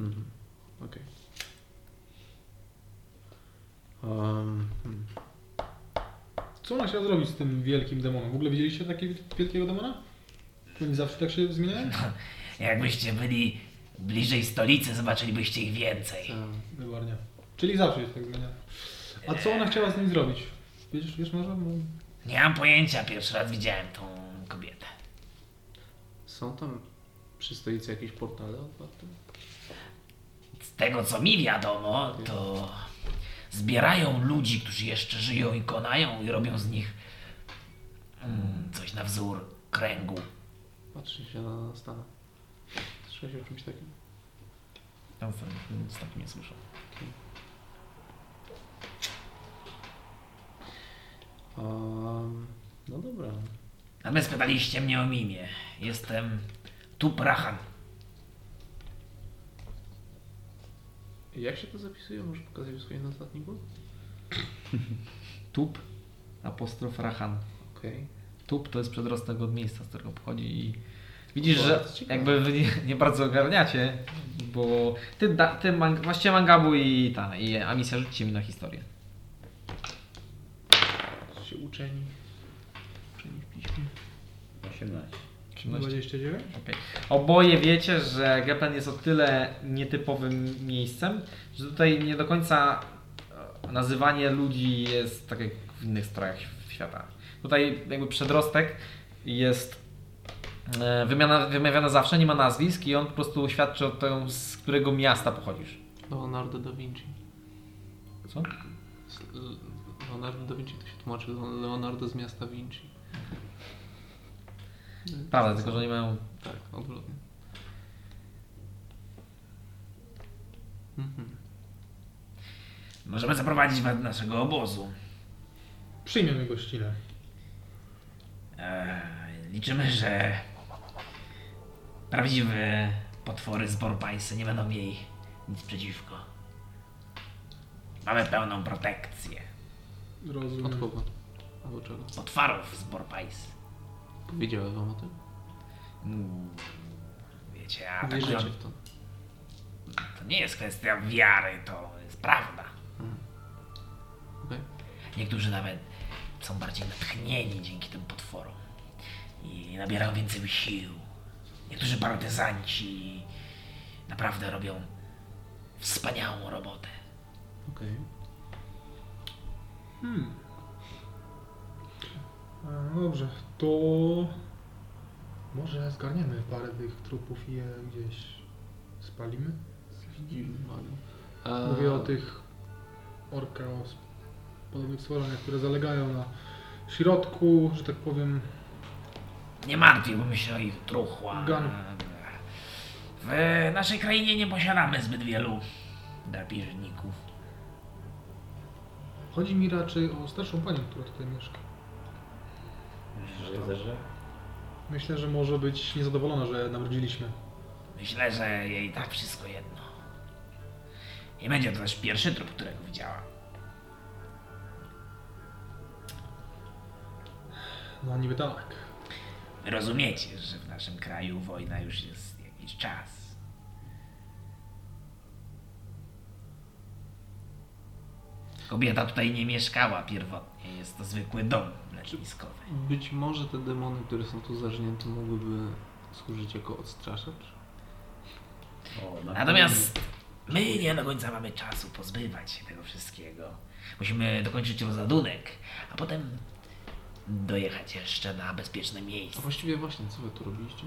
S4: Mhm. Okej. Em, hmm.
S3: Co ona chciała zrobić z tym wielkim demonem? W ogóle widzieliście takiego wielkiego demona? Oni zawsze tak się zmieniają?
S6: Jakbyście byli bliżej stolicy, zobaczylibyście ich więcej.
S4: Em,
S3: Dokładnie. Czyli zawsze się tak zmienia. A co ona chciała z nim zrobić? Wiesz, wiesz może? Bo...
S6: Nie mam pojęcia, pierwszy raz widziałem tą kobietę.
S4: Są tam przy stolicy jakieś portale otwarte?
S6: Z tego co mi wiadomo, to zbierają ludzi, którzy jeszcze żyją i konają i robią z nich mm, coś na wzór kręgu.
S4: Patrzy się na Stana. Słyszałeś o czymś takim?
S1: Tam sam nic
S6: tak
S1: takim nie słyszę.
S4: Um, no dobra.
S6: A my spytaliście mnie o mimię. Jestem Tuprahan.
S4: Jak się to zapisuje? Może pokazać w swoim notatniku?
S1: Tup, apostrof Rahan.
S4: Okej.
S1: Tup to jest przedrostek od miejsca, z którego pochodzi i widzisz,
S4: O,
S1: że
S4: to ciekawe.
S1: jakby wy nie, nie bardzo ogarniacie, bo ty, da, ty man, właściwie Mangabu i ta, i Amisja rzućcie mi na historię.
S4: Się uczeni.
S2: 18.
S1: 18.
S3: 29?
S1: Oboje wiecie, że Geplen jest o tyle nietypowym miejscem, że tutaj nie do końca e, nazywanie ludzi jest tak jak w innych strojach świata. Tutaj jakby przedrostek jest e, wymiana, wymawiany zawsze, nie ma nazwisk i on po prostu świadczy o tym, z którego miasta pochodzisz.
S4: Leonardo da Vinci.
S1: Co?
S4: S- L- Leonardo da Vinci to się tłumaczy. Leonardo z miasta Vinci.
S1: Prawda, tylko że nie mają...
S4: Tak, odwrotnie. Mhm.
S6: Możemy zaprowadzić was do naszego obozu.
S3: Przyjmiemy gościnę.
S6: E, liczymy, że prawdziwe potwory z Borpańsy nie będą mieli nic przeciwko. Mamy pełną protekcję
S3: Rozumiem.
S4: Od kogo? Albo czego?
S6: potworów z Borpańsy.
S4: Powiedziałem wam o tym?
S6: Mm, Wiecie, a tak
S4: Wierzycie w to.
S6: to nie jest kwestia wiary, to jest prawda.
S4: Okej.
S6: Niektórzy nawet są bardziej natchnieni dzięki tym potworom i nabierają więcej sił. Niektórzy partyzanci naprawdę robią wspaniałą robotę.
S4: Okej.
S3: E, Dobrze, to może zgarniemy parę tych trupów i je gdzieś spalimy?
S4: Eee,
S3: Mówię o tych orkach, o s- podobnych stworzeniach, które zalegają na środku, że tak powiem,
S6: Nie martwiłbym się o ich truchła.
S3: Gan.
S6: W naszej krainie nie posiadamy zbyt wielu drapieżników.
S3: Chodzi mi raczej o starszą panią, która tutaj mieszka.
S2: Że, że?
S3: Myślę, że może być niezadowolona, że nawróciliśmy.
S6: Myślę, że jej tak wszystko jedno. Nie będzie to też pierwszy trup, którego widziałam.
S3: No niby tak.
S6: Wy rozumiecie, że w naszym kraju wojna już jest jakiś czas. Kobieta tutaj nie mieszkała pierwotnie, jest to zwykły dom letniskowy.
S4: Być może te demony, które są tu zażnięte, mogłyby służyć jako odstraszacz?
S2: O, na
S6: Natomiast my nie do końca mamy czasu pozbywać się tego wszystkiego. Musimy dokończyć rozładunek, a potem dojechać jeszcze na bezpieczne
S4: A
S6: miejsce.
S4: właściwie właśnie, co wy tu robiliście?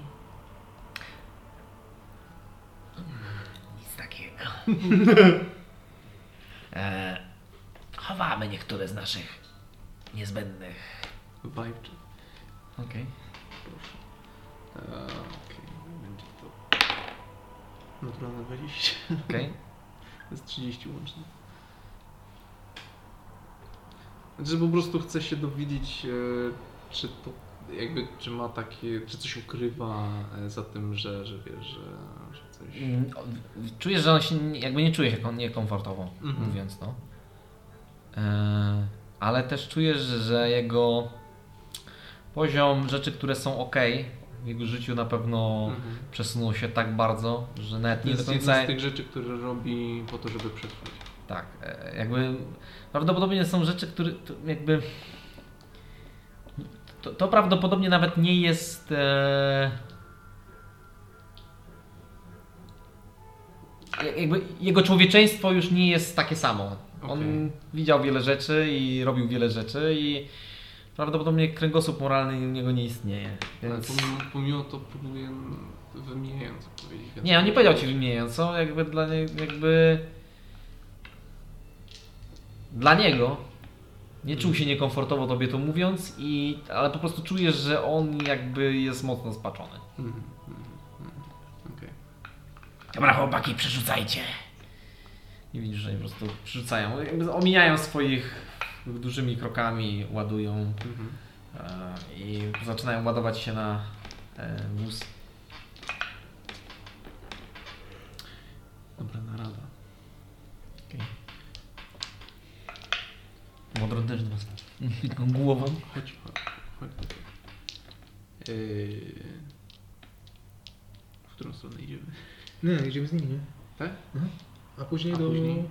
S6: Nic takiego. [LAUGHS] e, chowamy niektóre z naszych niezbędnych.
S4: Vibe czy?
S1: Okej.
S4: Eee, Okej, będzie to... Naturalne 20.
S1: Okej.
S4: To jest 30 łącznie. Znaczy, że po prostu chcę się dowiedzieć, e, czy to jakby, czy ma takie, czy coś ukrywa e, za tym, że, że wiesz, że, że coś...
S1: Mm, o- Czujesz, że on się nie- jakby nie czuje się kon- niekomfortowo,
S4: Mhm.
S1: mówiąc to. E, ale też czujesz, że jego poziom rzeczy, które są ok w jego życiu na pewno
S4: Mhm.
S1: przesunął się tak bardzo, że nawet
S4: To
S1: nie do
S4: jest jedna
S1: końca...
S4: z tych rzeczy, które robi po to, żeby przetrwać.
S1: Tak, e, jakby prawdopodobnie są rzeczy, które to jakby... To, to prawdopodobnie nawet nie jest... E, jakby jego człowieczeństwo już nie jest takie samo. On
S4: Okej.
S1: widział wiele rzeczy i robił wiele rzeczy i prawdopodobnie kręgosłup moralny u niego nie istnieje.
S4: Ale
S1: Więc...
S4: pomimo, pomimo to próbuję wymijając powiedzieć. więc-
S1: Nie, on nie powiedział ci wymieniając, co jakby dla niego, jakby... Dla niego nie czuł się niekomfortowo tobie to mówiąc, i, ale po prostu czujesz, że on jakby jest mocno spaczony.
S4: Mhm, mhm, mhm. Okej.
S6: Dobra, chłopaki, przerzucajcie.
S1: I widzisz, że oni po prostu przerzucają, jakby omijają swoich dużymi krokami, ładują
S4: Mhm.
S1: e, i zaczynają ładować się na e, wóz.
S4: Dobra, narada.
S1: Modron też dwa głową.
S4: Chodź, chodź, chodź. Yy... W którą stronę idziemy?
S3: Nie, idziemy z nimi, nie?
S4: Tak?
S3: Mhm. A później
S4: A
S3: do... [CLEARS THROAT]
S4: później?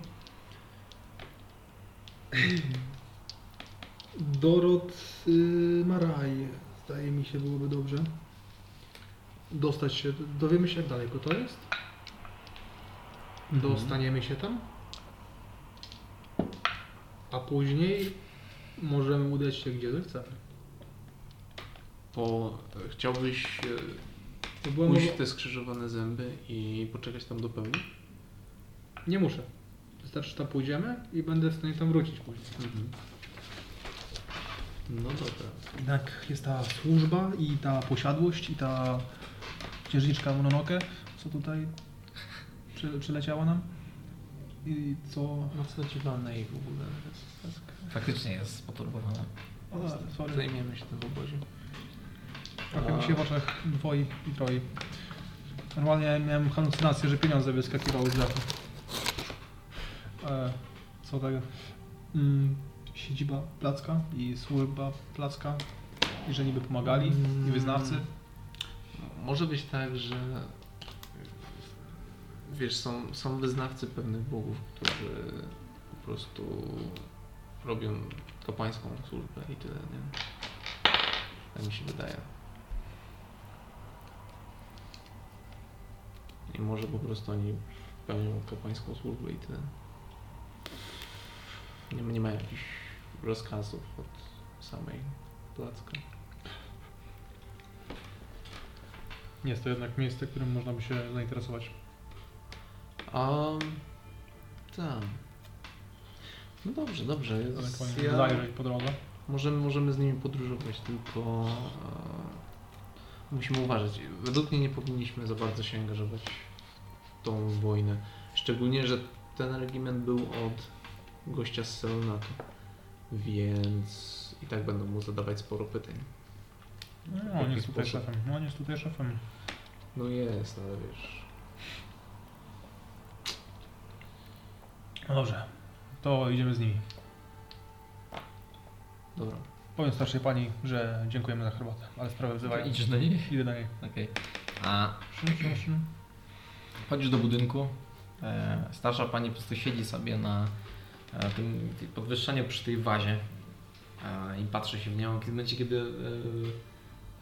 S3: Dorot y, Maraj, zdaje mi się, byłoby dobrze. dostać się, dowiemy się jak daleko to jest.
S4: Mhm.
S3: Dostaniemy się tam. A później możemy udać się gdzie zechcemy.
S4: To e, chciałbyś e,
S3: To była
S4: pójść
S3: mowa-
S4: w te skrzyżowane zęby i poczekać tam do pełni?
S3: Nie muszę. Wystarczy, że tam pójdziemy i będę w stanie tam wrócić później.
S4: Mhm. No dobra.
S5: Jednak jest ta służba i ta posiadłość i ta księżniczka Mononoke, co tutaj przy, przyleciała nam. I co...
S4: Mocno dziwane i w ogóle. jest tak.
S1: Faktycznie jest poturbowana.
S5: O, tak, sorry.
S4: Zajmiemy się tym w obozie.
S5: Trochę mi się w oczach dwoi i troi. Normalnie miałem halucynację, że pieniądze wyskakiwały z dachu. E, co tak? Mm, siedziba Placka i służba Placka. I że niby pomagali, i wyznawcy.
S4: Mm, Może być tak, że wiesz, są, są wyznawcy pewnych bogów, którzy po prostu robią kapłańską służbę i tyle, nie? Tak mi się wydaje. I może po prostu oni pełnią kapłańską służbę i tyle. Nie, nie ma jakichś rozkazów od samej placka.
S5: Nie jest to jednak miejsce, którym można by się zainteresować.
S4: A. Tak. No dobrze, dobrze. jest-
S5: Ewentualnie
S4: Ja,
S5: zajrzeć po drodze.
S4: możemy, możemy z nimi podróżować, tylko. e, musimy uważać. Według mnie nie powinniśmy za bardzo się angażować w tą wojnę. Szczególnie, że ten regiment był od gościa z Seonatu. Więc i tak będą mu zadawać sporo pytań.
S5: No, on jest tutaj
S4: Poszedł.
S5: szefem. No, on jest tutaj szefem.
S4: No jest, ale wiesz.
S5: No dobrze, to idziemy z nimi.
S4: Dobra.
S5: Powiem starszej pani, że dziękujemy za herbatę, ale sprawę wzywają.
S1: Idziesz do niej?
S5: Idę na niej.
S1: Okej. A Chodzisz do budynku. E, starsza pani po prostu siedzi sobie na e, tym tej podwyższeniu przy tej wazie e, i patrzy się w nią. Kiedy- W momencie, kiedy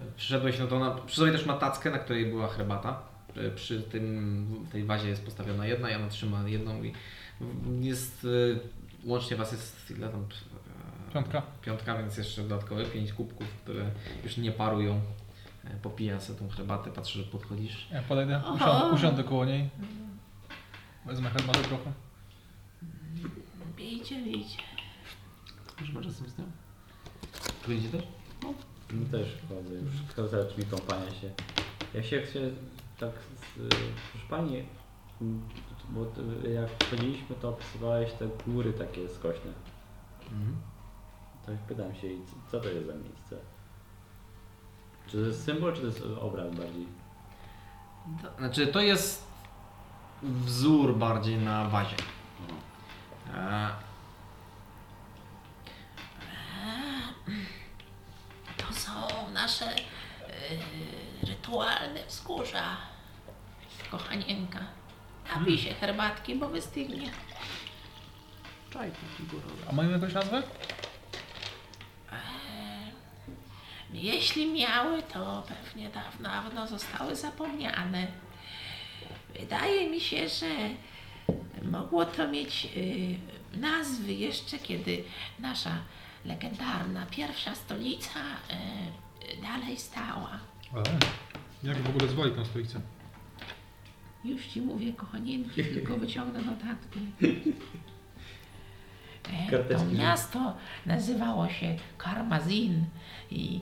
S1: e, przyszedłeś, no to ona przy sobie też ma tackę, na której była herbata. E, Przy tym, w tej wazie jest postawiona jedna i ona trzyma jedną i w- jest, e, łącznie was jest ile tam? E,
S5: Piątka.
S1: Piątka, więc jeszcze dodatkowe pięć kubków, które już nie parują. E, Popija sobie tą herbatę, patrzy, że podchodzisz.
S5: Ja podejdę, usiądę, usiądę koło niej. Wezmę herbatę trochę.
S33: Bijcie, bijcie.
S4: Już masz razem z nią?
S1: Wyjdzie też?
S2: No też chodzę już. Kto zaraz mi kompania się. Ja się chcę tak. Z, y, proszę pani, m, bo ty, jak chodziliśmy, to opisywałeś te góry takie skośne.
S1: Mhm.
S2: Tak pytam się, i co- co to jest za miejsce? Czy to jest symbol, czy to jest obraz bardziej?
S1: Znaczy, to jest wzór bardziej na wazie.
S5: No.
S1: E,
S7: To są nasze yy, rytualne wzgórza. Kochanienka. Napij się herbatki, bo wystygnie.
S4: Czaj taki górowy.
S5: A mają jakąś nazwę?
S7: Jeśli miały, to pewnie dawno, dawno zostały zapomniane. Wydaje mi się, że mogło to mieć y, nazwy jeszcze kiedy nasza legendarna pierwsza stolica y, y, dalej stała.
S3: Ale jak w ogóle zwalić tą stolicę?
S7: Już ci
S1: [LAUGHS]
S7: mówię, kochanienki, tylko wyciągnę notatki. E, To
S2: Karteczki.
S7: miasto nazywało się Karmazin i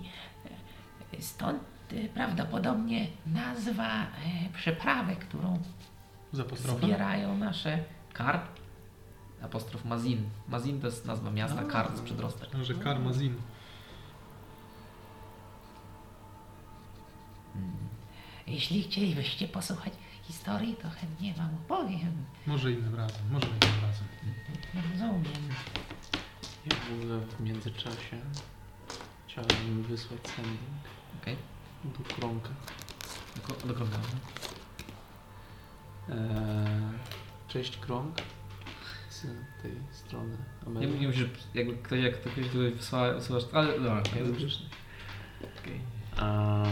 S7: e, stąd e, prawdopodobnie nazwa e, przyprawy, którą
S5: Z apostrofem.
S7: zbierają nasze
S1: Kar? Apostrof Mazin. Mazin to jest nazwa miasta, Kar to jest przedrostek.
S3: Że karma zin.
S7: Jeśli chcielibyście posłuchać historii, to chętnie wam opowiem.
S5: Może innym razem, może innym razem.
S7: Rozumiem.
S4: Ja w ogóle w międzyczasie chciałem wysłać sending
S1: Okej.
S4: do Kronka.
S1: Okay. Do krąga.
S4: Eee, cześć Kronk z tej strony
S5: No
S1: Nie,
S4: Ameryki.
S1: nie musisz, jakby ktoś, jak to ktoś tutaj wysła, wysłasz,
S5: No,
S1: ale dobra,
S4: Jest
S1: jest
S4: grzeczny. Okej. A...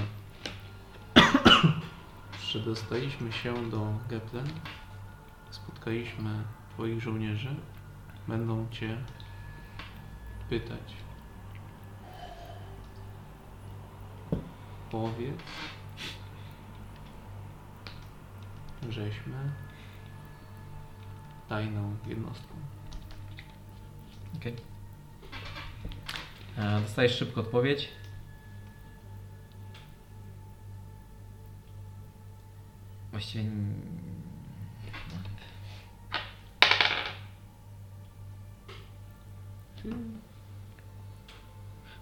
S4: [COUGHS] Przedostaliśmy się do Geplen. Spotkaliśmy Twoich żołnierzy. Będą Cię pytać. Powiedz, żeśmy tajną jednostką.
S1: E, Dostajesz szybko odpowiedź. Właściwie. n-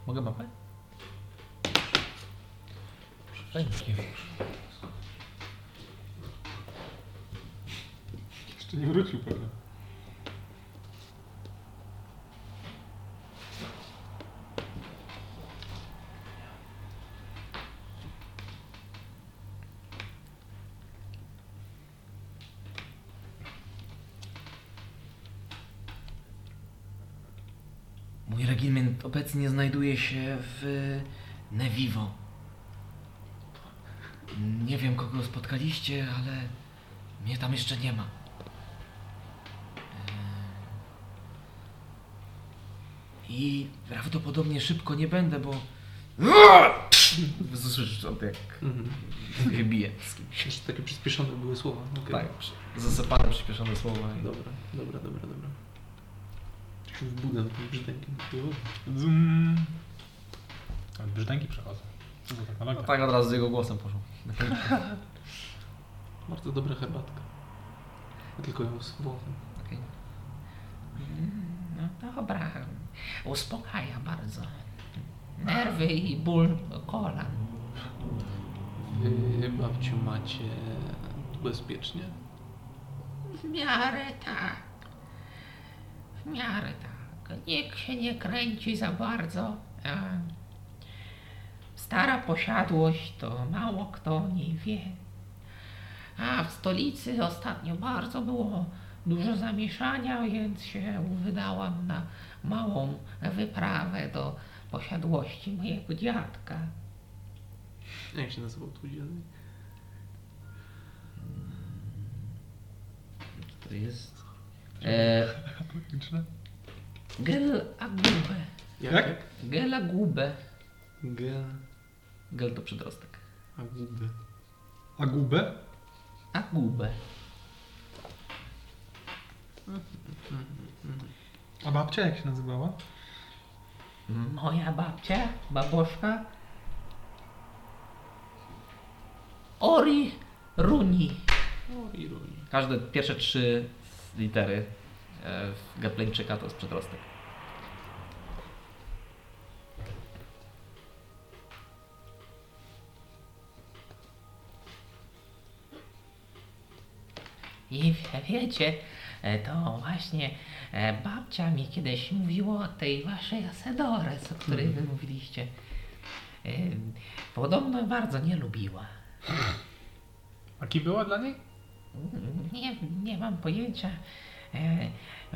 S5: Mogę mapę?
S3: Jeszcze nie wrócił pewnie.
S1: Mój regiment obecnie znajduje się w Nevivo. Nie wiem, kogo spotkaliście, ale mnie tam jeszcze nie ma. E, Eee, I prawdopodobnie szybko nie będę, bo. Słyszysz, on jak
S4: Mhm.
S1: wybije z kimś.
S4: Jeszcze takie przyspieszone były słowa. No, Okej.
S1: Tak, zasypane przyspieszone słowa. i-
S4: Dobra, dobra, dobra, dobra. Czy się wbudzę tym brzdękiem?
S5: Zum. Ale brzdęki przechodzą. Co za
S1: No
S5: technologia?
S1: tak od razu z jego głosem poszło.
S4: Bardzo dobra herbatka. Ja tylko ją słowem.
S7: No dobra, uspokaja bardzo. Nerwy i ból kolan.
S4: Wy, babciu, macie bezpiecznie?
S7: W miarę tak. W miarę tak. Nikt się nie kręci za bardzo. a Stara posiadłość to mało kto o niej wie. A w stolicy ostatnio bardzo było dużo zamieszania, więc się wydałam na małą wyprawę do posiadłości mojego dziadka.
S4: Jak się nazywał twój dziadek?
S1: To jest. E,
S5: No tak,
S7: Gel agube. Tak?
S4: Jak?
S7: Gel agube.
S4: G.
S1: gel to przedrostek.
S4: A gubę.
S3: A gubę?
S1: Agube.
S5: A babcia jak się nazywała?
S7: Moja babcia, baboszka. Ori Runi.
S4: O, ironia.
S1: Każde pierwsze trzy litery e, w Gepleńczyka to jest przedrostek.
S7: I wie- wiecie, e, to właśnie e, babcia mi kiedyś mówiła o tej waszej Asedores, o której wy mówiliście. E, Podobno bardzo nie lubiła.
S5: A kim była dla niej?
S7: Nie, nie mam pojęcia. E,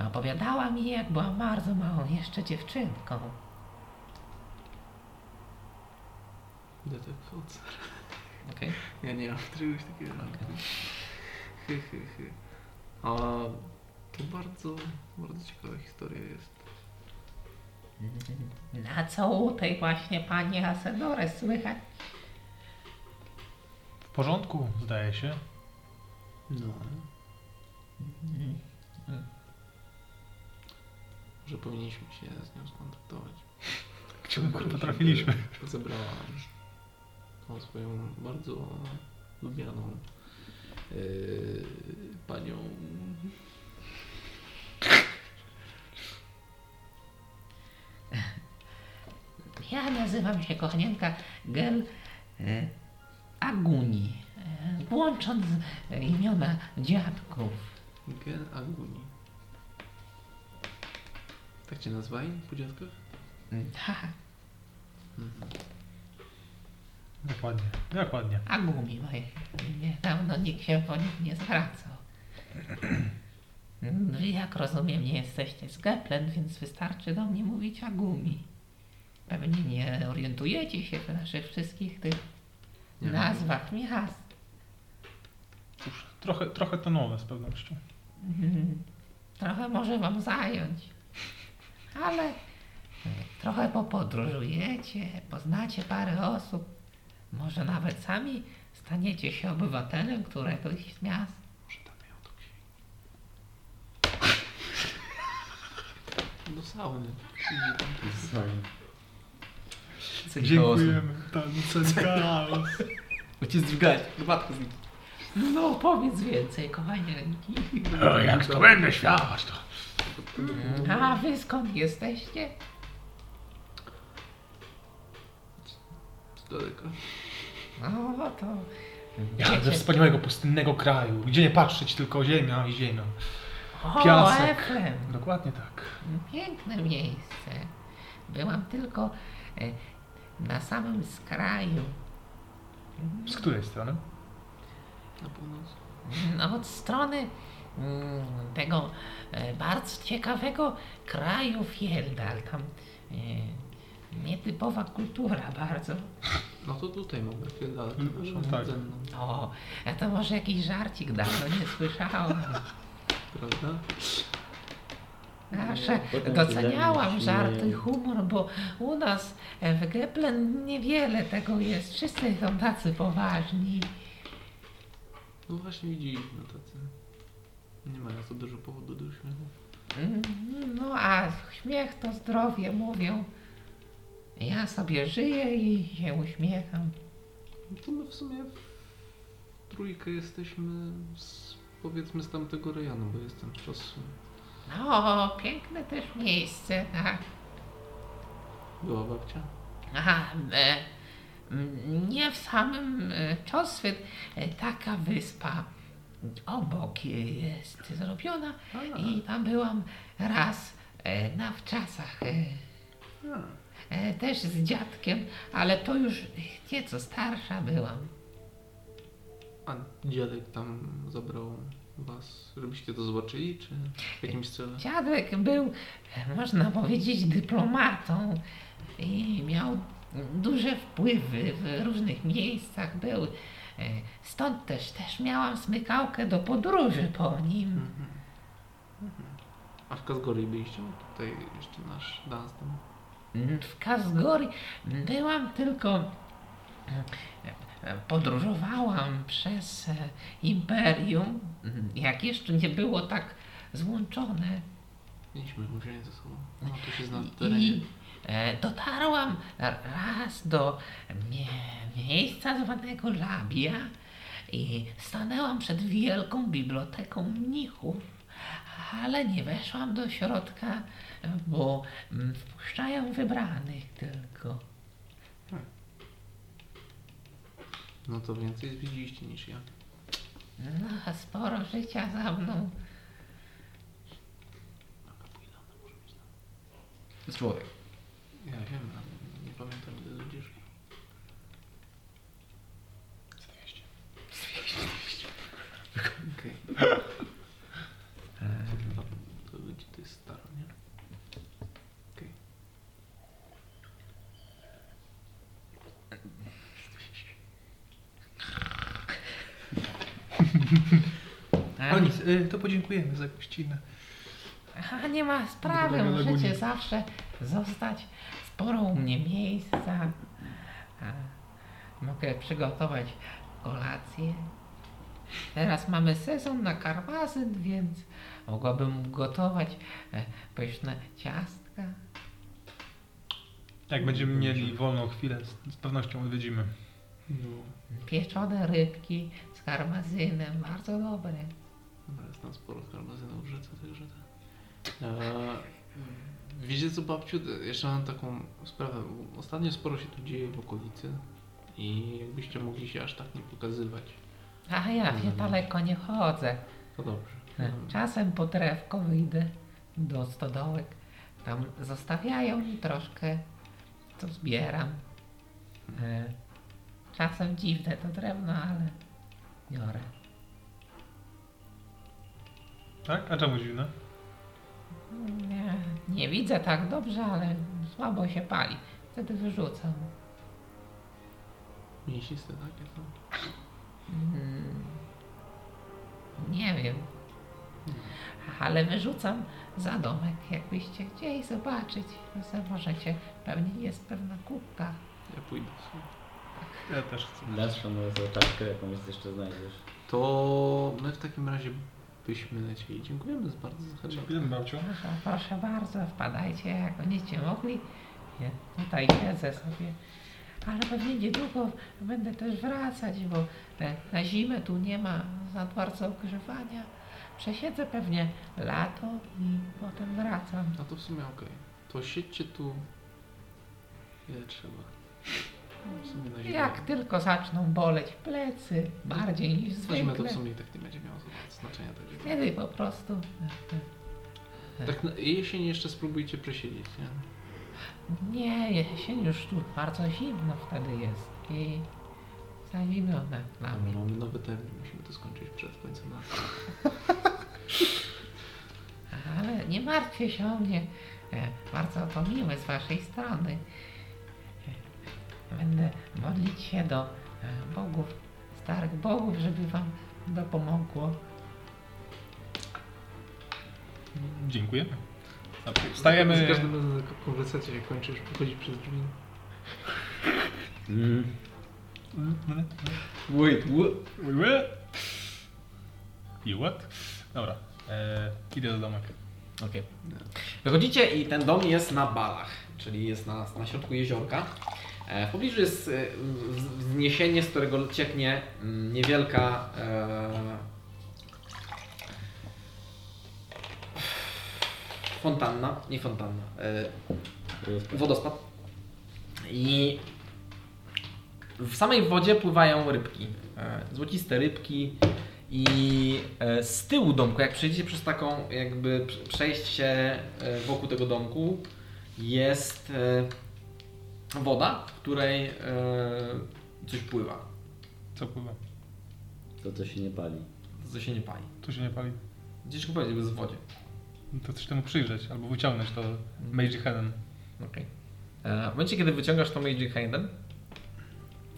S7: Opowiadała mi, jak była bardzo małą jeszcze dziewczynką.
S4: Detek Focer.
S1: Okej.
S4: Ja nie mam czegoś takiego. Hy, hy, hy. A to bardzo, bardzo ciekawa historia jest.
S7: Na co u tej właśnie pani Asedores słychać?
S5: W porządku, zdaje się.
S4: No. Mhm. Może powinniśmy się z nią skontaktować.
S5: Chciałbym, kurwa, trafiliśmy.
S4: Zebrała tą swoją bardzo lubianą yy, panią.
S7: Ja nazywam się kochanienka Gel e, Aguni, e, łącząc e, imiona dziadków.
S4: Gen Aguni. Tak cię nazwali po dziadkach?
S7: Tak,
S5: Dokładnie, dokładnie.
S7: Agumi moje imię. Dawno nikt się po nich nie [CLEARS THROAT] zwracał. Wy, Jak rozumiem, nie jesteście z Geplen, więc wystarczy do mnie mówić Agumi. Pewnie nie orientujecie się w naszych wszystkich tych
S4: Nie.
S7: nazwach miast. [CLEARS THROAT]
S5: Cóż, trochę, trochę to nowe z pewnością.
S7: Trochę może wam zająć, ale trochę popodróżujecie, poznacie parę osób, może nawet sami staniecie się obywatelem któregoś z miast.
S4: Do sauny.
S5: Dziękujemy, [LAUGHS] tancerz chaos.
S1: Cię zdźwigać, herbatkę z nim.
S7: No opowiedz więcej, kochanianki.
S5: Jak to będę świat, to... Mhm.
S7: A wy skąd jesteście?
S4: Z daleka.
S7: No to...
S5: Ja ze wspaniałego, pustynnego kraju, gdzie nie patrzeć, tylko ziemia i ziemia.
S7: O,
S5: piasek.
S7: Efrem.
S5: Dokładnie tak.
S7: Piękne miejsce. Byłam tylko e, na samym skraju.
S5: Z której strony?
S4: Na północ.
S7: No, od strony mm, tego e, bardzo ciekawego kraju Fjeldal. Tam e, nietypowa kultura bardzo.
S4: No to tutaj mamy chwilę dalej.
S5: Mm, tak.
S4: Ze mną,
S7: O, a to może jakiś żarcik dawno nie słyszałam.
S4: prawda?
S7: Zawsze
S2: Potem
S7: doceniałam
S2: się
S7: żarty i
S2: śmieją.
S7: humor, bo u nas e, w Geplen niewiele tego jest. Wszyscy są tacy poważni.
S4: No właśnie widzieliśmy tacy. Nie mają za dużo powodu do uśmiechu.
S7: Mm, No a śmiech to zdrowie, mówią. Ja sobie żyję i się uśmiecham.
S4: No to my w sumie w trójkę jesteśmy z, powiedzmy z tamtego rejonu, bo jestem z czasu.
S7: No, piękne też miejsce, tak.
S4: Była babcia.
S7: Aha, e, m, nie w samym e, Czoswyt, e, taka wyspa obok e, jest zrobiona i tam byłam raz e, na wczasach. E, e, też z dziadkiem, ale to już e, nieco starsza byłam.
S4: A dziadek tam zabrał was, żebyście to zobaczyli, czy w jakimś celu?
S7: Dziadek był, można powiedzieć, dyplomatą i miał duże wpływy w różnych miejscach był. E, Stąd też, też miałam smykałkę do podróży po nim.
S4: A w Kazgorii byliście? No Tutaj jeszcze nasz dans tam.
S7: W Kazgori byłam tylko. e, e, Podróżowałam przez e, imperium, jak jeszcze nie było tak złączone.
S4: Mieliśmy musieli ze sobą. No to się zna w terenie.
S7: I e, dotarłam raz do mie miejsca zwanego Labia i stanęłam przed wielką biblioteką mnichów, ale nie weszłam do środka, bo mm, wpuszczają wybranych tylko.
S4: No to więcej widzieliście niż ja.
S7: No, a sporo życia za mną.
S1: Jest człowiek.
S4: Ja wiem, ale nie pamiętam gdy ludzie żyją. Okej. Chyba To ludzi to jest staro, nie? Okej.
S5: Ale nic, y, to podziękujemy za gościnę.
S7: A nie ma sprawy,
S5: Dobra,
S7: możecie
S5: lagunie.
S7: zawsze zostać. Sporo u mnie miejsca. A, Mogę przygotować kolację. Teraz mamy sezon na karmazyn, więc mogłabym gotować e, pyszne ciastka.
S5: Jak będziemy mieli wolną chwilę, z- z pewnością odwiedzimy.
S4: No,
S7: Pieczone rybki z karmazynem, bardzo dobre.
S4: dobra, jest tam sporo karmazynów w rzece, także tak. Eee, Wiecie co babciu, jeszcze mam taką sprawę. bo Ostatnio sporo się tu dzieje w okolicy i jakbyście mogli się aż tak nie pokazywać.
S7: A ja się
S4: Mhm.
S7: daleko nie chodzę.
S4: To dobrze.
S7: E,
S4: Hmm.
S7: Czasem po drewko wyjdę do stodołek. Tam zostawiają mi troszkę, to zbieram. E, Czasem dziwne to drewno, ale biorę.
S5: Tak? A czemu dziwne?
S7: Nie, nie widzę tak dobrze, ale słabo się pali. Wtedy
S4: tak?
S7: wyrzucam.
S4: Mięsiste takie są.
S7: Mm, Nie wiem. Ale wyrzucam za domek, jakbyście chcieli zobaczyć. to Możecie, pewnie jest pewna kubka.
S4: Ja pójdę.
S5: Ja też chcę.
S2: Dasz panu zaczaszkę jakąś jeszcze znajdziesz.
S4: To my w takim razie byśmy lecieli. Dziękujemy bardzo za herbatę.
S5: Dziękujemy babciu.
S7: Proszę, proszę bardzo, wpadajcie, jak będziecie mogli. Ja tutaj jedzę sobie. Ale pewnie niedługo będę też wracać, bo e, na zimę tu nie ma za bardzo ogrzewania. Przesiedzę pewnie lato i potem wracam.
S4: No to w sumie okej. To siedźcie tu ile trzeba. No W sumie na zimę.
S7: Jak tylko zaczną boleć plecy, bardziej niż
S4: Na zimę to
S7: zwykle,
S4: w sumie i tak nie będzie miało znaczenia. Tak, jak-
S7: wtedy po prostu...
S4: tak na jesień jeszcze spróbujcie przesiedzieć, nie?
S7: Nie, jesień już tu bardzo zimno wtedy jest i za zimno nad nami.
S4: Mamy nowy termin, musimy to skończyć przed końcem lata.
S7: Ale nie martwcie się o mnie. E, Bardzo to miłe z waszej strony. E, Będę modlić się do e, bogów, starych bogów, żeby wam dopomogło.
S5: Dziękujemy. Dobrze, Wstajemy.
S4: Z każdym razem jak konwersacja się kończy, już pochodzi przez drzwi.
S1: Wait, what?
S5: Ły, ły. I what? Dobra. E, idę do domek.
S1: Okej. Wychodzicie i ten dom jest na balach, czyli jest na, na środku jeziorka. E, W pobliżu jest e, w- wzniesienie, z którego cieknie mm, niewielka. E, fontanna, nie fontanna, e, wodospad. I w samej wodzie pływają rybki. e, Złociste rybki. I e, z tyłu domku, jak przejdziecie przez taką jakby prze- przejście e, wokół tego domku, jest e, woda, w której e, coś pływa.
S5: Co pływa?
S2: To to się nie pali.
S1: Co się nie pali.
S5: Tu się nie pali.
S1: Gdzieś go powiedzieć, bo jest w wodzie.
S5: To coś temu przyjrzeć albo wyciągnąć to
S4: Mm.
S5: Magic Handen.
S1: Okay. E, W momencie, kiedy wyciągasz tą Magic Handem,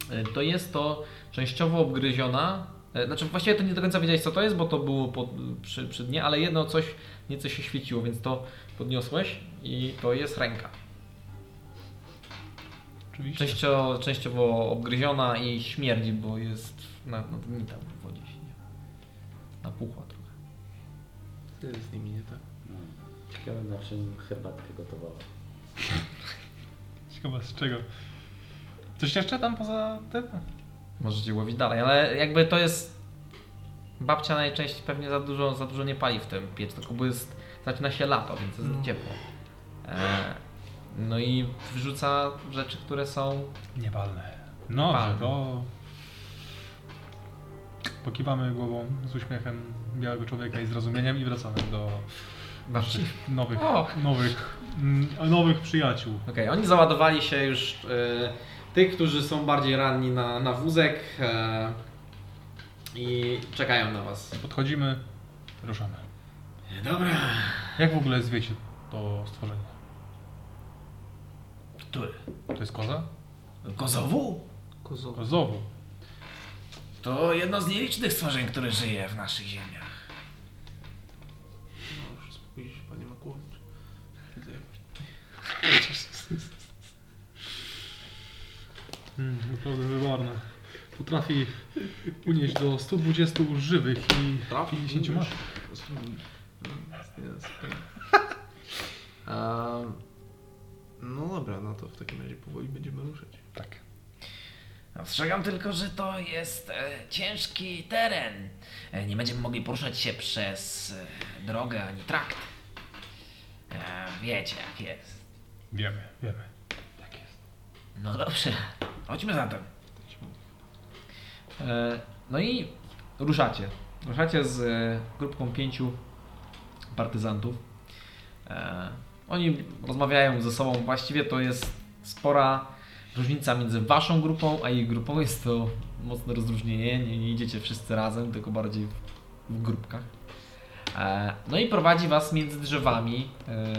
S1: e, to jest to częściowo obgryziona. e, Znaczy, właściwie to nie do końca wiedziałeś, co to jest, bo to było pod, przy, przy dnie, ale jedno coś nieco się świeciło, więc to podniosłeś i to jest ręka.
S5: Oczywiście.
S1: Częścio, częściowo obgryziona i śmierdzi, bo jest na, na dni tam w wodzie się nie. Napuchła trochę.
S4: Tyle z nimi nie tak.
S2: No. Ciekawe na czym herbatkę gotowała.
S5: Ciekawe z czego. Coś jeszcze tam poza tym?
S1: Możecie łowić dalej, ale jakby to jest. Babcia najczęściej pewnie za dużo, za dużo nie pali w tym piecz, tylko bo jest, zaczyna się lato, więc jest
S6: Mm.
S4: No.
S1: ciepło. E, no i wrzuca rzeczy, które są.
S5: Niepalne. No,
S1: Palne.
S5: to... Pokiwamy głową z uśmiechem białego człowieka i zrozumieniem i wracamy do
S1: Babci.
S5: naszych nowych,
S1: O!
S5: nowych, mm, nowych przyjaciół.
S1: Okej, oni załadowali się już. E, tych, którzy są bardziej ranni na, na wózek e, i czekają na was.
S5: Podchodzimy, ruszamy.
S6: Dobra.
S5: Jak w ogóle zwie się to stworzenie?
S6: Który?
S5: To jest koza?
S6: Kozowu?
S4: Kozowa.
S5: Kozowu.
S6: To jedno z nielicznych stworzeń, które żyje w naszych ziemiach.
S4: No już spokojnie się panie Makłowicz. Widzę jak
S5: Mm, naprawdę wyborne. Potrafi unieść do 120 żywych i
S4: Trafi,
S5: 50
S4: mówisz?
S5: martwych.
S4: Jest, Ehm, No dobra, no to w takim razie powoli będziemy ruszać.
S5: Tak.
S6: Ostrzegam tylko, że to jest e, ciężki teren. E, nie będziemy mogli poruszać się przez e, drogę ani trakt. E, wiecie jak jest.
S5: Wiemy, wiemy. Tak jest.
S6: No dobrze, chodźmy zatem.
S1: E, No i ruszacie. Ruszacie z e, grupką pięciu partyzantów. E, Oni rozmawiają ze sobą. Właściwie to jest spora różnica między waszą grupą a ich grupą. Jest to mocne rozróżnienie. Nie, nie idziecie wszyscy razem, tylko bardziej w, w grupkach. E, No i prowadzi was między drzewami e,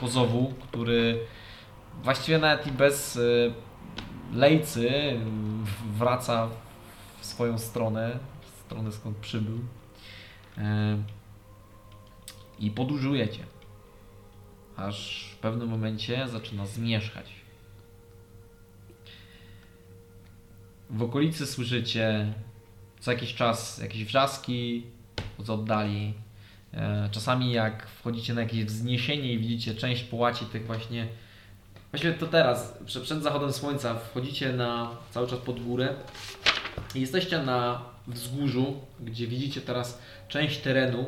S1: kozowu, który właściwie nawet i bez e, lejcy e, wraca w swoją stronę, w stronę skąd przybył. E, I podróżujecie. Aż w pewnym momencie zaczyna zmierzchać. W okolicy słyszycie co jakiś czas jakieś wrzaski z oddali. E, Czasami jak wchodzicie na jakieś wzniesienie i widzicie część połaci tych właśnie... Właściwie to teraz, prze- przed zachodem słońca wchodzicie na cały czas pod górę i jesteście na wzgórzu, gdzie widzicie teraz część terenu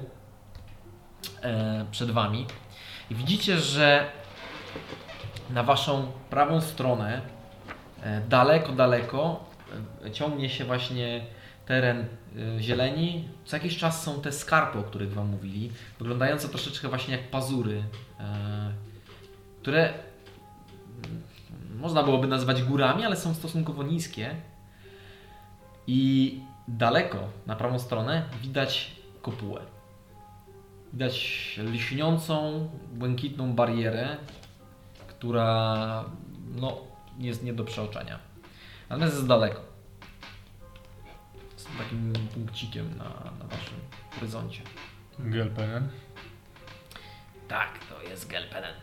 S1: e, przed wami. I widzicie, że na waszą prawą stronę e, daleko, daleko e, ciągnie się właśnie teren e, zieleni. Co jakiś czas są te skarpy, o których wam mówili, wyglądające troszeczkę właśnie jak pazury, e, które mm, można byłoby nazwać górami, ale są stosunkowo niskie. I daleko, na prawą stronę, widać kopułę. Widać lśniącą, błękitną barierę, która no, jest nie do przeoczenia. Natomiast jest daleko. Z takim punkcikiem na, na waszym horyzoncie.
S5: Gelpenen.
S6: Tak, to jest Gelpenen.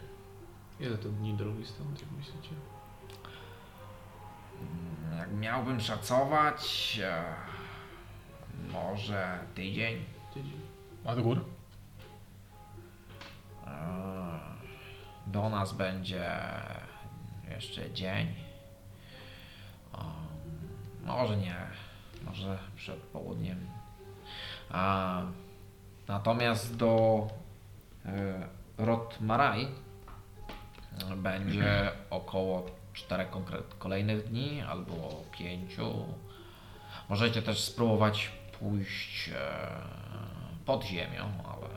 S4: Ile to dni drogi stąd, jak myślicie?
S6: Jak miałbym szacować, e, może tydzień.
S4: Tydzień.
S5: A do gór?
S6: E, Do nas będzie jeszcze dzień. O, może nie, może przed południem. A, natomiast do e, Rotmaraj będzie około czterech konkret, kolejnych dni albo pięciu. Możecie też spróbować pójść e, pod ziemią, ale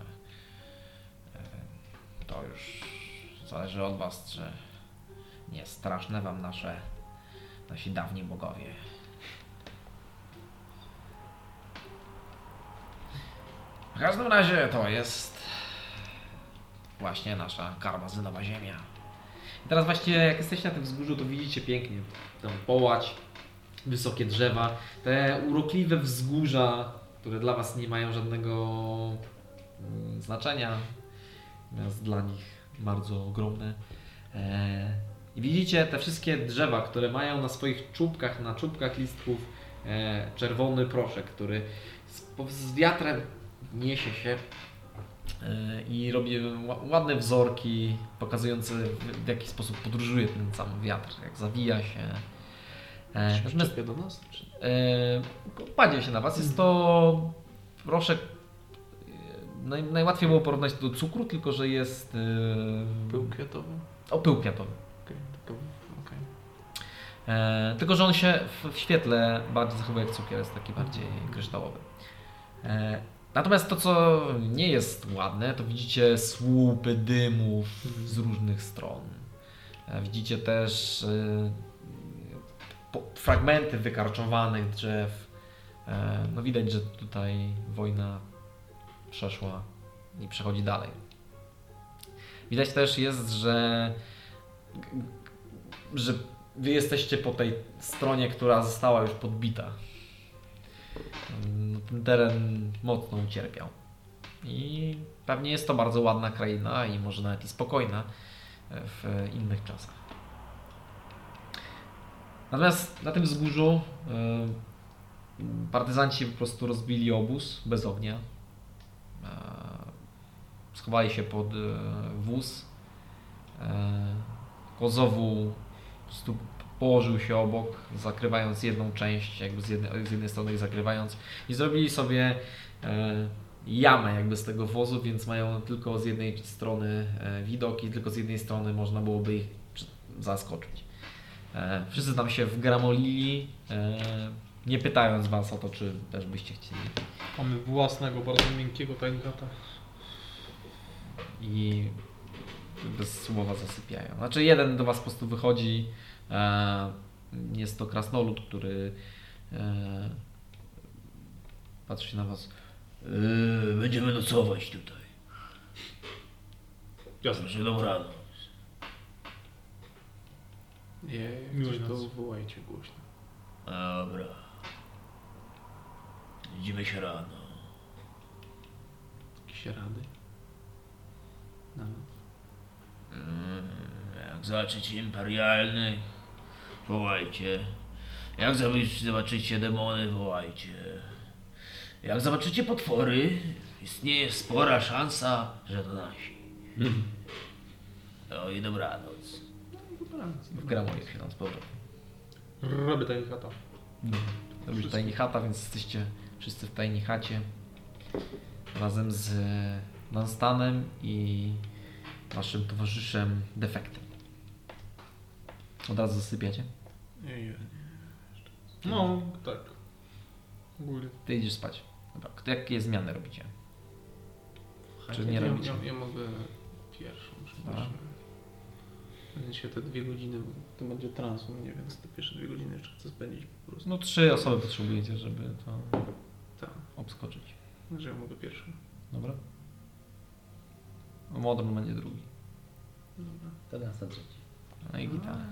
S6: e, to już zależy od Was, czy nie straszne Wam nasze nasi dawni bogowie. W każdym razie to jest właśnie nasza karmazynowa ziemia.
S1: I teraz właśnie jak jesteście na tym wzgórzu, to widzicie pięknie tam połać, wysokie drzewa, te urokliwe wzgórza, które dla was nie mają żadnego mm, znaczenia, natomiast dla nich bardzo ogromne. E, I widzicie te wszystkie drzewa, które mają na swoich czubkach, na czubkach listków e, czerwony proszek, który z, po- z wiatrem niesie się E, i robię ła- ładne wzorki pokazujące w- w jaki sposób podróżuje ten sam wiatr, jak zawija się. E, Natomiast
S4: Czepia do nas? Czy...
S1: e, kładzie się na Was. Jest to proszek, e, naj, najłatwiej było porównać to do cukru, tylko że jest e,
S4: Pył kwiatowy?
S1: o pył kwiatowy.
S4: Okej, okay, okej.
S1: E, tylko, że on się w, w świetle bardziej zachowuje jak cukier, jest taki bardziej kryształowy. E, natomiast to, co nie jest ładne, to widzicie słupy dymów z różnych stron. E, widzicie też e, po, fragmenty wykarczowanych drzew. E, no widać, że tutaj wojna przeszła i przechodzi dalej. Widać też jest, że, że Wy jesteście po tej stronie, która została już podbita. Mm, Ten teren mocno ucierpiał. I pewnie jest to bardzo ładna kraina i może nawet i spokojna e, w e, innych czasach. Natomiast na tym wzgórzu e, partyzanci po prostu rozbili obóz bez ognia. E, Schowali się pod e, wóz. E, Kozowu po prostu położył się obok, zakrywając jedną część, jakby z jednej, z jednej strony ich zakrywając i zrobili sobie e, jamę jakby z tego wozu, więc mają tylko z jednej strony e, widok i tylko z jednej strony można byłoby ich przy- zaskoczyć. E, wszyscy tam się wgramolili, e, nie pytając Was o to, czy też byście chcieli.
S3: Mamy własnego, bardzo miękkiego tajnikata.
S1: i bez słowa zasypiają. Znaczy jeden do was po prostu wychodzi, e, jest to krasnolud, który e, patrzy się na was.
S6: Yy, będziemy nocować tutaj.
S3: Jasne.
S6: Że dobrano.
S4: Nie, jak
S3: Miło
S4: coś,
S3: nas.
S4: to wołajcie głośno.
S6: Dobra. Widzimy się rano.
S4: Jakieś rady?
S2: No.
S6: Mm, Jak zobaczycie imperialny, wołajcie. Jak zobaczy- zobaczycie demony, wołajcie. Jak zobaczycie potwory, istnieje spora szansa, że to nasi. No i dobranoc.
S1: W Gramonie się tam z powrotem.
S3: Robię tajny chata.
S1: Dobrze, tajni chata, więc jesteście wszyscy w tajni chacie. Razem z Danstanem i waszym towarzyszem Defektem. Od razu zasypiacie?
S3: No, tak. Ogólnie.
S1: Ty idziesz spać. Dobra, kto- jakie zmiany robicie? Czy
S4: Ja,
S1: nie robicie? Tak.
S4: ja, ja mogę pierwszą,
S1: Dobra.
S4: przepraszam. Będzie się te dwie godziny, to będzie transum, nie więc te pierwsze dwie godziny jeszcze chcę spędzić po prostu.
S1: No trzy osoby potrzebujecie, żeby to
S4: Tak,
S1: obskoczyć.
S4: że ja mogę pierwszą.
S1: Dobra? Modron będzie drugi.
S4: Dobra.
S2: To nas na trzeci.
S1: No i gitara.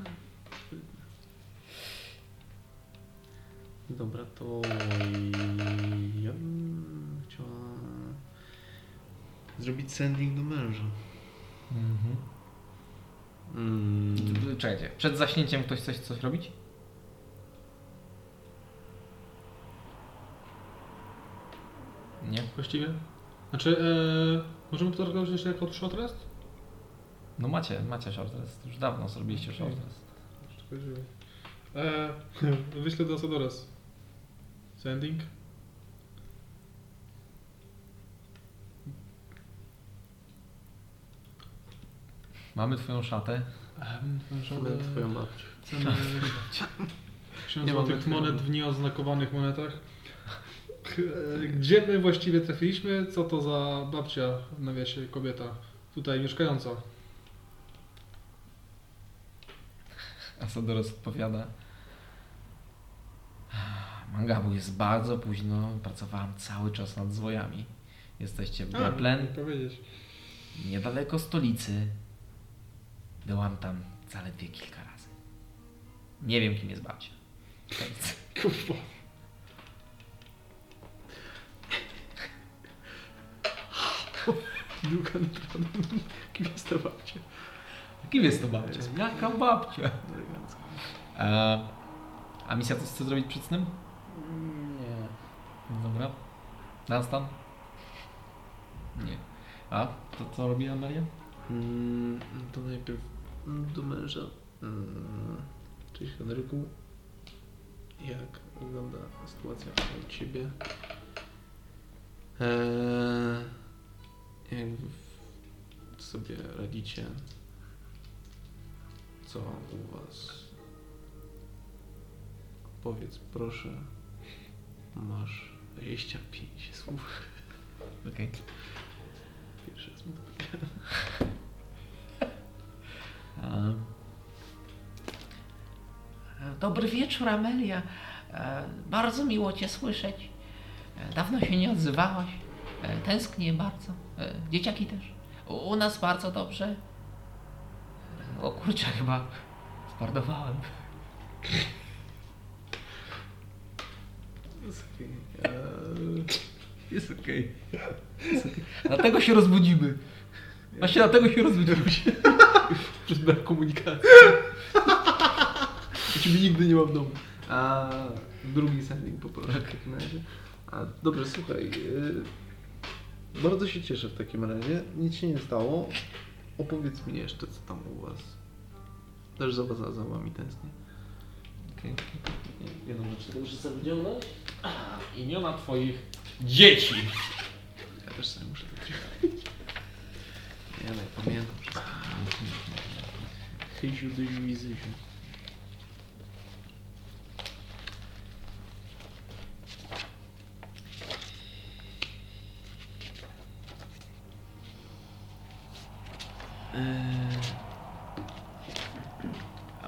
S4: Dobra, to ja bym chciała zrobić sending do męża.
S1: Mhm.
S4: Mm.
S1: Czekajcie, przed zaśnięciem ktoś coś, coś robić? Nie?
S3: Właściwie. Znaczy, e, możemy potraktować jeszcze jako short rest?
S1: No macie, macie short rest. Już dawno zrobiliście short rest.
S3: Jeszcze powiedziałem. E, wyślę do Asadores. Sending.
S1: Mamy twoją szatę.
S4: Szanę twoją babcię.
S3: Cenę 1000
S4: Nie mam
S3: złotych
S4: metry.
S3: monet w nieoznakowanych monetach. E, Gdzie my właściwie trafiliśmy? Co to za babcia w nawiasie kobieta tutaj mieszkająca?
S1: Asadores odpowiada. Mangabu jest bardzo późno. Pracowałam cały czas nad zwojami. Jesteście w Bleplen.
S3: nie powiedzieć.
S1: niedaleko stolicy. Byłam tam zaledwie kilka razy. Nie wiem, kim jest babcia. Więc
S3: Kurwa.
S4: Druga naprawdę. Kim jest ta babcia?
S1: Kim jest to babcia? Jaka babcia?
S4: Elegancko.
S1: E, a misja coś chce zrobić przed snem?
S2: Nie.
S1: Dobra. Dunstan? Nie. A, to co robi Amelia?
S4: Mm, to najpierw mm, do męża. Mm, cześć Henryku. Jak wygląda sytuacja u ciebie? Eee, jak w- sobie radzicie? Co u was? Powiedz proszę. Masz 25 słów.
S1: Okej.
S4: Pierwszy raz
S1: E,
S7: E, Dobry wieczór, Amelia. E, Bardzo miło Cię słyszeć. E, Dawno się nie odzywałaś. E, Tęsknię bardzo. E, Dzieciaki też. U u nas bardzo dobrze.
S1: o kurczę, chyba spardowałem.
S4: Jest okej. Eee, Jest okej.
S1: Dlatego się rozbudzimy. Właśnie dlatego się rozbudzimy.
S4: Przez brak komunikacji. Ciebie nigdy nie mam w domu. A drugi sending poproszę w takim razie. A, dobrze, słuchaj. e, bardzo się cieszę w takim razie. Nic się nie stało. Opowiedz mi jeszcze, co tam u was. Też za, za, za wami tęsknię.
S1: Okej.
S4: Nie, Jedną rzecz tylko muszę sobie wyciągnąć.
S12: Imiona twoich dzieci.
S4: Ja też sobie muszę to wyciągnąć. Ja nie pamiętam wszystko. Hyziu, dyziu i zyziu.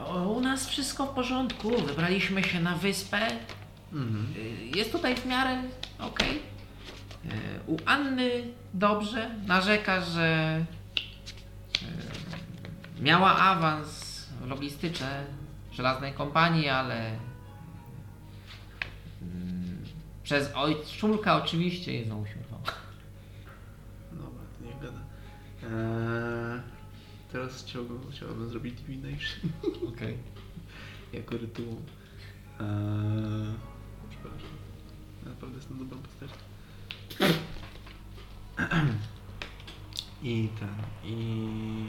S7: O, U nas wszystko w porządku. Wybraliśmy się na wyspę.
S4: Mhm.
S7: Y, Jest tutaj w miarę ok. U Anny dobrze. Narzeka, że y, miała awans w logistyce żelaznej kompanii, ale y, mm, przez ojczulka oczywiście jej znowu się urwało.
S4: Eee, teraz chciałbym, chciałbym zrobić Divination. [LAUGHS] Okej. jako rytuał. Eee, przepraszam. Ja Naprawdę jestem dobrą postacią. [CLEARS THROAT] I ten, i...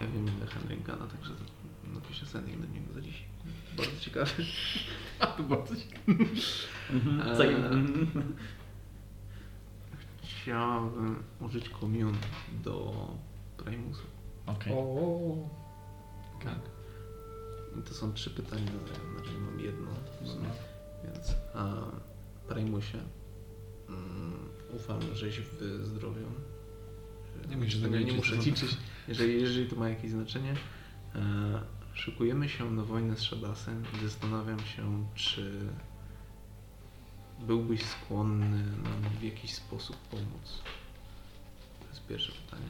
S4: Ja wiem ile Henry Gana, także no za- napiszę sending do niego za dziś. Bardzo ciekawe. Bardzo ciekawe.
S2: Mhm. e,
S4: E,
S2: Tak.
S4: Eee, Chciałbym użyć komion do Primusa.
S1: Okej.
S4: Tak. I to są trzy pytania, na razie mam jedno. Więc a, Primusie, mm, ufam, żeś w zdrowiu.
S3: Nie musisz
S4: Tego
S3: tego
S4: nie
S3: liczyć,
S4: muszę
S3: to są-
S4: liczyć. Jeżeli, jeżeli to ma jakieś znaczenie. E, szykujemy się na wojnę z Shadasem i zastanawiam się, czy byłbyś skłonny nam w jakiś sposób pomóc. To jest pierwsze pytanie.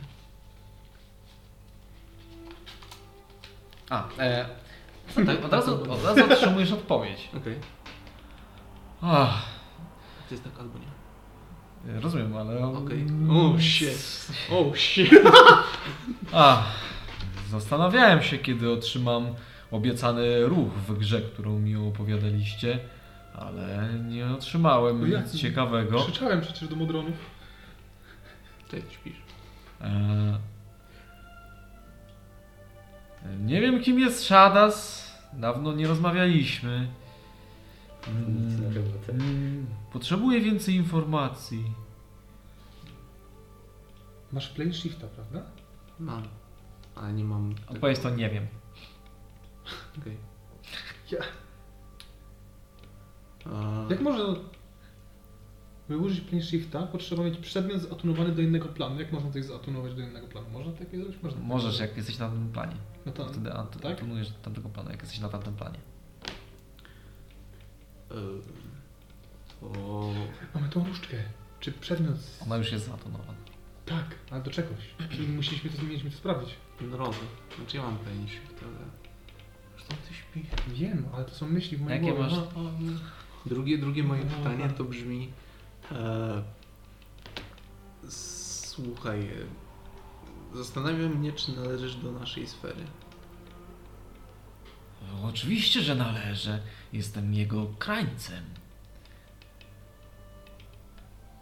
S1: A, e, tak, od, razu, od razu otrzymujesz odpowiedź.
S4: Okej.
S1: Ach,
S4: To jest tak albo nie.
S1: rozumiem, ale...
S4: Okej. Oh shit. Oh shit.
S1: Ach, zastanawiałem się, kiedy otrzymam obiecany ruch w grze, którą mi opowiadaliście, ale nie
S3: No
S1: otrzymałem
S3: jak?
S1: nic ciekawego.
S3: Krzyczałem przecież do modronów.
S4: Ty śpisz.
S1: E, Nie wiem, kim jest Shadas. Dawno nie rozmawialiśmy. Mm,
S2: Nic na temat.
S1: mm, Potrzebuję więcej informacji.
S5: Masz plane shifta, prawda?
S4: Mam. Ale nie mam. tak-
S1: Odpowiedź to nie wiem.
S4: Okej.
S5: Ja.
S4: A,
S5: Jak można
S3: By użyć plane shifta, potrzeba mieć przedmiot zatunowany do innego planu. Jak można coś zatunować do innego planu? Można takie zrobić? Można.
S1: Możesz, jak jesteś na tym planie.
S3: No to,
S1: Wtedy ant-
S3: tak?
S1: atonujesz do tamtego planu, jak jesteś na tamtym planie.
S4: ym, To.
S3: Mamy tą różdżkę. Czy przedmiot... z-
S1: Ona już jest zatonowana.
S3: Tak, ale do czegoś. Czyli musieliśmy to, mieliśmy to sprawdzić.
S4: Drodzy. Znaczy ja mam pędź, ale. Zresztą ty śpisz.
S3: Wiem, ale to są myśli w mojej
S1: Jakie
S3: głowie.
S1: masz-
S3: No, o, nie.
S4: Drugie, drugie moje
S3: No,
S4: pytanie
S3: tak.
S4: to brzmi. E, słuchaj, e, zastanawiam mnie, czy należysz do naszej sfery.
S1: No, Oczywiście, że należę. Jestem jego krańcem.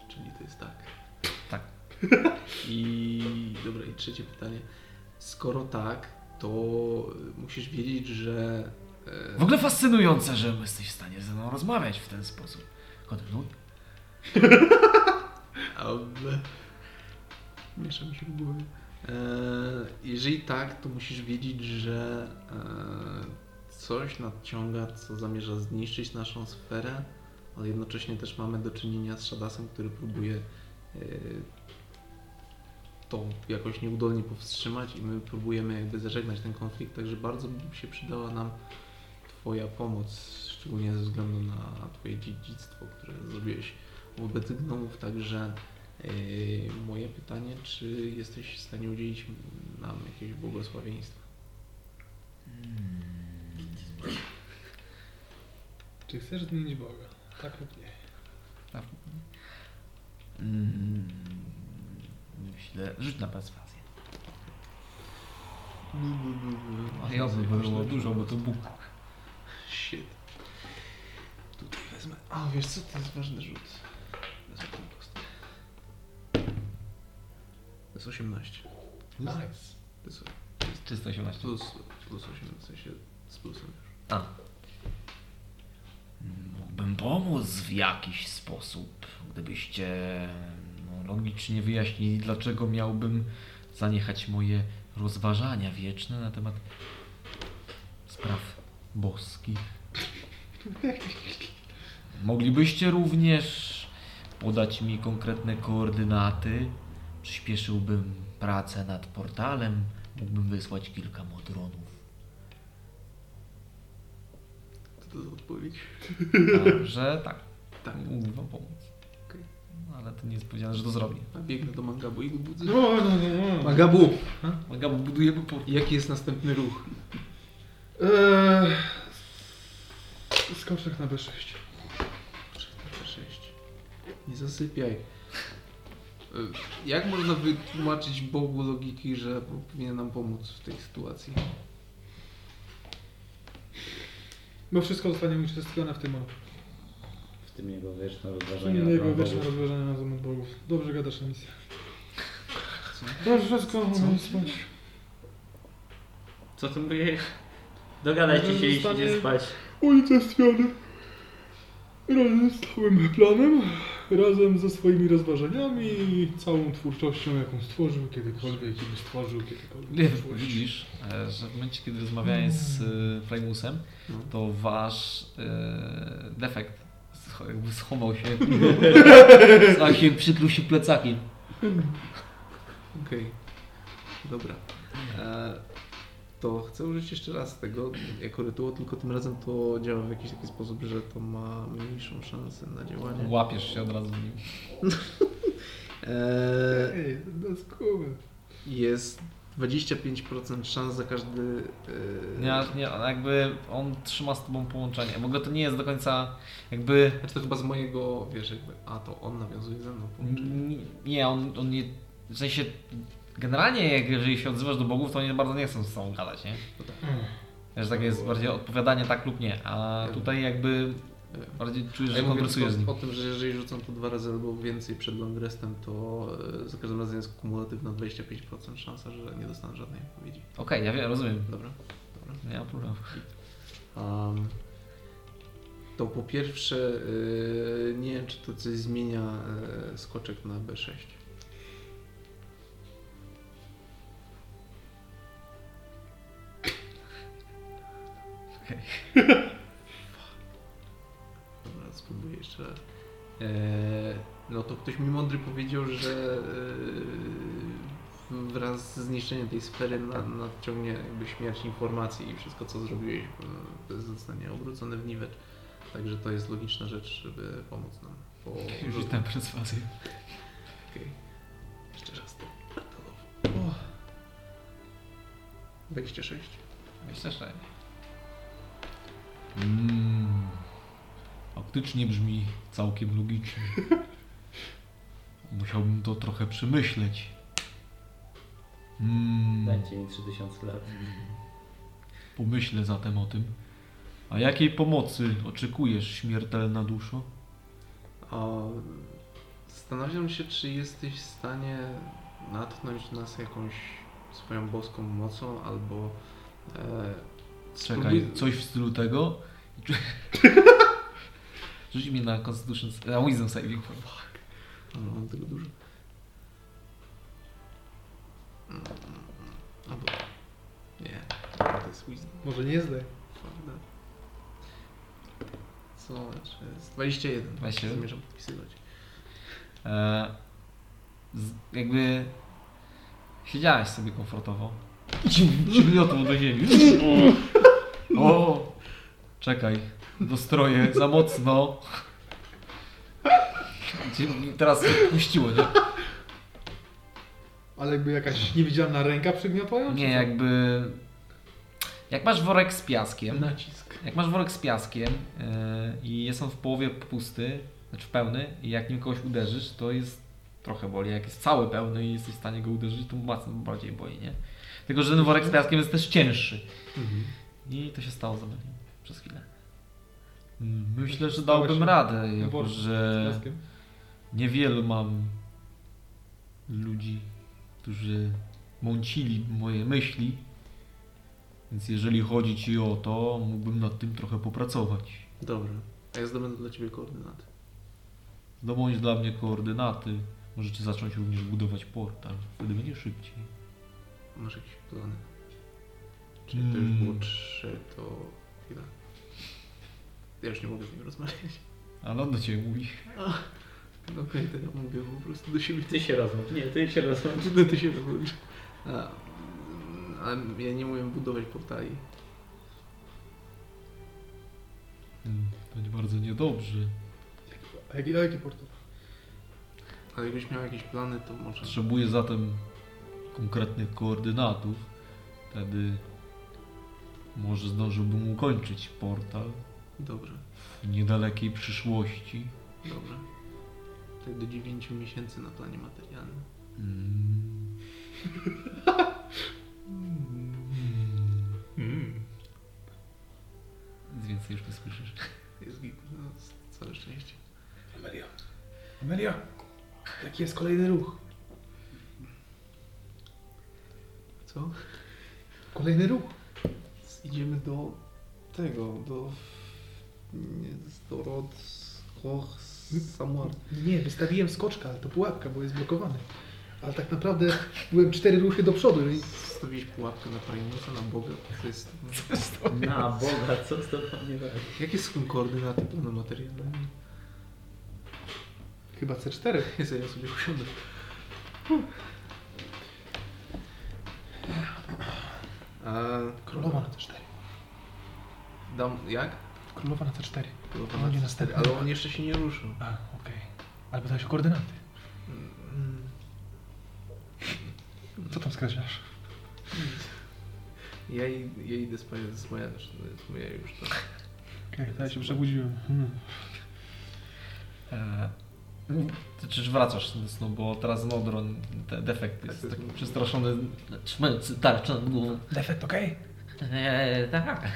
S4: Czyli to jest tak.
S1: Tak.
S4: [LAUGHS] I dobra, i trzecie pytanie. Skoro tak, to y, musisz wiedzieć, że. e,
S1: W ogóle fascynujące, że jesteś w stanie ze mną rozmawiać w ten sposób.
S6: no
S1: Kontynuuj.
S4: Ale... Miesza mi się w głowie. E, jeżeli tak, to musisz wiedzieć, że e, coś nadciąga, co zamierza zniszczyć naszą sferę, ale jednocześnie też mamy do czynienia z Shadasem, który próbuje e, to jakoś nieudolnie powstrzymać i my próbujemy jakby zażegnać ten konflikt, także bardzo by się przydała nam Twoja pomoc, szczególnie ze względu na Twoje dziedzictwo, które zrobiłeś wobec gnomów, także yy, moje pytanie, czy jesteś w stanie udzielić nam jakieś błogosławieństwa?
S3: Czy chcesz zmienić Boga? Tak lub nie.
S1: Tak, Mm, Myślę, rzuć na perswazję. A no, ja by było dużo, bo to Bóg.
S4: Shit. Tutaj wezmę. O, wiesz co, to jest ważny rzut. Wezmę tą kostkę. To jest 18.
S3: Nice.
S4: To jest
S1: Czysto 18.
S4: plus, plus 18, w sensie z plusem.
S1: Mógłbym pomóc w jakiś sposób, gdybyście no, logicznie wyjaśnili, dlaczego miałbym zaniechać moje rozważania wieczne na temat spraw boskich. Moglibyście również podać mi konkretne koordynaty. Przyspieszyłbym pracę nad portalem. Mógłbym wysłać kilka modronów.
S4: To to jest odpowiedź.
S1: Że tak,
S4: Tak.
S1: mógłbym wam pomóc.
S4: Okej.
S1: No, ale to nie jest powiedziane, że to zrobię.
S4: A biegnę do Mangabu i go budzę.
S3: No, no, no. no.
S4: Mangabu!
S1: Magabu budujemy po...
S4: Jaki jest następny ruch?
S3: Eee, skoczek na B6.
S4: 6. Nie zasypiaj. y, E, jak można wytłumaczyć Bogu logiki, że powinien nam pomóc w tej sytuacji?
S3: Bo wszystko zostanie uczestniczone w tym roku.
S2: W tym jego wieczne rozważanie na
S3: Jego
S2: Pan
S3: wieczne
S2: Bogu.
S3: rozważania na temat bogów. Dobrze gadasz na misję. Dobrze, wszystko mogę spać.
S2: Co ty mówisz? Dogadajcie się i
S3: Zostanie-
S2: idźcie spać.
S3: Unicestwiony. Razem z całym planem, razem ze swoimi rozważaniami i całą twórczością, jaką stworzył kiedykolwiek i stworzył
S1: Nie,
S3: kiedykolwiek.
S1: widzisz, e, że w momencie, kiedy rozmawiałeś z e, Primusem,
S4: No.
S1: to wasz e, defekt scho- jakby schował się, [LAUGHS] schował się, przykrył się plecakiem.
S4: Okej. Dobra. E, to chcę użyć jeszcze raz tego jako rytuał, tylko tym razem to działa w jakiś taki sposób, że to ma mniejszą szansę na działanie.
S1: Łapiesz się od razu. w nim.
S4: E,
S3: Ej, doskonale.
S4: jest 25% szans za każdy. e,
S1: Nie, aż nie, ale jakby on trzyma z tobą połączenie. W ogóle to nie jest do końca jakby...
S4: Znaczy to chyba z mojego, wiesz, jakby. A to on nawiązuje ze mną
S1: Mhm.
S4: połączenie.
S1: n- Nie, on, on nie... W sensie... Generalnie, jak jeżeli się odzywasz do bogów, to oni bardzo nie chcą z tobą gadać, nie? Że tak
S4: No.
S1: jest bardziej odpowiadanie tak lub nie, a tutaj jakby bardziej czujesz,
S4: A
S1: że
S4: ja mówię
S1: konwersujesz z nim.
S4: tylko o tym, że jeżeli rzucam to dwa razy albo więcej przed long restem, to e, za każdym razem jest kumulatywna 25% szansa, że nie dostanę żadnej odpowiedzi.
S1: Okej, ja wiem, rozumiem.
S4: Dobra, dobra.
S1: Nie ma problemu.
S4: Um, to po pierwsze, yy, nie wiem, czy to coś zmienia yy, skoczek na B6.
S1: Okej.
S4: Dobra, spróbuję jeszcze raz. Yy, no to ktoś mi mądry powiedział, że yy, wraz z zniszczeniem tej sfery na, nadciągnie jakby śmierć informacji i wszystko, co zrobiłeś, yy, zostanie obrócone w niwecz. Także to jest logiczna rzecz, żeby pomóc nam. Po
S1: Rzuć [LAUGHS] tę perswazję.
S4: Okej. Jeszcze raz to. O. 26.
S1: Myślę, że... Mm, faktycznie brzmi całkiem logicznie. Musiałbym to trochę przemyśleć. Mm,
S2: Dajcie mi 3000 lat.
S1: pomyślę zatem o tym. A jakiej pomocy oczekujesz, śmiertelna duszo?
S4: O, zastanawiam się, czy jesteś w stanie natknąć nas jakąś swoją boską mocą albo. E,
S1: Czekaj,
S4: spróbuj-
S1: coś w stylu tego. Rzuć mi na Constitution, na Wisdom Saving.
S4: Ale No, mam tego dużo. Mm, Albo. Nie, to jest wisdom.
S3: Może nie zdaj.
S4: Prawda. Co jeszcze jest? 21.
S1: 21.
S4: Zamierzam podpisywać.
S1: E, z, jakby siedziałeś sobie komfortowo. Przymiotą do ziemi. O! Czekaj, dostroję za mocno. Cię Teraz puściło, nie?
S3: Ale jakby jakaś niewidzialna ręka przygniotła ją? czy
S1: Nie,
S3: co?
S1: jakby. Jak masz worek z piaskiem,
S4: Nacisk.
S1: jak masz worek z piaskiem yy, i jest on w połowie pusty, znaczy pełny, i jak nim kogoś uderzysz, to jest trochę boli. Jak jest cały pełny i jesteś w stanie go uderzyć, to mocno bardziej boli, nie? Tylko, że ten worek z piaskiem jest też cięższy. I to się stało za mną przez chwilę. Mm, Myślę, że
S3: Stałeś
S1: dałbym
S3: się
S1: radę, jako
S3: worku Z
S1: że
S3: piaskiem?
S1: niewielu mam ludzi, którzy mącili moje myśli. Więc jeżeli chodzi ci o to, mógłbym nad tym trochę popracować.
S4: Dobra. A ja zdobędę dla ciebie koordynaty.
S1: Zdobądź No dla mnie koordynaty. Możecie zacząć również budować portal. Wtedy będzie szybciej.
S4: Masz jakieś plany? Czy to już
S1: Mm.
S4: było 3, to chwila. Ja już nie mogę z nim rozmawiać. [LAUGHS]
S1: Ale on do ciebie mówi.
S4: No okej, to ja mówię po prostu do siebie.
S2: Ty się rozłącz. Nie, ty się rozłącz.
S4: No ty się rozłączy. A, ale ja nie umiem budować portali.
S1: Mm, Będzie bardzo niedobrze.
S3: A jaki, a jaki portal?
S4: Ale jakbyś miał jakieś plany, to może...
S1: Potrzebuję zatem konkretnych koordynatów. Wtedy może zdążyłbym ukończyć portal
S4: Dobrze,
S1: w niedalekiej przyszłości.
S4: dobrze. tak do 9 miesięcy na planie materialnym.
S1: Mm.
S3: Mm.
S1: Nic więcej już nie słyszysz.
S4: Jest git, no c- całe szczęście.
S5: Amelia. Amelia, jaki jest kolejny ruch?
S4: Co?
S5: Kolejny ruch.
S4: Idziemy do tego, do... Nie, do Rod, Koch, Samuel.
S5: Nie, wystawiłem skoczka, ale to pułapka, bo jest blokowany. Ale tak naprawdę byłem cztery ruchy do przodu i
S4: Stawiłeś pułapkę na Primusa, na Boga, to jest...
S2: Na Boga, co z tobą nie robi?
S4: Jakie są koordynaty planu materialnego?
S5: chyba C4.
S4: Jezu, ja sobie usiądę. Eee,
S5: Królowa na C4.
S4: Dam, jak?
S5: Królowa na C4.
S4: Królowa
S5: Będzie
S4: na
S5: następny.
S4: Ale on jeszcze się nie ruszył.
S5: A, okej. Ale pytałeś o koordynaty.
S4: Mm,
S5: Co tam skreślasz?
S4: Ja, i- ja idę spać z moja, z moja już to.
S5: Okej, to ja się przebudziłem. Hmm.
S1: Eee, to czyż wracasz do snu, bo teraz Nodron, ten defekt jest tak przestraszony, trzymając tarczę nad głową.
S5: Defekt, okej?
S1: Eee, tak.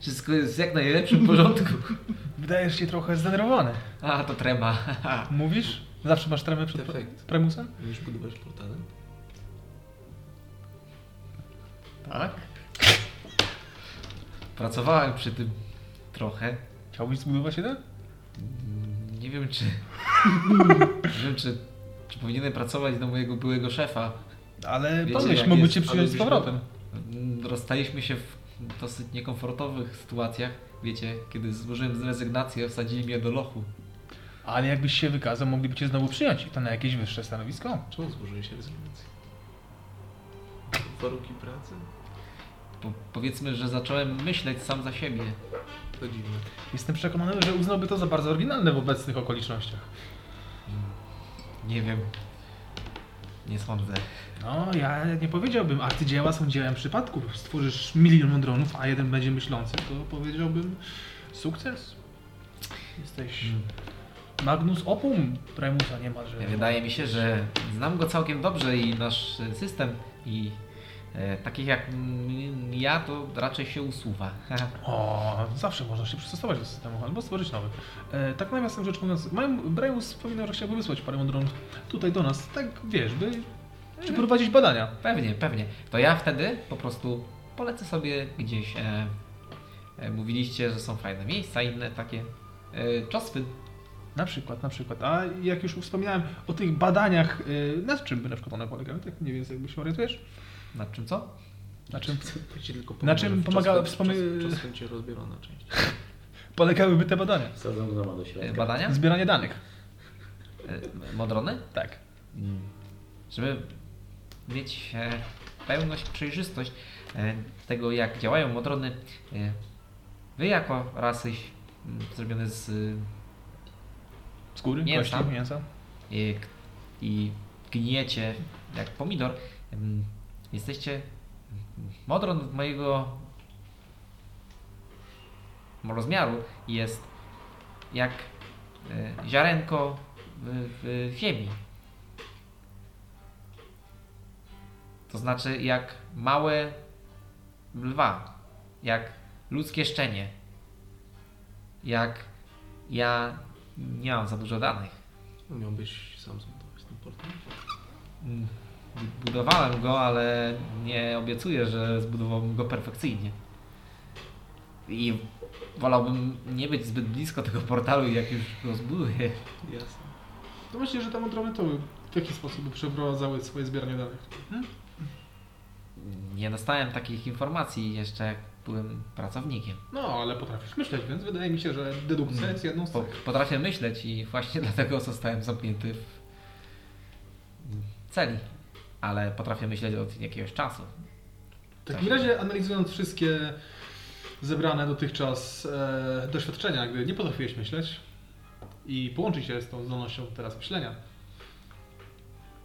S1: Wszystko jest w jak najlepszym porządku.
S5: Wydajesz się trochę zdenerwowany.
S1: A, to trema.
S5: Mówisz? Zawsze masz tremę przed
S4: Defekt.
S5: premusem?
S4: Będziesz budować portale?
S1: tak? Pracowałem przy tym trochę.
S5: Chciałbyś zbudować jeden?
S1: Mm, Nie [LAUGHS] wiem czy... nie wiem czy, czy powinienem pracować do mojego byłego szefa.
S5: Ale
S1: Wiecie,
S5: pomyśl,
S1: jak
S5: mógłby
S1: jest,
S5: cię przyjąć z
S4: byśmy-
S5: powrotem.
S1: Mm, Rozstaliśmy się w dosyć niekomfortowych sytuacjach. Wiecie, kiedy złożyłem zrezygnację, wsadzili mnie do lochu.
S5: Ale jakbyś się wykazał, mogliby cię znowu przyjąć i to na jakieś wyższe stanowisko.
S4: Czemu złożyli się rezygnacji? Warunki pracy?
S1: Po, powiedzmy, że zacząłem myśleć sam za siebie.
S4: To dziwne.
S5: Jestem przekonany, że uznałby to za bardzo oryginalne w obecnych okolicznościach.
S1: Nie wiem. Nie sądzę.
S5: No, ja nie powiedziałbym, a ty dzieła są dziełem przypadków. Stworzysz milion dronów, a jeden będzie myślący, to powiedziałbym sukces. Jesteś magnus opum Primusa niemalże.
S1: Wydaje mi się, że znam go całkiem dobrze i nasz e, system i e, takich jak m- ja to raczej się usuwa. [LAUGHS]
S5: O, zawsze można się przystosować do systemu albo stworzyć nowy. E, tak nawiasem rzecz mówiąc, mają- Primus wspominał, że chciałby wysłać parę dronów tutaj do nas, tak wiesz, by przeprowadzić badania.
S1: pewnie, pewnie. To ja wtedy po prostu polecę sobie gdzieś. E, e, mówiliście, że są fajne miejsca, inne takie. E, czoswy.
S5: Na przykład, na przykład. A jak już wspominałem o tych badaniach, y, na czym by na przykład one polegały, tak mniej więcej jakby się orientujesz?
S1: Nad czym co?
S5: Na czym
S4: Ci tylko
S5: Na czym pomaga- wspomy-
S4: wspomnienie? Czasem cię rozbiorą na części.
S5: polegałyby te badania?
S2: Wsadzą groma do
S1: E,
S2: środka.
S1: badania?
S5: Zbieranie danych.
S1: E, modrony? Mm.
S5: Tak.
S1: Żeby mieć e, pełność, przejrzystość e, tego, jak działają modrony, e, wy jako rasy m, zrobione z
S5: Skóry,
S1: Mięsa.
S5: kości, mięsa.
S1: e, k- i gniecie jak pomidor, m, jesteście modron mojego rozmiaru jest jak e, ziarenko w, w ziemi. To znaczy jak małe lwa, jak ludzkie szczenie. Jak ja nie mam za dużo danych.
S4: Miałbyś sam zbudować ten portal?
S1: Mm, Budowałem go, ale nie obiecuję, że zbudowałbym go perfekcyjnie. I wolałbym nie być zbyt blisko tego portalu, jak już go zbuduję.
S4: Jasne.
S3: To myślę, że te modrony to w jaki sposób by przeprowadzały swoje zbieranie danych?
S1: Nie dostałem takich informacji jeszcze, jak byłem pracownikiem.
S3: No, ale potrafisz myśleć, więc wydaje mi się, że dedukcja
S1: Mm.
S3: jest jedną z
S1: Po,
S3: tych.
S1: potrafię myśleć i właśnie [LAUGHS] dlatego zostałem zamknięty w celi. Ale potrafię myśleć od jakiegoś czasu.
S3: W takim razie analizując wszystkie zebrane dotychczas e, doświadczenia, gdy nie potrafiłeś myśleć i połączyć je z tą zdolnością teraz myślenia,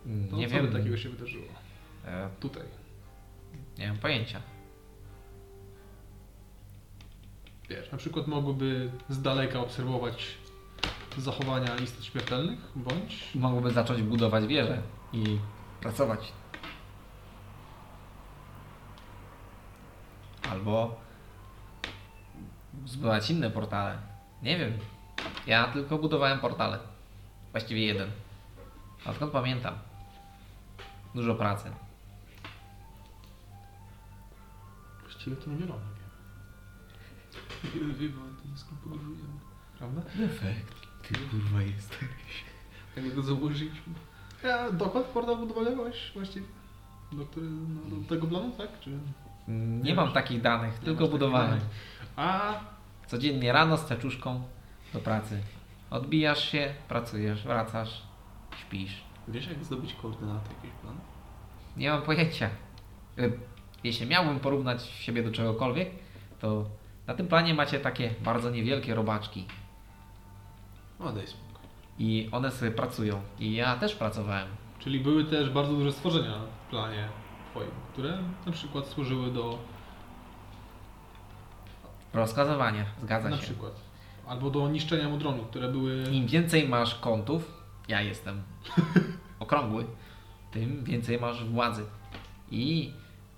S1: Mm,
S3: to
S1: Nie
S3: No, co by
S1: wiem,
S3: takiego się wydarzyło
S1: e,
S3: tutaj?
S1: nie mam pojęcia.
S3: Wiesz, na przykład mogłyby z daleka obserwować
S5: zachowania istot śmiertelnych, bądź
S1: Mogłoby zacząć budować wieżę i pracować. Albo zbudować inne portale. Nie wiem. Ja tylko budowałem portale. Właściwie jeden. A skąd pamiętam? Dużo pracy.
S4: Właściwie to nie robię. Wiem, ale to jest podróżuje. Prawda? Defekt. Ty kurwa jesteś. Jak go założyliśmy.
S5: Ja, dokład portal budowlałeś właściwie? Do, który, no, do tego planu, tak? Czy...
S1: Nie, mam takich danych, tylko
S5: masz
S1: budowałem.
S5: takich A,
S1: Codziennie rano z teczuszką do pracy. Odbijasz się, pracujesz, wracasz, śpisz.
S4: Wiesz jak zdobyć koordynaty jakiś plan?
S1: Nie mam pojęcia. Y, Jeśli miałbym porównać siebie do czegokolwiek, to na tym planie macie takie bardzo niewielkie robaczki.
S4: O, No, daj spokój.
S1: I one sobie pracują. I ja też pracowałem.
S5: czyli były też bardzo duże stworzenia w planie twoim, które na przykład służyły do,
S1: Rozkazowanie, zgadza
S5: na
S1: się.
S5: przykład, albo do niszczenia modronu, które były...
S1: Im więcej masz kątów, ja
S5: [LAUGHS]
S1: jestem okrągły, tym więcej masz władzy. I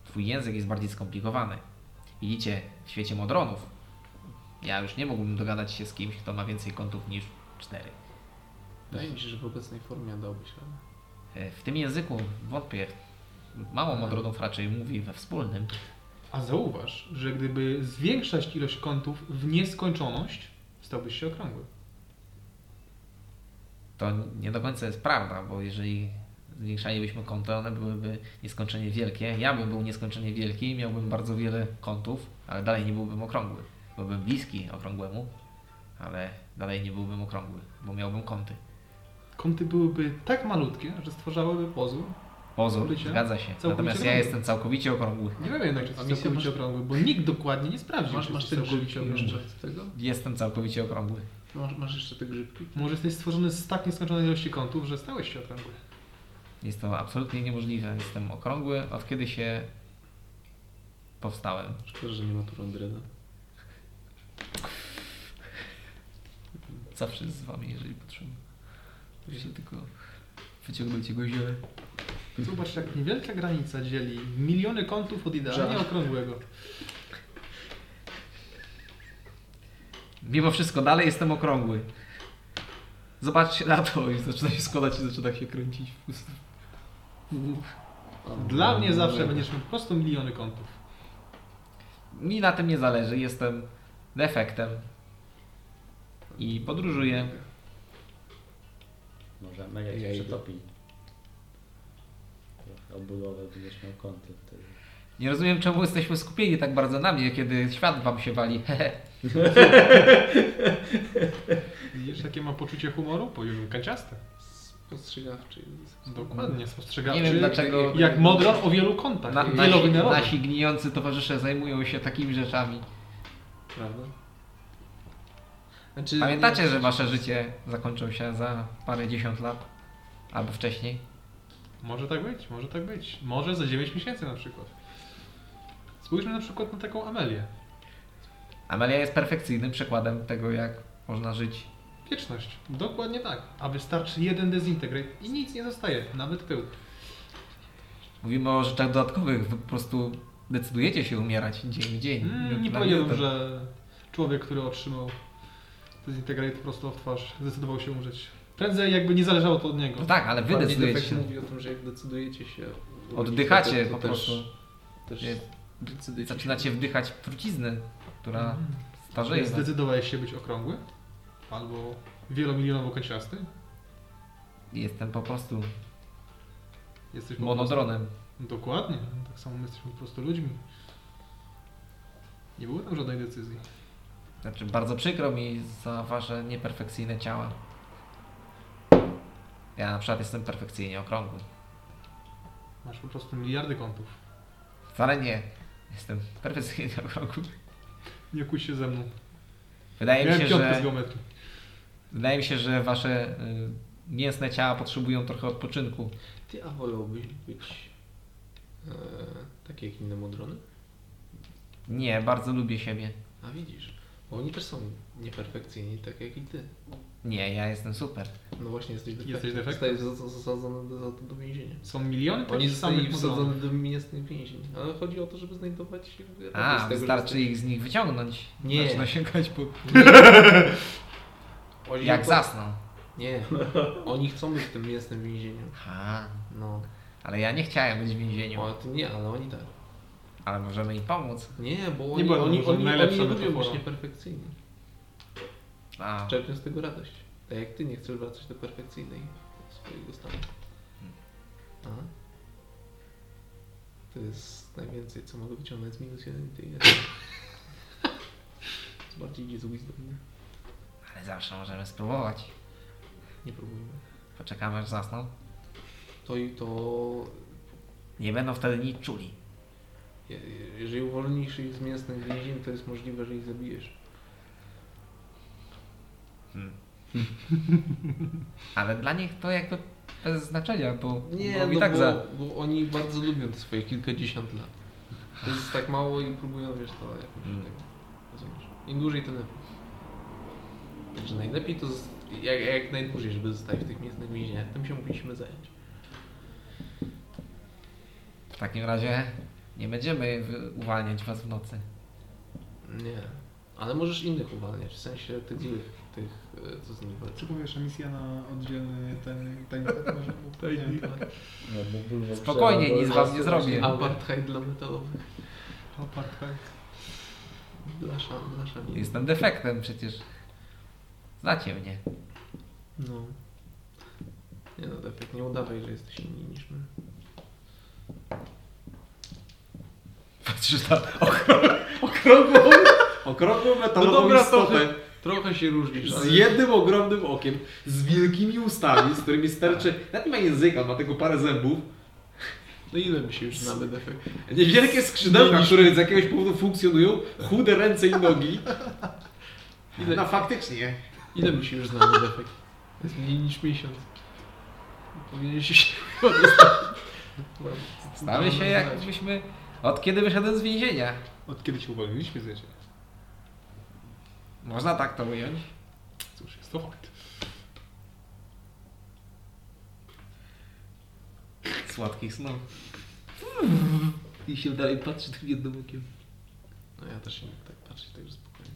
S1: twój język jest bardziej skomplikowany. Widzicie, w świecie modronów, ja już nie mógłbym dogadać się z kimś, kto ma więcej kątów niż cztery.
S4: Wydaje mi się, że w obecnej formie dałbyś radę.
S1: E, W tym języku wątpię. Mało modronów raczej mówi we wspólnym.
S5: A zauważ, że gdyby zwiększać ilość kątów w nieskończoność, stałbyś się okrągły.
S1: To nie do końca jest prawda, bo jeżeli zwiększalibyśmy kąty, one byłyby nieskończenie wielkie. Ja bym był nieskończenie wielki i miałbym bardzo wiele kątów, ale dalej nie byłbym okrągły. Byłbym bliski okrągłemu, ale dalej nie byłbym okrągły, bo miałbym kąty.
S5: Kąty byłyby tak malutkie, że stwarzałyby pozór.
S1: Pozór,
S5: Bycie?
S1: zgadza się.
S5: Całkowicie
S1: Natomiast ja
S5: okrągły.
S1: jestem całkowicie okrągły.
S5: Nie wiem jednak, czy
S4: A
S5: to
S4: misję
S5: jest całkowicie
S4: masz-
S5: okrągły, bo nikt dokładnie nie sprawdził,
S4: Masz,
S5: czy
S4: masz
S5: jesteś
S4: te grzybki
S5: całkowicie okrągły.
S4: jeszcze z tego?
S1: Jestem całkowicie okrągły.
S4: Masz, masz jeszcze te grzybki?
S5: Może jesteś stworzony z tak nieskończonej ilości kątów, że stałeś się okrągły.
S1: Jest to absolutnie niemożliwe. Jestem okrągły od kiedy się powstałem.
S4: Szkoda, że nie ma tu rondryna.
S1: Zawsze jest z wami, jeżeli potrzeba. Jeśli tylko wyciągnąć jego ziele.
S5: Zobacz, jak niewielka granica dzieli miliony kątów od idealnie okrągłego.
S1: Mimo wszystko dalej jestem okrągły. Zobaczcie na to i zaczyna się składać i zaczyna się kręcić.
S5: Dla mnie zawsze będziesz miał po prostu miliony kątów.
S1: Mi na tym nie zależy, jestem defektem. I podróżuję.
S2: Może mega cię
S4: Ja idę.
S2: przetopi. Trochę obudowę będziesz miał kąty wtedy.
S1: Nie rozumiem, czemu jesteśmy skupieni tak bardzo na mnie, kiedy świat wam się wali. [LAUGHS]
S5: Widzisz, jakie ma poczucie humoru? Powiem kanciaste.
S4: Spostrzegawczy jest.
S5: Dokładnie, spostrzegawczy.
S1: Nie wiem dlaczego
S5: Jak modron o wielu kątach,
S1: na, nasi,
S5: wielowymiarowy.
S1: nasi gnijący towarzysze zajmują się takimi rzeczami.
S4: Prawda? Znaczy,
S1: Pamiętacie, że wasze życie zakończą się za parę dziesiąt lat? Albo wcześniej?
S5: Może tak być, może tak być. Może za 9 miesięcy na przykład. Spójrzmy na przykład na taką Amelię.
S1: Amelia jest perfekcyjnym przykładem tego, jak można żyć.
S5: Wieczność. Dokładnie tak. A wystarczy jeden dezintegrate i nic nie zostaje, nawet pył.
S1: Mówimy o rzeczach dodatkowych, wy po prostu decydujecie się umierać dzień w dzień.
S5: Mm,
S1: Minut
S5: nie
S1: na
S5: powiedziałbym,
S1: minutę.
S5: że człowiek, który otrzymał dezintegrate prosto w twarz, zdecydował się umrzeć. Prędzej jakby nie zależało to od niego.
S1: No tak, ale wy
S4: Bardziej
S1: decydujecie
S4: defekt
S1: się.
S4: mówi o tym, że jak decydujecie się. urodzić,
S1: Oddychacie
S4: to
S1: po
S4: też-
S1: prostu.
S4: Też
S1: Nie.
S4: decydujecie
S1: Zaczynacie wdychać truciznę, która
S5: Mm.
S1: starzeje was.
S5: Zdecydowałeś się być okrągły? Albo wielomilionowo kociasty?
S1: Jestem po prostu
S5: Jesteś po
S1: monodronem.
S5: Prostu... Dokładnie. Tak samo my jesteśmy po prostu ludźmi. Nie było tam żadnej decyzji.
S1: Znaczy, bardzo przykro mi za wasze nieperfekcyjne ciała. Ja na przykład jestem perfekcyjnie okrągły.
S5: Masz po prostu miliardy kątów.
S1: Wcale nie. Jestem [LAUGHS] perfekcyjnie okrągły.
S5: Nie kłóć się ze mną.
S1: Wydaje mi
S5: Miałem
S1: się,
S5: piątkę
S1: że
S5: z geometrii.
S1: Wydaje mi się, że wasze y, mięsne ciała potrzebują trochę odpoczynku.
S4: Ty, a wolałbyś być e, taki jak inne modrony?
S1: Nie, bardzo lubię siebie.
S4: A widzisz, Bo oni też są nieperfekcyjni, tak jak i ty.
S1: Nie, ja jestem super.
S4: No właśnie, jesteś defektem.
S3: Jesteś defektem.
S4: Zostajesz zas- zasadzony do, do, do więzienia.
S5: Są miliony
S4: Oni
S5: takich
S4: zostali
S5: samych modelów.
S4: wsadzony do miasta więzień. Ale chodzi o to, żeby znajdować... radość
S1: A,
S4: z tego, że
S1: wystarczy
S4: jesteś-
S1: ich z nich wyciągnąć.
S4: Nie.
S1: Zaczyna się grać po...
S4: [LAUGHS] Oni
S1: Jak
S4: to-
S1: zasną.
S4: Nie. Oni chcą być w tym miastnym więzieniu.
S1: Aha,
S4: No.
S1: ale ja nie chciałem być w więzieniu.
S4: O, ty nie, ale oni tak.
S1: Ale możemy im pomóc.
S4: Nie, bo oni,
S3: byłem
S4: oni,
S3: może
S4: oni, oni
S3: najlepsza
S4: nie lubią
S3: metafora.
S4: być nieperfekcyjni.
S1: A,
S4: Czerpią z tego radość. Tak jak ty nie chcesz wracać do perfekcyjnej swojego stanu. Aha. To jest najwięcej, co mogę wyciągnąć z minus jeden i tyle. To bardziej idzie z wisdom. nie?
S1: ale zawsze możemy spróbować.
S4: Nie próbujmy.
S1: Poczekamy aż zasną.
S4: To i to...
S1: Nie będą wtedy nic czuli.
S4: je- Jeżeli uwolnisz ich z mięsnych więzień, to jest możliwe, że ich zabijesz.
S1: Ale dla nich to jakby bez znaczenia, bo,
S4: Nie,
S1: bo
S4: no
S1: i tak
S4: bo,
S1: za...
S4: bo oni bardzo lubią te swoje kilkadziesiąt lat. To jest tak mało i próbują, wiesz, to jakoś
S1: Mm.
S4: tego, rozumiesz. Im dłużej, tym lepiej. Także najlepiej to, z- jak, jak najdłużej, żeby zostać w tych mięsnych więzieniach. Tym się musieliśmy zająć.
S1: W takim razie nie będziemy wy- uwalniać was w nocy.
S4: Nie. Ale możesz innych uwalniać, w sensie tych złych, tych, e, co z nimi walczą.
S5: powiesz, misja na oddzielny ten tajnik?
S2: [LAUGHS] No,
S4: no
S1: Spokojnie, nic wam nie zrobię.
S4: Apartheid dla metalowych. Dla szan, dla szan.
S1: Jestem defektem przecież. Znacie mnie. [LAUGHS]
S4: No. Nie no, Defek, nie udawaj, że jesteś inni niż my.
S1: Patrzysz na...
S2: Okrągłą, okrągłą metalową istotę.
S4: trochę się różnisz,
S2: Z jednym ogromnym okiem, z wielkimi ustami, z którymi sterczy, nawet nie ma języka, ma tylko parę zębów.
S4: No ile my się już znamy, Defek?
S2: Niewielkie skrzydełka, które z jakiegoś powodu funkcjonują, chude ręce i nogi.
S4: Ile,
S2: No faktycznie.
S4: ile my się już znamy, Defek? To jest mniej niż miesiąc. Powinieneś się...
S1: Znamy się jakbyśmy... Od kiedy wyszedłem z więzienia.
S5: Od kiedy się uwolniliśmy z więzienia?
S1: Można tak to ująć.
S5: Cóż, jest to fakt.
S2: Słodkich snów. I się dalej patrzy tym jednym okiem.
S4: No ja też się tak patrzę, także spokojnie.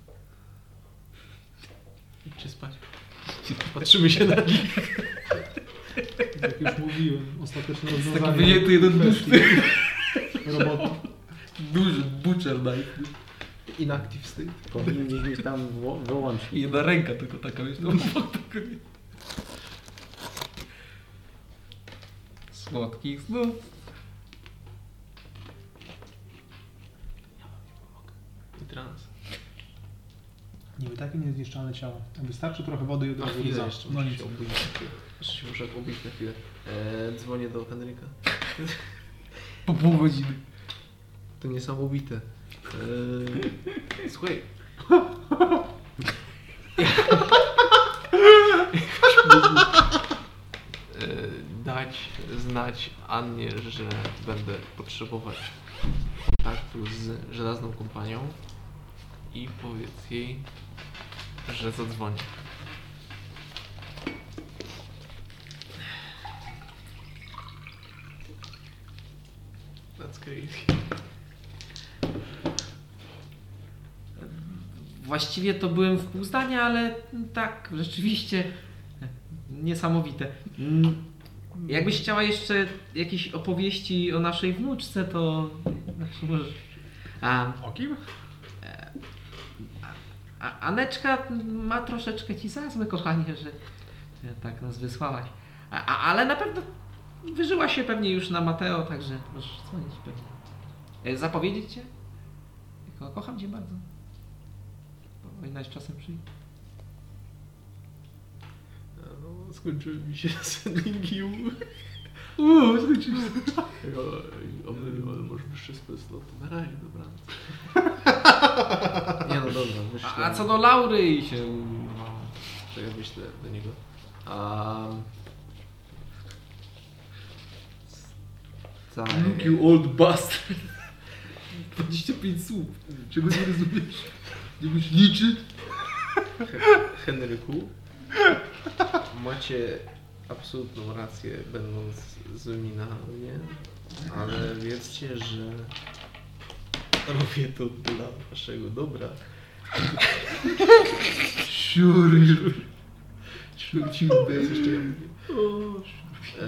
S4: Idźcie spać. [LAUGHS] Patrzymy się na nich.
S3: Jak już mówiłem, ostateczne rozwiązanie.
S2: Taki wyjęty jeden
S3: kwestii roboty.
S2: duży butcher knife.
S4: Inactive state.
S2: Powinien gdzieś tam wyłączyć.
S1: I Jedna ręka tylko taka,
S4: [LAUGHS]
S1: wiesz, no, Słodkich snów.
S4: I trans.
S5: Niby takie niezniszczalne ciało. Wystarczy trochę wody i od
S4: Na
S5: razu
S4: chwilę
S5: za-
S4: jeszcze
S5: No
S4: muszę
S5: nic.
S4: się obudzić. Jeszcze się muszę obudzić na chwilę. Eee, dzwonię do Henryka.
S1: Po pół godziny.
S4: To niesamowite. E, Eee, słuchaj. Eee, Dać znać Annie, że będę potrzebować kontaktu z żelazną kompanią i powiedz jej, że zadzwoni. That's crazy.
S1: Właściwie to byłem w pół zdania, ale tak, rzeczywiście niesamowite. Mm, Jakbyś chciała jeszcze jakieś opowieści o naszej wnuczce, to znaczy możesz... A,
S5: O kim?
S1: a Aneczka ma troszeczkę ci za złe, kochanie, że że tak nas wysłałaś. A, a, ale na pewno wyżyła się pewnie już na Mateo, także możesz dzwonić pewnie. E, Zapowiedzieć cię? Ko- Kocham cię bardzo. Powinnaś czasem przyjść.
S4: No, skończyły mi się [LAUGHS] sendingi. Uuu, skończyły się. Ale może wszystko jest lotu. Na razie, dobra. Nie no, dobra, myślę.
S1: A, a co do Laury i się no. urwała.
S4: To ja myślę do niego. A... Tak.
S2: Look you old bastard. 25 słów. Czego nie rozumiesz?
S34: Nie musisz liczyć.
S4: Henryku, macie absolutną rację, będąc złymi na mnie, ale wiedzcie, że robię to dla waszego dobra.
S34: Sure, sure. Sure, sure, baby.
S4: Eee,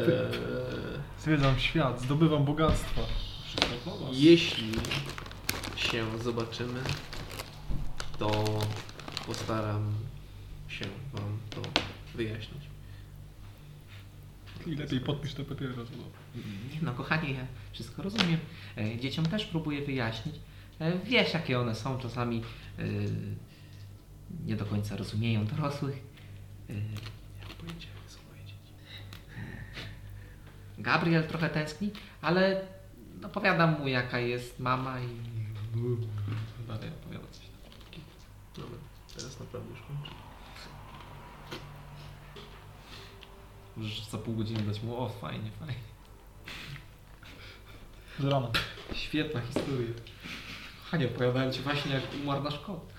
S5: Zwiedzam świat, zdobywam bogactwa.
S4: Jeśli się zobaczymy, to postaram się Wam to wyjaśnić.
S5: I lepiej podpisz te papiery bo
S35: Nie no, kochanie, ja wszystko rozumiem. E, Dzieciom też próbuję wyjaśnić. E, Wiesz, jakie one są, czasami e, nie do końca rozumieją dorosłych. E, Gabriel trochę tęskni, ale opowiadam mu, jaka jest mama i
S4: Dalej opowiadam coś takiego. Dobra, teraz naprawdę już kończę.
S1: Możesz za pół godziny dać mu, o fajnie, fajnie.
S5: Z rana.
S1: Świetna historia. Kochanie, opowiadałem Ci właśnie jak umarł nasz kot.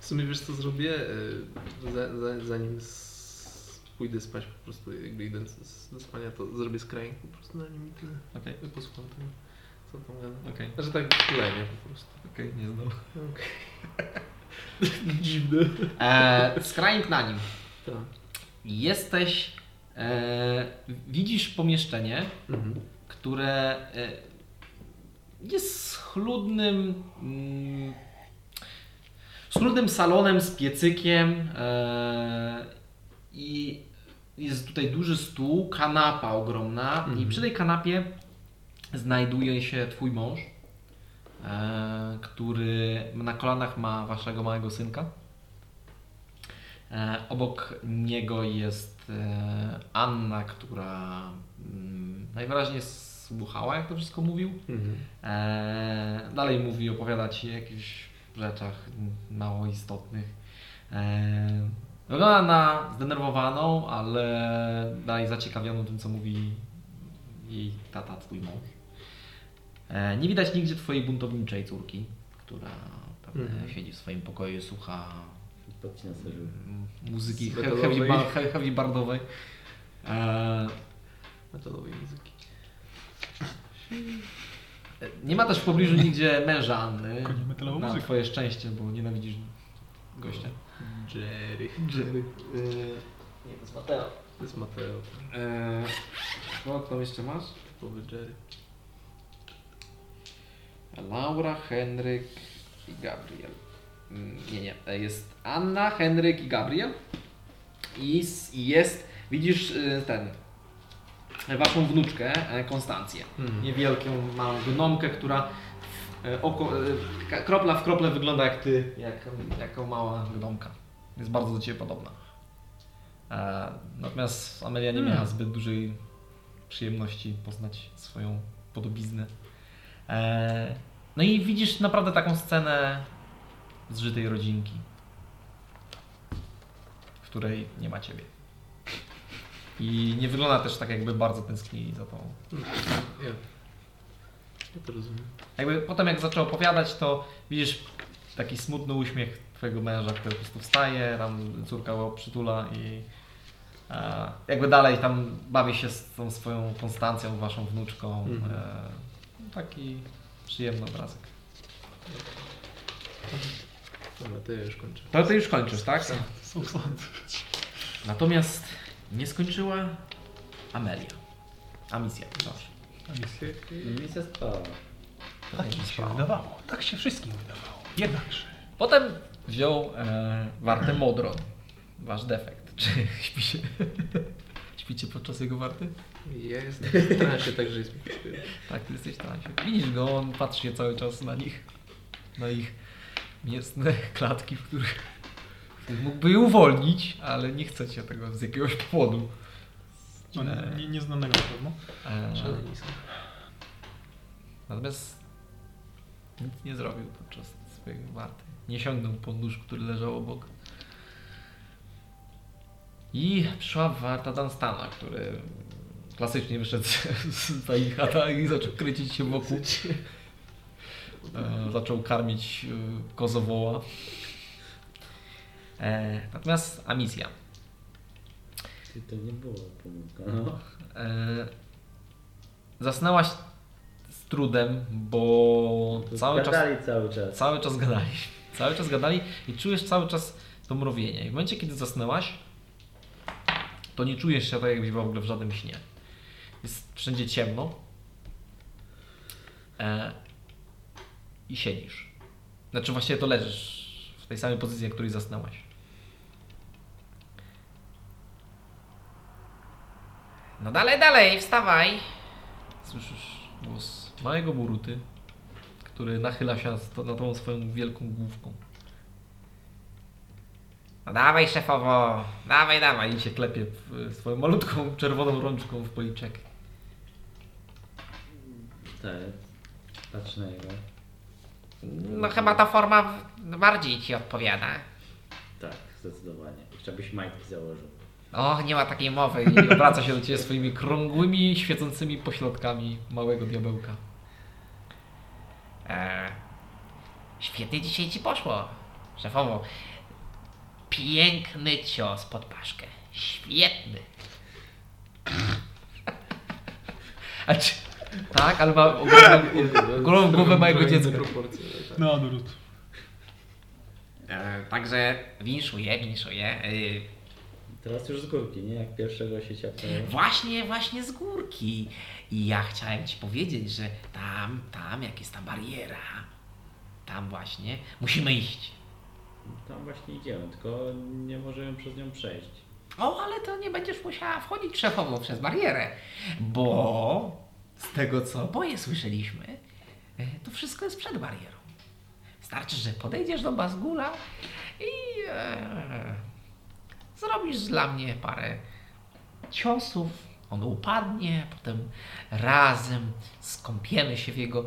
S4: W sumie wiesz co zrobię? Eee, Za, za, zanim s- pójdę spać po prostu, jakby idąc s- do spania, to zrobię skrajnik po prostu na nim i tyle.
S1: Okej,
S4: I Posłucham tego, co tam gada.
S1: okej,
S4: Że tak klenie po prostu.
S1: okej, nie znam.
S4: [LAUGHS] Dziwne.
S1: E, skrajnik na nim.
S4: Tak.
S1: Jesteś. E, widzisz pomieszczenie,
S4: Mhm.
S1: które e, jest schludnym. Mm, schludnym salonem z piecykiem. E, I jest tutaj duży stół, kanapa ogromna. I przy tej kanapie znajduje się Twój mąż, e, który na kolanach ma Waszego małego synka. E, Obok niego jest e, Anna, która mm, najwyraźniej słuchała, jak to wszystko mówił.
S4: Mhm.
S1: E, Dalej mówi, opowiada ci o jakichś rzeczach mało istotnych. E, Wygląda na zdenerwowaną, ale dalej zaciekawioną tym, co mówi jej tata, twój mąż. E, Nie widać nigdzie twojej buntowniczej córki, która pewnie
S4: Mhm.
S1: siedzi w swoim pokoju i słucha
S2: Podcina sobie. żeby-
S1: muzyki he-
S4: Metalowej.
S1: heavy, bar, he- heavy bardowej. E,
S4: Metalowej muzyki.
S1: nie ma też w pobliżu nigdzie męża Anny.
S5: Konie metalową
S1: Na
S5: muzykę.
S1: twoje szczęście, bo nienawidzisz gościa.
S4: Jerry. Jerry. nie, to jest Mateo. To jest Mateo. tak.
S35: Eee, no, tam jeszcze masz?
S4: Typowy Jerry.
S1: Laura, Henryk i Gabriel. Mm, Nie, nie. E, Jest Anna, Henryk i Gabriel. I s- i jest, widzisz y, ten, waszą wnuczkę, e, Konstancję. Niewielką, małą gnomkę, która e, oko, e, ka- kropla w krople wygląda jak ty, jak, jako mała gnomka. Jest bardzo do ciebie podobna. E, Natomiast Amelia nie miała zbyt dużej przyjemności poznać swoją podobiznę. E, No i widzisz naprawdę taką scenę zżytej rodzinki, w której nie ma ciebie. I nie wygląda też tak, jakby bardzo tęsknili za tą.
S4: Ja. Ja to rozumiem.
S1: Jakby potem, jak zaczął opowiadać, to widzisz taki smutny uśmiech twojego męża, który po prostu wstaje, tam córka go przytula i e, jakby dalej tam bawi się z tą swoją Konstancją, waszą wnuczką.
S4: Mhm.
S1: E, taki przyjemny obrazek.
S4: Dobra, to ja już kończę.
S1: To ty już kończysz, tak?
S5: Są sądy.
S1: Natomiast nie skończyła Amelia. A misja, proszę.
S5: A misje
S2: No misja spała.
S5: tak mi się wydawało. Tak się wszystkim wydawało. Jednakże.
S1: Potem wziął e, wartę Modron. Wasz defekt. Czy [LAUGHS] śpicie? śpicie podczas jego warty?
S4: Ja jestem w transie, także jest mi przyjemnie.
S1: Tak, ty jesteś tam. Widzisz go, on patrzy cały czas na nich. Na ich mięsne klatki, w których w których mógłby je uwolnić, ale nie chcecie tego z jakiegoś powodu.
S5: No, nie- nie, nieznanego na pewno.
S1: E,
S4: Szalenisko.
S1: Natomiast nic nie zrobił podczas swojej warty. Nie sięgnął po nóż, który leżał obok. I przyszła warta Dunstana, który klasycznie wyszedł z- z za ich chata i zaczął krycić się wokół. E, zaczął karmić e, kozowoła. E, natomiast Amicia.
S2: Ty, To nie było pomyłka. No.
S1: E, zasnęłaś z trudem, bo cały czas,
S2: Gadali cały czas.
S1: cały czas gadali. Cały czas gadali i czujesz cały czas to mrowienie. I w momencie, kiedy zasnęłaś, to nie czujesz się tak, jakbyś była w ogóle w żadnym śnie. Jest wszędzie ciemno. E, I siedzisz. Znaczy właściwie to leżysz w tej samej pozycji, w której zasnęłaś.
S7: No dalej, dalej, wstawaj.
S1: Słyszysz głos małego Buruty, który nachyla się nad, nad tą swoją wielką główką.
S7: No dawaj, szefowo. Dawaj, dawaj.
S1: I się klepie w, swoją malutką, czerwoną rączką w policzek.
S2: Tak. Patrz na jego.
S7: No chyba ta forma w- bardziej ci odpowiada.
S2: Tak, zdecydowanie. Jeszcze byś majtki założył.
S7: Och, nie ma takiej mowy.
S1: I obraca się do ciebie swoimi krągłymi, świecącymi pośrodkami małego diabełka.
S7: E, świetnie dzisiaj ci poszło, szefowo. Piękny cios pod paszkę. Świetny.
S1: A czy, tak, ale ma ogromną, ogromną głowę małego dziecka.
S4: No, Dorut.
S7: E, także winszuję, winszuję. Y,
S2: Teraz już z górki, nie? Jak pierwszego się ciapnęło.
S7: Właśnie, właśnie z górki. I ja chciałem ci powiedzieć, że tam, tam, jak jest ta bariera, tam właśnie musimy iść.
S2: Tam właśnie idziemy, tylko nie możemy przez nią przejść.
S7: O, ale to nie będziesz musiała wchodzić szefową przez barierę, bo z tego co oboje słyszeliśmy, e, to wszystko jest przed barierą. Wystarczy, że podejdziesz do Bazgula i e, zrobisz dla mnie parę ciosów. On upadnie, potem razem skąpiemy się w jego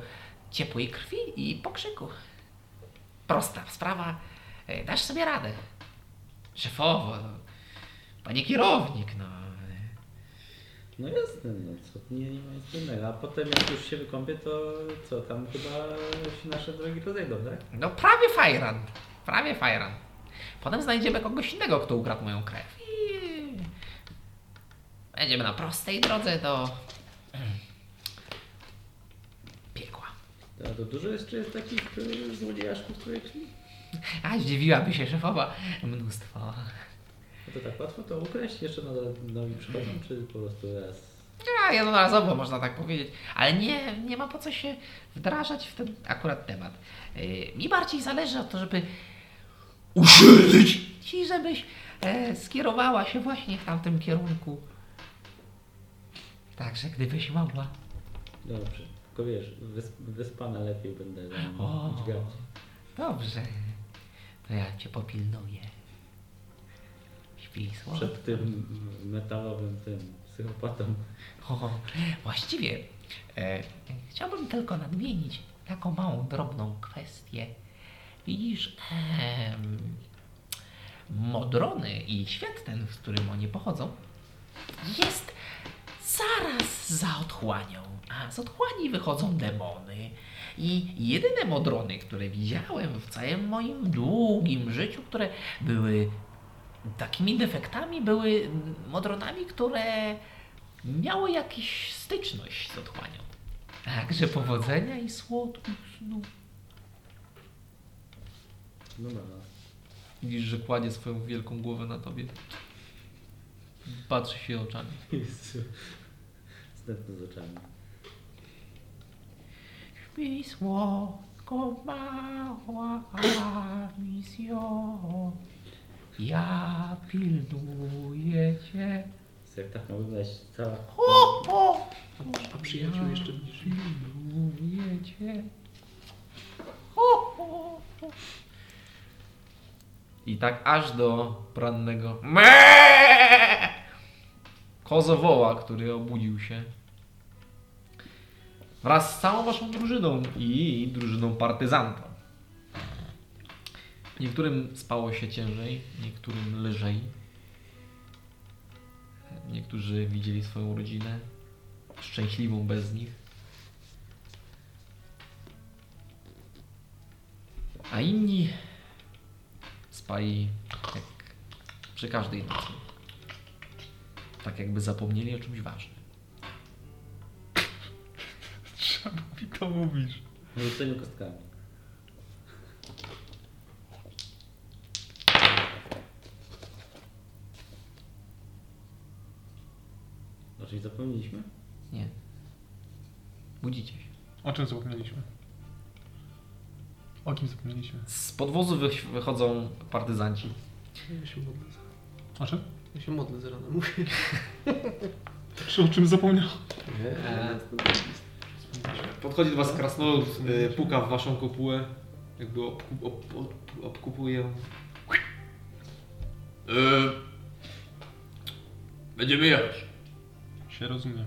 S7: ciepłej krwi i pokrzyku. Prosta sprawa, E, dasz sobie radę. Szefowo, Panie kierownik, no.
S2: No jasne, no co, nie, nie ma nic innego. A potem jak już się wykąpię, to co, tam chyba się nasze drogi rozejdą, tak?
S7: No prawie fajran. Prawie fajran. Potem znajdziemy kogoś innego, kto ukradł moją krew. I... Będziemy na prostej drodze do... Piekła.
S2: To, to dużo jest, czy jest takich y, złodziejaszków, których...
S7: A zdziwiłaby się szefowa. Mnóstwo.
S2: No to tak łatwo to ukraść, jeszcze nadal nowi przychodzą, czy po prostu raz...
S7: A, jednorazowo można tak powiedzieć. Ale nie, nie ma po co się wdrażać w ten akurat temat. Yy, mi bardziej zależy o to, żeby usierdzić ci, żebyś e, skierowała się właśnie w tamtym kierunku. Także gdybyś mogła.
S2: No Dobrze, tylko wiesz, wys, wyspana lepiej będę
S7: O.
S2: tam dźgać.
S7: Dobrze. To ja cię popilnuję. Śpij słodko.
S2: Przed tym metalowym tym psychopatą.
S7: O, właściwie e, chciałbym tylko nadmienić taką małą, drobną kwestię. Widzisz, em, Modrony i świat ten, w którym oni pochodzą, jest zaraz za otchłanią. A z otchłani wychodzą demony. I jedyne modrony, które widziałem w całym moim długim życiu, które były takimi defektami, były modronami, które miały jakiś styczność z otchłanią. Także powodzenia i słodkich snów.
S2: No dobra.
S1: Widzisz, że kładzie swoją wielką głowę na tobie. Patrzy się oczami.
S2: Jezu. Zdętny z oczami.
S7: Śpij słodko, mała misjo. Ja pilnuję cię.
S2: Jest Jak tak mogę dać cała...
S7: O, o,
S36: A przyjaciół jeszcze będziesz miał.
S7: pilnuję cię. O, o, o.
S1: I tak aż do porannego
S7: Meee!
S1: kozowoła, który obudził się. Wraz z całą waszą drużyną i drużyną partyzanta. Niektórym spało się ciężej, niektórym lżej. Niektórzy widzieli swoją rodzinę, szczęśliwą bez nich. a inni spali jak przy każdej nocy. Tak jakby zapomnieli o czymś ważnym.
S5: I to mówisz.
S2: W rzuceniu kostkami. O czymś zapomnieliśmy?
S1: Nie. Budzicie się.
S5: O czym zapomnieliśmy? O kim zapomnieliśmy?
S1: Z podwozu wych- wychodzą partyzanci.
S4: Ja się modlę.
S5: O czym?
S4: Ja się modlę z rana, mówię.
S5: Czy o czym zapomniał?
S3: Podchodzi do was krasnolud, y, puka w waszą kopułę, jakby ob, ob, ob, obkupuje ją. E,
S37: Będziemy jechać.
S5: Się rozumie.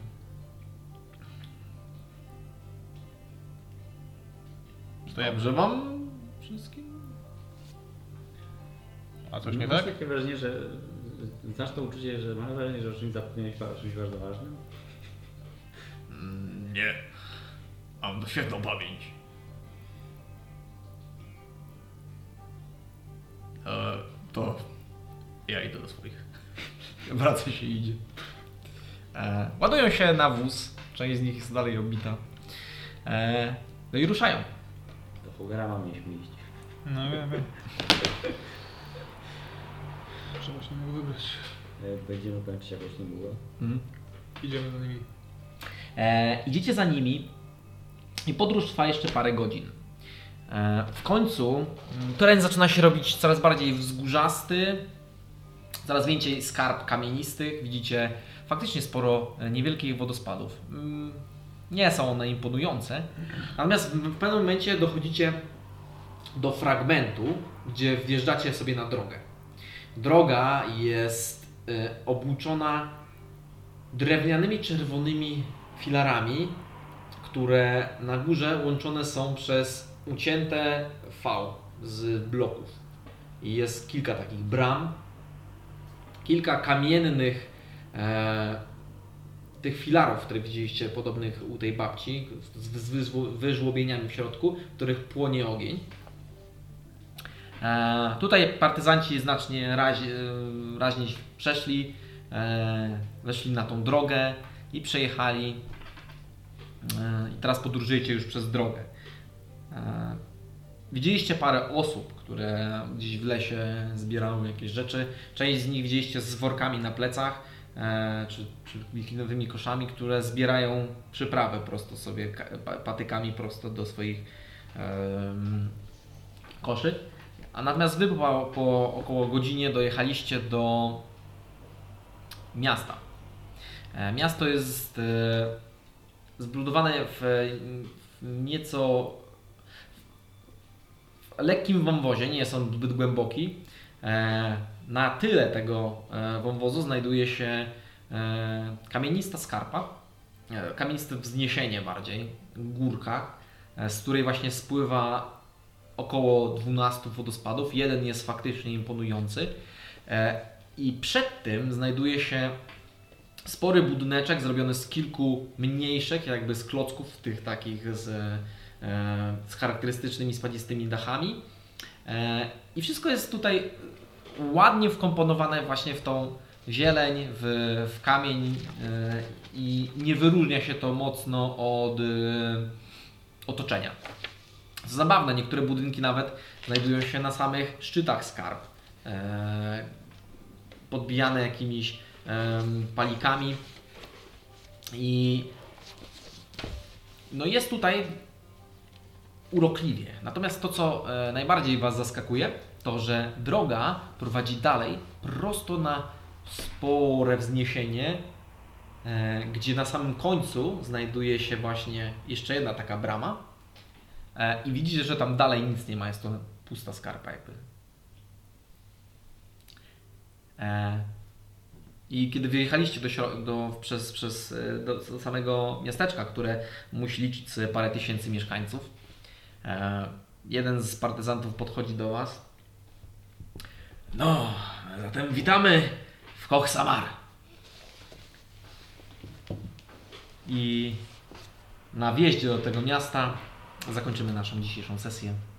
S5: Stajemy.
S1: Dobrze wam wszystkim?
S5: A coś nie
S2: No, Masz
S5: tak?
S2: takie wrażenie, że... Znasz to uczucie, że masz wrażenie, że o czymś zapomniałeś o czymś bardzo ważnym?
S37: Mm, Nie. Mam świetną pamięć. E, to ja idę do swoich.
S1: Wraca się i idzie. E, ładują się na wóz, część z nich jest dalej obita. E, no i ruszają.
S2: Do Hogarama mieliśmy iść.
S5: No wiem, wiem. Trzeba się mu wybrać.
S2: E, Będziemy kończyć jakoś niedługo.
S5: Idziemy za nimi.
S1: E, idziecie za nimi i podróż trwa jeszcze parę godzin. E, w końcu mm, teren zaczyna się robić coraz bardziej wzgórzasty, coraz więcej skarb kamienistych. Widzicie faktycznie sporo e, niewielkich wodospadów. Mm, Nie są one imponujące, natomiast w pewnym momencie dochodzicie do fragmentu, gdzie wjeżdżacie sobie na drogę. Droga jest e, obłuczona drewnianymi czerwonymi filarami, które na górze łączone są przez ucięte V z bloków. I jest kilka takich bram, kilka kamiennych e, tych filarów, które widzieliście podobnych u tej babci, z z wyżło- wyżłobieniami w środku, w których płonie ogień. E, tutaj partyzanci znacznie razi, e, raźniej przeszli, e, weszli na tą drogę i przejechali. E, I teraz podróżujecie już przez drogę. E, widzieliście parę osób, które gdzieś w lesie zbierały jakieś rzeczy. Część z nich widzieliście z workami na plecach. e, Czy, czy wiklinowymi koszami, które zbierają przyprawę prosto sobie, ka- pa- patykami prosto do swoich em, koszy. A natomiast wy po, po około godzinie dojechaliście do miasta. E, Miasto jest e, zbudowane w, w nieco w lekkim wąwozie, nie jest on zbyt głęboki. E, Na tyle tego e, wąwozu znajduje się e, kamienista skarpa, e, kamieniste wzniesienie bardziej, górka, e, z której właśnie spływa około 12 wodospadów. Jeden jest faktycznie imponujący. E, I przed tym znajduje się spory budyneczek zrobiony z kilku mniejszych, jakby z klocków, tych takich z, e, z charakterystycznymi spadzistymi dachami. E, I wszystko jest tutaj ładnie wkomponowane właśnie w tą zieleń, w, w kamień e, i nie wyróżnia się to mocno od e, otoczenia. Co Zabawne, niektóre budynki nawet znajdują się na samych szczytach skarb. E, podbijane jakimiś em, palikami. I no jest tutaj urokliwie. Natomiast to, co e, najbardziej Was zaskakuje, to że droga prowadzi dalej prosto na spore wzniesienie, e, gdzie na samym końcu znajduje się właśnie jeszcze jedna taka brama. E, I widzicie, że tam dalej nic nie ma, jest to pusta skarpa jakby. E, I kiedy wyjechaliście do, śro- do, przez, przez e, do, do samego miasteczka, które musi liczyć sobie parę tysięcy mieszkańców, e, jeden z partyzantów podchodzi do Was.
S6: No, zatem witamy w Koch Samar.
S1: I na wjeździe do tego miasta zakończymy naszą dzisiejszą sesję.